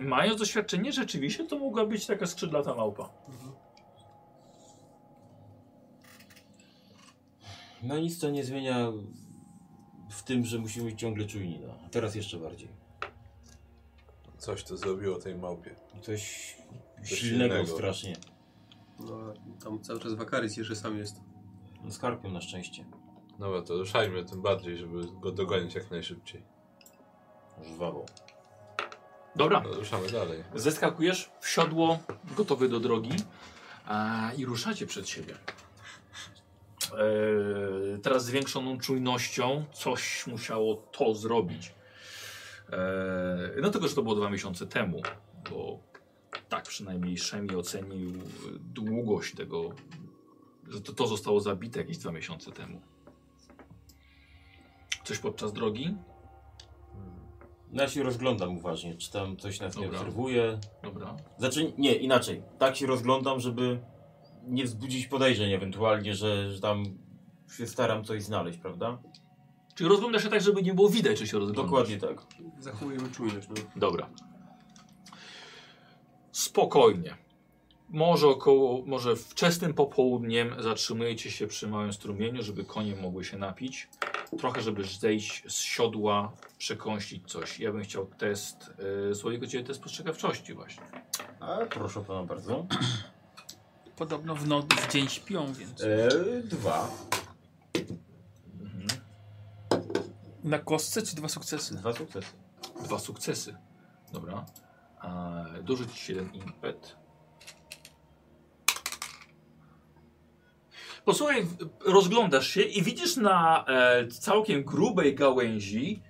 E, mając doświadczenie, rzeczywiście to mogła być taka skrzydlata małpa.
No nic to nie zmienia w tym, że musimy być ciągle czujni, no. A Teraz jeszcze bardziej.
Coś to zrobiło tej małpie.
Coś
silnego.
silnego strasznie.
No, tam cały czas Wakaris jeszcze sam jest.
No, z karpią na szczęście.
Dobra, to ruszajmy tym bardziej, żeby go dogonić jak najszybciej.
Żwawo.
Dobra.
No, ruszamy dalej.
Zeskakujesz w siodło, gotowy do drogi a, i ruszacie przed siebie. E, teraz z zwiększoną czujnością coś musiało to zrobić. E, no tylko, że to było dwa miesiące temu, bo tak przynajmniej Szemi ocenił e, długość tego, że to, to zostało zabite jakieś dwa miesiące temu. Coś podczas drogi?
No ja się rozglądam uważnie, czy tam coś nas nie
Dobra.
obserwuje.
Dobra.
Znaczy, nie, inaczej. Tak się rozglądam, żeby nie wzbudzić podejrzeń ewentualnie, że, że tam się staram coś znaleźć, prawda?
Czyli rozglądasz się tak, żeby nie było widać, czy się rozglądasz?
Dokładnie tak.
Zachowujemy czujność, no.
Dobra. Spokojnie. Może około, może wczesnym popołudniem zatrzymujecie się przy małym strumieniu, żeby konie mogły się napić. Trochę, żeby zejść z siodła, przekąsić coś. Ja bym chciał test, yy, słoiko ciebie test postrzegawczości właśnie.
A, proszę pana bardzo.
Podobno w, no, w dzień śpią, więc
E, dwa.
Mhm. na kostce czy dwa sukcesy?
Dwa sukcesy.
Dwa sukcesy. Dobra. Eee, dorzuć ci jeden impet. Posłuchaj, w- rozglądasz się i widzisz na e, całkiem grubej gałęzi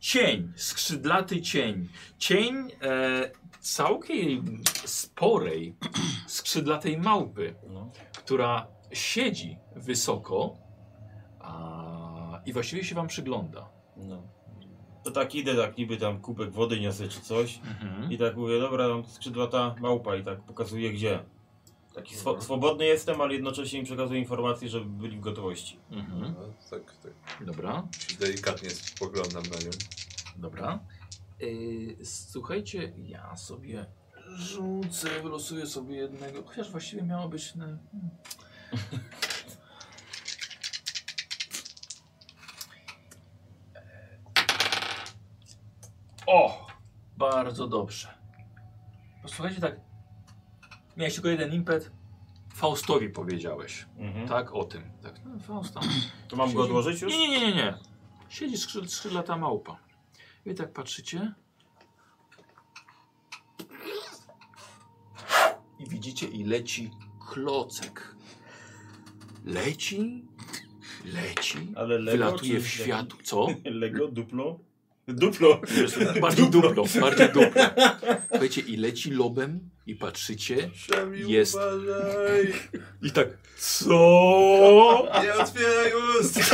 cień, skrzydlaty cień. Cień e, całkiem sporej, skrzydlatej małpy,
No.
która siedzi wysoko a, i właściwie się wam przygląda.
No. To tak idę, tak niby tam kubek wody niosę czy coś.
Mhm.
I tak mówię, dobra, tam skrzydłata małpa i tak pokazuje gdzie. Taki swo- swobodny jestem, ale jednocześnie im przekazuję informacje, żeby byli w gotowości.
Mhm.
No, tak, tak.
Dobra.
Delikatnie spoglądam na nią.
Dobra. Yy, słuchajcie, ja sobie rzucę, wylosuję sobie jednego. Chociaż właściwie miało być na. hmm. o! Bardzo dobrze. Posłuchajcie tak. Miałeś tylko jeden impet. Faustowi powiedziałeś.
Mhm.
Tak o tym. Tak, no, Fausta.
To mam go
Siedzi-
odłożyć już?
Nie, nie, nie, nie, nie. Siedzi skrzyd, skrzydlata małpa. Wy tak patrzycie. I widzicie i leci klocek. Leci, leci,
Ale Lego
wylatuje
czy-
w światło. Co?
Lego, duplo? Duplo!
Bardziej duplo, bardziej duplo. Słuchajcie, i leci lobem i patrzycie
Szemi,
Jest.
uważaj!
i tak co?
Nie otwieraj ust!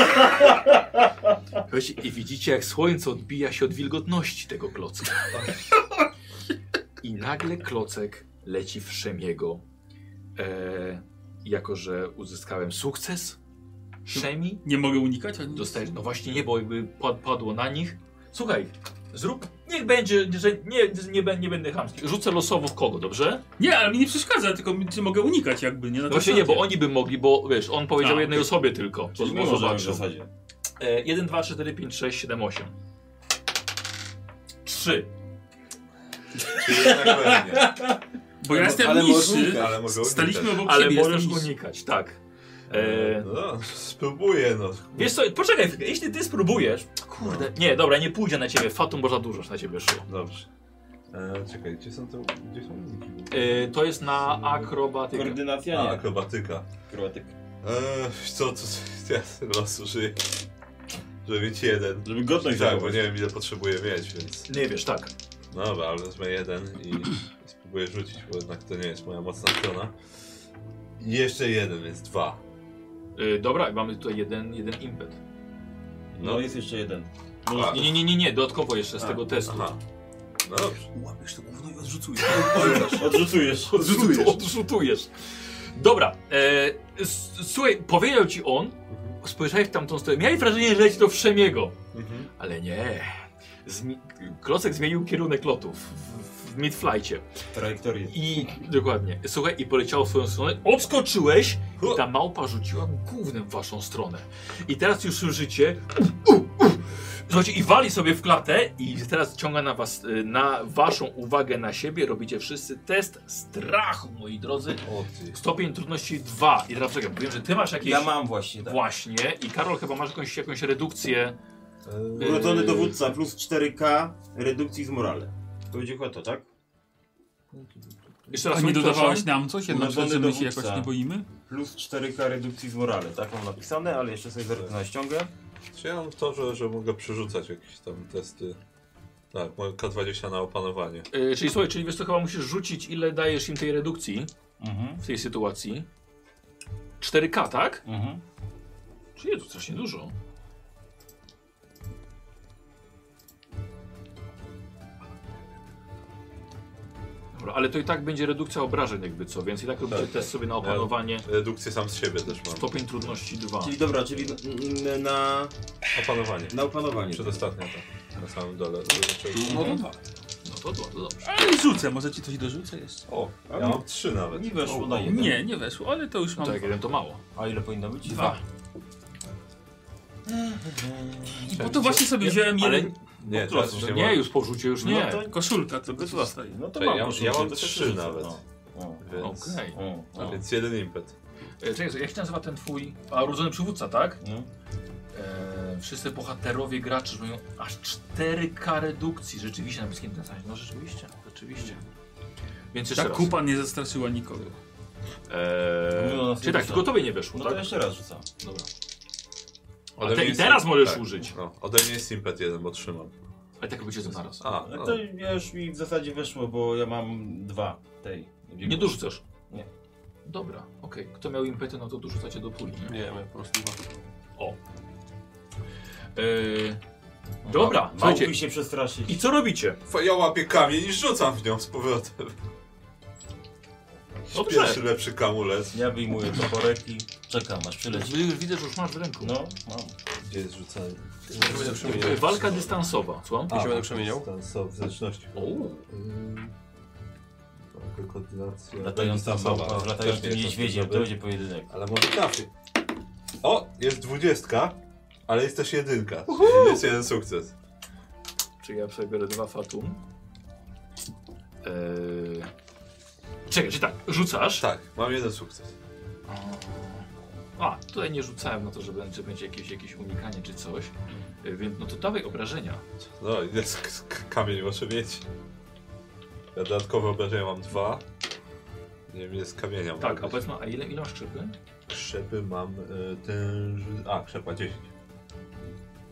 Słuchajcie, I widzicie, jak słońce odbija się od wilgotności tego klocka. I nagle klocek leci w Szemiego. E, jako, że uzyskałem sukces, Szemi
Nie mogę unikać? a nie-
dostajesz. No właśnie, nie, bo jakby pad- padło na nich. Słuchaj, zrób. Niech będzie, że nie, nie, bę- nie będę chamski. Rzucę losowo w kogo, dobrze?
Nie, ale mi nie przeszkadza, tylko mi- czy mogę unikać jakby, nie? tak. Na
No właśnie nie,
zasadzie.
bo oni by mogli, bo wiesz, on powiedział
A,
jednej
okej.
osobie tylko. To
Czyli my możemy w
zobaczył.
zasadzie.
E, 1, 2, 4, 5, 6, 7, 8. 3.
Czy jednak pewnie.
Bo ja jestem
ale
niższy.
możliwe.
Ale może unikać.
Staliśmy obok
Ale
siebie,
możesz
jestem niższy.
unikać, tak.
E,
E,
No, spróbuję, no.
wiesz co, poczekaj, chwilkę, jeśli ty spróbujesz... Kurde, nie, dobra, nie pójdzie na ciebie, Fatum można dużo na ciebie szło.
Dobrze. E, czekaj, gdzie są te... Gdzie są uniki?
E, to jest na akrobatykę.
Koordynacja
A,
nie.
akrobatyka.
Akrobatyk.
Eee, co tu ja losu żyję? Żeby mieć jeden.
Żeby godność
Tak, bo
zachować.
nie wiem ile potrzebuję mieć, więc.
Nie wiesz, tak.
No dobra, ale wezmę jeden i spróbuję rzucić, bo jednak to nie jest moja mocna strona. I jeszcze jeden, więc dwa.
E, dobra, i mamy tutaj jeden, jeden impet.
No jest jeszcze jeden.
A,
Nie, nie, nie, nie, nie, dodatkowo jeszcze z
A,
tego testu.
Aha. No dobrze.
Łapiesz to gówno i odrzucuj.
Odrzucujesz.
Odrzutujesz. Odrzutujesz. Dobra, e, s- słuchaj, powiedział ci on, spojrzałeś w tamtą stronę, miałeś wrażenie, że leci do Wszemiego,
Mhm.
ale nie. Zmi Klocek zmienił kierunek lotów w, w midflightie.
Trajektorię.
I dokładnie, słuchaj, i poleciało w swoją stronę, odskoczyłeś i ta małpa rzuciła głównym w waszą stronę. I teraz już słyszycie, u, u, słuchajcie, i wali sobie w klatę i teraz ciąga na was, y, na waszą uwagę na siebie, robicie wszyscy test strachu, moi drodzy.
O ty.
Stopień trudności 2. I teraz czekam, wiem, że ty masz jakieś...
Ja mam właśnie, tak.
Właśnie. I Karol chyba masz jakąś, jakąś redukcję.
Eee,
Urodzony
Yy.
dowódca plus 4K redukcji z morale. To będzie chyba to, tak?
Jeszcze
A
raz
nie
przepraszam.
dodawałeś nam coś? Jednak
Urodzony
że my się
dowódca.
jakoś nie boimy?
Plus 4K redukcji z morale. Tak mam napisane, ale jeszcze sobie zerknę na ściągę.
E, Czy ja mam to, że, że mogę przerzucać jakieś tam testy? Tak, moje K20 na opanowanie.
Y, czyli słuchaj, czyli wiesz co, chyba musisz rzucić ile dajesz im tej redukcji
Mhm.
w tej sytuacji. 4K, tak?
Mhm.
Czyli to strasznie dużo. Dobra, ale to i tak będzie redukcja obrażeń jakby co, więc i tak robicie
Tak,
test sobie na opanowanie.
Redukcję sam z siebie też mam.
Stopień trudności 2.
Czyli dobra, czyli n- n- na,
Opanowanie.
na opanowanie.
Przedostatnia ta. Na samym dole. Znaczy,
No to dwa.
No to, to, to dobrze.
Ale rzucę, może ci coś dorzucę jeszcze.
o, ja mam trzy nawet.
Mi weszło na jeden.
Nie, nie weszło, ale to już mam.
To jak
dwa.
jeden to mało.
A ile powinno być?
Dwa. I po to właśnie sobie
Nie,
wziąłem
ale-
jeden.
Nie,
Od
teraz
losu,
już
No
nie,
nie,
mam.
już po rzucie już nie.
No to
Koszulka,
To
co
bez
tu
was.
zostaje.
No to
Czyli
mam
ja-
koszulkę,
ja mam
to
trzy
trzy No.
nawet.
O, o,
Więc,
Okej. no.
o,
a
o.
więc jeden impet.
E, Czekaj, jak się nazywa ten twój... A, urodzony przywódca, tak?
No.
E, wszyscy bohaterowie, gracze mają aż 4K redukcji. Rzeczywiście, na wszystkim ten sam. No rzeczywiście, rzeczywiście. Więc jeszcze
Ta
Tak,
raz.
kupa nie zastraszyła nikogo.
Eee,
No, no,
czyli tak,
no.
tylko tobie nie weszło,
No
tak?
to jeszcze raz rzucam.
Dobra.
Ode
A
mnie
te, I
jest-
teraz możesz
tak.
użyć.
No, ode mnie jest impet jeden, bo trzymam.
Ale tak robicie ze mną naraz.
A,
No
no,
to ja już mi w zasadzie weszło, bo ja mam dwa tej.
Nie dorzucasz?
Nie.
Dobra, okej. Kto miał impety, no to dorzucacie do puli, nie?
Nie wiem, ja po prostu dwa.
Eee, dobra,
No,
słuchajcie.
Małpi się przestraszyć.
I co robicie?
Fa- ja łapię kamień i rzucam w nią z powrotem.
Dobrze.
No, Pierwszy lepszy kamulec.
Ja wyjmuję toporek i czekam aż przyleci.
Już widzę, że już masz w ręku.
No, mam.
Gdzie jest rzucanie?
Ja się będę przemieniał.
Walka dystansowa, słucham?
Ja się będę przemieniał.
Dystansowy, w zależności.
O,
Yy, Koordynacja.
Latająca
dystansowa.
małpa w
Też nie
latającym
jest
niedźwiedziem, to
dobry.
będzie pojedynek.
Ale może trafi. O, jest dwudziestka, ale jest też jedynka. Czyli jest jeden sukces.
Czyli ja sobie biorę dwa fatum. Eee... Czekaj, czy tak, rzucasz?
Tak, mam jeden sukces.
A, tutaj nie rzucałem na to, że będzie, będzie jakieś, jakieś unikanie czy coś. E, Więc no to dawaj obrażenia.
No, i jest k- k- kamień muszę mieć. Ja dodatkowe obrażenia mam dwa. Nie wiem, ile z kamienia mam.
Tak, a powiedzmy, a ile, ile masz krzepy?
Krzepy mam y, tęży... A, krzepa 10.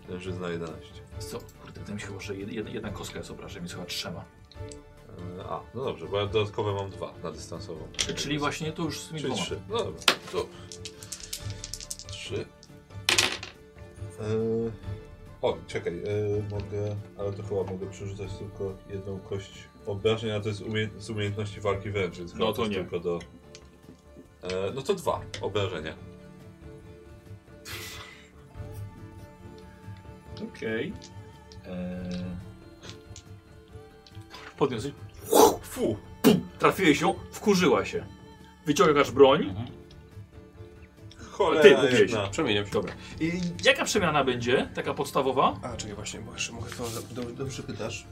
Tężyzna 11.
Co? Kurde, to mi się chyba, że jed, jed, jedna kostka jest obrażeniem, więc chyba trzema.
Y, A, no dobrze, bo ja dodatkowe mam dwa na dystansową.
Czyli właśnie to już z tymi
Czyli
dwoma.
trzy. No dobra, to... Trzy. Y, O, czekaj, y, mogę... Ale to chyba mogę przerzucać tylko jedną kość obrażeń, a to jest umie... z umiejętności walki wręcz, więc chyba
No to
jest
nie.
tylko do... Y, No to dwa obrażenia.
Okej. Eee, Podniosłeś.
Fu!
Trafiłeś ją, wkurzyła się. Wyciągasz broń.
Cholera
Ty kupiłeś.
jedna.
Przemieniam się.
Dobra. I jaka przemiana będzie? Taka podstawowa?
A, czekaj właśnie, bo jeszcze mogę to... Dobrze, dobrze pytasz.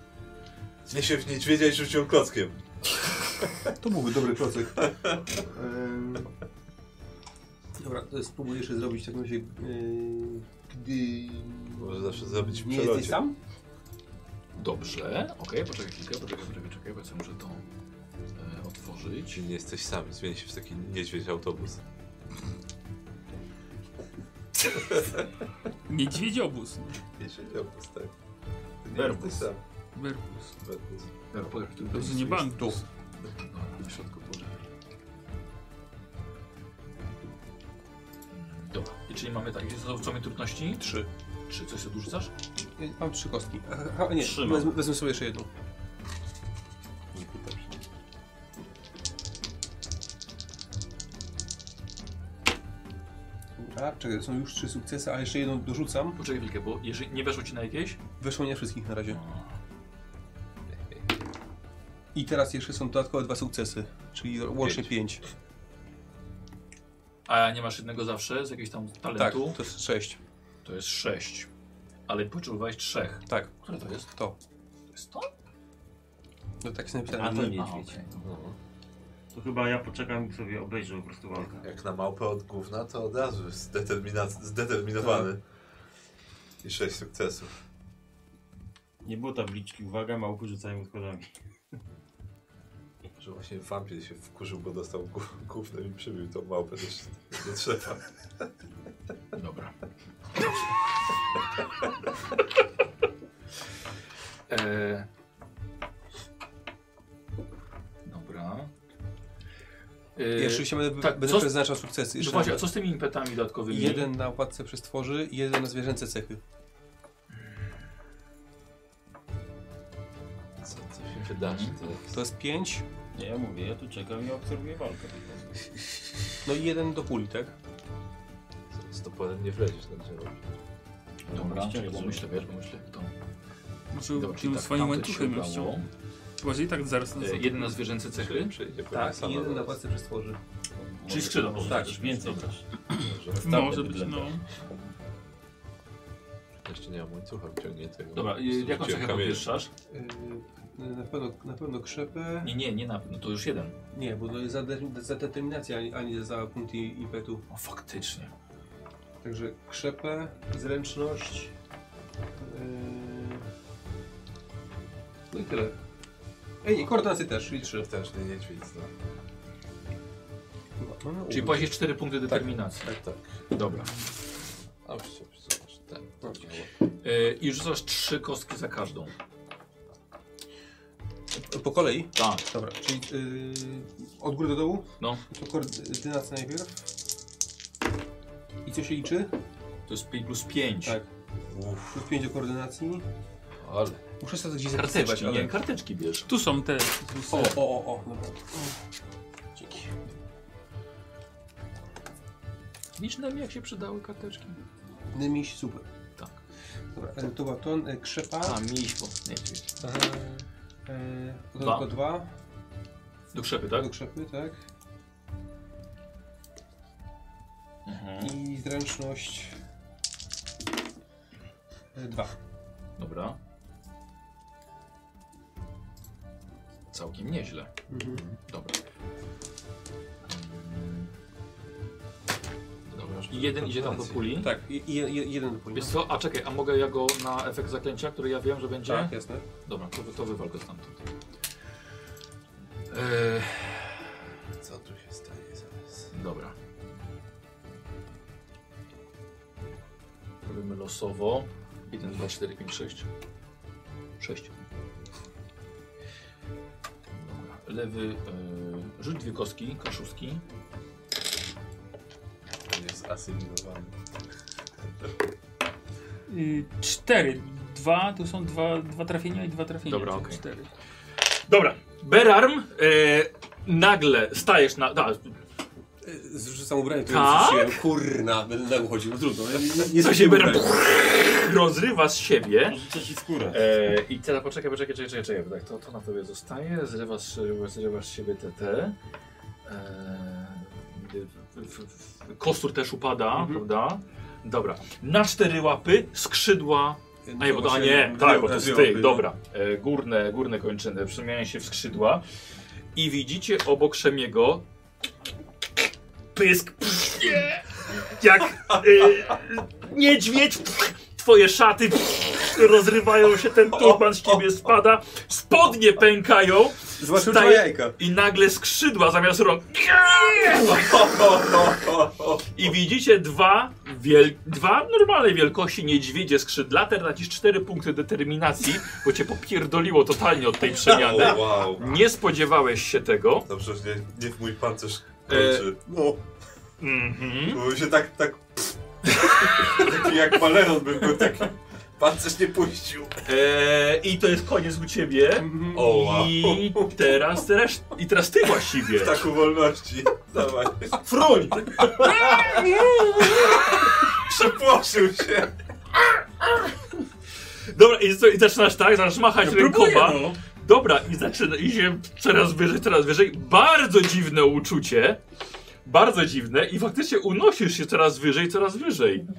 Zniesie w niedźwiedzia i rzucił klockiem.
To byłby dobry klocek. Em, Dobra, to spróbuję jeszcze zrobić w takim razie, yy, gdy
Może zawsze zrobić w
nie jesteś
przelocie.
sam?
Dobrze, okej, poczekaj chwilkę, poczekaj, poczekaj, poczekaj, bo ja sobie muszę to e, otworzyć.
Czy nie jesteś sam, zmieni się w taki niedźwiedź autobus.
Niedźwiedziobóz.
Niedźwiedź autobus, tak. Ty nie
Werbus.
jesteś sam.
Werbus.
Werbus.
To jest nie bank.
Dobra, na środku położę. Dobra, i czyli mamy tak, gdzie są- co mi trudności? Trzy. Trzy, coś odrzucasz?
Y, Mam trzy kostki. A, nie,
Trzymam.
wezmę, wezmę sobie jeszcze jedną. Dobra, czekaj, są już trzy sukcesy, a jeszcze jedną dorzucam.
Poczekaj chwilkę, bo jeżeli nie weszło ci na jakieś?
Weszło nie wszystkich na razie. I teraz jeszcze są dodatkowe dwa sukcesy, czyli łącznie pięć.
A nie masz jednego zawsze z jakiegoś tam
Tak,
talentu?
to jest sześć.
To jest sześć. Ale potrzebowałeś trzech.
Tak,
Które to jest?
to.
To jest to?
No tak jest napisane.
A to
nie.
A,
niedźwiedź.
okej.
To chyba ja poczekam i sobie obejrzę po prostu walkę.
Jak na małpę od gówna, to od razu jest zdetermina- zdeterminowany. I sześć sukcesów.
Nie było tabliczki, uwaga, małpy rzucają odchodami.
Że właśnie wampir się wkurzył, bo dostał gó- gównem i przybił tą małpę do, do drzewa.
Dobra. e... Dobra. E...
Jeszcze się będę,
tak,
będę
co z-
przeznaczał sukcesy.
no
Jeszcze
właśnie, a co z tymi impetami dodatkowymi?
jeden na łatce przez tworzy, jeden na zwierzęce cechy.
Co, co się wydarzy? To...
To jest pięć,
Nie, ja mówię, ja tu czekam i obserwuję walkę.
no i jeden do puli, tak?
Z toporem nie wleziesz na drzewo.
Dobra,
Ściągnę
czekaj, bo
sobie.
myślę, wiesz, bo myślę, to...
Może
Dobra, czyli tak
tym swoim
tamte ci się
łańcuchem ją
udało.
ściągnął. Właśnie i tak zaraz nas
E, Jeden na zwierzęce cechy?
Przejdzie po
Tak,
sam
i jeden
do
na
nas.
łatce przez tworzy.
Czyli skrzydło.
Tak, więcej też.
Może być, no.
Jeszcze nie mam łańcucha wciągniętego.
Dobra, e, jaką
Wrzuciłem
cechę
kamień.
podwyższasz?
Yy, na pewno, na pewno krzepę.
Nie, nie, nie na... No to już jeden.
Nie, bo to jest za, de- za determinację, a nie- a nie za punkt i- impetu.
O, faktycznie.
Także krzepę, zręczność. Yy... No i tyle. Ej, i koordynacje też, i trzy.
Też nie niedźwiedź
no.
zna.
Mamy
Czyli
ułóż.
płacisz cztery punkty determinacji.
Tak, tak.
Dobra.
A przecież, przecież, ten. to
Dobrze.
miało.
E, I rzucasz trzy kostki za każdą.
E, Po kolei?
Tak.
Dobra, czyli yy, od góry do dołu?
No.
To koordynacja najpierw. I co się liczy?
To jest pi- plus 5.
Tak. Plus 5 do koordynacji.
Ale.
Muszę sobie to gdzieś zapisywać,
Karteczki,
ale...
nie, karteczki bierz.
Tu są te.
O, o, o, o, dobra. Dzięki.
Widzisz na mnie, jak się przydały karteczki?
Nymiś, super.
Tak.
Dobra, e, to była ton, e, krzepa.
A, miś, bo nie wiem.
E, e, to
Dwa.
tylko dwa.
Do krzepy, tak?
Do krzepy, tak.
Mhm.
I zręczność. e, Dwa.
Dobra. Całkiem nieźle. Dobra. Mm. Dobra. I jeden idzie tam do puli.
Tak, i, i, i jeden do
Wiesz
pojemnika.
co, a czekaj, a mogę ja go na efekt zaklęcia, który ja wiem, że będzie?
Tak, jasne.
Dobra, to, to wywal go stamtąd. E,
Co tu się stanie zaraz?
Dobra. Robimy losowo. 1, 2, 4, 5, 6. 6. Dobra. Lewy. Yy, rzuć dwie kostki, kaszuski.
On jest asymilowany.
Y, cztery. Dwa, tu są dwa, dwa trafienia i dwa trafienia.
Dobra,
czyli
okej.
cztery.
Dobra. Berarm. e, nagle stajesz na. Da,
E, Zrzucam ubranie, które
Tak?
zrzuciłem. Kurna, będę na uchodził. Trudno. Nie, nie, nie
Co się
ubrać.
Berarm rozrywa z siebie.
Rzucę ci skórę.
E, I teraz poczekaj, poczekaj, czekaj, czekaj, czekaj. bo Tak, to, to na tobie zostaje. Zrywasz, zrywasz z siebie TT. E, w- w- w- kostur też upada, prawda? Dobra. Na cztery łapy, skrzydła
No
A nie, bo to, a nie, tak, bo to jest ty, dobra. E, Górne, górne kończyny przemieniają się w skrzydła i widzicie obok Szemiego pysk, pff, nie, jak e, niedźwiedź, pff, twoje szaty pff, rozrywają się, ten turban z ciebie spada, spodnie pękają
Zobaczył
Staje-
dwa jajka.
i nagle skrzydła zamiast rąk. I widzicie dwa, wiel... dwa normalnej wielkości niedźwiedzie skrzydlate, tracisz cztery punkty determinacji, bo cię popierdoliło totalnie od tej przemiany.
O, wow.
Nie spodziewałeś się tego.
Dobrze, że nie, nie w mój pancerz kończy. No,
Mhm.
bo się tak, tak... taki jak Paleron bym był taki. Pancerz nie puścił.
Eee, I to jest koniec u ciebie.
O, wow.
I teraz, teraz, i teraz ty właściwie.
Tak u wolności. Dawaj.
Fruń!
Przepłoszył się.
Dobra, i, co, i zaczynasz tak, zaczynasz machać rękoma.
no.
Dobra, i zaczyna, i się coraz wyżej, coraz wyżej. Bardzo dziwne uczucie. Bardzo dziwne i faktycznie unosisz się coraz wyżej, coraz wyżej.
no.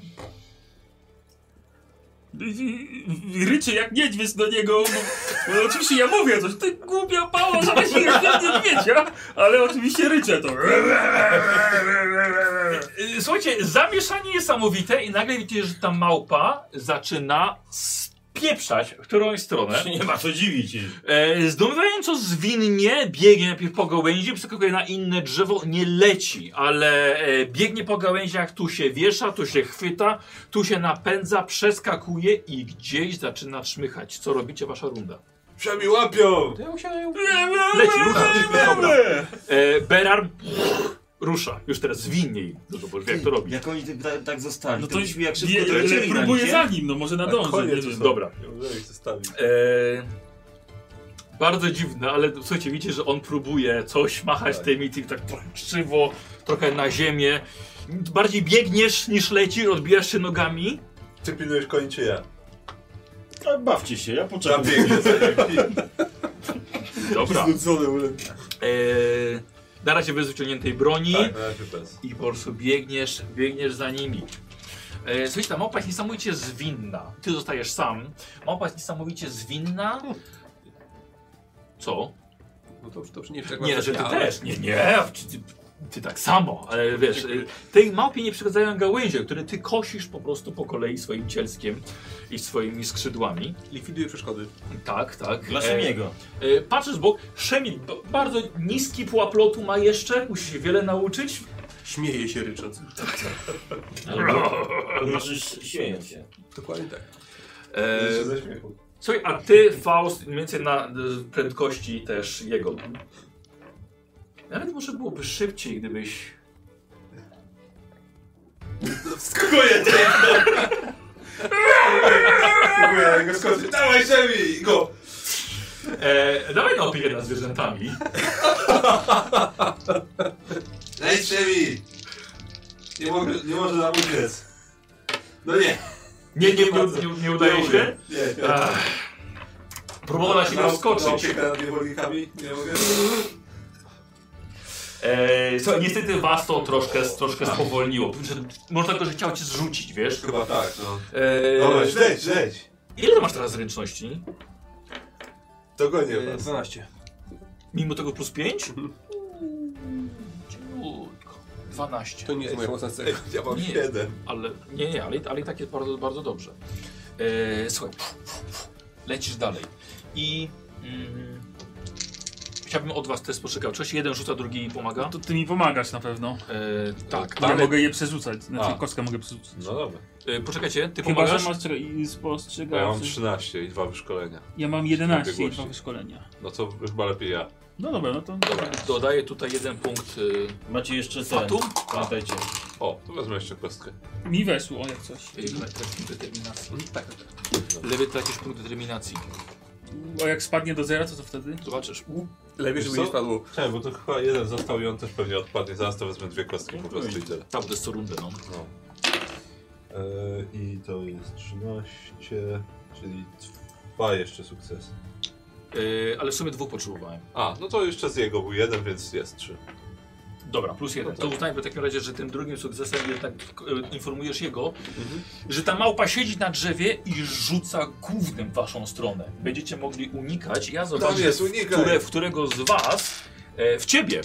Y, Ryczy jak niedźwiedź do niego. Bo, bo oczywiście ja mówię coś, ty głupia pało, żebyś się jak niedźwiedzia, ale oczywiście ryczę to.
Y, Słuchajcie, zamieszanie niesamowite i nagle widzicie, że ta małpa zaczyna spieprzać w którąś stronę.
Nie ma co dziwić.
E, zdumiewająco zwinnie biegnie najpierw po gałęzi, przeskakuje na inne drzewo, nie leci, ale e, biegnie po gałęziach, tu się wiesza, tu się chwyta, tu się napędza, przeskakuje i gdzieś zaczyna trzmychać. Co robicie, wasza runda?
Przemi łapią.
Leci, rusza. Dobra. E, Berar rusza, już teraz zwinniej, no to bo jak to robi.
Jak oni ty- tak, tak zostali,
No
no
to
to byśmy jak szybko
Je,
to lecieli na
próbuję
nich,
za
nie?
nim, no może
Tak,
nadążę, nie wiem.
Dobra.
Zostawił.
E, bardzo dziwne, ale słuchajcie, widzicie, że on próbuje coś machać tymi, tymi tak trochę krzywo, trochę na ziemię. Bardziej biegniesz niż lecisz, odbijasz się nogami.
Ty pilnujesz koni czy ja?
A bawcie się, ja
Ja
poczekam.
biegnie za nim.
Dobra.
Znudzony ulep.
E, na razie bez wyciągniętej broni
Tak, na razie bez.
i po prostu biegniesz, biegniesz za nimi. E, słuchajcie, ta małpa jest niesamowicie zwinna. Ty zostajesz sam. Małpa jest niesamowicie zwinna. Co?
No to, to przy nie
Nie, że ty
ja,
też. Nie, nie. Ty, ty, ty tak samo, ale wiesz, y, tej małpie nie przeszkadzają gałęzie, które ty kosisz po prostu po kolei swoim cielskiem i swoimi skrzydłami.
Likwiduje przeszkody.
Tak, tak.
Dla
E,
Szemiego.
e, Patrzysz w bok, Szemil b- bardzo niski pułap lotu ma jeszcze, musi się wiele nauczyć.
Śmieje się rycząc.
E,
To znaczy, ś- śmieję się.
Dokładnie tak.
E,
Jeszcze ze śmiechu.
słuchaj, a ty, Faust, mniej więcej na e, prędkości też jego. Nawet może byłoby szybciej, gdybyś
Skakuję cię! Próbuję go skoczyć. Dawaj, Szemi! Go!
E, dawaj na opiekę nad zwierzętami.
Leć, Szemi! Nie, mogę, nie może nam uciec. No nie.
Nie, nie, nie, nie, nie udaje się.
Nie, nie.
Ach. Próbowała się
Na
rozskoczyć.
opiekę nad niewolnikami? Nie mogę.
E, co, niestety was to troszkę, troszkę spowolniło. Może tylko, że chciał cię zrzucić, wiesz?
Chyba tak, no. Dobra,
E,
leć, leć!
ile ty masz teraz zręczności?
Dogonię
E,
was.
12.
Mimo tego plus 5? 12.
To nie jest moja mocna cecha.
Ja mam
Nie.
siedem.
Ale nie, nie, ale, i- ale i tak jest bardzo, bardzo dobrze. E, słuchaj, pf, pf, pf, lecisz dalej. I mm, chciałbym od was test poczekał. Cześć, jeden rzuca, drugi pomaga.
No To ty mi pomagasz na pewno.
E, tak,
Bo ja
ale
mogę je przerzucać, znaczy
A.
kostkę mogę przerzucać.
No dobra.
e, poczekajcie, ty
Chyba,
pomagasz?
że masz czekaj,
No,
A ja mam
spostrzegawczy.
13 i dwa wyszkolenia.
Ja mam 11 i
Biegłości.
dwa wyszkolenia.
No to chyba lepiej ja.
No dobra, no to...
Dobra, dodaję tutaj jeden punkt y,
Macie jeszcze ten.
fatu.
Pamiętajcie.
O, to wezmę jeszcze kostkę.
Mi weszło, o jak coś.
Y, tracisz punkt determinacji. Tak, tak, tak. Lewy tracisz punkt determinacji.
O jak spadnie do zera, to co wtedy?
Zobaczysz.
Lepiej, żeby
Co?
nie spadło.
Cześć, bo to chyba jeden został i on też pewnie odpadnie. Zaraz No to wezmę dwie kostki po prostu i tyle.
Tam to jest co rundę, no.
No. E, I to jest 13, czyli dwa jeszcze sukcesy.
Y, ale E, w sumie dwóch potrzebowałem.
A, no to jeszcze z jego był jeden, więc jest trzy.
Dobra, plus jeden. To uznajmy w takim razie, że tym drugim sukcesem jednak e, informujesz jego, że ta małpa siedzi na drzewie i rzuca głównym w waszą stronę. Będziecie mogli unikać. Ja
Tam
zobaczę,
jest, unikaj!
które, w którego z was, e, w ciebie.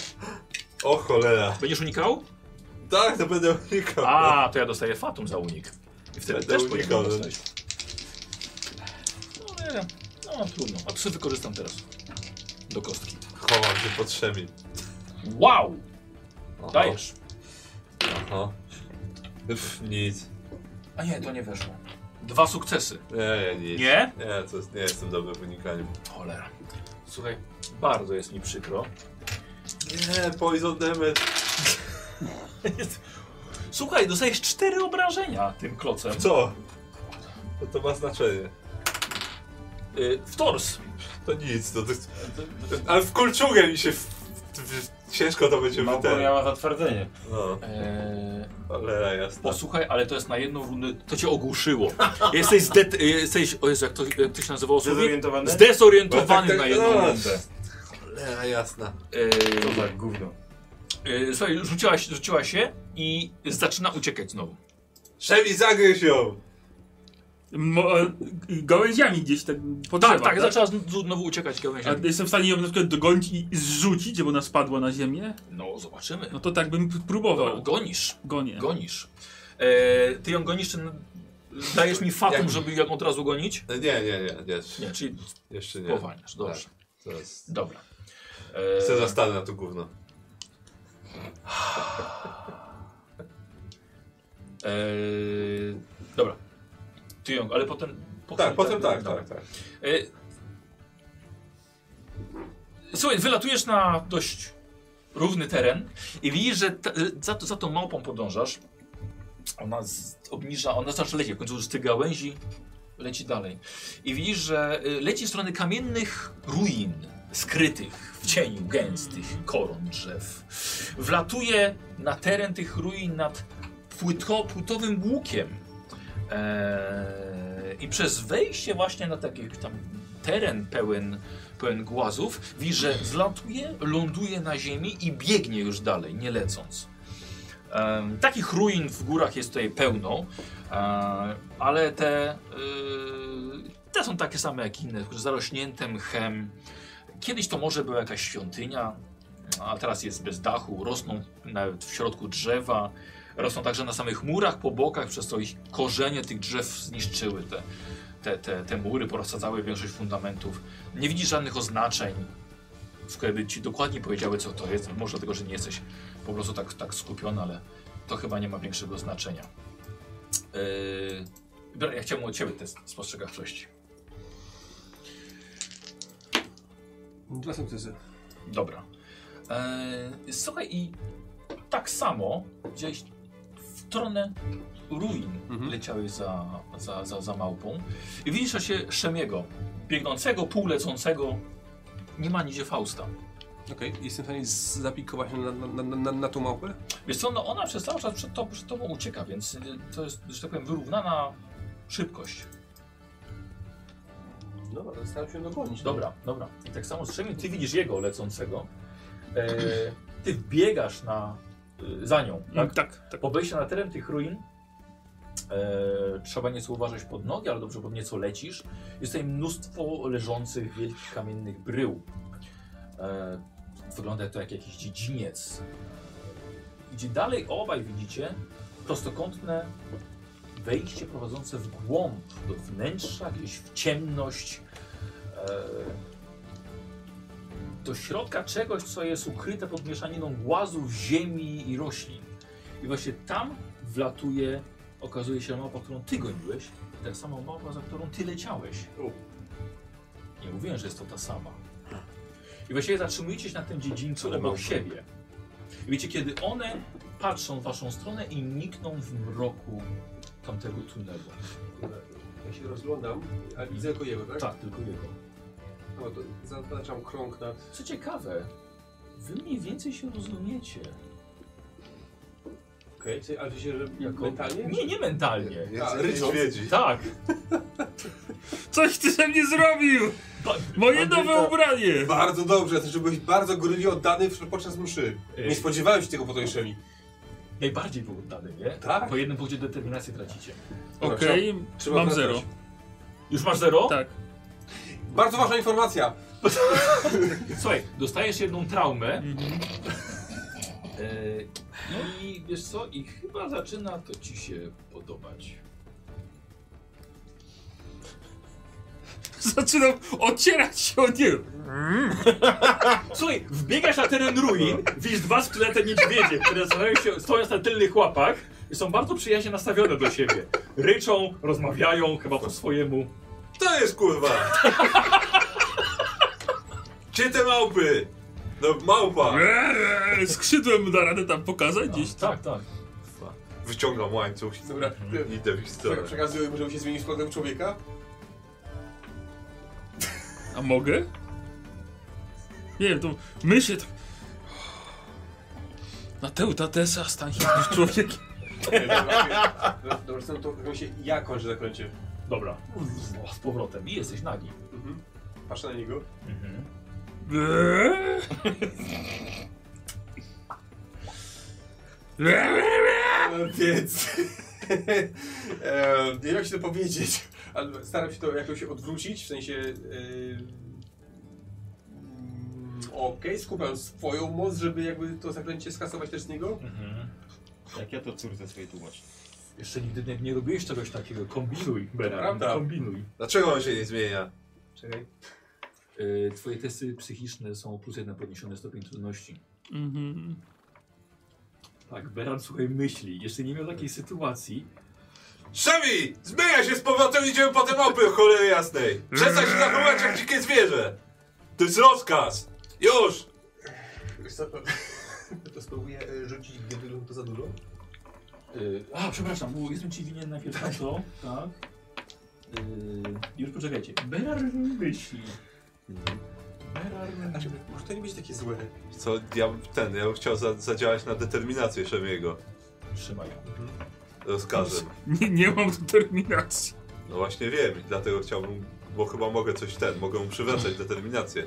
O cholera.
Będziesz unikał?
Tak, to będę unikał.
A, to ja dostaję fatum za unik. I wtedy
Będę
też po jednym
unikał.
dostajesz. No, ale- no, trudno. A psy wykorzystam teraz. Do kostki.
Chowam się pod szemi.
Wow! Dajesz.
Aha. Pff, nic.
A nie, to nie weszło. Dwa sukcesy.
Nie, nie, nic.
Nie?
Nie, to jest, nie jestem dobry w unikaniu.
Cholera. Słuchaj, bardzo jest mi przykro.
Nie, poison damage.
Słuchaj, dostajesz cztery obrażenia tym klocem.
Co? To, to ma znaczenie.
Y, w tors.
To nic, to, to, to, Ale w kulczugę mi się... W, w, w, ciężko to będzie
Małpa
wytem.
miała zatwardzenie.
No,
Eee,
cholera jasna.
posłuchaj, ale to jest na jedną rundę, to cię ogłuszyło. Jesteś zdet... Jesteś, o Jezu, jak to, jak to się nazywało? słowie?
Zdezorientowany?
Zdezorientowany na jedną
no,
rundę.
Cholera jasna.
To
Eee,
tak, gówno.
eee, słuchaj, rzuciła się, rzuciła się i zaczyna uciekać znowu.
Szemi, zagryź ją!
Mo, e, gałęziami gdzieś tak potrzeba,
Tak, tak, zaczęła zn- znowu uciekać gałęziami.
A jestem w stanie ją na przykład dogonić i zrzucić, bo ona spadła na ziemię?
No, zobaczymy.
No to tak bym p- próbował.
No. Gonisz.
Gonię.
Gonisz. Eee, ty ją gonisz, czy n- dajesz mi fatum,
Jak-
żeby ją od razu gonić?
Nie, nie, nie, nie.
Nie, czyli
Jeszcze nie.
powalniasz, dobrze.
To jest...
Dobra.
Chcę
Eee,
zastanę na to gówno.
eee, e, dobra. Ty ją, ale potem...
Tak, potem tak,
dobra.
tak, tak.
Eee, słuchaj, wylatujesz na dość równy teren i widzisz, że ta, za, za tą małpą podążasz. Ona z, obniża, ona zaczyna lecieć, w końcu z tych gałęzi leci dalej. I widzisz, że y, leci w stronę kamiennych ruin, skrytych w cieniu gęstych koron drzew. Wlatuje na teren tych ruin nad płyto, płytowym łukiem. Eee, I przez wejście właśnie na taki tam teren pełen, pełen głazów, widzisz, że zlatuje, ląduje na ziemi i biegnie już dalej, nie lecąc. Em, takich ruin w górach jest tutaj pełno, e, ale te, y, te są takie same jak inne, tylko że zarośnięte mchem. Kiedyś to może była jakaś świątynia, a teraz jest bez dachu, rosną nawet w środku drzewa, rosną także na samych murach po bokach, przez co ich korzenie tych drzew zniszczyły te, te, te, te mury, porozsadzały większość fundamentów. Nie widzisz żadnych oznaczeń, które by ci dokładnie powiedziały, co to jest. Może dlatego, że nie jesteś po prostu tak, tak skupiony, ale to chyba nie ma większego znaczenia. Yy... Dobra, Ja chciałbym od ciebie test spostrzegawczości.
Dwa sukcesy.
Dobra. Eee, słuchaj, i tak samo gdzieś w stronę ruin
Mhm.
leciałeś za, za, za, za małpą. I widzisz się Szemiego, biegnącego, półlecącego. Nie ma nigdzie Fausta.
Okej,
Jestem w stanie z- zapikować na, na, na, na, na tą małpę?
Wiesz co, no ona przez cały czas przed, to, przed tobą ucieka, więc y, to jest, że tak powiem, wyrównana szybkość.
Dobra, staram się dogonić.
Dobra, dobra. I tak samo z Szemi, ty widzisz jego lecącego. E, ty biegasz na, y, za nią,
No,
tak?
Mm, tak, tak.
Po wejściu na teren tych ruin e, trzeba nieco uważać pod nogi, ale dobrze, bo nieco lecisz. Jest tutaj mnóstwo leżących wielkich kamiennych brył. E, wygląda to jak jakiś dziedziniec. E, Gdzie dalej obaj widzicie prostokątne wejście prowadzące w głąb do wnętrza, gdzieś w ciemność. E, do środka czegoś, co jest ukryte pod mieszaniną głazów, ziemi i roślin. I właśnie tam wlatuje, okazuje się mapa, którą ty goniłeś, i tak samo mapa, za którą ty leciałeś. Nie mówiłem, że jest to ta sama. I właściwie zatrzymujecie się na tym dziedzińcu obok siebie. I wiecie, kiedy one patrzą w waszą stronę i nikną w mroku tamtego tunelu.
Ja się rozglądam, a widzę tylko jego, tak?
Tak, tylko jego.
No to zaznaczam krąg nad...
Co ciekawe, wy mniej więcej się rozumiecie.
Okej, okay. ale się, że
Jako-
mentalnie?
Nie, nie mentalnie.
A,
Jest niedźwiedzi.
Tak.
Coś ty ze mnie zrobił!
Moje nowe ubranie!
Bardzo dobrze, znaczy byłeś bardzo gorliwie oddany w- podczas mszy. Nie spodziewałem się tego po tej szemi.
Najbardziej był oddany, nie?
Tak.
Po jednym punkcie determinacji tracicie.
Dobra,
Okej,
trzeba
mam
wracać.
zero.
Już masz zero?
Tak.
Bardzo ważna informacja.
Słuchaj, dostajesz jedną traumę. E, no I wiesz co? I chyba zaczyna to ci się podobać.
Zaczynam ocierać się o nie.
Słuchaj, wbiegasz na teren ruin, widzisz dwa szkielety niedźwiedzie, które stoją, się, stoją na tylnych łapach i są bardzo przyjaźnie nastawione do siebie. Ryczą, rozmawiają chyba po swojemu.
To jest kurwa! Gdzie te małpy? No małpa!
Eee, Skrzydłem da radę tam pokazać gdzieś.
Tak, tak.
Wyciągam łańcuch
Dobra,
i idę w
Prze-
stronę.
przekazuję mu, żeby się zmienił z powrotem w człowieka.
A mogę? Nie wiem, to my się tak... Na tę tatesa stan się już człowiek.
Nie, Dobra, dobra, dobra, to chyba się ja kończę zaklęcie.
Dobra. O, z powrotem. I jesteś nagi.
Mhm. Patrzę na niego.
Eee.
E, Więc. e, nie wiem, jak się to powiedzieć, ale staram się to jakoś odwrócić, w sensie. e, mm, Okej, skupiam swoją moc, żeby jakby to zaklęcie skasować też z niego.
Jak ja to córce swojej tłumaczę?
Jeszcze nigdy nie, nie robiłeś czegoś takiego. Kombinuj, Bena.
prawda.
Kombinuj.
Dlaczego on się nie zmienia?
Czekaj.
Y, twoje testy psychiczne są o plus jeden podniesiony stopień trudności.
Mhm.
Tak, Beran słuchaj myśli. Jeszcze nie miał takiej sytuacji.
Szemi! Zmienia się z powrotem, idziemy po te małpy, cholery jasnej! Przestań się zachowywać jak dzikie zwierzę! To jest rozkaz! Już!
Wiesz co, to- To spróbuję e, rzucić gdyby to za dużo.
Y, a, przepraszam, bo jestem ci winien najpierw na to. Tak. Y, już poczekajcie. Beran myśli. Beran
Znaczy, może to nie być takie złe.
Co, ja bym- ten, ja bym chciał za, zadziałać na determinację Szemiego
Trzymaj.
rozkazem.
Nie, nie mam determinacji.
No właśnie wiem i dlatego chciałbym, bo chyba mogę coś ten, mogę mu przywracać determinację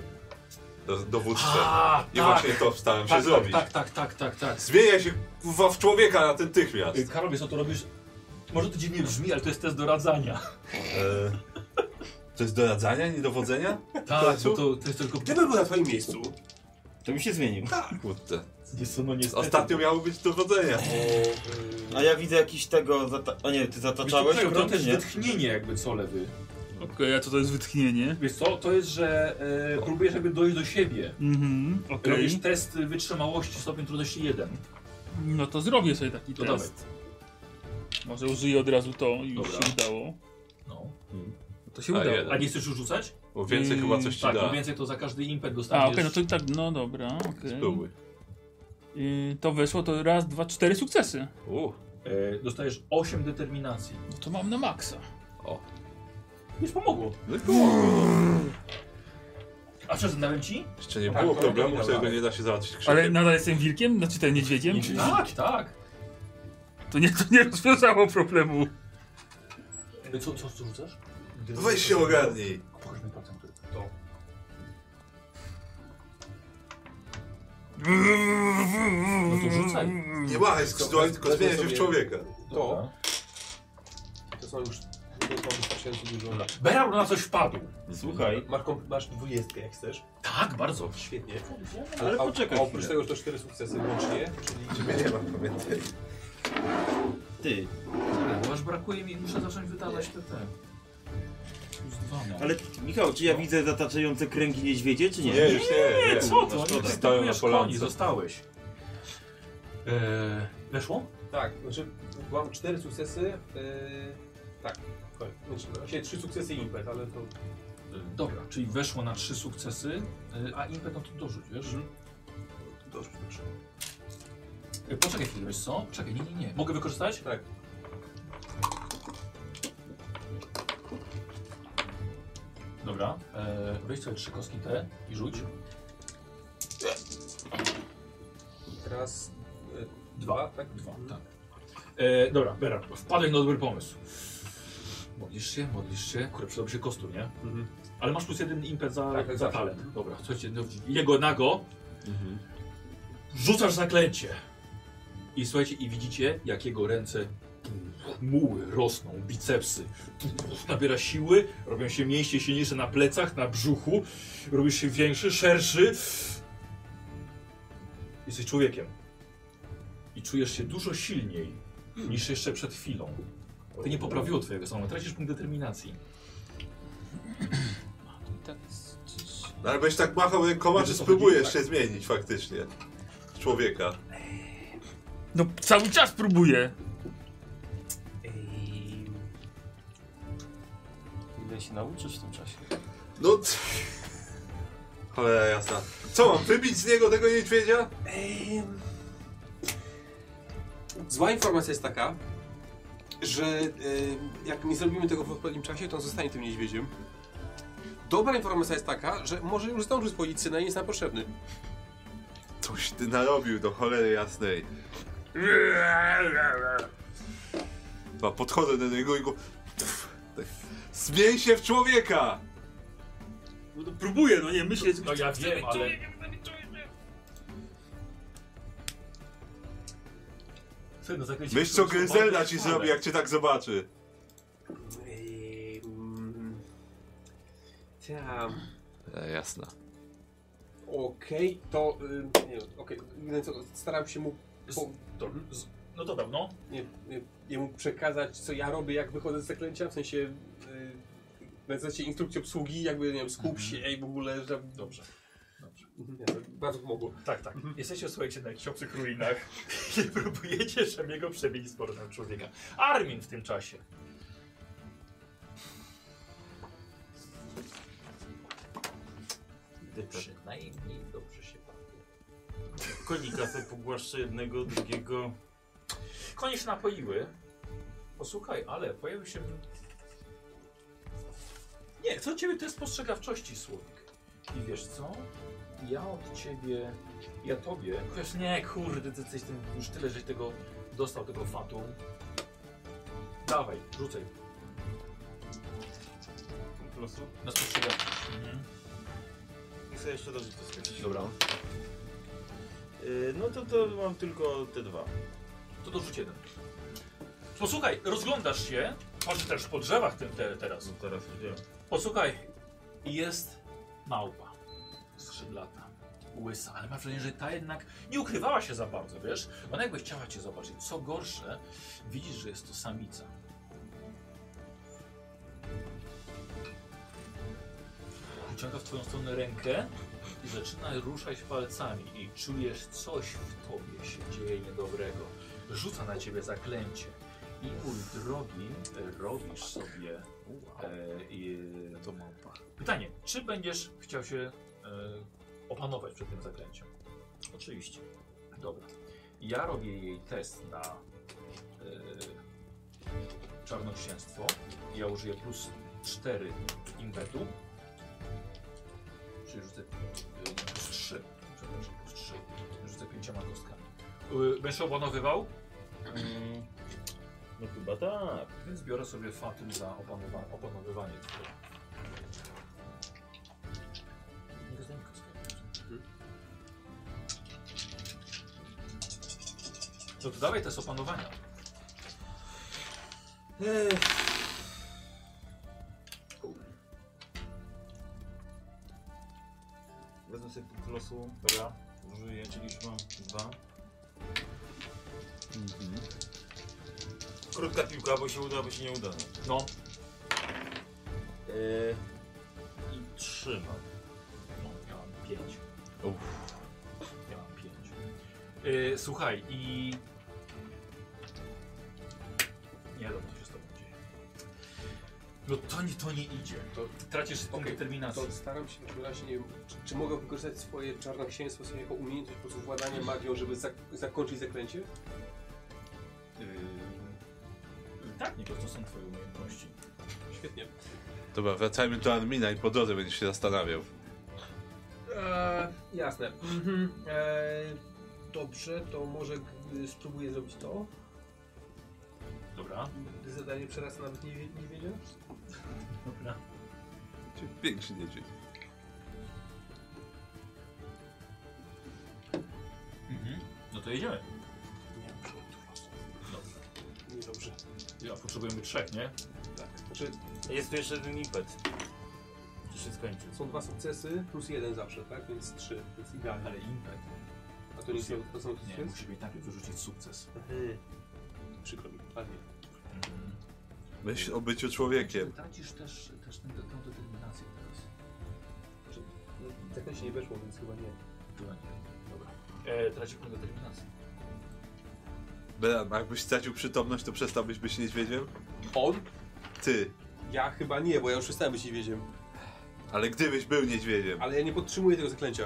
do, dowódcę.
A,
I właśnie to staram się
tak, tak,
zrobić.
tak, tak, tak, tak, tak.
Zmienia się kurwa w człowieka natychmiast.
Y, Karol, wiesz co, to robisz... Może to dziwnie brzmi, ale to jest test doradzania.
E, to jest doradzania, nie dowodzenia?
Tak, bo to, to jest tylko...
Gdybym był na twoim miejscu,
To mi się zmienił.
Kurde.
Jest to, no niestety.
Ostatnio miało być dowodzenia.
A ja widzę jakiś tego. Zata... A nie, ty
Wiesz co,
zataczałeś?
Karol, to
krąg,
też
nie?
wytchnienie jakby co lewy.
Okej, a co to jest wytchnienie?
Wiesz co, to jest, że e, próbujesz jakby dojść do siebie.
Mhm, okej.
Robisz test wytrzymałości stopień trudności 1.
No to zrobię sobie taki
To
test. Może użyję od razu to i już
Dobra.
się udało.
No.
To się
A,
udało.
jeden.
A nie chcesz już rzucać?
Bo więcej
Mm,
chyba coś ci
tak,
da.
im więcej to za każdy impet
A,
dostaniesz.
okej, no to tak, no dobra, okej.
Spróbuj.
Y, to weszło to raz, dwa, cztery sukcesy.
U,
e, dostajesz 8 determinacji.
No to mam na maksa.
Już pomogło.
no i było.
A co, zadałem ci?
Jeszcze nie
Tak,
było
to
problemu,
nie
którego
dało.
nie da się załatwić krzykiem.
Ale nadal jestem wilkiem? Znaczy ten niedźwiedziem?
Tak, tak.
To nie, to nie rozwiązało problemu.
E, Co, co, co rzucasz?
No
no-
Weź się ogarnij.
Pokaż mi palcem, który. To. No to rzucaj.
Nie machaj skrzydłami, tylko
Wezmę
zmienia się w
sobie-
człowieka. No.
to, to są już. To są wystarczająco dużo.
Beram na coś wpadł.
Słuchaj,
Masz, kom- masz dwudziestkę, jak chcesz.
Tak, bardzo.
Świetnie.
Ale
a-
poczekaj
a Oprócz
chwilę.
tego już to cztery sukcesy łącznie, czyli
Nie mam pamiętaj.
ty.
Tak, Bo aż brakuje mi, muszę zacząć wydawać te te. Plus dwa, no.
Ale Michał, czy ja widzę zataczające kręgi niedźwiedzie, czy nie?
Nie, już nie. nie.
Co
szkoda.
to? Nie
Stoją na
występujesz koni,
polance.
zostałeś. Eee, weszło?
tak, znaczy mam cztery sukcesy. Yy, tak, koniec. Znaczy, właściwie trzy sukcesy i impet, ale to.
Eee, Dobra, czyli weszło na trzy sukcesy, eee, a impet no to dorzuć, wiesz?
Mhm.
Dorzuć, proszę. Eee, Poczekaj chwilę, wiesz co? Czekaj, nie, nie, nie. Mogę wykorzystać?
Tak.
Dobra, eee, weź sobie trzy kostki te i rzuć.
Teraz e,
Dwa.
tak?
Dwa, tak. E, dobra, Bera, wpadłeś na dobry pomysł. Modlisz się, modlisz się. Kurde, przydałby się kostur, nie? Ale masz plus jeden impet za,
Tak,
za
jak zawsze.
talent. Dobra, słuchajcie, no, jego nago. Rzucasz zaklęcie. I słuchajcie, i widzicie, jak jego ręce muły rosną, bicepsy. Nabiera siły, robią się mięśnie silniejsze na plecach, na brzuchu. Robisz się większy, szerszy. Jesteś człowiekiem. I czujesz się dużo silniej niż jeszcze przed chwilą. To nie poprawiło twojego stanu, tracisz punkt determinacji.
No ale będziesz tak machał rękoma, czy
Wiesz, o co
spróbujesz
chodzi?
się zmienić faktycznie. Człowieka.
No cały czas próbuję.
Ile się nauczysz w tym czasie?
No c- Cholera jasna. Co mam, wybić z niego tego niedźwiedzia?
Zła informacja jest taka, że e, jak nie zrobimy tego w odpowiednim czasie, to on zostanie tym niedźwiedziem. Dobra informacja jest taka, że może już zdążył spłodzić syna no i jest nam potrzebny.
Coś ty narobił do cholery jasnej. Chyba podchodzę do niego i go... Pff, tak. Zmień się w człowieka!
No, to próbuję, no nie, myślę, że...
No ja wiem, ale... Słuchaj, no zakręciłeś
Myśl co
się w
Gryzelda
obawie,
ci
ale-
zrobi, jak cię tak zobaczy.
mm,
Ehm, Tam.
jasna.
Okej, to. y, Nie, okej. no to Staram się mu. Po,
To, z- no dobra, no.
nie, nie, nie mu przekazać, co ja robię, jak wychodzę z zaklęcia, w sensie. Yy, Nazywacie instrukcję obsługi, jakby, nie wiem, skup się i w ogóle, że...
Dobrze.
Nie, to bardzo pomogło.
Tak, tak. Jesteście, słuchajcie, na jakichś obcych ruinach i próbujecie Szamiego przebić z powrotem człowieka. Armin w tym czasie.
Przynajmniej dobrze się bawię.
Konika sobie pogłaszczę jednego, drugiego.
Konie się napoiły. Posłuchaj, ale pojawił się... Nie, co ciebie to jest spostrzegawczości, Słowik. I wiesz co? Ja od ciebie... Ja tobie... Chociaż nie, kurde, ty jesteś tym... Już tyle, żeś tego... Dostał tego fatum. Dawaj, rzucaj.
Plusu.
Na spostrzegawczość. Mhm.
I sobie jeszcze dobrze to skończyć. Dobra. Y, no to, to mam tylko te dwa.
To dorzuć jeden. Posłuchaj, rozglądasz się. Patrz też po drzewach tym te, teraz.
No teraz już wiem.
Posłuchaj, jest małpa. Skrzydlata. Łysa, ale mam wrażenie, że ta jednak nie ukrywała się za bardzo, wiesz? Ona jakby chciała cię zobaczyć. Co gorsze, widzisz, że jest to samica. Wyciąga w twoją stronę rękę i zaczyna ruszać palcami i czujesz coś w tobie się dzieje niedobrego. Rzuca na ciebie zaklęcie i mój drogi, robisz sobie E, i, to małpa. Pytanie, czy będziesz chciał się e, opanować przed tym zaklęciem? Oczywiście. Dobra. Ja robię jej test na e, czarnoksięstwo. Ja użyję plus 4 impetu. Czyli rzucę e, nie, plus 3. Przepraszam, plus 3. Rzucę pięcioma kostkami. E, Będziesz opanowywał?
No chyba tak.
Więc biorę sobie fatum za opanowa- opanowywanie tego. Nie rozumiem, kostka. No to dawaj test opanowania.
Wezmę sobie punkt losu.
Dobra.
Użyję, czyli już mam dwa.
Mhm.
Krótka piłka, bo się uda, bo się nie uda.
No,
Yy, I trzymam.
no ja mam 5. Ja mam 5. Yy, słuchaj i... Nie wiem, co się z tobą dzieje. No to nie, to nie idzie. To tracisz okay,
Okej,
determinację.
To staram się w takim razie, nie wiem, czy, czy mogę wykorzystać swoje czarnoksięstwo, swoje jako umiejętność po prostu władania magią, żeby zak zakończyć zaklęcie?
Yy, tak, nie, to są twoje umiejętności.
Świetnie.
Dobra, wracajmy do Armina i po drodze będziesz się zastanawiał.
Eee, jasne. Mhm. E, Eee, dobrze, to może g- spróbuję zrobić to.
Dobra.
Zadanie przerasta nawet nie, wie- nie wiedział?
Dobra.
Większy niedźwiedź.
Mhm. No to jedziemy.
Niedobrze.
Ja, potrzebujemy trzech, nie?
Znaczy,
Jest tu jeszcze jeden impet. Czy się skończy?
są dwa sukcesy plus jeden zawsze, tak? Więc trzy. Więc idealnie.
Ale impet.
A to nie są, to są
Nie,
trzy?
musimy najpierw wyrzucić sukces.
Mhm. Przykro mi, ale nie.
Myśl o byciu człowiekiem.
Tracisz też, też tę, tę determinację teraz.
No, tak to się nie weszło, więc chyba nie.
Chyba nie.
E, tracisz punkt determinacji.
Beran, jakbyś stracił przytomność, to przestałbyś być niedźwiedziem?
On?
Ty.
Ja chyba nie, bo ja już przestałem być niedźwiedziem.
Ale gdybyś był niedźwiedziem.
Ale ja nie podtrzymuję tego zaklęcia.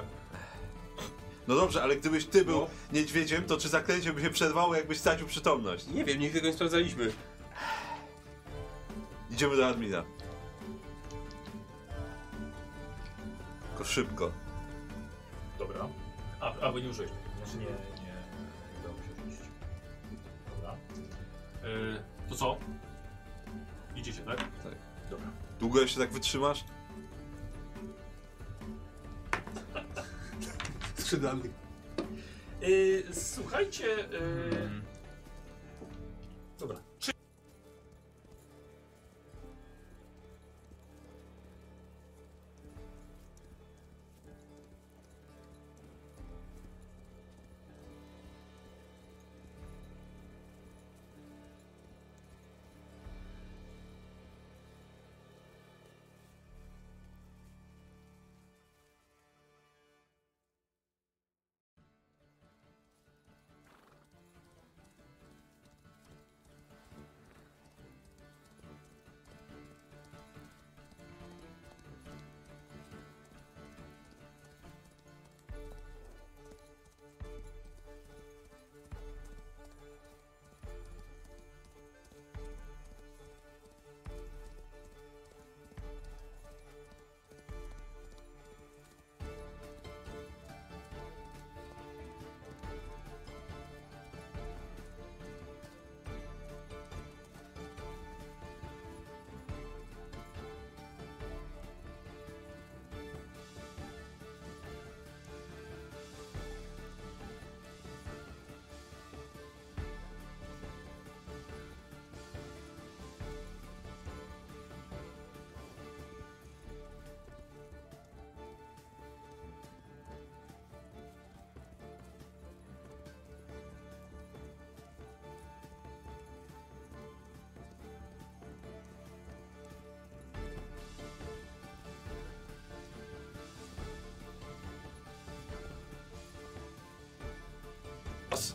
No dobrze, ale gdybyś ty był
No.
niedźwiedziem, to czy zaklęcie by się przerwało, jakbyś stracił przytomność?
Nie wiem, nigdy tego nie sprawdzaliśmy.
Idziemy do admina. Tylko szybko.
Dobra. A, a bo nie użyłeś. Znaczy nie, nie, nie udało mi się rzucić. Dobra. E, to co? Idziecie, tak?
Tak.
Dobra.
Długo jeszcze tak wytrzymasz?
Skrzydlany.
E, słuchajcie... E, Dobra.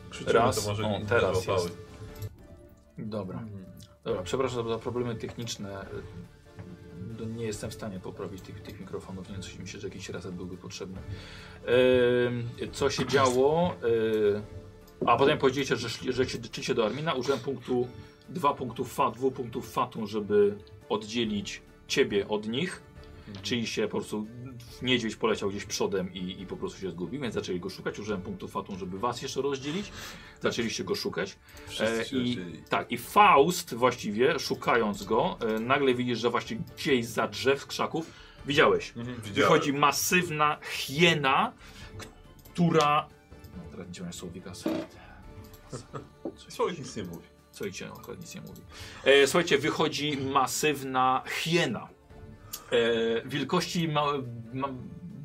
Krzyczymy,
Raz,
to może
o,
nie
teraz
złapały.
jest. Dobra. Dobra, przepraszam za problemy techniczne. No, Nie jestem w stanie poprawić tych, tych mikrofonów, więc myślę, że jakiś reset byłby potrzebny. Em, co się działo? Em, a potem powiedzieliście, że, szli- że się czycie do Armina. Użyłem punktu, dwa punktów fat, dwóch punktów fatu, żeby oddzielić ciebie od nich.
Mhm.
Czyli się po prostu niedźwiedź poleciał gdzieś przodem i, i po prostu się zgubił, więc zaczęli go szukać. Użyłem punktu fatu, żeby was jeszcze rozdzielić. Zaczęliście go szukać.
Wszyscy
E,
się
i,
rozdzielili.
tak, i Faust właściwie, szukając go, e, nagle widzisz, że właśnie gdzieś za drzew, krzaków, widziałeś.
Widziałem.
Wychodzi masywna hiena, która... No, teraz nie działają słowika.
Słowik nic nie mówi.
Słuchajcie, no, akurat nic nie mówi. E, słuchajcie, wychodzi masywna hiena. E, wilkości ma, ma,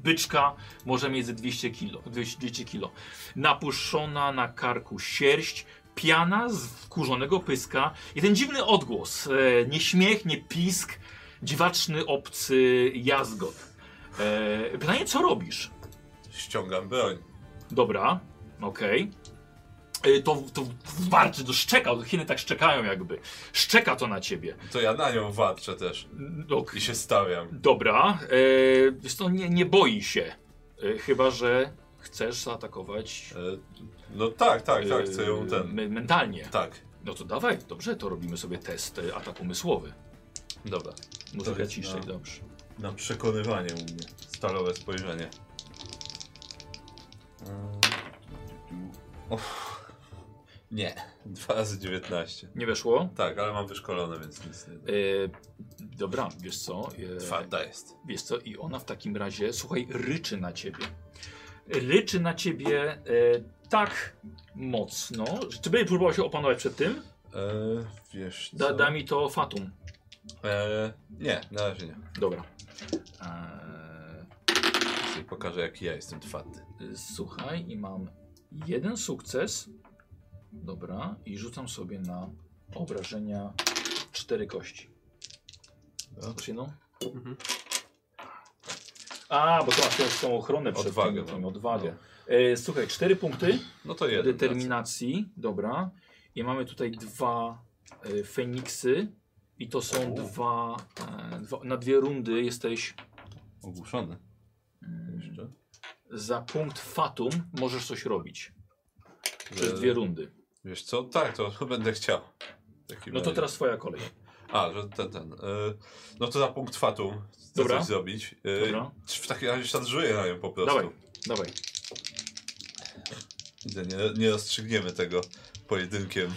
byczka może między 200 kilo, 200 kilo. Napuszczona na karku sierść, piana z wkurzonego pyska i ten dziwny odgłos. E, nie śmiech, nie pisk, dziwaczny, obcy jazgot. E, pytanie, co robisz?
Ściągam broń.
Dobra, okej. Y, To, to warczy, to szczeka, to Chiny tak szczekają jakby. Szczeka to na ciebie.
To ja na nią warczę też.
Ok.
I się stawiam.
Dobra, y, wiesz co, nie, nie boi się. Y, chyba, że chcesz zaatakować
E, No tak, tak, tak,
y,
chcę ją ten.
me- mentalnie.
Tak.
No to dawaj, dobrze, to robimy sobie test y, atak umysłowy.
Dobra. To
Muzyka
jest
ciszej,
na-
dobrze.
Na przekonywanie u mnie. Stalowe spojrzenie. Mm. Uff.
Nie.
Dwa razy 19.
Nie weszło?
Tak, ale mam wyszkolone, więc nic nie.
Yy, dobra, wiesz co?
Eee,
Yy,
Twarda jest.
Wiesz co, i ona w takim razie, słuchaj, ryczy na ciebie. Ryczy na ciebie e, tak mocno. że- Czy by próbował się opanować przed tym?
Eee, wiesz. Co?
Da, da mi to fatum.
Eee, nie, na razie nie.
Dobra. E,
Czyli pokażę, jaki ja jestem twardy.
słuchaj, i mam jeden sukces. Dobra, i rzucam sobie na obrażenia cztery kości. Zobacz jedną.
Mhm.
A, bo to masz też tą ochronę przed
Odwagę
tym, tym
mam.
odwagę. E, słuchaj, cztery punkty.
No to jeden.
determinacji, dobra. I mamy tutaj dwa e, Feniksy i to są dwa, e, dwa na dwie rundy jesteś
Ogłuszony.
Mm.
Jeszcze.
za punkt fatum, możesz coś robić przez
E,
dwie rundy.
Wiesz co? Tak, to będę chciał. W takim
No to
razie.
teraz twoja kolej.
A, że ten, ten. Eee, no to za punkt fatum. Chcę
Dobra.
coś zrobić. Eee,
Dobra.
W takim razie szanżuję na nią po prostu.
Dawaj, dawaj.
Widzę, nie, nie rozstrzygniemy tego pojedynkiem.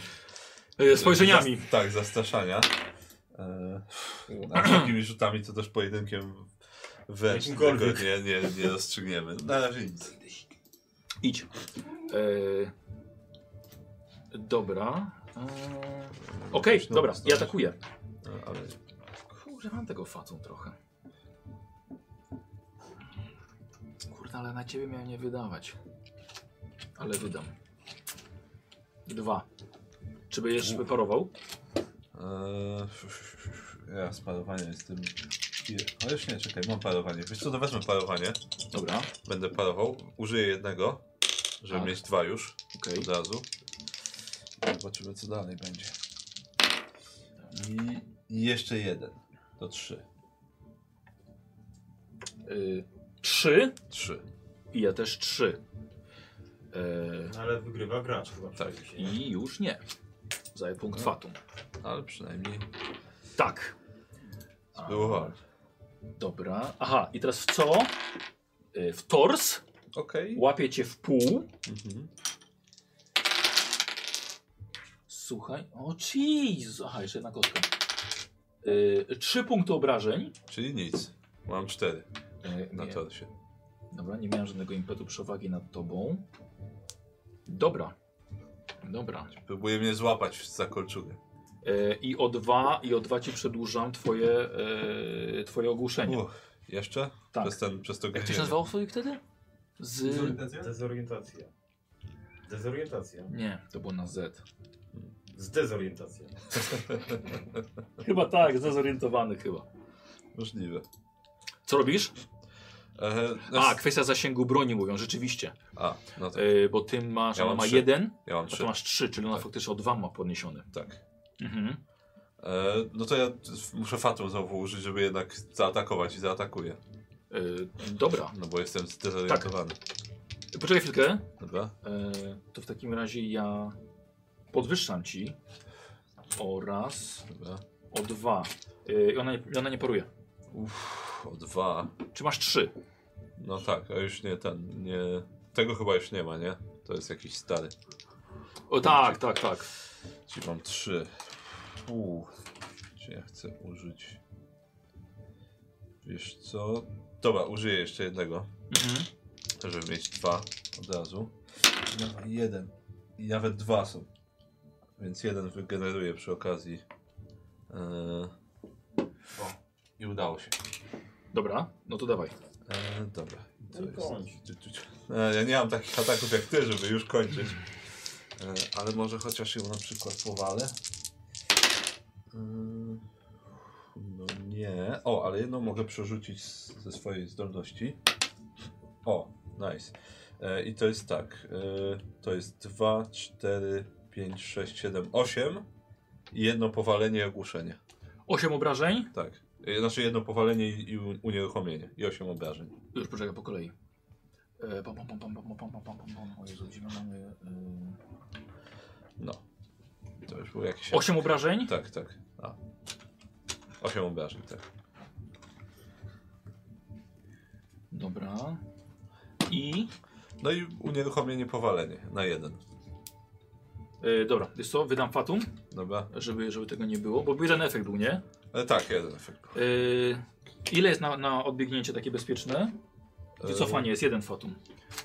E, spojrzeniami.
Zas- tak, zastraszania. Eee, a takimi rzutami to też pojedynkiem wręcz tego
Jakimkolwiek.
nie, nie, nie rozstrzygniemy. Na razie nic.
Idź. E, dobra. E, Okej,
Znowu
dobra, ja
zdążysz.
atakuję.
No, ale
Kurde, mam tego fatum trochę. Kurde, ale na ciebie miałem nie wydawać. Ale wydam. Dwa. Czy będziesz wyparował?
Eee, e, Ja z parowania jestem. Ale już nie, czekaj, mam parowanie. Wiesz co, to wezmę parowanie.
Dobra,
Będę parował. Użyję jednego, żeby
Tak.
mieć dwa już
okej.
od razu. Zobaczymy, co dalej będzie. I- I jeszcze jeden. To trzy.
Y, trzy.
Trzy.
I ja też trzy. Y,
No, ale wygrywa gracz chyba.
Tak.
przecież, nie?
I już nie. Zaj punkt fatum.
Ale przynajmniej
Tak.
spróbowałem.
Dobra. Aha, i teraz w co? Y, w tors.
Okej.
Łapie cię w pół.
Mhm.
Słuchaj. O, jeez. Aha, jeszcze jedna kostka. Y, trzy punkty obrażeń.
Czyli nic. Mam cztery
Y,
na
nie.
torsie.
Dobra, nie miałem żadnego impetu przewagi nad tobą. Dobra. Dobra.
Próbuję mnie złapać za kolczugę.
E, I o dwa, i o dwa ci przedłużam twoje, e, twoje ogłuszenie.
Uch, jeszcze?
Tak.
Przez, ten, przez to
Jak to się
gnienie.
nazywało twoje wtedy? Z...
Y,
Zorientacja?
Dezorientacja. Dezorientacja.
Nie, to było na Z.
Zdezorientacja.
Chyba tak, zorientowany chyba.
Możliwe.
Co robisz?
Eee,
A, kwestia zasięgu broni mówią, rzeczywiście.
A, no tak.
E, bo ty masz,
Ja
ona
mam
ma
trzy.
jeden,
Ja mam
a
trzy.
ty masz trzy, czyli ona
Tak.
faktycznie o dwa ma podniesiony.
Tak.
Mhm.
E, no to ja muszę fatum znowu użyć, żeby jednak zaatakować i zaatakuję.
E, dobra.
No bo jestem zdezorientowany.
Tak. Poczekaj chwilkę.
Dobra?
E, to w takim razie ja podwyższam ci o raz,
Dobra.
o dwa. E, I ona, nie- ona nie paruje.
Uff, o dwa.
Czy masz trzy?
No tak, a już nie ten, nie... Tego chyba już nie ma, nie? To jest jakiś stary.
O tak, tak, tak.
Czyli mam trzy. Uuu. Czy ja chcę użyć... Wiesz co? Dobra, użyję jeszcze jednego,
Mhm.
żeby mieć dwa od razu. No, jeden. I nawet dwa są. Więc jeden wygeneruję przy okazji. Eee... O, i udało się.
Dobra, no to dawaj.
E, dobra. To
Ten koń.
jest... Ciu, ciu, ciu. E, ja nie mam takich ataków jak ty, żeby już kończyć. E, ale może chociaż ją na przykład powalę. E, no nie. O, ale jedną mogę przerzucić z, ze swojej zdolności. O, nice. E, I to jest tak. E, to jest 2, 4, 5, 6, 7, 8. I jedno powalenie i ogłuszenie.
Osiem obrażeń.
Tak. E, Znaczy jedno powalenie i i u- unieruchomienie. I 8 obrażeń.
Już poczekaj po kolei. E, pom, pom, pom, pom, pom, pom, pom, pom, pom, pom. O Jezu, gdzie my mamy... y,
No. To już był jakiś.
Osiem obrażeń.
Tak, tak. A. Osiem obrażeń, tak.
Dobra. I
No i unieruchomienie powalenie na jeden.
E, dobra, wiesz co, wydam fatum,
Dobra.
żeby, żeby tego nie było, bo jeden efekt był, nie?
Ale tak, jeden efekt.
E, ile jest na, na odbiegnięcie takie bezpieczne? Gdzie cofanie jest jeden fatum.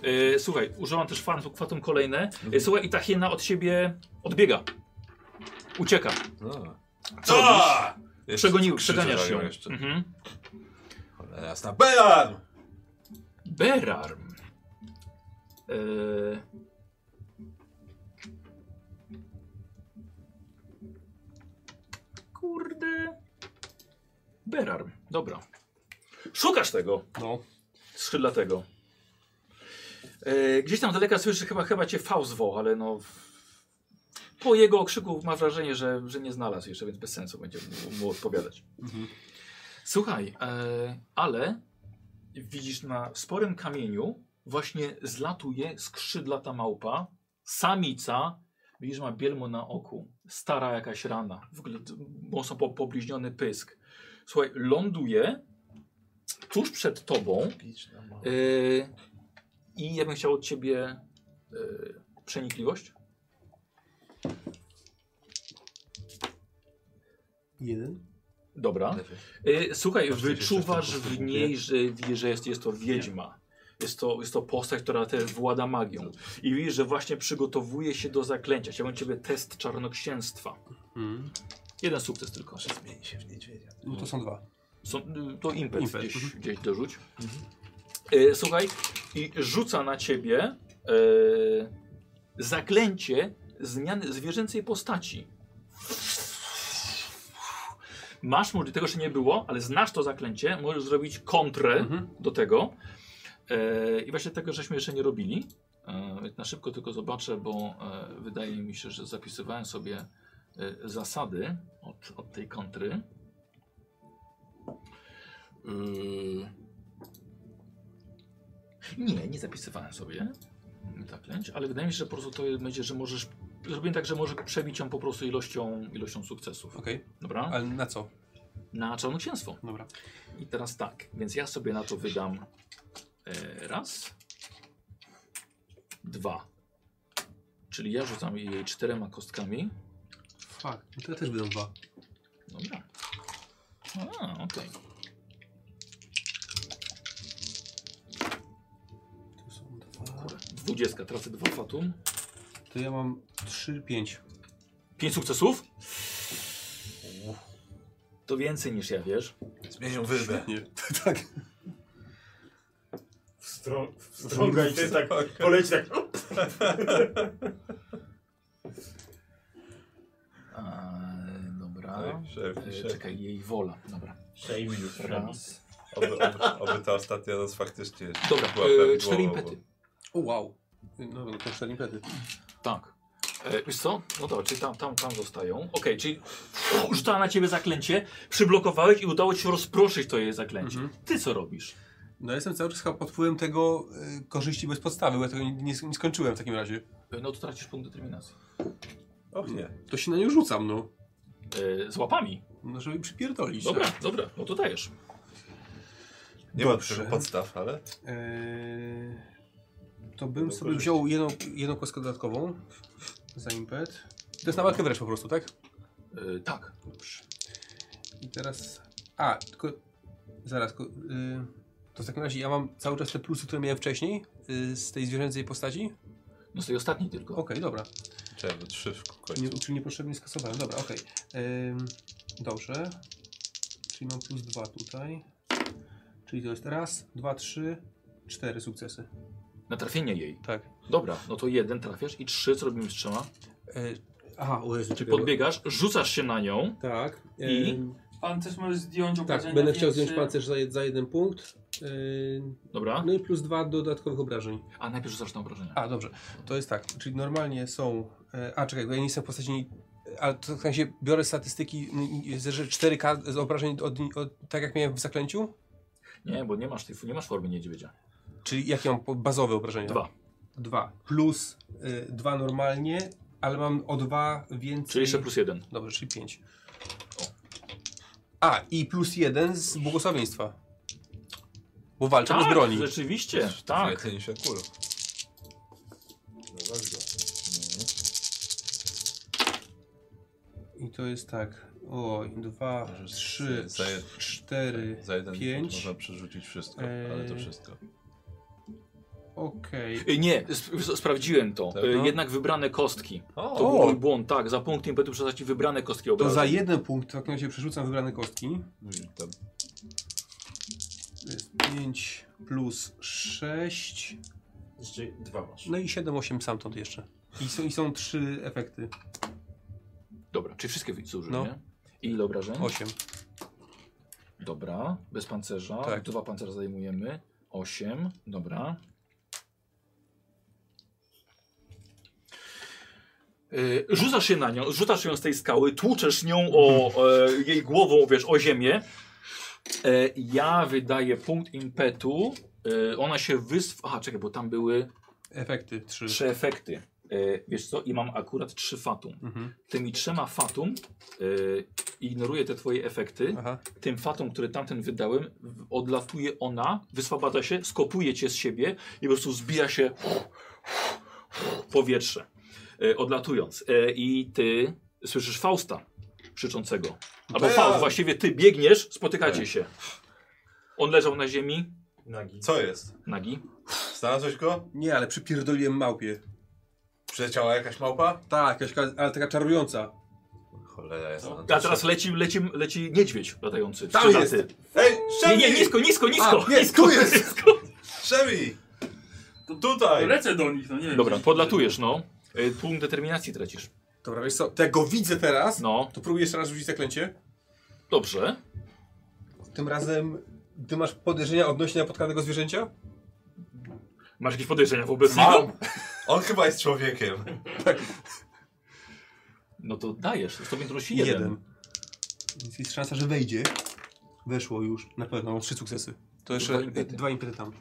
E, słuchaj, używam też fatum, fatum kolejne. E, słuchaj, i ta hiena od siebie odbiega. Ucieka.
No.
Co robisz?
Jeszcze
Przegonił,
krzyczę
przeganiasz Mhm.
za nią
ją.
Jeszcze. E,
Mhm.
Cholera jasna. Belarm!
Berarm. Eee... Kurde. Berarm, dobra. Szukasz tego.
No.
Skrzydla tego. Eee, gdzieś tam z daleka słyszysz, chyba, chyba cię Faust woł, ale no... Po jego okrzyku mam wrażenie, że, że nie znalazł jeszcze, więc bez sensu będzie mu, mu odpowiadać. Słuchaj, eee, ale widzisz na sporym kamieniu właśnie zlatuje skrzydlata małpa, samica, widzisz ma bielmo na oku, stara jakaś rana, w ogóle d- mocno po- pobliźniony pysk. Słuchaj, ląduje tuż przed tobą yy, i ja bym chciał od ciebie yy, przenikliwość.
Jeden?
Dobra. Y, Słuchaj, wyczuwasz w niej, że, że jest, jest to wiedźma. Jest to, jest to postać, która też włada magią. I widzisz, że właśnie przygotowuje się do zaklęcia. Chciałbym ciebie test czarnoksięstwa.
Mhm.
Jeden sukces tylko.
Zmieni się w niedźwiedzia.
No to są dwa.
Są, y, to impet,
Impet,
gdzieś,
mhm.
gdzieś dorzuć. Y, słuchaj, i rzuca na ciebie y, zaklęcie zmiany zwierzęcej postaci. Masz możliwość, tego jeszcze nie było, ale znasz to zaklęcie, możesz zrobić kontrę
Mhm.
do tego. E, I właśnie tego żeśmy jeszcze nie robili. E, więc na szybko tylko zobaczę, bo e, wydaje mi się, że zapisywałem sobie e, zasady od, od tej kontry. Yy. Nie, nie zapisywałem sobie zaklęć, ale wydaje mi się, że po prostu to będzie, że możesz. Zrobię tak, że możesz przebić ją po prostu ilością, ilością sukcesów.
Okej.
Dobra?
Ale na co?
Na czarnoksięstwo.
Dobra.
I teraz tak, więc ja sobie na to wydam e, raz, dwa. Czyli ja rzucam jej czterema kostkami.
Fuck. No to ja też będą dwa.
Dobra. A, okej.
Tu są dwa.
Okay. Dwudziestka, tracę dwa fatum.
To ja mam trzy, pięć.
Pięć sukcesów? To więcej niż ja, wiesz?
Zmienią wybę.
Nie. tak.
Wstrą- Wstrąga i ty tak poleci tak.
A, dobra.
No.
Oj, szef,
E,
szef.
czekaj, jej wola. Dobra.
Shame you,
Raz.
Oby, oby, oby ta ostatnia noc faktycznie
Dobra,
była
e,
prawidłowa,
cztery
bo-
impety.
O, wow. No, no to cztery impety.
Tak. E, wiesz co? No dobra, czyli tam, tam, tam zostają. Okej, czyli rzucała na ciebie zaklęcie, przyblokowałeś i udało ci się rozproszyć to jej zaklęcie. Ty co robisz?
No ja jestem cały czas chyba pod wpływem tego y, korzyści bez podstawy, bo ja tego nie, nie, nie skończyłem w takim razie.
E, No to tracisz punkt determinacji.
Och nie.
To się na nią rzucam, no.
E, z łapami.
No żeby przypierdolić.
Dobra,
Tak.
dobra, no to dajesz.
Nie ma
Dobrze.
tego podstaw, ale...
Eee, to bym
Do
sobie
korzyści.
wziął jedną, jedną kostkę dodatkową za impet. To jest na walkę wręcz po prostu, tak?
E, tak.
Dobrze. I teraz... A, tylko... Zaraz, ko- y, to w takim razie ja mam cały czas te plusy, które miałem wcześniej y, z tej zwierzęcej postaci?
No z tej ostatniej tylko.
Okej, dobra.
Czekaj, bo trzy w końcu.
Nie, czyli niepotrzebnie skasowałem, dobra, okej. Ym, dobrze. Czyli mam plus dwa tutaj. Czyli to jest raz, dwa, trzy, cztery sukcesy.
Na trafienie jej.
Tak.
Dobra, no to jeden trafiasz i trzy, co robimy z trzema?
Yy, aha, o Jezu, czekaj. bo-
Podbiegasz, rzucasz się na nią.
Tak.
I?
ym,
Pancerz możesz zdjąć
tak,
obrażenia y,
będę chciał zdjąć
większe.
pancerz za, jed- za jeden punkt. Ym,
Dobra.
no i plus dwa do dodatkowych obrażeń.
A najpierw rzucasz na obrażenia.
A, dobrze. To jest tak, czyli normalnie są... e, A, czekaj, bo ja nie jestem w postaci... Ale to w sensie biorę statystyki, n- n- że 4K z obrażeń, od, od, tak jak miałem w zaklęciu?
Nie, bo nie masz, tej- nie masz formy niedźwiedzia.
Czyli jakie mam po- bazowe obrażenia?
Dwa.
Dwa. Plus y, dwa normalnie, ale mam o dwa więcej.
Czyli jeszcze plus jeden.
Dobrze, czyli pięć. A, i plus jeden z błogosławieństwa. Bo walczę bez broni.
tak, rzeczywiście, tak.
Więcej niż akurat.
I to jest tak. O, dwa,
Możesz
trzy,
za jed-
cztery,
Za jeden
pięć.
punkt można przerzucić wszystko,
Eee.
ale to wszystko.
okej.
Y, Nie, sp sp- sprawdziłem to.
Tak,
Y,
no.
Jednak wybrane kostki.
O,
To był mój błąd, tak. Za punkt impetu przesadzi wybrane kostki
To
obrazu.
za jeden punkt w takim razie przerzucam wybrane kostki.
tam.
To jest 5 plus 6.
Jeszcze dwa masz.
No i 7, 8 stamtąd jeszcze. I są, I są trzy efekty.
Dobra, czy wszystkie wy- zużył,
No.
nie? I ile obrażeń?
8.
Dobra, bez pancerza.
Tak.
Dwa pancerza zajmujemy. Osiem, dobra. Y, Rzucasz się na nią, rzucasz ją z tej skały, tłuczesz nią o e, jej głową, wiesz, o ziemię. E, ja wydaję punkt impetu. E, ona się wysw... Aha, czekaj, bo tam były
Efekty 3.
trzy efekty. E, wiesz co, i mam akurat trzy fatum.
Mhm.
Tymi trzema fatum e, ignoruję te twoje efekty
Aha.
tym fatom, które tamten wydałem, w- odlatuje ona, wyswabada się, skopuje cię z siebie i po prostu zbija się w powietrze, e, odlatując. E, I ty słyszysz Fausta krzyczącego. Albo
Ja-
Faust, właściwie ty biegniesz, spotykacie się. On leżał na ziemi,
Nagi.
Co jest?
nagi.
Znalazłeś go?
Nie, ale przypierdoliłem małpie.
Przeciała jakaś małpa?
Tak, jakaś, ka- ale taka czarująca.
Cholera jasna.
A teraz leci, leci, leci niedźwiedź latający.
No, Tam
skrzyżaty.
Ej,
Nie,
Szemi!
nie, nisko, nisko, nisko!
nie,
nisko,
tu jest!
nisko.
Szemi! Tu-
To
Tutaj!
lecę do nich, no nie wiem.
Dobra,
czy-
podlatujesz, no. E, Punkt determinacji tracisz.
Dobra, wiesz co, to jak go widzę teraz,
No,
to próbuję jeszcze raz rzucić zaklęcie.
dobrze.
Tym razem, ty masz podejrzenia odnośnie napotkanego zwierzęcia?
Masz jakieś podejrzenia wobec niego?
On chyba jest człowiekiem.
No to dajesz, to mi prosi jeden.
Więc jest szansa, że wejdzie. Weszło już, na pewno, mam trzy sukcesy. To jeszcze
Dwa
dwa
impety.
impety, tam.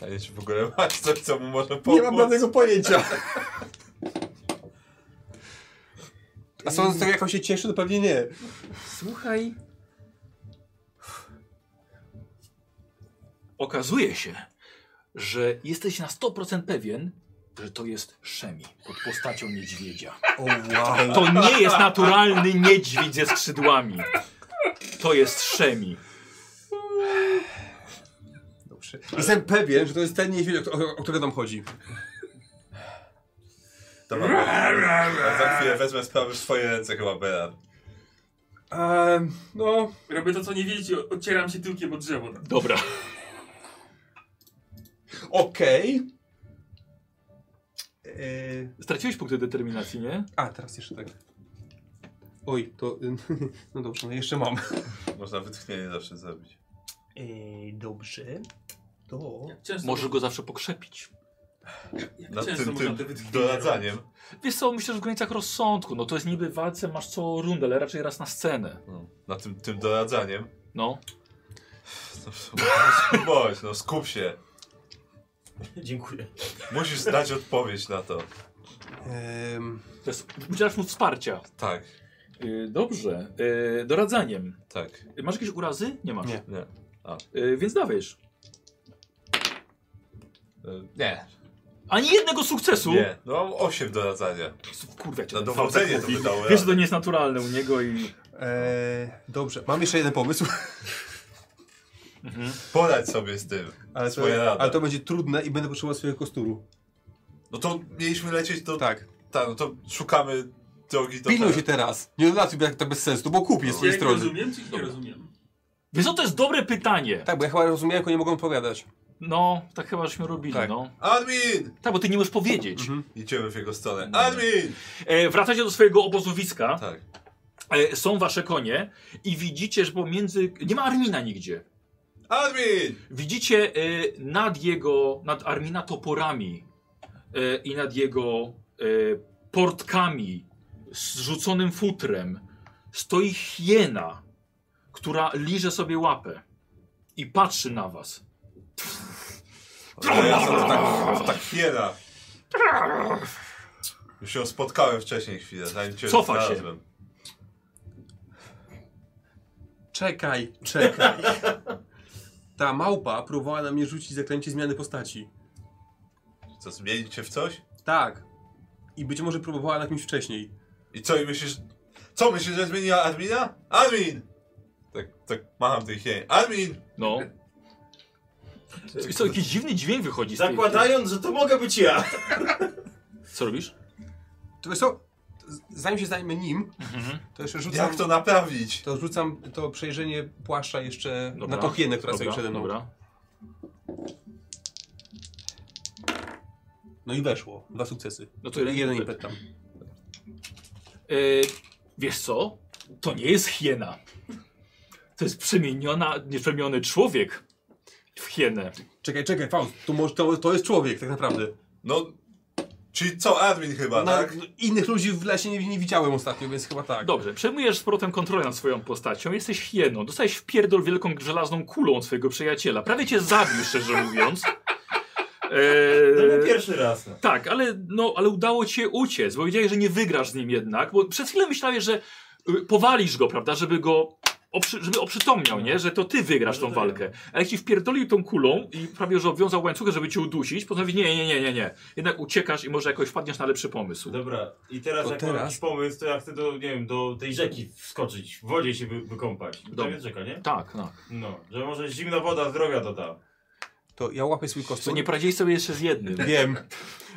A ja ci w ogóle masz coś, co mu może pomóc.
Nie mam żadnego pojęcia. A sądząc to, jak on się cieszy, to pewnie nie.
Słuchaj. Okazuje się, że jesteś na 100% pewien, że to jest Szemi pod postacią niedźwiedzia.
O wow.
To nie jest naturalny niedźwiedź ze skrzydłami. To jest Szemi.
Dobrze. Jestem pewien, że to jest ten niedźwiedź, o, o, o którego nam chodzi.
Dobra, ja za chwilę wezmę sprawy w swoje ręce chyba, Beran.
Ehm, no,
Robię to, co nie wiecie, odcieram się tyłkiem od drzewo. Tak.
Dobra.
okej. Eee,
Straciłeś punkty determinacji, nie?
a, teraz jeszcze tak. Oj, to... ym, no dobrze, no jeszcze mam.
Można wytchnienie zawsze zrobić.
Eee, dobrze. To...
Jak Często,
Możesz go zawsze pokrzepić.
jak
Nad
często
tym,
można
tym
te wytchnienia
doradzaniem.
Wiesz co, myślę, że w granicach rozsądku. No to jest niby w walce, masz co rundę, ale raczej raz na scenę.
No, nad tym, tym doradzaniem.
No.
No, Bądź, no skup się.
Dziękuję.
Musisz dać odpowiedź na to.
Ehm,
To jest, udzielasz mu wsparcia.
Tak,
Y, Dobrze. Y, Doradzaniem.
tak.
Y, Masz jakieś urazy? Nie masz.
Nie.
Nie. A.
Y, Więc dawajesz.
Y, Nie.
Ani jednego sukcesu!
Nie. No mam 8 doradzania.
Kurwa, cię
Na
ten
tak
dowodzenie
facet
to
mówi.
by dało
Wiesz, że
radę.
to nie jest naturalne u niego i...
eee, dobrze, mam jeszcze jeden pomysł.
Poradź sobie z tym.
Ale to,
Swoje rady.
ale to będzie trudne i będę potrzebował swojego kosturu.
No to mieliśmy lecieć do...
Tak.
Tak, no to szukamy drogi do...
Pilnuj się teraz. Nie odlatuj, bo jak to bez sensu, bo
No.
kupię z
Ja
twojej
ich
strony.
rozumiem, czy ich nie rozumiem?
Wiesz co, to jest dobre pytanie.
Tak, bo ja chyba rozumiałem, tylko nie mogą odpowiadać.
No, tak chyba żeśmy robili,
Tak.
no.
Admin!
Tak, bo ty nie możesz powiedzieć.
Idziemy w jego stronę.
No.
Admin!
E, wracacie do swojego obozowiska.
Tak.
E, są wasze konie i widzicie, że pomiędzy... Nie ma Armina nigdzie.
Admin!
Widzicie e, nad jego, nad Armina toporami e, i nad jego e, portkami z rzuconym futrem stoi hiena, która liże sobie łapę i patrzy na was.
Ale ja sobie tak, tak hiena. Już się spotkałem wcześniej chwilę, zanim cię
Cofa się.
znalazłem.
Czekaj, czekaj. Ta małpa próbowała na mnie rzucić zaklęcie zmiany postaci.
Co, zmienić cię w coś?
Tak. I być może próbowała na kimś wcześniej.
I co, i myślisz, Co, myślisz, że zmieniła admina? Admin! Tak, tak macham tej chien. Admin!
No. I co, jakiś dziwny dźwięk wychodzi z tej...
Zakładając, że to mogę być ja.
Co robisz?
To wiesz co, z- zanim się zajmę nim, to jeszcze rzucam
Mhm. Jak to naprawić?
To rzucam to przejrzenie płaszcza jeszcze
Dobra.
na tą hienę, która stoi
Dobra,
przede mną.
Dobra.
No i weszło. Dwa sukcesy.
No to jeden
jeden
impet.
impet tam.
Yy, wiesz co? To nie jest hiena. To jest przemieniona, nieprzemieniony człowiek w hienę.
Czekaj, czekaj, Faust, to, może, to, to jest człowiek tak naprawdę.
No, czyli co, admin
No,
chyba,
Na, no,
tak?
Innych ludzi w lesie nie, nie widziałem ostatnio, więc chyba tak.
Dobrze, przejmujesz z powrotem kontrolę nad swoją postacią, jesteś hieną, dostajesz w pierdol wielką żelazną kulą od swojego przyjaciela. Prawie cię zabił, szczerze mówiąc.
To nie
Eee,
pierwszy raz. no.
Tak, ale, no, ale udało ci się uciec, bo wiedziałeś, że nie wygrasz z nim jednak, bo przez chwilę myślałeś, że y, powalisz go, prawda, żeby go oprzy, żeby oprzytomniał, nie? Że No to ty wygrasz tą walkę. Ale ci wpierdolił tą kulą i prawie że obwiązał łańcuchem, żeby cię udusić, postanowił, nie, nie, nie, nie, nie. Jednak uciekasz i może jakoś wpadniesz na lepszy pomysł.
Dobra, i teraz
To
jak mam
teraz?
jakiś pomysł, to ja chcę do, nie wiem, do tej rzeki wskoczyć, w wodzie się wy, wykąpać. To
Dobra.
jest rzeka, nie?
Tak, no.
No, że może zimna woda zdrowia doda.
To ja łapię swój
Co,
kostur.
nie poradzili sobie jeszcze z jednym.
Wiem.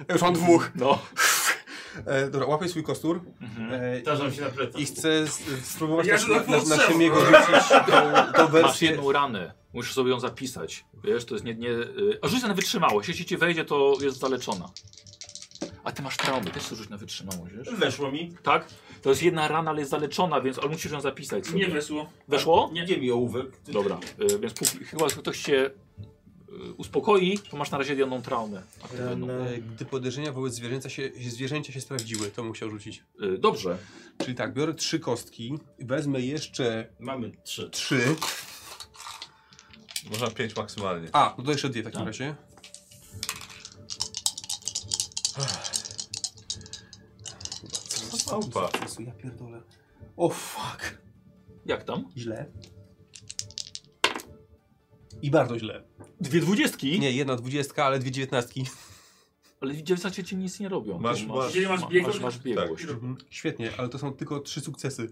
Ja już mam dwóch.
No.
E, dobra, łapię swój kostur
Mhm.
e,
Zdarzam się na plecach.
i chcę s- spróbować
Ja
na,
to tak
na, na, na
potrzeba.
Szymiego rzucić tą, tą
Masz
wersję.
jedną ranę. Musisz sobie ją zapisać. Wiesz, to jest nie... nie y, a rzuć na wytrzymałość. Jeśli ci wejdzie, to jest zaleczona. A ty masz traumy, też rzuć na wytrzymałość, wiesz?
Weszło mi.
Tak? To jest jedna rana, ale jest zaleczona, więc ale musisz ją zapisać sobie.
Nie wesło.
Weszło?
Nie gdzie mi ołówek.
Dobra, y, więc póki, chyba ktoś cię y, uspokoi, to masz na razie jedną traumę. aktywną.
E, gdy podejrzenia wobec zwierzęcia się, zwierzęcia się sprawdziły, to musiał rzucić.
Y, dobrze.
Czyli tak, biorę trzy kostki, wezmę jeszcze
Mamy trzy.
trzy.
Można pięć maksymalnie.
A, no to jeszcze dwie w
Tak.
takim razie. Co za
małpa?
sukcesu, Ja pierdolę. O fuck.
Jak tam?
Źle. I bardzo źle.
Dwie dwudziestki?
Nie, jedna dwudziestka, ale dwie dziewiętnastki.
Ale dziewiętnaście ci nic nie robią.
Masz-
To
masz-
Jeżeli masz
ma-
biegłość-
masz
Tak.
biegłość.
Świetnie, ale to są tylko trzy sukcesy.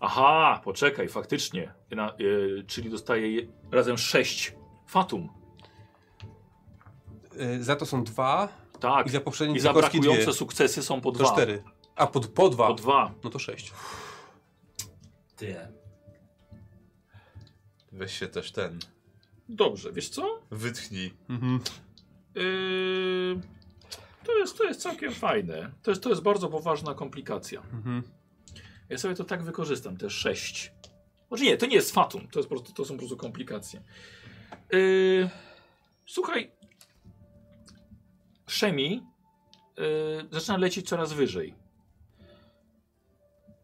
Aha, poczekaj, faktycznie. Jedna, y, czyli dostaje je, razem sześć fatum.
E, za to są dwa
Tak.
i za poprzednie
I
dwie kostki dwie.
zabrakujące sukcesy są po
To
dwa.
cztery. A po, po dwa.
Po dwa.
No to sześć.
Ty.
Weź się też ten.
Dobrze, wiesz co?
Wytchnij.
Mhm.
Yy, to, jest, to jest całkiem fajne. To jest, to jest bardzo poważna komplikacja.
Mhm.
Ja sobie to tak wykorzystam, te sześć. Może nie, to nie jest fatum, to, jest po prostu, to są po prostu komplikacje. Yy, słuchaj, Szemi yy, zaczyna lecieć coraz wyżej.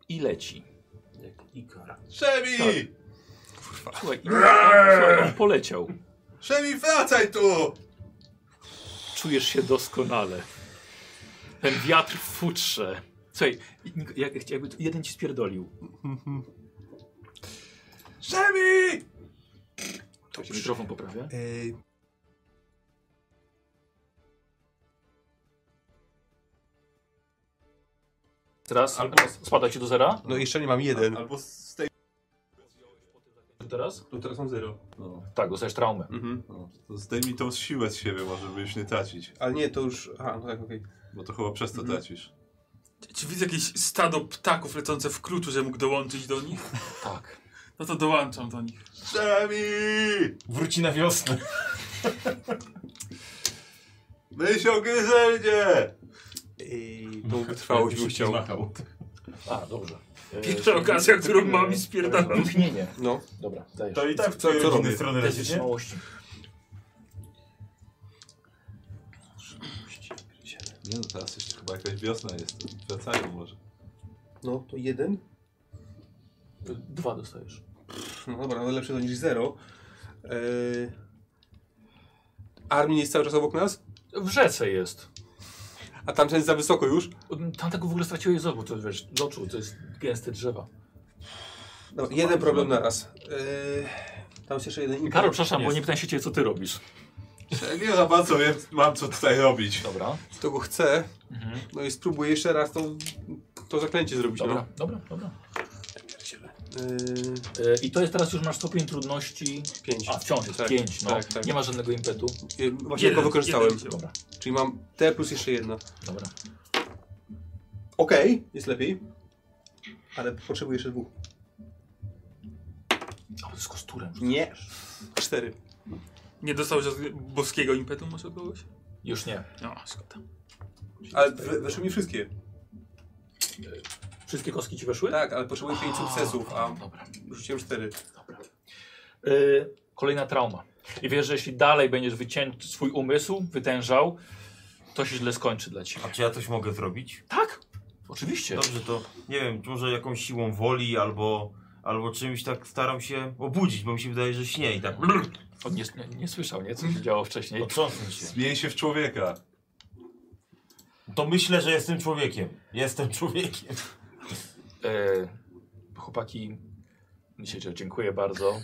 I leci.
Jak Ikar.
Szemi!
Tak.
Słuchaj, i- słuchaj, on poleciał.
Szemi, wracaj tu!
Czujesz się doskonale. Ten wiatr w futrze. Słuchaj, Nik- jak, jakby jeden ci spierdolił.
Szemi!
To się mikrofon poprawia.
Ej.
Teraz albo spada ci do zera.
No jeszcze nie mam jeden.
Albo z tej...
No, Teraz?
To teraz mam zero.
No,
Tak, dostajesz traumę.
Mhm.
no. To zdejmij tą siłę z siebie, może byś nie tracić.
Ale nie, to już... Aha, no tak, okej.
Bo to chyba przez to
Mhm.
tracisz.
Czy widzę jakieś stado ptaków lecące w kluczu, że mógł dołączyć do nich?
Tak.
No to dołączam do nich.
Szemi!
Wróci na wiosnę.
Myśl o gryzelnie!
Ej, długo trwało, bym chciał.
Machał.
A, dobrze.
Pierwsza okazja, którą mam i spierdalam.
Tchnienie.
No.
Dobra, dajesz.
To i tak
Co-
co,
co
co
robię?
robię? strony
Bez
lecisz, nie?
wytrzymałości.
Nie no, teraz jeszcze chyba jakaś wiosna jest. Wracają może.
No, to jeden.
Dwa dostajesz.
No dobra, no lepsze to niż zero. Eee... Armin jest cały czas obok nas,
W rzece jest.
a tamten jest za wysoko już.
Tamtego w ogóle straciłeś z oczu, to wiesz, z oczu, to jest gęste drzewa.
Dobra, jeden problem na raz. Eee... Tam jest jeszcze jeden.
Karol, przepraszam, bo nie pytam się cię, co ty robisz.
Ja nie za bardzo wiem, mam co tutaj robić.
Dobra. Mhm.
To go chcę. No i spróbuję jeszcze raz tą To zaklęcie zrobić,
Dobra, dobra, dobra.
no. Yy,
E, I to jest teraz już masz stopień trudności.
pięć.
A wciąż jest
Tak,
5, no.
tak, tak.
Nie ma żadnego impetu.
Yy, Właśnie go wykorzystałem.
Dobra,
Czyli mam T plus jeszcze jedna.
dobra.
Okej, jest lepiej. Ale potrzebuję jeszcze dwóch.
O, z kosturem.
Nie. Cztery.
Nie dostałeś od boskiego impetu może od kogoś?
Już nie.
No, szkoda.
Ale we- weszły mi wszystkie.
Wszystkie kostki ci weszły?
Tak, ale potrzebuję pięć sukcesów, a
Dobra.
rzuciłem cztery.
Y, kolejna trauma. I wiesz, że jeśli dalej będziesz wycięć swój umysł, wytężał, to się źle skończy dla ciebie.
A czy ja coś mogę zrobić?
Tak? Oczywiście.
Dobrze, to nie wiem, może jakąś siłą woli albo, albo czymś tak staram się obudzić, bo mi się wydaje, że śnie i tak brrr,
On nie, nie, nie słyszał, nie? Co się działo wcześniej.
otrząsnę się.
Zmień się w człowieka.
To myślę, że jestem człowiekiem. Jestem człowiekiem.
E, chłopaki, myślę, że dziękuję bardzo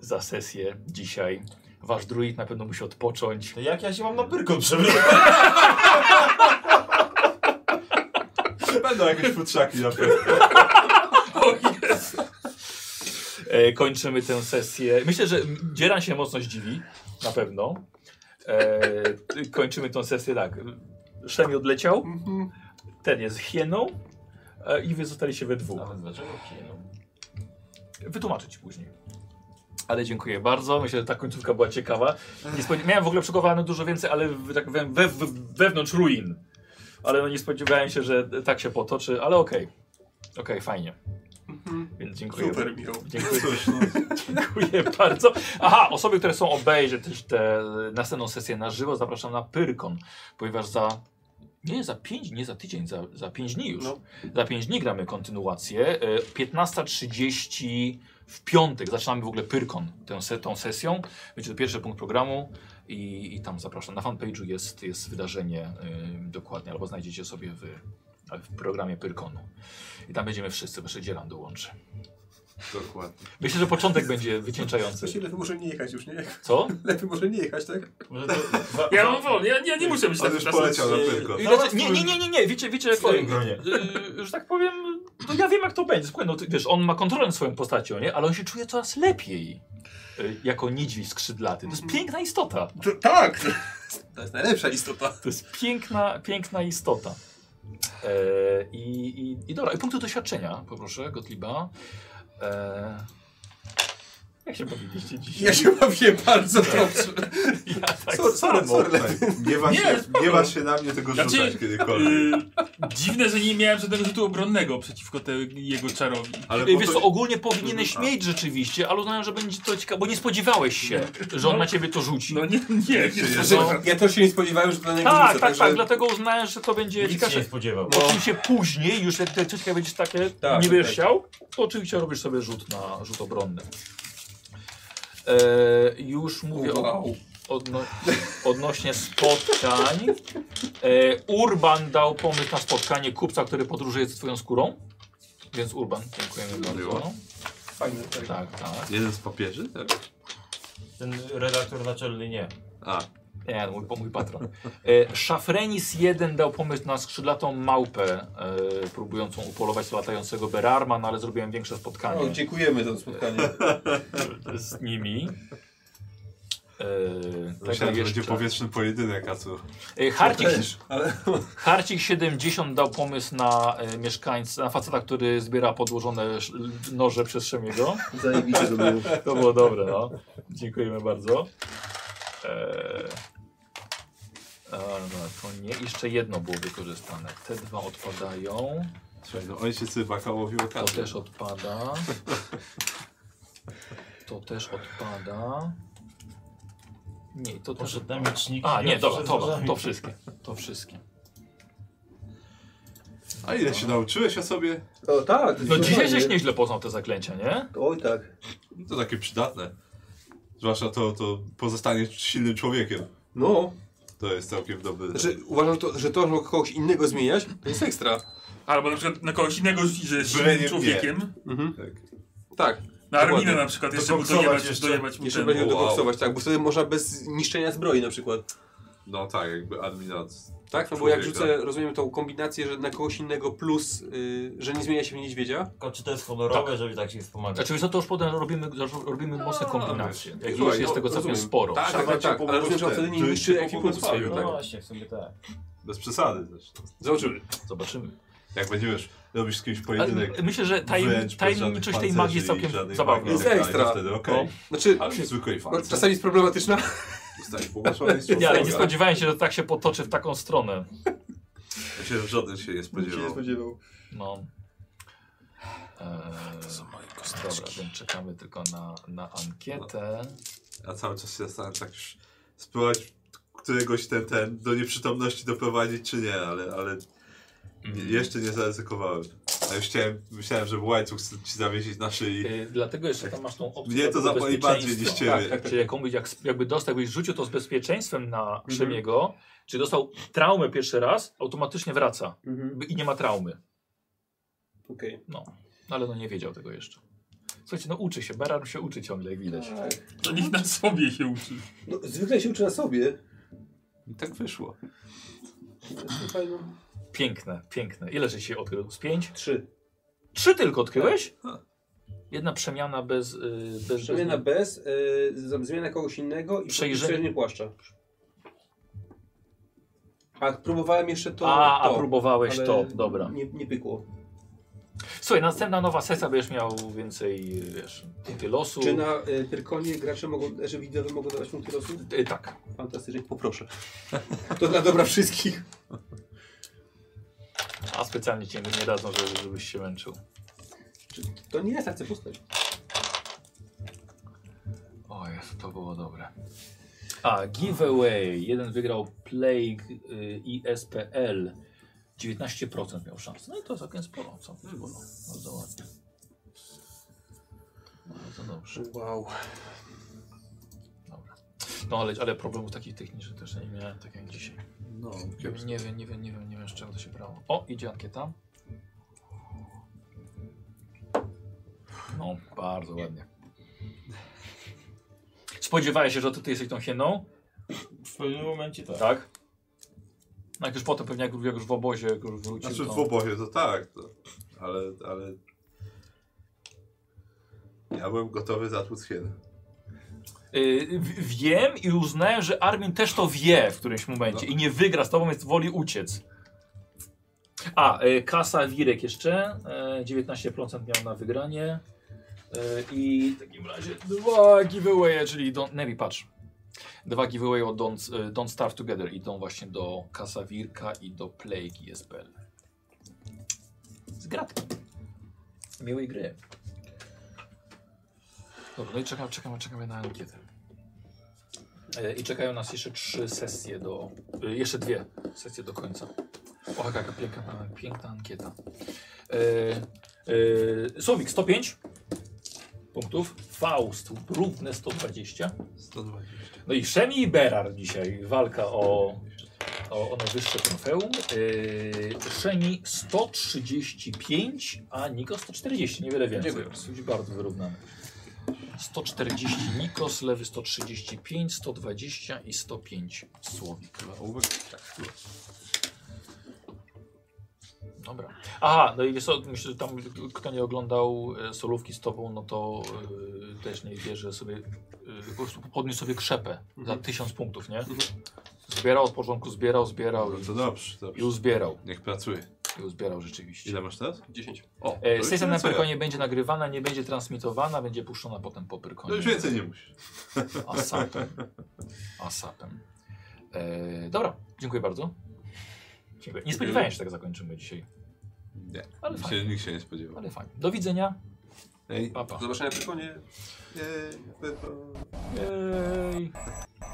za sesję dzisiaj. Wasz druid na pewno musi odpocząć.
To jak ja się mam na pyrkon przebrać?
Będą jakieś futrzaki na pewno.
E, kończymy tę sesję. Myślę, że Dzieran się mocno zdziwi, na pewno. E, kończymy tę sesję tak. Szemi odleciał, ten jest hieną e, i wy zostaliście we dwóch.
Nawet dlaczego przyjemno?
Wytłumaczyć później. Ale dziękuję bardzo. Myślę, że ta końcówka była ciekawa. Nie spodziew- Miałem w ogóle przygotowane dużo więcej, ale w- tak we, we, we, wewnątrz ruin. Ale no nie spodziewałem się, że tak się potoczy, ale okej. Okej, fajnie. Więc dziękuję.
Super, Michał.
Dziękuję. Dziękuję bardzo. Aha, osoby, które są obejrzeć też tę następną sesję na żywo, zapraszam na Pyrkon, ponieważ za nie za 5, nie za tydzień, za, za 5 dni już.
No.
Za 5 dni gramy kontynuację. E, 15.30 w piątek zaczynamy w ogóle Pyrkon tę, se- tą sesją. Będzie to pierwszy punkt programu i, i tam zapraszam. Na fanpage'u jest, jest wydarzenie e, dokładnie, albo znajdziecie sobie w, w programie Pyrkonu. I tam będziemy wszyscy, bo jeszcze Dzielan dołączy.
Dokładnie.
Myślę, że początek będzie wycieńczający.
Właśnie lepiej może nie jechać już, nie?
Co?
Lepiej może nie jechać, tak?
Może to za,
Ja mam wolę, ja, ja nie muszę być
On
tak
już poleciał na
No,
tylko.
I znaczy, nie, nie, nie, nie, nie, wiecie, wiecie, jak,
swoim gronie.
yy, że tak powiem, to ja wiem jak to będzie. Słuchaj, no, ty, wiesz, on ma kontrolę nad swoją postacią, nie? Ale on się czuje coraz lepiej yy, jako niedźwiedź skrzydlaty. To jest piękna istota.
tak! To jest najlepsza istota.
To jest piękna, piękna istota. E, i, i, I dobra, i punkty doświadczenia, poproszę, Gottlieba. E, jak się bawiliście dzisiaj?
Ja się bawię bardzo dobrze.
Ja tak
Sorry, sorry,
samo.
sorry.
Nie waż się, nie waż się na mnie tego rzucać
Znaczy-
kiedykolwiek.
dziwne, że nie miałem żadnego rzutu obronnego przeciwko te, jego czarowi.
Ale
Yy,
po
Wiesz
to-
co, ogólnie powinieneś mieć rzeczywiście, ale uznałem, że będzie to ciekawe, bo nie spodziewałeś się, że on na ciebie to rzuci.
No nie, nie.
Znaczy, ja też się nie spodziewałem, że dla niego
tak,
rzucę,
tak,
także-
tak, dlatego uznałem, że to będzie
Nikt się nie
ciekawsze.
spodziewał.
Po czym się później, już jak te ciuszka będziesz takie,
No. Tak,
nie będziesz
tak.
chciał, to oczywiście robisz sobie rzut na rzut obronny. E, już mówię o,
Wow.
odno, odnośnie spotkań. E, Urban dał pomysł na spotkanie kupca, który podróżuje z twoją skórą. Więc Urban, dziękujemy bardzo.
Miło.
Fajne, tak.
Tak, tak.
Jeden z papieży, tak?
Ten redaktor naczelny nie.
A,
Nie, mój, mój patron. E, Szafrenis 1 dał pomysł na skrzydlatą małpę e, próbującą upolować latającego Berarma, no ale zrobiłem większe spotkanie
No, dziękujemy za to spotkanie.
z nimi. E,
myślałem,
tego
że
jeszcze.
będzie powietrzny pojedynek, a co?
E, Harcik,
Też, ale
Harcik 70 dał pomysł na e, mieszkańca, na faceta, który zbiera podłożone sz- noże przez Szemiego.
Zajebiście to było.
Tak. To było dobre, no. Dziękujemy bardzo. Eee, a, no, to nie. Jeszcze jedno było wykorzystane. Te dwa odpadają.
Słuchaj, no on się cybaka łowił o
To
kasę.
też odpada. To też odpada. Nie, to też
Poszedł na miecznik.
A, nie,
Ja
dobra,
przeszedł
to,
za
to
mi-
wszystkie. To wszystkie.
A ile się nauczyłeś o sobie?
O tak.
No dzisiaj żeś nieźle poznał te zaklęcia, nie?
Oj tak.
No To takie przydatne. Zwłaszcza to, to pozostanie silnym człowiekiem.
no.
To jest całkiem dobry.
Znaczy, uważam, to, że to, że kogoś innego zmieniać, to jest ekstra.
Albo na przykład na kogoś innego rzucić, że jest
Byle nie
silnym
mnie.
człowiekiem.
tak.
Tak,
Na
Dokładnie.
Arminę na przykład jeszcze mu
Dokoksować
dojebać,
jeszcze.
dojebać mu
jeszcze
ten.
będzie
Wow.
dokoksować, tak, bo wtedy można bez niszczenia zbroi na przykład.
No tak, jakby admina.
Tak? No bo jak
Człowieka.
rzucę, rozumiem tą kombinację, że na kogoś innego plus, y, że nie zmienia się w niedźwiedzia.
Tylko czy to jest honorowe, żeby tak się wspomagać?
Znaczy, wiesz co, to już potem robimy, robimy mocne kombinacje. Jak
Słuchaj,
jest, jest
no,
tego całkiem
rozumiem.
sporo.
Tak, tak, tak, tak. Ale rozumiem, że on wtedy nie
Żebyś
niszczy
się
ekwipunku
pomógł
swojego.
No
Tak.
właśnie, w sumie tak.
Bez przesady zresztą.
Zobaczymy.
Zobaczymy.
Jak będziesz robić z kimś
Ale
pojedynek.
myślę, że tajemni-
wręcz bez
tajemniczość
żadnych
tej magii
pancerzy i
jest całkiem
żadnych
zabawna.
magii,
Jest
tak,
ekstra.
Wtedy, okay.
Znaczy,
Ale przy zwykłej
no,
fance.
czasami jest problematyczna.
Zostałeś położony i
Nie, ale nie spodziewałem się, że tak się potoczy w taką stronę.
Myślę, że żaden się nie spodziewał.
spodziewał.
No. Eee, dobra, więc czekamy tylko na, na ankietę.
Ja cały czas się zastanawiam, tak już spróbować któregoś ten, ten do nieprzytomności doprowadzić, czy nie, ale, ale nie, jeszcze nie zaryzykowałem. A już chciałem, myślałem, że łańcuch chcę ci zawiesić na szyi.
Yy, dlatego jeszcze tam masz tą opcję.
Mnie to
takiego
zaboli bardziej niż
bezpieczeństwa.
ciebie.
Czy jakąś, Tak. jak, jakby dostał, jakbyś rzucił to z bezpieczeństwem na Krzemiego, czy dostał traumę pierwszy raz, automatycznie wraca
Mhm.
i nie ma traumy.
Okej.
No, ale no nie wiedział tego jeszcze. Słuchajcie, no uczy się, Baran się uczy ciągle, jak widać.
To niech na sobie się uczy.
No, zwykle się uczy na sobie.
I tak wyszło.
Słuchaj, no.
Piękne, piękne. Ile żeś się odkrył? Z pięć?
Trzy.
Trzy tylko odkryłeś? Jedna przemiana bez... Yy, bez
Tak. Przemiana
bez...
bez, y, z- zmiana kogoś innego i
Przejrzenie.
przejrzenie płaszcza. A próbowałem jeszcze to.
A, a
to,
próbowałeś
ale
to, dobra.
Nie, nie pykło.
Słuchaj, następna nowa sesja będziesz miał więcej, wiesz, punkty losu.
Czy na y, Pyrkonie gracze mogą, że widowie mogą dawać punkty losu?
Y, tak.
Fantastycznie, poproszę. To dla dobra wszystkich.
A specjalnie cię nie dadzą, żeby, żebyś się męczył.
Czy To nie jest akcja postać.
O Jezu, to było dobre.
A, giveaway. Jeden wygrał Plague y, ISPL. 19% miał szans. No i to całkiem sporo. Całkiem sporo. Bardzo No ładnie. Bardzo dobrze.
Wow.
No ale, ale problemów takich technicznych też nie miałem, tak jak dzisiaj.
No,
kiepsko.
nie wiem, nie wiem, nie wiem, nie wiem z czego to się brało.
O, idzie ankieta. No, bardzo ładnie. Spodziewałeś się, że to ty jesteś tą hieną?
W pewnym momencie tak.
Tak. No jak już potem pewnie jak, jak już w obozie jak już wrócił.
Znaczy
to-
w obozie to tak, to, ale, ale ja byłem gotowy zatłuc hienę.
Y, w- wiem i uznałem, że Armin też to wie w którymś momencie i nie wygra z tobą, więc woli uciec. A, y, Kasa Wirek jeszcze. y, 19% miał na wygranie. Y, I w takim razie dwa giveawaye, czyli don't, Neri, patrz. Dwa giveawaye od don't, y, don't Starve Together idą właśnie do Kasa Wirka i do Plague ESPL. Z gratką. Miłej gry. Dobra, no i czekam, czekamy, czekamy na ankietę. E, I czekają nas jeszcze trzy sesje do. e, Jeszcze dwie sesje do końca. O, jaka jaka piękna, piękna ankieta. E, e, Słowik 105 punktów. Faust równe 120.
120.
No i Szemi i Berar dzisiaj. Walka o, o, o najwyższe trofeum. Yy, Szemi 135, a Nikos 140. Niewiele więcej. Dziękuję. Bardzo wyrównane. 140 Nikos, lewy 135, 120 i 105 Słowik.
tak,
Dobra. Aha, no i wiesz co, myślę, że tam kto nie oglądał e, solówki z tobą, no to e, też nie wie, że sobie y, po prostu podniósł sobie krzepę
Mhm.
za tysiąc punktów, nie? Zbierał od początku, zbierał, zbierał
No
i,
to dobrze, dobrze.
i uzbierał.
Niech pracuje.
I uzbierał rzeczywiście.
Ile masz teraz?
10.
O, to
E,
już
sesja na
więcej.
Pyrkonie będzie nagrywana, nie będzie transmitowana, będzie puszczona potem po
No
Pyrkonie.
już więcej nie musisz.
Asapem. Asapem. E, dobra, dziękuję bardzo. Dziękuję. Nie spodziewałem się, że tak zakończymy dzisiaj.
Nie,
Ale
nikt
fajnie.
się, nikt się nie spodziewał.
Ale fajnie. Do widzenia.
Ej,
Papa.
Do zobaczenia w Pyrkonie.
ej, ej, ej.
Jej.